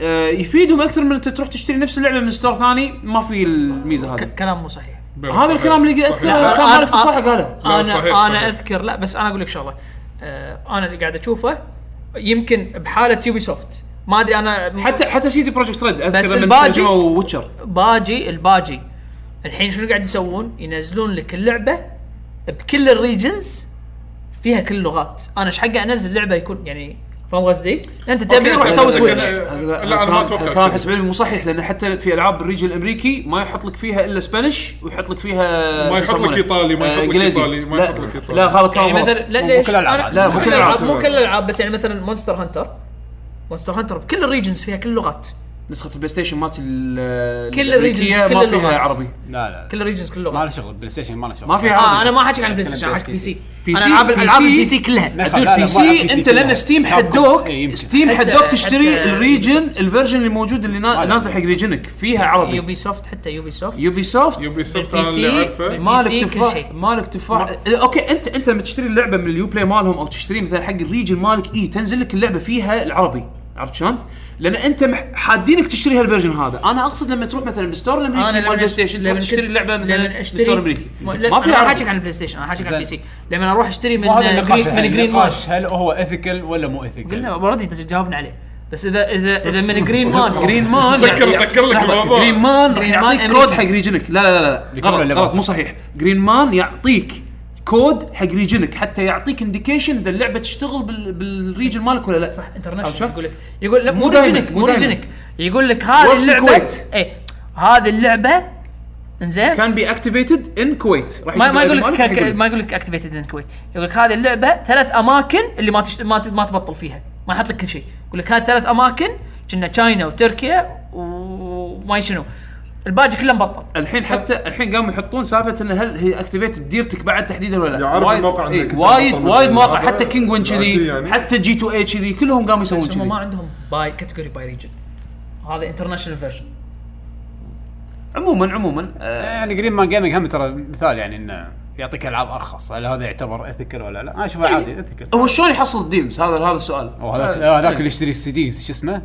A: آه، يفيدهم اكثر من انت تروح تشتري نفس اللعبه من ستور ثاني ما في الميزه هذه
E: ك- كلام مو صحيح
A: هذا الكلام اللي قلت-
D: صحيح.
A: كان
E: أنا-
A: مالك تفاحة قاله.
D: لا،
E: انا
D: صحيح،
E: صحيح
D: صحيح.
E: انا اذكر لا بس انا اقول لك شغله آه انا اللي قاعد اشوفه يمكن بحاله يوبي سوفت ما ادري انا
A: حتى حتى سيدي بروجكت ريد
E: بس
A: اذكر لما
E: الباجي-
A: ترجموا ويتشر
E: باجي الباجي الحين شنو قاعد يسوون؟ ينزلون لك اللعبه بكل الريجنز فيها كل اللغات، انا ايش حقي انزل لعبه يكون يعني فاهم قصدي؟ انت تبي روح
D: أوكي،
E: سوي
D: بس
E: سويتش
D: أنا- لا انا ما اتوقع
A: كلام
D: كذا.
A: حسب علمي مو صحيح لان حتى في العاب الريجن الامريكي ما يحط لك فيها الا سبانش ويحط لك فيها
D: ما يحط لك إيطالي، ما
A: آه،
D: يحط لك
A: إنجليزي.
D: إيطالي، ما
A: لا،
D: يحط لك إيطالي.
A: لا هذا كلام
E: يعني
A: غلط.
E: مثلا لا
B: مو
E: ليش؟
B: كل الألعاب.
E: أنا-
B: لا،
A: مو
E: مو
A: كل
E: كل
A: الألعاب.
E: الالعاب مو كل الالعاب بس يعني مثلا مونستر هانتر مونستر هانتر بكل الريجنز فيها كل اللغات
A: نسخه البلاي ستيشن مالت ال-
E: كل
A: الأمريكية
E: الريجنز، كل
A: ما فيها
E: اللغات.
A: عربي
B: لا لا,
E: كل
B: لا.
E: الريجنز كل
B: ما
E: اللغات
B: له شغل بلاي ستيشن ما له شغل
A: ما في عربي
E: اه انا ما حاجيك عن بلاي ستيشن حاجيك بي
B: بلاي
E: سي
A: بي
E: انا
A: سي-
E: العاب
A: بي
E: الالعاب
A: سي-
E: البي سي كلها
B: لا،
A: دود
B: لا،
A: بي
B: ما ألعب
A: سي
B: PC
A: انت
B: كلها.
A: لان ستيم
B: كابكوم.
A: حدوك
B: إيه، يمكن.
A: ستيم
E: حتى-
A: حدوك
E: حتى
A: تشتري الريجن
E: Ubisoft.
A: الفيرجن اللي موجود اللي نا- نازل حق ريجنك فيها عربي
E: يوبي سوفت حتى يوبي سوفت
A: يوبي سوفت
D: يوبي سوفت
E: بالبي
D: انا اللي
E: سي،
D: اعرفه
E: بالبي- PC
A: مالك
E: كل
A: تفاح
E: شيء.
A: مالك إيه، تفاح اوكي انت انت لما تشتري اللعبه من اليو بلاي مالهم او تشتري مثلا حق الريجن مالك اي تنزل لك اللعبه فيها العربي عرفت شلون؟ لان انت مح- حادينك تشتري هالفيرجن هذا، انا اقصد لما تروح مثلا بالستور الامريكي مال بلاي ستيشن تروح تشتري اللعبه مثلا بالستور الامريكي
E: ما
A: ما
E: في
A: فيها
E: انا حاجيك
A: عربي
E: عن البلاي ستيشن انا حاجيك عن
B: زين.
E: البي سي لما اروح اشتري من
B: مو هذا النقاش
E: جرين-
A: يعني،
E: من
B: الحين
E: جرين مان
B: النقاش هل هو اثيكال ولا مو اثيكال؟
E: قلنا اوريدي انت جاوبنا عليه بس اذا اذا اذا من جرين مان
A: جرين مان
D: سكر- سكر لك
A: يعني- لحظة،
D: الموضوع.
A: جرين مان راح
E: جرين
A: يعطيك
E: مان
A: كود
E: أمريكي.
A: حق ريجنك لا لا لا, لا.
B: بيكون
A: غلط
B: ولا
A: غلط
B: بطل؟
A: مو صحيح جرين مان يعطيك كود حق ريجنك حتى يعطيك انديكيشن اذا اللعبه تشتغل بال- بالريجن مالك ولا لا
E: صح
A: عرفت شلون؟
E: انترناشونال يقول لك يقول لا
A: مو
E: مو
A: دايماً،
E: ريجنك
A: مو
E: مو
A: دايماً.
E: ريجنك يقول لك هذه
A: Once in
E: اللعبه
A: Kuwait.
E: اي هذه اللعبه انزين
A: كان بي اكتيفيتد ان كويت راح
E: ما
A: يجيب
E: ما يقول
A: المالك
E: لك
A: راح
E: ك- ما يقول لك اكتيفيتد ان كويت يقول لك هذه اللعبه ثلاث اماكن اللي ما تشت... ما, ت... ما تبطل فيها ما يحط لك كل شيء يقول لك هذه ثلاث اماكن كنا تشاينا وتركيا وما شنو الباقي كله مبطل
A: الحين حتى الحين قاموا يحطون سالفه ان هل هي اكتيفيت ديرتك بعد تحديدا ولا لا
C: يعرف
A: وايد-
C: الموقع إنه
A: إيه،
C: كنت
A: وايد
C: أبطل من
A: وايد مواقع
C: اللعبة.
A: حتى كينج وين
C: عادي
A: كذي
C: يعني.
A: حتى جي 2 اي كذي كلهم قاموا يسوون
E: بس هم ما
A: كذي
E: عندهم باي كاتيجوري باي ريجن هذا انترناشونال فيرجن
A: عموما عموما آه،
B: يعني جرين مان جيمنج هم ترى مثال يعني انه يعطيك العاب ارخص هل هذا يعتبر اثيكال ولا لا؟ انا اشوفه
E: يعني
B: عادي اثيكال
A: هو شلون يحصل الديلز هذا هذا السؤال
B: وهذاك
E: آه.
B: لا، هذاك اللي يشتري السي ديز شو اسمه؟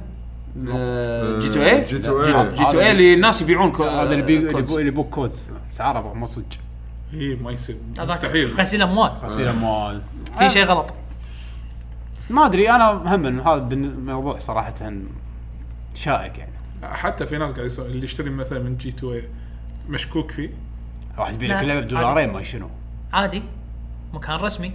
C: آه،
B: إيه.
A: جي 2 اي
C: جي
A: جي إيه
C: 2 اي
A: 2 اي اللي الناس يبيعون كو-
E: إيه.
B: هذا اللي بي- اللي
A: كودز.
B: بو- اللي بوك كودز سعره بقى مو صج
D: اي إيه، ما يصير
E: هذاك
D: مستحيل
E: غسيل اموال
B: غسيل اموال
A: آه.
E: في شيء غلط
B: ما ادري انا هم هذا بالن- الموضوع صراحه شائك يعني
D: حتى في ناس قاعد يسوي اللي يشتري مثلا من جي 2 اي مشكوك فيه
B: راح تبيع
E: لا،
B: لك لعبه بدولارين ما شنو
E: عادي مكان رسمي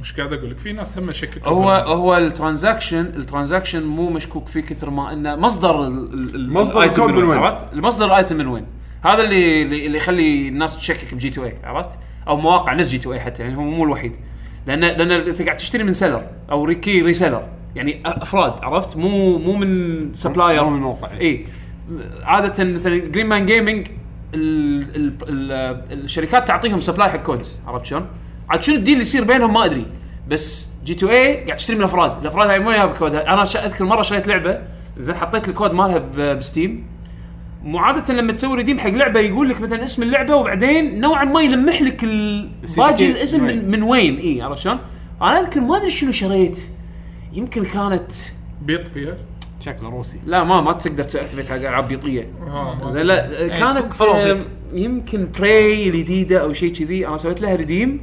D: مش قاعد اقول لك في ناس هم شككوا
A: هو
D: بال-
A: هو الترانزاكشن الترانزاكشن مو مشكوك فيه كثر ما انه مصدر ال- ال- ال-
C: مصدر
A: الآيتم
C: الكود من وين؟
A: عرفت؟ مصدر الايتم من وين؟ هذا اللي اللي اللي يخلي الناس تشكك بجي تو اي عرفت؟ او مواقع نفس جي تو اي حتى يعني هو مو الوحيد لان لان انت قاعد تشتري من سيلر او ريكي ريسيلر يعني أ- افراد عرفت؟ مو مو من إيه. سبلاير
B: مو من إيه. موقع.
A: اي عاده مثلا جرين مان جيمنج الشركات تعطيهم سبلاي حق كودز عرفت شلون؟ عاد شنو الديل اللي يصير بينهم ما ادري بس جي تو اي قاعد تشتري من افراد، الافراد هاي مو ياها بكود انا شا اذكر مره شريت لعبه زين حطيت الكود مالها ب- بستيم مو عاده لما تسوي ريديم حق لعبه يقول لك مثلا اسم اللعبه وبعدين نوعا ما يلمح لك ال- باقي الاسم من, من وين اي عرفت شلون؟ انا اذكر ما ادري شنو شريت يمكن كانت
D: بيط فيها
B: شكله روسي
A: لا ما ما تقدر تاكتيفيت حق العاب بيطيه
E: آه،
A: زين لا كانت
E: فوق
A: آم،
E: بيت.
A: يمكن براي الجديده او شيء كذي انا سويت لها ريديم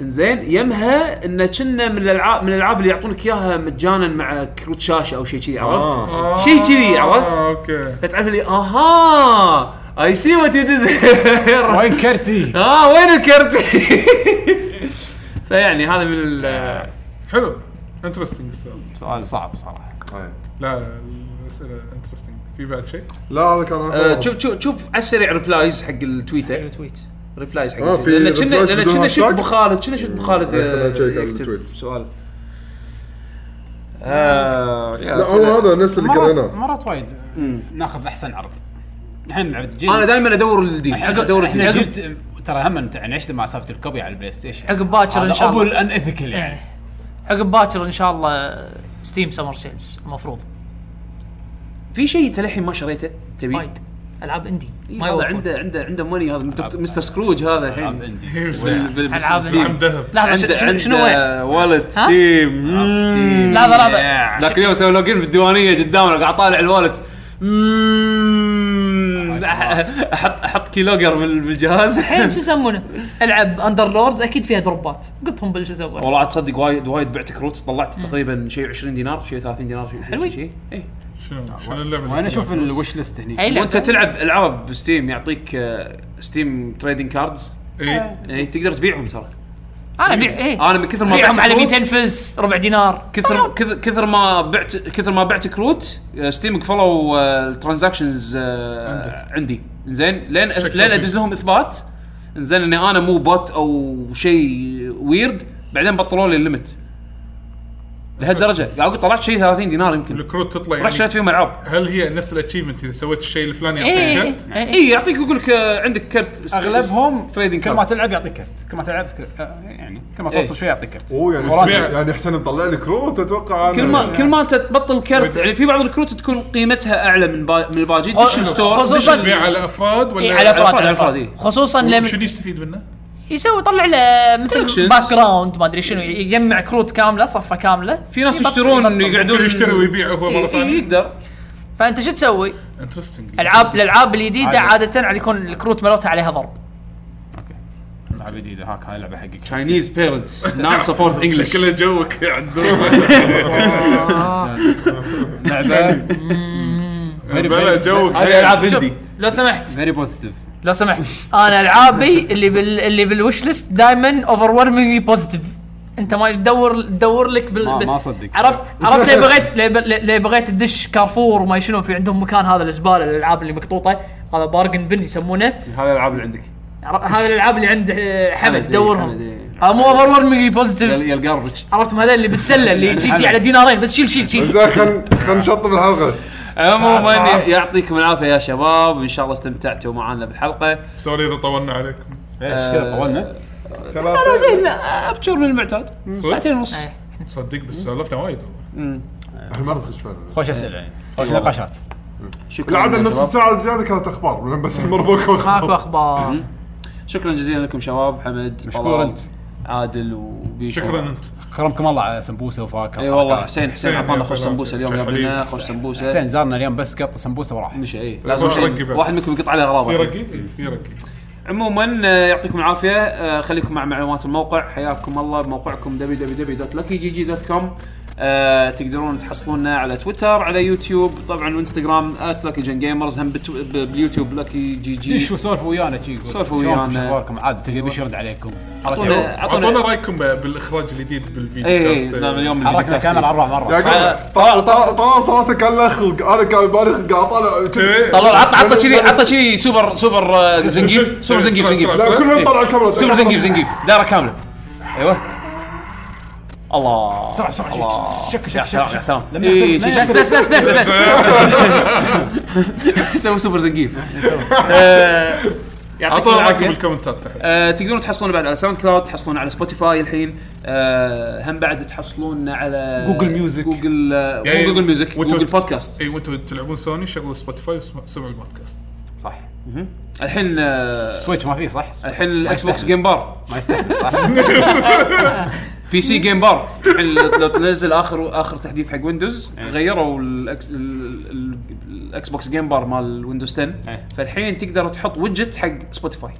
A: زين يمها ان كنا من الالعاب من الالعاب اللي يعطونك اياها مجانا مع كروت شاشه او شيء كذي عرفت؟
D: آه،
A: شيء كذي عرفت؟
D: اوكي
A: فتعرف اللي اها اي سي وات يو ديد
B: وين كرتي؟
A: اه وين الكرت؟ فيعني هذا من ال- آه،
D: حلو انترستنج السؤال
B: سؤال صعب صراحه
C: إيه.
D: لا الاسئله انترستنج في بعد شيء
C: لا هذا كان آخر
A: آه،
C: واحد.
A: شوف شوف شوف على السريع ريبلايز حق التويتر
E: تويت
A: ريبلايز حق
C: آه،
A: التويتر.
C: في
A: لان كنا
C: replies
A: لان
C: بدون
A: كنا شفت
C: hashtag؟
A: ابو خالد كنا شفت ابو خالد
C: آه، خلنا
A: آه،
C: نشيك على
A: يكتب
C: التويت.
A: سؤال آه، يا
C: لا هو
A: سلام.
C: هذا الناس اللي
B: مرات
C: قريناه
B: مرات وايد ناخذ احسن عرض احنا نلعب جيل
A: انا دائما ادور الديل
B: احنا
A: ادور الديل
B: احنا جيل ترى هم انت يعني ايش ما سالفه الكوبي على البلاي ستيشن
E: عقب باكر ان
B: هذا
E: شاء
B: ابو
E: الله
B: الان اثيكال يعني
E: إيه. عقب باكر ان شاء الله ستيم سمر سيلز المفروض
A: في شيء انت للحين ما شريته تبي
E: وايد العاب اندي
A: إيه،
E: ما
A: هذا
E: يوفر.
A: عنده عنده عنده موني هذا دكتور- مستر سكروج هذا
E: إيه.
B: العاب
A: الحين
B: انديز
A: بال- بال-
E: ألعاب
A: بالستيم.
D: عم ذهب
E: لحظه
A: عنده
E: شنو- شنو شنو وين؟ آه،
A: عنده والد ستيم
B: ألعاب ستيم.
E: لحظه لحظه
B: Yeah.
A: ذاك اليوم سوى لوجين في الديوانيه قدامنا قاعد طالع الوالد مم. أح- احط احط كيلوجر بال- بالجهاز
E: الحين شو يسمونه؟ العب اندر لوردز اكيد فيها دروبات قلتهم بالشو يسمونه
A: والله عاد تصدق وايد وايد بعت كروت طلعت تقريبا شيء 20 دينار شيء 30 دينار شيء
E: حلوين. إيه.
A: شيء اي
D: شنو شنو اللعبه اللي
B: وانا اشوف
D: تلعبها؟
B: الوش ليست هني
E: اي
A: وانت
E: لعبه
A: إيه. تلعب العاب بستيم يعطيك آه، ستيم تريدنج كاردز
D: اي
A: اي تقدر تبيعهم ترى
E: انا ابيع ايه
A: انا من كثر ما
E: ابيعهم
A: بعت
E: على 200
A: كروت
E: فلس ربع دينار
A: كثر كثر كثر ما بعت كثر ما بعت كروت آه، ستيم قفلوا آه، الترانزاكشنز آه،
D: عندك.
A: عندي زين لين
D: شكرا
A: لين
D: فيك.
A: ادز لهم اثبات زين اني انا مو بوت او شيء ويرد بعدين بطلوا لي الليمت لهالدرجه قاعد اقول طلعت شيء 30 دينار يمكن
D: الكروت تطلع
A: رحت شريت
D: يعني
A: فيهم العاب
D: هل هي نفس الاتشيفمنت اذا سويت الشيء الفلاني
E: ايه
D: يعطيك كرت؟
E: إيه، إيه.
A: اي يعطيك يقول لك آه، عندك كرت
B: اغلبهم
A: تريدنج
B: كل ما
A: كارد
B: تلعب يعطيك كرت كل ما تلعب كرت- آه، يعني كل ما
A: إيه.
B: توصل شوي يعطيك كرت
C: اوه يعني
B: مرات-
D: اسمع.
C: يعني حسين مطلع لي كروت يعني- اتوقع
A: كل ما كل ما انت تبطل كرت يعني في بعض الكروت تكون قيمتها ااعلى من با... من الباجي دش الستور دش-
E: خصوصا
D: تبيع على افراد ولا
E: إيه، على افراد
A: على
E: على
A: أفراد،
E: افراد خصوصا لما
D: شنو يستفيد منه؟
E: يسوي يطلع له مثل
A: Collections.
E: باك جراوند ما ادري شنو يجمع كروت كامله صفه كامله
A: في ناس
E: يبطل-
A: يشترون
E: يبطل.
A: يقعدون
D: ممكن يشتري ويبيع هو
E: إيه،
D: مره
A: إي- إي،
D: ثانيه
A: إيه. يقدر
E: فانت شو تسوي؟
D: انترستنج
E: العاب الالعاب الجديده
B: عادي.
E: عاده على يكون الكروت مالتها عليها ضرب
B: اوكي لعبه جديده هاك هاي لعبه حقك
A: تشاينيز بيرنتس نوت سبورت انجلش
D: شكله جوك عندهم
B: لعبه
D: بلا جوك
A: هذه العاب
E: شوف،
A: هندي
E: لو سمحت
B: فيري بوزيتيف
E: لو سمحت انا العابي اللي بال اللي بالوش ليست دائما اوفر ويرمنجلي بوزيتيف انت ما تدور تدور لك بال
B: ما-
E: بال-
B: ما أصدق.
E: عرفت عرفت ليه بغيت ليه ب- ليه- ليه بغيت تدش كارفور وما شنو في عندهم مكان هذا الزباله الالعاب اللي مقطوطه هذا بارجن بن يسمونه
A: هذه الالعاب اللي عندك
E: عر- هذه الالعاب اللي عند آه،
A: حمد،
E: حمد
A: إيه، حمد،
E: دورهم
A: إيه.
E: هذا مو اوفر ويرمنجلي بوزيتيف
B: يعني-
A: يا الجاربج
E: عرفتم هذا اللي بالسله اللي تجي تجي على دينارين بس شيل شيل شيل
C: زين خلينا خلينا نشطب الحلقه
A: عموما يعطيكم العافيه يا شباب ان شاء الله استمتعتوا معنا بالحلقه
D: سوري اذا طولنا عليكم
E: إيه.
B: ايش كذا طولنا
A: انا زين ابشر من المعتاد ساعتين ونص
E: إيه.
D: صدق بس سولفنا وايد والله
C: هالمره صدق فعلا
B: خوش اسئله يعني
E: إيه
B: خوش نقاشات
A: شكرا
C: العاده
A: يا
C: نص
A: شباب.
C: ساعه زياده كانت اخبار بس المره ماكو
A: آه.
E: ماكو
C: اخبار
E: اخبار
A: شكرا جزيلا لكم شباب حمد
B: مشكور
A: طلال،
B: أنت.
A: عادل وبيشو
D: شكرا انت
B: كرمكم الله على سمبوسه وفاكهه
E: إيه
A: اي والله
B: حسين
A: حسين حسين
D: حسين
A: اعطانا
D: يا
A: خوش
D: فلان.
A: سمبوسه اليوم يا
D: حبيبي.
A: ابننا خوش سمبوسه
B: حسين زارنا اليوم بس قط سمبوسه وراح
A: مش اي لازم
D: في
A: شيء.
D: رقي بعد.
A: واحد منكم يقطع عليه
D: في
A: غرابه
D: رقي إيه، في رقي
A: عموما آه، يعطيكم العافيه آه، خليكم مع معلومات الموقع حياكم الله بموقعكم www.luckygg.com آه تقدرون تحصلونا على تويتر على يوتيوب طبعا وانستغرام @luckygengamers هم بتو- ب- باليوتيوب لكي جي جي
B: شو سولفوا ويانا شي يقول.
A: سولفوا
B: شلونكم؟
A: ويانا.
B: شو اخباركم عادي تلقى بيشرد عليكم
A: أعطونا-
D: اعطونا
A: أعطونا-
D: رايكم ب- بالاخراج الجديد بالفيديو
A: اي
D: كاست.
A: إي، نعم، اليوم
B: حركنا الكاميرا اربع
C: يعني
B: مرات
A: على-
C: يعقوب طال- طال- طال صراحه كان له خلق انا كان بالي خلق قاعد طالع
A: طلع عطى عطى كذي عطى كذي سوبر سوبر آه، زنقيف سوبر زنقيف زنقيف
C: لا كلهم طلعوا الكاميرا
A: سوبر زنقيف زنقيف دائره كامله ايوه الله
B: بسرعه بسرعه شك
A: يا سلام
B: شك
A: يا
B: شك
A: سلام
B: لما يحط-
A: إي، شي- شي-
E: بس بس بس بس بس
A: يسوي سوبر زنقيف آه، يعطيكم
D: اعطونا رايكم
A: العافيه
D: بالكومنتات تحت
A: آه، تقدرون تحصلون بعد على ساوند كلاود تحصلون على سبوتيفاي الحين آه، هم بعد تحصلون على
B: جوجل ميوزك.
A: جوجل آه،
D: يعني
A: مو جوجل ميوزك
D: وتو-
A: جوجل بودكاست
D: اي وانتم إيه، تلعبون سوني شغلوا سبوتيفاي وسمعوا البودكاست
B: صح
A: الحين آه،
B: سويتش ما فيه صح
A: الحين الاكس بوكس
B: يستاهل.
A: جيم بار
B: ما يستاهل صح
A: بي سي جيم بار الحين لو تنزل اخر اخر تحديث حق ويندوز غيروا الأكس- ال- ال- الاكس بوكس جيم بار مال ويندوز 10
B: إيه.
A: فالحين تقدر تحط ويدجت حق سبوتيفاي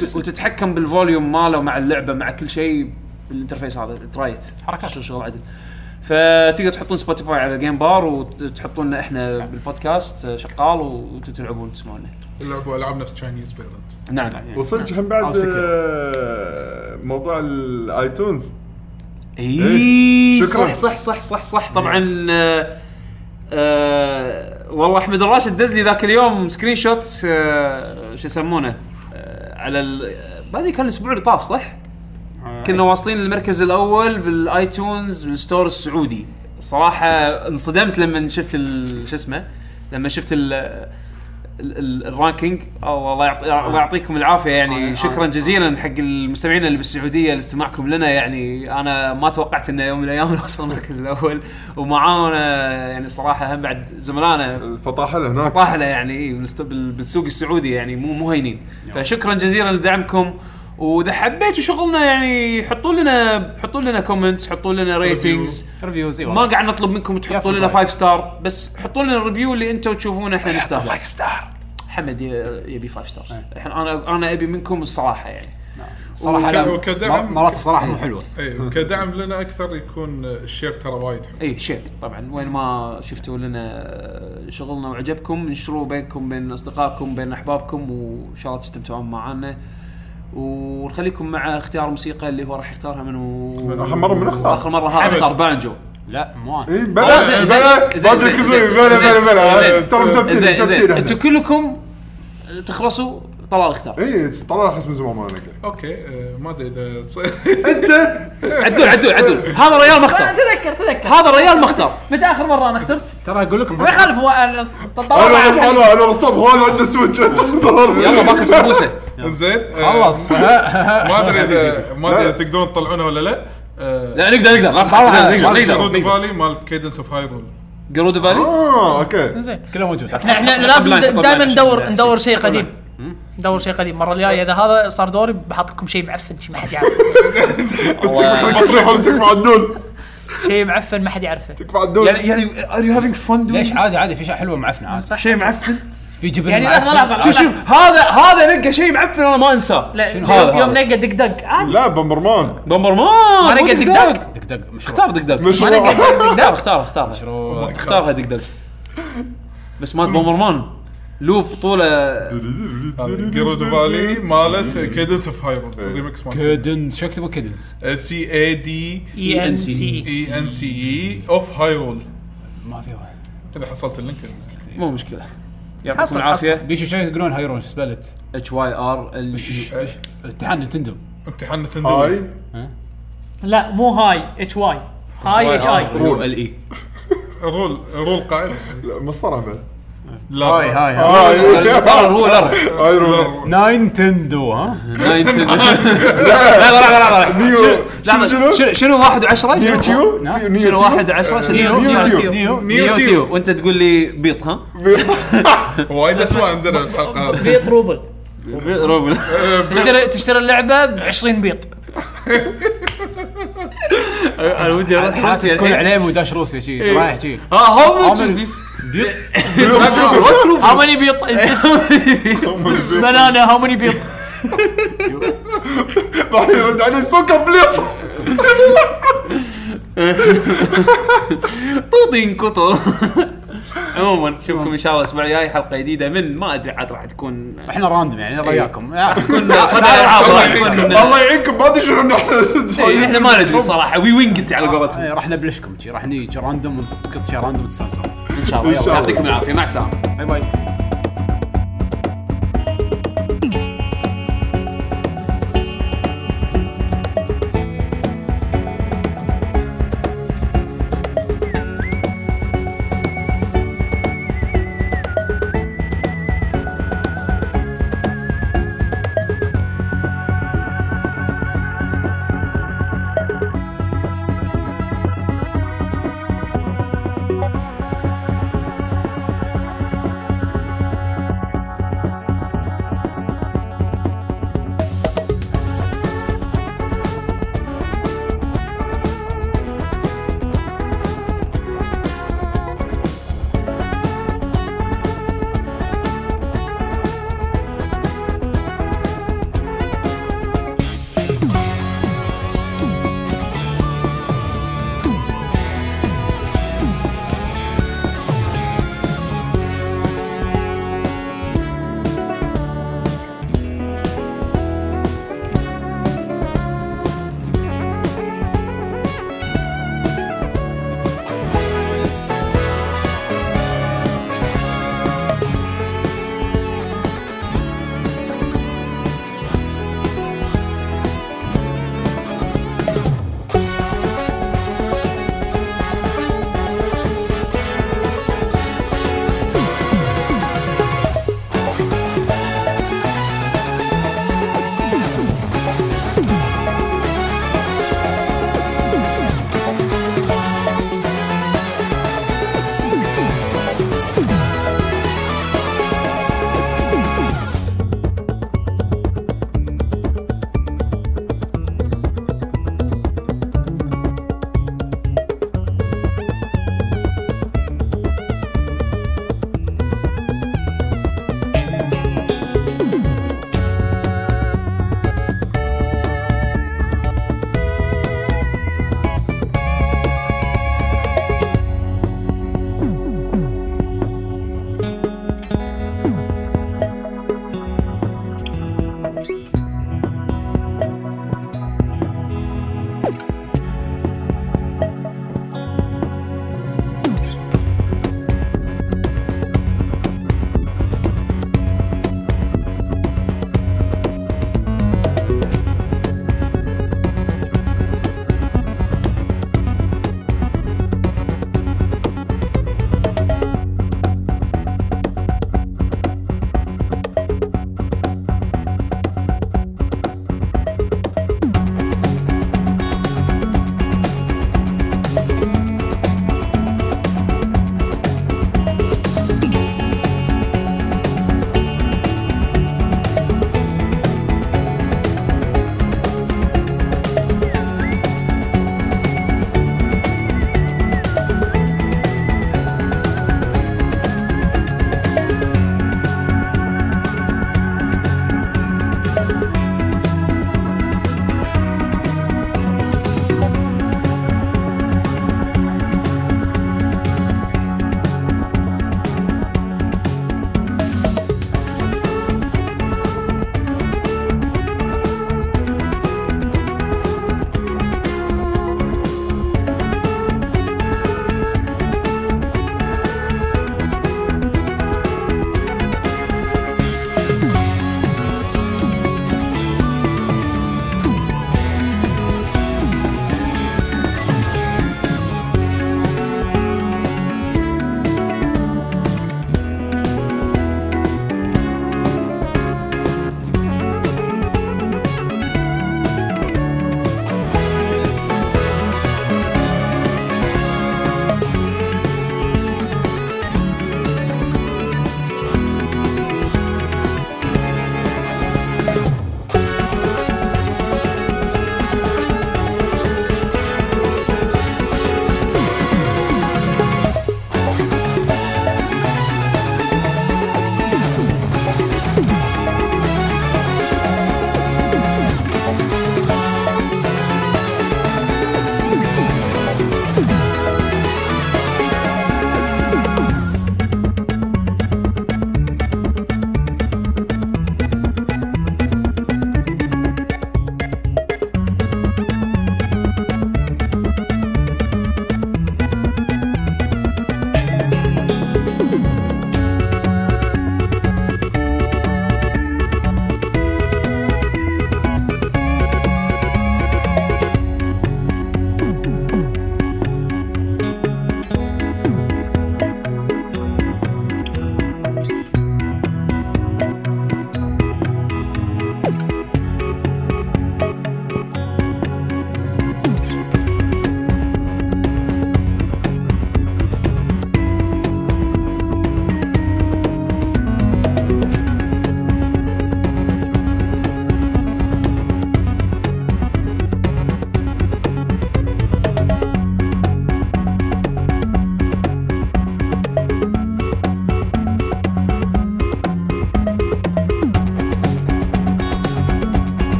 A: وتتحكم بالفوليوم ماله مع اللعبه مع كل شيء بالانترفيس هذا ترايت
B: حركات.
A: شغل- شغل عدل فتقدر تحطون سبوتيفاي على جيم بار وتحطون احنا بالبودكاست شغال وتلعبون تسمعونا
D: لعبوا العاب نفس تشاينيز بيرنت
A: نعم
C: وصدق هم بعد
A: أو سكر.
C: آه، موضوع الايتونز
A: اي إيه، صح
C: شكراً.
A: صح صح صح صح طبعا آه آه والله احمد الراشد دز لي ذاك اليوم سكرين شوت آه شو يسمونه آه على ال- بعدين كان الاسبوع اللي طاف صح؟ كنا واصلين للمركز الاول بالايتونز بالستور السعودي صراحه انصدمت لما شفت ال- شو اسمه لما شفت ال ال- ال- الرانكينج الله الله يعط- الله يعطيكم العافيه يعني شكرا جزيلا حق المستمعين اللي بالسعوديه لاستماعكم لنا يعني انا ما توقعت انه يوم من الايام نوصل المركز الاول ومعانا يعني صراحه هم بعد زملائنا
C: الفطاحل هناك
A: طاحله يعني إيه بالست- بال- بالسوق السعودي يعني مو مو هينين فشكرا جزيلا لدعمكم واذا حبيتوا شغلنا يعني حطوا لنا حطوا لنا كومنتس حطوا لنا ريتنجز
B: ريفيوز
A: ما قاعد نطلب منكم تحطوا
B: يا
A: لنا
B: فضل.
A: 5 ستار بس حطوا لنا الريفيو اللي انتم تشوفونه احنا نستاهل 5 ستار حمد ي- يبي 5 ستار
B: إيه.
A: الحين انا انا ابي منكم الصراحه يعني
B: صراحه
D: وك-
B: لا
D: وكدعم-
B: مر- مرات الصراحه مو حلوه
D: اي إيه، كدعم لنا اكثر يكون الشير ترى وايد حلو
A: اي شير طبعا إيه، وين ما شفتوا لنا شغلنا وعجبكم انشروه بينكم بين اصدقائكم بين احبابكم وان شاء الله تستمتعون معنا ونخليكم مع اختيار موسيقى اللي هو راح يختارها من و...
C: آخر مرة من اختار؟
A: اخر مره ها
D: حمد.
A: اختار بانجو
B: لا مو انا
C: اي
A: آه،
C: إيه، بلا
A: زين،
C: بلا
A: زين، زين،
C: باجي
A: زين،
C: كزوي
A: زين،
C: بلا
A: زين،
C: بلا بلا
A: زين.
C: ترى مثبتين
A: زين زين
C: مثبتين
A: انتم
C: احنا
A: كلكم تخلصوا طلال اختار
C: اي إيه، طلع احس من زمان ما نقل
D: اوكي آه، ما ادري اذا تص-
C: انت
A: عدول عدول عدول هذا الريال ما اختار
E: تذكر تذكر
A: هذا الريال ما اختار
E: متى اخر مره انا اخترت؟
B: ترى اقول لكم
E: ما يخالف هو أنا-
C: انا رص-
E: طلع
C: انا انا رصب هون عنده سويتش انت
A: يلا باكر سمبوسه
D: زين آه،
B: خلص
D: ما ادري اذا ما ادري اذا تقدرون تطلعونها ولا لا إيه، آه،
A: لا نقدر نقدر نقدر نقدر
D: جرود
A: نقدر
D: فالي مالت كيدنس اوف هايرول
A: جرود فالي
C: اه اوكي
B: كله موجود
A: نعم.
E: احنا احنا لازم دائما ندور ندور شيء قديم ندور شيء قديم المره الجايه اذا هذا صار دوري بحط لكم شيء معفن شيء ما حد يعرفه
C: بس تكفى كل شيء حول تكفى عدول
E: شيء معفن ما حد يعرفه
C: تكفى عدول
A: يعني يعني ار يو هافينج فن
B: ليش عادي عادي في شيء حلوه معفنه عادي
A: شيء معفن
B: في جبن
E: يعني
B: معفن.
E: لحظه لحظه
A: شوف شوف هذا هذا نقى شيء معفن انا ما انساه
E: لا
A: شنو هذا
E: يوم- يوم
A: هذا؟
E: نلقى دق دق عادي
C: لا بمبرمان
A: بمبر مان
E: ما نقى
A: مو
E: دق
A: دق.
B: دق دق مشروع
A: اختار دق دق
C: مش
E: ما نقى
C: هو-
E: دق دق
A: اختار اختار اختار
B: مشروع
A: اختارها دق دق بس مات بمبر مان لوب طوله
D: جرود فالي مالت كيدنس اوف هايرول الريمكس مالت
B: كيدنس شو اكتبوا كيدنس
D: سي اي دي
E: اي ان سي
D: اي ان سي اي اوف هايرول
B: ما في واحد
D: اذا حصلت اللينك انزل.
A: مو مشكله
E: حصل-
A: يعطيكم العافيه
B: بيشو شو يقولون هايرون سبلت
A: اتش واي ار ال
D: إيش؟
B: امتحان نتندو
D: امتحان نتندو
C: هاي
E: لا مو هاي اتش واي هاي اتش اي
A: ال اي
D: رول رول قاعد
C: لا، مسطرة بعد
D: لا
B: هاي هاي هاي
C: هاي
A: هو الار
C: هاي رول.
A: نعم.
B: آه. ناينتندو ها
A: لا لا لا لا
C: نيو
A: لحظة،
C: شنو شنو
A: شنو شنو واحد وعشرة؟
C: نيو
A: شنو-
C: تيو
B: نعم.
C: تيو- نيو
A: شنو
C: تيو؟
A: واحد وعشرة؟ شنو-
C: نيو
A: شنو-
C: تيو.
B: نيو
A: نيو تيو وانت تقول لي بيط ها؟
D: وايد اسماء عندنا الحلقه هذه
E: بيط روبل
A: روبل
E: تشتري تشتري اللعبه ب 20 بيط
A: انا ودي اروح
B: حاسس
A: روسيا
B: تكون
A: الحين.
B: عليه وداش روسيا
C: إيه.
B: شي رايح شي
A: ها هاو ماتش
B: How
A: از
B: many-
A: ذيس؟
E: هاو ماني بيط از ذس بنانا هاو ماني بيط
C: أيوة، يعني راح يرد علي سكر بليط
A: طوطين كطر عموما نشوفكم ان شاء الله الاسبوع الجاي حلقه جديده من ما ادري عاد راح تكون
B: احنا راندم يعني
C: إيه.
B: يلا وياكم
A: لا، صدق العاب راح تكون
C: الله يعينكم ما ادري شنو نحن
A: إيه، احنا ما ندري صراحه وي وينجت على قولتهم
B: راح نبلشكم شي راح نيجي راندم ونقط شي راندم وتستانسون ان شاء الله
C: إن شاء
B: يلا
C: الله.
A: يعطيكم العافيه مع السلامه
B: باي باي